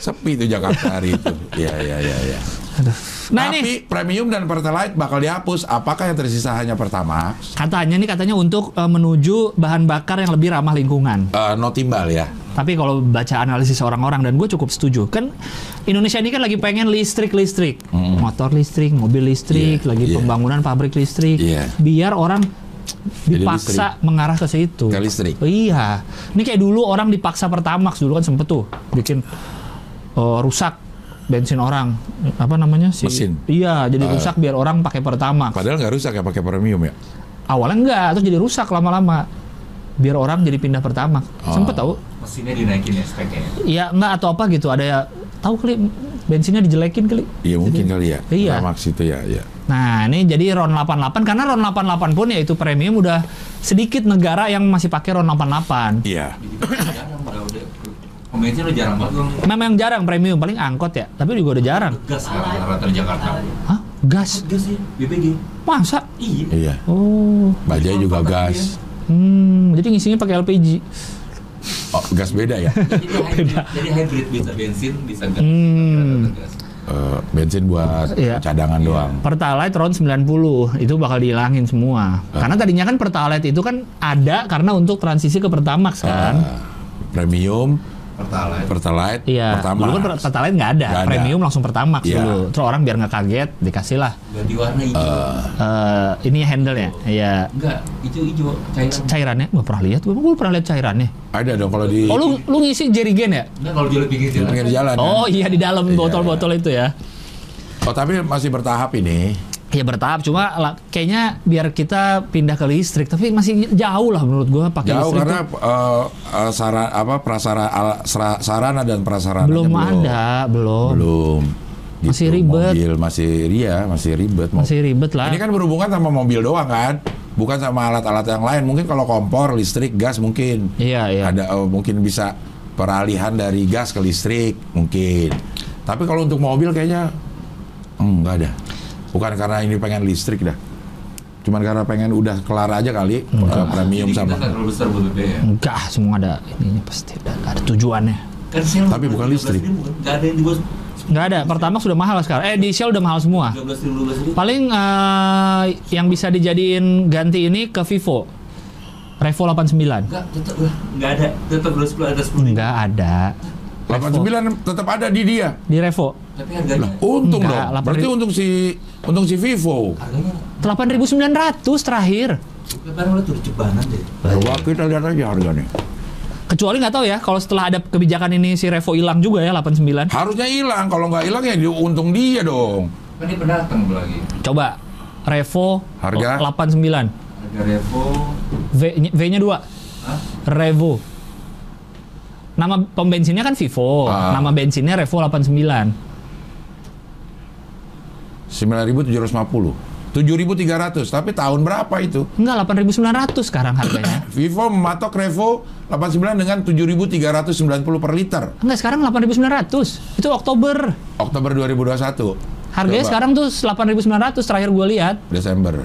[SPEAKER 2] Sepi tuh Jakarta hari itu. Iya iya iya. iya.
[SPEAKER 3] Nah
[SPEAKER 2] Tapi
[SPEAKER 3] ini
[SPEAKER 2] premium dan pertalite bakal dihapus. Apakah yang tersisa hanya pertamax?
[SPEAKER 3] katanya nih katanya untuk eh, menuju bahan bakar yang lebih ramah lingkungan.
[SPEAKER 2] Eh, no timbal ya.
[SPEAKER 3] Tapi kalau baca analisis orang-orang dan gue cukup setuju, kan Indonesia ini kan lagi pengen listrik-listrik, motor listrik, mobil listrik,
[SPEAKER 2] Iya,
[SPEAKER 3] lagi
[SPEAKER 2] iya.
[SPEAKER 3] pembangunan pabrik listrik,
[SPEAKER 2] Iya.
[SPEAKER 3] biar orang
[SPEAKER 2] Jadi
[SPEAKER 3] dipaksa mengarah ke situ.
[SPEAKER 2] Ke listrik.
[SPEAKER 3] Iya, ini kayak dulu orang dipaksa pertamax dulu kan sempet tuh bikin eh, rusak bensin orang apa namanya sih?
[SPEAKER 2] Mesin. Ah.
[SPEAKER 3] Iya, jadi rusak biar orang pakai pertamax.
[SPEAKER 2] Padahal nggak rusak ya pakai premium ya.
[SPEAKER 3] Awalnya enggak, terus jadi rusak lama-lama. Biar orang jadi pindah pertamax.
[SPEAKER 2] Oh.
[SPEAKER 3] Sempet tahu?
[SPEAKER 4] mesinnya dinaikin ya speknya ya.
[SPEAKER 3] Iya, enggak atau apa gitu. Ada ya tahu kali bensinnya dijelekin kali.
[SPEAKER 2] Iya mungkin kali ya.
[SPEAKER 3] Iya.
[SPEAKER 2] Pertamax itu ya. ya.
[SPEAKER 3] Nah, ini jadi RON 88 karena RON 88 pun yaitu premium udah sedikit negara yang masih pakai RON 88.
[SPEAKER 2] Iya.
[SPEAKER 4] Jadi jarang udah udah pembensin udah jarang banget orang
[SPEAKER 3] Memang jarang premium, paling angkot ya, tapi juga udah jarang.
[SPEAKER 4] gas sekarang rata-rata di Jakarta.
[SPEAKER 3] Hah? Gas?
[SPEAKER 4] Gas ya, BPG.
[SPEAKER 3] Masa?
[SPEAKER 4] Iya.
[SPEAKER 2] Iya.
[SPEAKER 3] Oh.
[SPEAKER 2] Bajai juga gas.
[SPEAKER 3] Hmm, jadi ngisinya pakai LPG.
[SPEAKER 2] Oh, gas beda ya.
[SPEAKER 4] Jadi hybrid, jadi hybrid bisa bensin, bisa gas.
[SPEAKER 3] Hmm.
[SPEAKER 4] rata-rata gas.
[SPEAKER 2] Eh, bensin buat
[SPEAKER 3] Iya.
[SPEAKER 2] cadangan doang.
[SPEAKER 3] Pertalite RON 90 itu bakal dihilangin semua. Karena tadinya kan Pertalite itu kan ada karena untuk transisi ke Pertamax kan.
[SPEAKER 2] Eh, premium,
[SPEAKER 4] Pertalite.
[SPEAKER 2] pertalite,
[SPEAKER 3] Iya.
[SPEAKER 2] pertama.
[SPEAKER 3] Dulu kan per- Pertalite nggak ada.
[SPEAKER 2] Nggak ada.
[SPEAKER 3] Premium langsung Pertamax
[SPEAKER 2] Iya.
[SPEAKER 3] dulu. Terus orang biar nggak kaget dikasih lah
[SPEAKER 4] Ganti warna hijau.
[SPEAKER 3] eh, ini handle-nya. Iya.
[SPEAKER 4] Enggak, hijau-hijau cairan.
[SPEAKER 3] Cairannya nggak pernah lihat. Gue gue pernah lihat cairannya.
[SPEAKER 2] Ada dong kalau di
[SPEAKER 3] Oh lu lu ngisi jerry can ya?
[SPEAKER 4] Enggak kalau jual pinggir
[SPEAKER 2] di
[SPEAKER 4] jalan.
[SPEAKER 2] pinggir jalan.
[SPEAKER 3] Oh
[SPEAKER 2] ya.
[SPEAKER 3] iya di dalam
[SPEAKER 2] Iya.
[SPEAKER 3] botol-botol itu ya.
[SPEAKER 2] Oh tapi masih bertahap ini.
[SPEAKER 3] Ya bertahap cuma lah, kayaknya biar kita pindah ke listrik tapi masih jauh lah menurut gua pakai
[SPEAKER 2] Jauh
[SPEAKER 3] listrik.
[SPEAKER 2] karena
[SPEAKER 3] tuh
[SPEAKER 2] eh, eh, sara- apa prasara ala- sara- sarana dan prasarana
[SPEAKER 3] belum ada, belum.
[SPEAKER 2] Belum. Gitu.
[SPEAKER 3] Masih ribet.
[SPEAKER 2] Mobil masih ria, masih ribet. Mau-
[SPEAKER 3] Masih ribet lah.
[SPEAKER 2] Ini kan berhubungan sama mobil doang kan, bukan sama alat-alat yang lain. Mungkin kalau kompor, listrik, gas mungkin.
[SPEAKER 3] Iya, iya.
[SPEAKER 2] Ada eh, mungkin bisa peralihan dari gas ke listrik mungkin. Tapi kalau untuk mobil kayaknya hmm, nggak ada. Bukan karena ini pengen listrik dah. Cuman karena pengen udah kelar aja kali eh, premium
[SPEAKER 4] Jadi
[SPEAKER 2] sama.
[SPEAKER 4] kita terlalu besar buat BPG ya.
[SPEAKER 3] Enggak, semua ada ininya pasti ada, ada tujuannya.
[SPEAKER 4] Kan sel
[SPEAKER 2] Tapi bukan listrik. Ah.
[SPEAKER 4] Enggak kan? ada yang di bawah
[SPEAKER 3] Nggak ada. Pertamax sudah mahal sekarang. Eh, diesel udah mahal semua.
[SPEAKER 4] 13 ribu, 12 ribu.
[SPEAKER 3] Paling eh, yang bisa dijadiin ganti ini ke Vivo. Revo 89.
[SPEAKER 4] Enggak, tetap lah. Enggak ada. Tetap 210 ada 10 ribu.
[SPEAKER 3] Enggak ada. Revo.
[SPEAKER 2] 89 tetap ada di dia.
[SPEAKER 3] Di Revo
[SPEAKER 4] Tapi harganya
[SPEAKER 2] Untung
[SPEAKER 3] Enggak,
[SPEAKER 2] dong.
[SPEAKER 3] 8.000.
[SPEAKER 2] Berarti untung si untung si Vivo.
[SPEAKER 4] harganya
[SPEAKER 3] 8.900 terakhir.
[SPEAKER 4] Lebaran udah tuh cebanan deh.
[SPEAKER 2] Coba kita lihat aja harganya.
[SPEAKER 3] Kecuali nggak tahu ya kalau setelah ada kebijakan ini si Revo hilang juga ya 89.
[SPEAKER 2] Harusnya hilang. Kalau nggak hilang ya untung dia dong.
[SPEAKER 4] Kan ini pendatang gua lagi.
[SPEAKER 3] Coba Revo
[SPEAKER 2] Harga?
[SPEAKER 3] 89.
[SPEAKER 4] Harga Revo,
[SPEAKER 3] V V-nya 2.
[SPEAKER 4] hah?
[SPEAKER 3] Revo. Nama pembensinnya kan Vivo.
[SPEAKER 2] Ah.
[SPEAKER 3] Nama bensinnya Revo 89.
[SPEAKER 2] 9.750. 7.300, tapi tahun berapa itu?
[SPEAKER 3] Enggak 8.900 sekarang harganya.
[SPEAKER 2] Vivo mematok Revo 89 dengan 7.390 per liter.
[SPEAKER 3] Enggak sekarang 8.900. Itu Oktober.
[SPEAKER 2] Oktober 2021.
[SPEAKER 3] Harganya
[SPEAKER 2] Coba.
[SPEAKER 3] sekarang tuh 8.900 terakhir gue lihat.
[SPEAKER 2] Desember.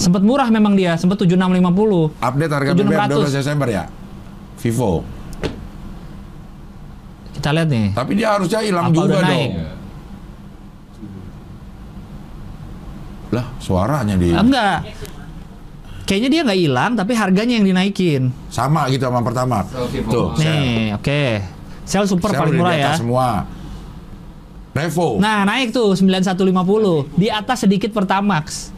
[SPEAKER 3] Sempet murah memang dia, sempet 7650.
[SPEAKER 2] Update harga BBM 12
[SPEAKER 3] 7.600.
[SPEAKER 2] Desember ya. Vivo.
[SPEAKER 3] Kita lihat nih.
[SPEAKER 2] Tapi dia harusnya hilang
[SPEAKER 3] Apa
[SPEAKER 2] juga
[SPEAKER 3] udah
[SPEAKER 2] dong.
[SPEAKER 3] naik?
[SPEAKER 2] Lah, suaranya di
[SPEAKER 3] Ah, enggak. Kayaknya dia nggak hilang, tapi harganya yang dinaikin.
[SPEAKER 2] sama gitu sama pertama.
[SPEAKER 4] Sama Vivo.
[SPEAKER 2] Tuh, saya-
[SPEAKER 3] Nih, oke. Sel super
[SPEAKER 2] saya
[SPEAKER 3] paling
[SPEAKER 2] Oh, udah di
[SPEAKER 3] murah ya.
[SPEAKER 2] atas semua. Revo.
[SPEAKER 3] Nah, naik tuh 9150. Di atas sedikit Pertamax.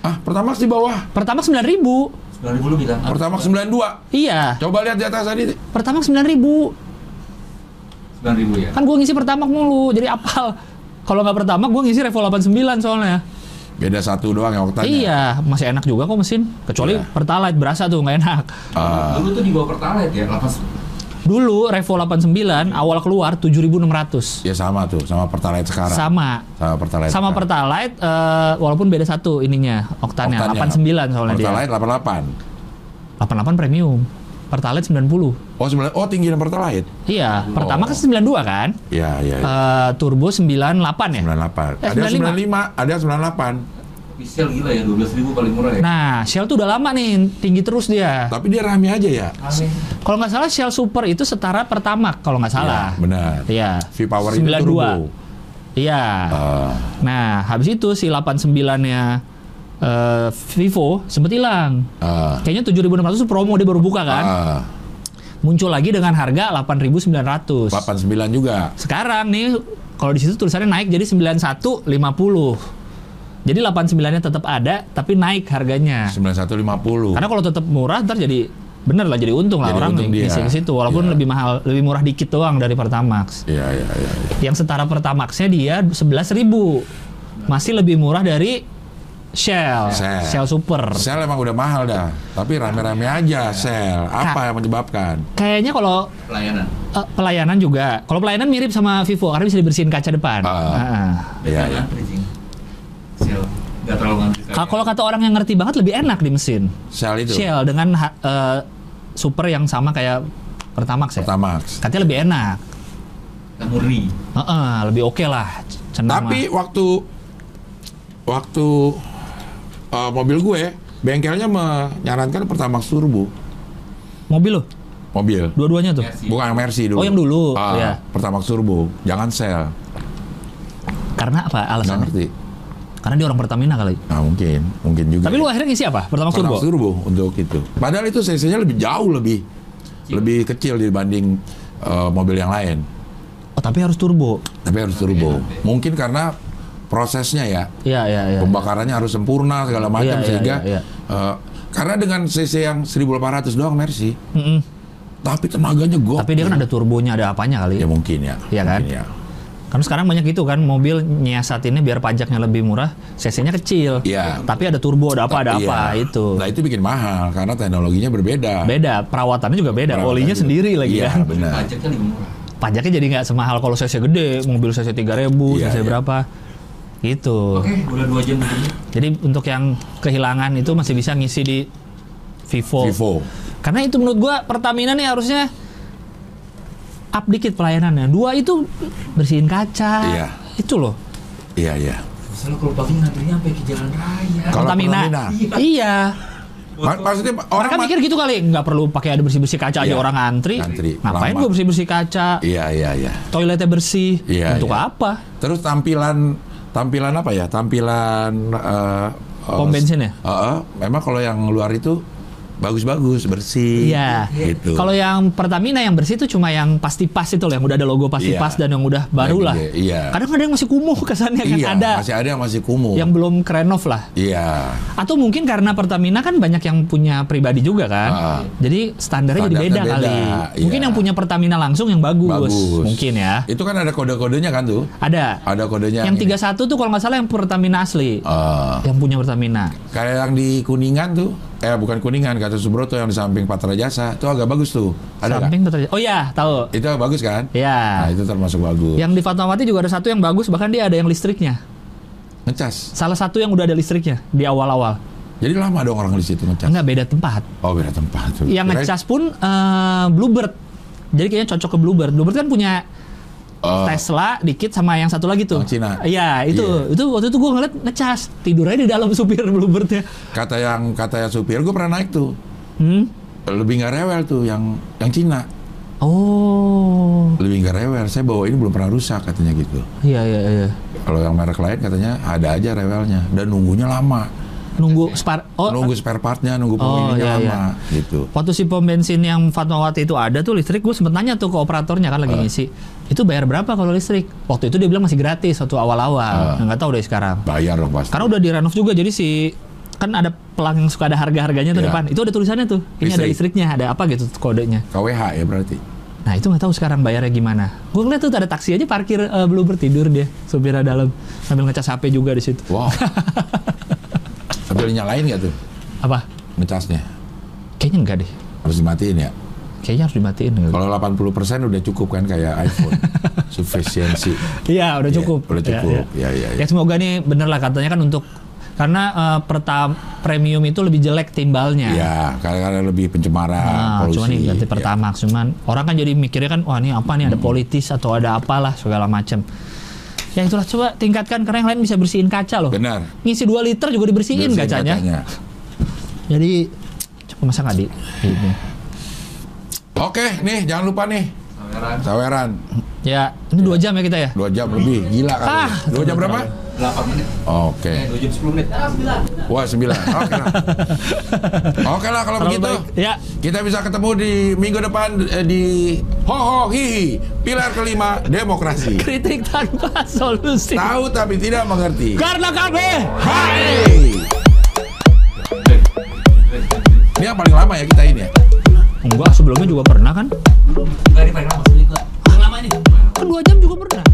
[SPEAKER 2] Ah, Pertamax di bawah.
[SPEAKER 3] Pertamax 9000.
[SPEAKER 4] 9 ribu lu bilang.
[SPEAKER 2] Pertamax 92.
[SPEAKER 3] Iya,
[SPEAKER 2] Coba lihat di atas tadi.
[SPEAKER 3] Pertamax 9000.
[SPEAKER 4] 9 ribu ya.
[SPEAKER 3] Kan gua ngisi Pertamax mulu, jadi apal. Kalau nggak Pertamax, gua ngisi Revo 89 soalnya.
[SPEAKER 2] Beda satu doang ya oktannya.
[SPEAKER 3] Iya, masih enak juga kok mesin. Kecuali
[SPEAKER 2] Iya.
[SPEAKER 3] Pertalite berasa tuh nggak enak.
[SPEAKER 2] Ah,
[SPEAKER 4] Dulu tuh di bawah Pertalite ya, 8
[SPEAKER 3] Dulu Revo 89 awal keluar 7600.
[SPEAKER 2] ya sama tuh, sama Pertalite sekarang.
[SPEAKER 3] Sama.
[SPEAKER 2] Sama Pertalite.
[SPEAKER 3] Sama
[SPEAKER 2] sekarang.
[SPEAKER 3] Pertalite eh, walaupun beda satu ininya oktannya, 89 soalnya
[SPEAKER 2] Pertalite 88.
[SPEAKER 3] dia. 88 premium. Pertalite 90.
[SPEAKER 2] Oh, 9. Oh, tinggi yang Pertalite.
[SPEAKER 3] Iya,
[SPEAKER 2] Oh.
[SPEAKER 3] pertama kan 92 kan?
[SPEAKER 2] Ya, ya. ya.
[SPEAKER 3] Eh, turbo 98 ya?
[SPEAKER 2] 98.
[SPEAKER 3] Eh,
[SPEAKER 2] Ada 95,
[SPEAKER 3] 95.
[SPEAKER 2] ada 98.
[SPEAKER 4] Tapi Shell gila ya, 12 ribu paling murah ya.
[SPEAKER 3] Nah, Shell tuh udah lama nih tinggi terus dia.
[SPEAKER 2] Tapi dia rame aja ya.
[SPEAKER 4] Aneh.
[SPEAKER 3] Kalau nggak salah Shell Super itu setara pertama kalau nggak salah.
[SPEAKER 2] Ya, benar.
[SPEAKER 3] Iya.
[SPEAKER 2] V-Power itu
[SPEAKER 3] 92.
[SPEAKER 2] turbo.
[SPEAKER 3] Iya.
[SPEAKER 2] Ah,
[SPEAKER 3] Nah, habis itu si 89-nya eh, Vivo sempet hilang.
[SPEAKER 2] ah,
[SPEAKER 3] Kayaknya 7600 itu promo dia baru buka kan.
[SPEAKER 2] ah.
[SPEAKER 3] Muncul lagi dengan harga 8900.
[SPEAKER 2] 89 juga.
[SPEAKER 3] Sekarang nih kalau di situ tulisannya naik jadi 9150. Jadi 89-nya tetap ada tapi naik harganya.
[SPEAKER 2] 9150.
[SPEAKER 3] Nah. Karena kalau tetap murah ntar jadi bener lah jadi untung lah
[SPEAKER 2] Jadi
[SPEAKER 3] orang
[SPEAKER 2] untung dia.
[SPEAKER 3] ngisi ke situ walaupun
[SPEAKER 2] Iya.
[SPEAKER 3] lebih mahal lebih murah dikit doang dari Pertamax.
[SPEAKER 2] Iya, iya, iya. iya.
[SPEAKER 3] Yang setara Pertamaxnya dia 11.000. Masih lebih murah dari Shell,
[SPEAKER 2] Shell.
[SPEAKER 3] Shell Super.
[SPEAKER 2] Sel emang udah mahal dah, tapi rame-rame
[SPEAKER 3] Iya.
[SPEAKER 2] aja sel.
[SPEAKER 3] Nah.
[SPEAKER 2] Apa yang menyebabkan?
[SPEAKER 3] Kayaknya kalau
[SPEAKER 4] Pelayanan.
[SPEAKER 3] eh, pelayanan juga, kalau pelayanan mirip sama Vivo karena bisa dibersihin kaca depan.
[SPEAKER 2] Ah.
[SPEAKER 3] Ah.
[SPEAKER 2] Iya,
[SPEAKER 4] Beda
[SPEAKER 2] iya.
[SPEAKER 4] ngantri, Jing. Shell. Nggak terlalu ngantri. kan ya.
[SPEAKER 3] Ka- Kalau kata orang yang ngerti banget lebih enak di mesin.
[SPEAKER 2] Sel itu.
[SPEAKER 3] Shell dengan ha- eh, Super yang sama kayak Pertamax ya.
[SPEAKER 2] Pertama.
[SPEAKER 3] Katanya lebih enak.
[SPEAKER 4] Kan murni.
[SPEAKER 3] Heeh, lebih oke lah. Cenah mah.
[SPEAKER 2] Tapi waktu waktu uh, mobil gue bengkelnya menyarankan Pertamax turbo
[SPEAKER 3] mobil lo
[SPEAKER 2] mobil.
[SPEAKER 3] dua-duanya tuh
[SPEAKER 4] Mercy.
[SPEAKER 2] Bukan yang Mercy dulu.
[SPEAKER 3] Oh, yang dulu,
[SPEAKER 2] Ah,
[SPEAKER 3] iya.
[SPEAKER 2] Pertamax turbo, jangan sel.
[SPEAKER 3] karena apa
[SPEAKER 2] Nggak
[SPEAKER 3] alasannya
[SPEAKER 2] ngerti.
[SPEAKER 3] karena dia orang Pertamina kali
[SPEAKER 2] Nah, mungkin, mungkin juga. ya.
[SPEAKER 3] tapi lu akhirnya ngisi apa pertama turbo
[SPEAKER 2] Pertamax turbo untuk itu. Padahal itu cc-nya lebih jauh lebih lebih kecil dibanding uh, mobil yang lain.
[SPEAKER 3] oh tapi harus turbo
[SPEAKER 2] Tapi harus turbo. Mungkin karena prosesnya ya,
[SPEAKER 3] iya iya iya
[SPEAKER 2] pembakarannya harus sempurna segala macam
[SPEAKER 3] Iya, iya,
[SPEAKER 2] sehingga
[SPEAKER 3] iya, iya.
[SPEAKER 2] eh, karena dengan CC yang 1800 doang Mercy,
[SPEAKER 3] Mm-mm.
[SPEAKER 2] tapi tenaganya gokil.
[SPEAKER 3] tapi dia kan ada turbonya ada apanya kali
[SPEAKER 2] ya mungkin ya.
[SPEAKER 3] Iya kan?
[SPEAKER 2] mungkin Ya.
[SPEAKER 3] Karena sekarang banyak itu kan mobil nyiasatinnya biar pajaknya lebih murah, CC-nya kecil.
[SPEAKER 2] Iya.
[SPEAKER 3] Tapi ada turbo, ada apa, ada
[SPEAKER 2] Iya.
[SPEAKER 3] apa itu.
[SPEAKER 2] Nah, itu bikin mahal karena teknologinya berbeda.
[SPEAKER 3] Beda, perawatannya juga beda.
[SPEAKER 2] Perawatannya
[SPEAKER 3] Olinya
[SPEAKER 2] juga.
[SPEAKER 3] sendiri lagi
[SPEAKER 2] Iya,
[SPEAKER 3] kan.
[SPEAKER 2] benar.
[SPEAKER 4] Pajaknya lebih murah.
[SPEAKER 3] Pajaknya jadi nggak semahal kalau CC gede, mobil CC 3000,
[SPEAKER 2] Iya,
[SPEAKER 3] CC
[SPEAKER 2] iya.
[SPEAKER 3] berapa. Gitu.
[SPEAKER 4] Oke, udah 2 jam begini.
[SPEAKER 3] Jadi untuk yang kehilangan itu masih bisa ngisi di Vivo.
[SPEAKER 2] Vivo.
[SPEAKER 3] Karena itu menurut gua Pertamina nih harusnya up dikit pelayanannya. Dua itu bersihin kaca.
[SPEAKER 2] Iya.
[SPEAKER 3] Itu loh.
[SPEAKER 2] Iya, iya.
[SPEAKER 4] Misalnya kalau pagi ngantrinya sampai ke jalan raya.
[SPEAKER 2] Kalau Pertamina.
[SPEAKER 3] Iya.
[SPEAKER 2] Ma- maksudnya orang
[SPEAKER 3] Orang
[SPEAKER 2] ma-
[SPEAKER 3] mikir gitu kali, nggak perlu pakai ada bersih-bersih kaca aja
[SPEAKER 2] Iya.
[SPEAKER 3] orang antri.
[SPEAKER 2] Antri,
[SPEAKER 3] Ngapain
[SPEAKER 2] lama.
[SPEAKER 3] gua bersih-bersih kaca?
[SPEAKER 2] Iya, iya, iya.
[SPEAKER 3] Toiletnya bersih.
[SPEAKER 2] Iya,
[SPEAKER 3] Untuk
[SPEAKER 2] iya.
[SPEAKER 3] apa?
[SPEAKER 2] Terus tampilan tampilan apa ya? Tampilan eh, eh,
[SPEAKER 3] Pom bensin ya?
[SPEAKER 2] Heeh. memang kalau yang luar itu bagus-bagus, bersih.
[SPEAKER 3] Iya.
[SPEAKER 2] Gitu.
[SPEAKER 3] Kalau yang Pertamina yang bersih itu cuma yang pasti pas itu loh, yang udah ada logo pasti
[SPEAKER 2] Iya.
[SPEAKER 3] pas dan yang udah baru lah.
[SPEAKER 2] Lagi, iya.
[SPEAKER 3] Kadang ada yang masih kumuh kesannya kan
[SPEAKER 2] iya,
[SPEAKER 3] ada
[SPEAKER 2] masih ada yang masih kumuh.
[SPEAKER 3] yang belum krenov lah.
[SPEAKER 2] Iya.
[SPEAKER 3] Atau mungkin karena Pertamina kan banyak yang punya pribadi juga kan.
[SPEAKER 2] Ah.
[SPEAKER 3] Jadi standarnya jadi beda,
[SPEAKER 2] Standarnya beda,
[SPEAKER 3] kali.
[SPEAKER 2] iya.
[SPEAKER 3] Mungkin yang punya Pertamina langsung yang bagus,
[SPEAKER 2] Bagus.
[SPEAKER 3] mungkin ya.
[SPEAKER 2] Itu kan ada kode-kodenya kan tuh?
[SPEAKER 3] Ada.
[SPEAKER 2] Ada kodenya.
[SPEAKER 3] yang 31 tuh kalau nggak salah yang Pertamina asli.
[SPEAKER 2] Ah.
[SPEAKER 3] Yang punya Pertamina.
[SPEAKER 2] kayak yang di Kuningan tuh. Eh bukan Kuningan, kata Subroto yang di samping Patra Jasa. Itu agak bagus tuh. Ada nggak?
[SPEAKER 3] Samping Petra- Oh iya, tahu.
[SPEAKER 2] Itu agak bagus kan? Nah,
[SPEAKER 3] Ya.
[SPEAKER 2] itu termasuk bagus.
[SPEAKER 3] yang di Fatmawati juga ada satu yang bagus bahkan dia ada yang listriknya.
[SPEAKER 2] Ngecas.
[SPEAKER 3] Salah satu yang udah ada listriknya di awal-awal.
[SPEAKER 2] Jadi lama dong orang di situ ngecas.
[SPEAKER 3] Enggak beda tempat.
[SPEAKER 2] Oh, beda tempat tuh.
[SPEAKER 3] Yang
[SPEAKER 2] Kirain,
[SPEAKER 3] ngecas pun eh, Bluebird. Jadi kayaknya cocok ke Bluebird. Bluebird kan punya
[SPEAKER 2] eh,
[SPEAKER 3] Tesla dikit sama yang satu lagi tuh.
[SPEAKER 2] Yang Cina.
[SPEAKER 3] Iya, itu.
[SPEAKER 2] Iya.
[SPEAKER 3] Itu waktu itu gua ngeliat ngecas, tidur aja di dalam supir Bluebirdnya.
[SPEAKER 2] kata yang kata yang supir gue pernah naik tuh.
[SPEAKER 3] Hmm.
[SPEAKER 2] Lebih nggak rewel tuh yang yang Cina.
[SPEAKER 3] Oh.
[SPEAKER 2] Lebih nggak rewel. Saya bawa ini belum pernah rusak katanya gitu.
[SPEAKER 3] Iya, iya, iya.
[SPEAKER 2] Kalau yang merek lain katanya ada aja rewelnya dan nunggunya lama.
[SPEAKER 3] Nunggu spar Oh,
[SPEAKER 2] nunggu spare partnya, nunggu
[SPEAKER 3] Oh,
[SPEAKER 2] pengirimannya
[SPEAKER 3] iya,
[SPEAKER 2] lama gitu.
[SPEAKER 3] Waktu si pom bensin yang Fatmawati itu ada tuh listrik, gue sempet nanya tuh ke operatornya kan lagi
[SPEAKER 2] Ah.
[SPEAKER 3] ngisi, itu bayar berapa kalau listrik? Waktu itu dia bilang masih gratis waktu awal-awal, Nah,
[SPEAKER 2] Ah.
[SPEAKER 3] nggak tahu deh sekarang.
[SPEAKER 2] Bayar dong pasti.
[SPEAKER 3] Karena udah direnov juga, jadi si kan ada pelang yang suka ada harga-harganya tuh
[SPEAKER 2] Iya.
[SPEAKER 3] depan, itu ada tulisannya tuh, ini ada
[SPEAKER 2] Listrik.
[SPEAKER 3] listriknya, ada apa gitu kodenya.
[SPEAKER 2] KWH ya berarti.
[SPEAKER 3] Nah itu nggak tahu sekarang bayarnya gimana. Gue ngeliat tuh ada taksi aja parkir eh, belum bertidur dia, supirnya dalam sambil ngecas HP juga di situ.
[SPEAKER 2] Wow. Sambil nyalain nggak tuh
[SPEAKER 3] Apa?
[SPEAKER 2] ngecasnya?
[SPEAKER 3] Kayaknya enggak deh.
[SPEAKER 2] Harus dimatiin ya.
[SPEAKER 3] Kayaknya harus dimatiin. gitu.
[SPEAKER 2] Kalau 80% udah cukup kan kayak iPhone. Sufisiensi.
[SPEAKER 3] Iya, udah
[SPEAKER 2] Iya,
[SPEAKER 3] cukup.
[SPEAKER 2] udah
[SPEAKER 3] Iya,
[SPEAKER 2] cukup. Iya,
[SPEAKER 3] iya.
[SPEAKER 2] iya, iya.
[SPEAKER 3] Ya semoga nih bener lah katanya kan untuk karena eh, pertam premium itu lebih jelek timbalnya.
[SPEAKER 2] Ya, karena lebih pencemaran,
[SPEAKER 3] Nah,
[SPEAKER 2] polusi.
[SPEAKER 3] cuman nih ganti
[SPEAKER 2] Ya.
[SPEAKER 3] pertamax,
[SPEAKER 2] Hmm.
[SPEAKER 3] cuman orang kan jadi mikirnya kan wah ini apa nih ada politis atau ada apalah segala macam. Ya itulah coba tingkatkan karena yang lain bisa bersihin kaca loh.
[SPEAKER 2] Benar.
[SPEAKER 3] Ngisi 2 liter juga dibersihin,
[SPEAKER 2] Bersihin
[SPEAKER 3] kacanya. Jadi coba masa nggak di ini.
[SPEAKER 2] Oke, nih jangan lupa nih
[SPEAKER 4] Kamera
[SPEAKER 2] saweran
[SPEAKER 3] Ya, ini 2 jam ya kita ya.
[SPEAKER 2] dua jam lebih gila kali.
[SPEAKER 3] Ah,
[SPEAKER 2] ya. Dua jam berapa?
[SPEAKER 4] 8 menit.
[SPEAKER 2] Oke.
[SPEAKER 4] Eh, 2 jam 10 menit.
[SPEAKER 2] Wah sembilan. Oke lah. Oke lah kalau
[SPEAKER 3] Terlalu
[SPEAKER 2] begitu.
[SPEAKER 3] baik. Ya.
[SPEAKER 2] Kita bisa ketemu di minggu depan eh, di Ho Ho Hihi pilar kelima demokrasi.
[SPEAKER 3] Kritik tanpa solusi.
[SPEAKER 2] Tahu tapi tidak mengerti.
[SPEAKER 3] Karena kami
[SPEAKER 2] Hai. Ini yang paling lama ya kita ini ya.
[SPEAKER 3] Enggak, sebelumnya juga pernah kan?
[SPEAKER 4] Enggak ini paling lama.
[SPEAKER 3] Kan 2 jam juga pernah.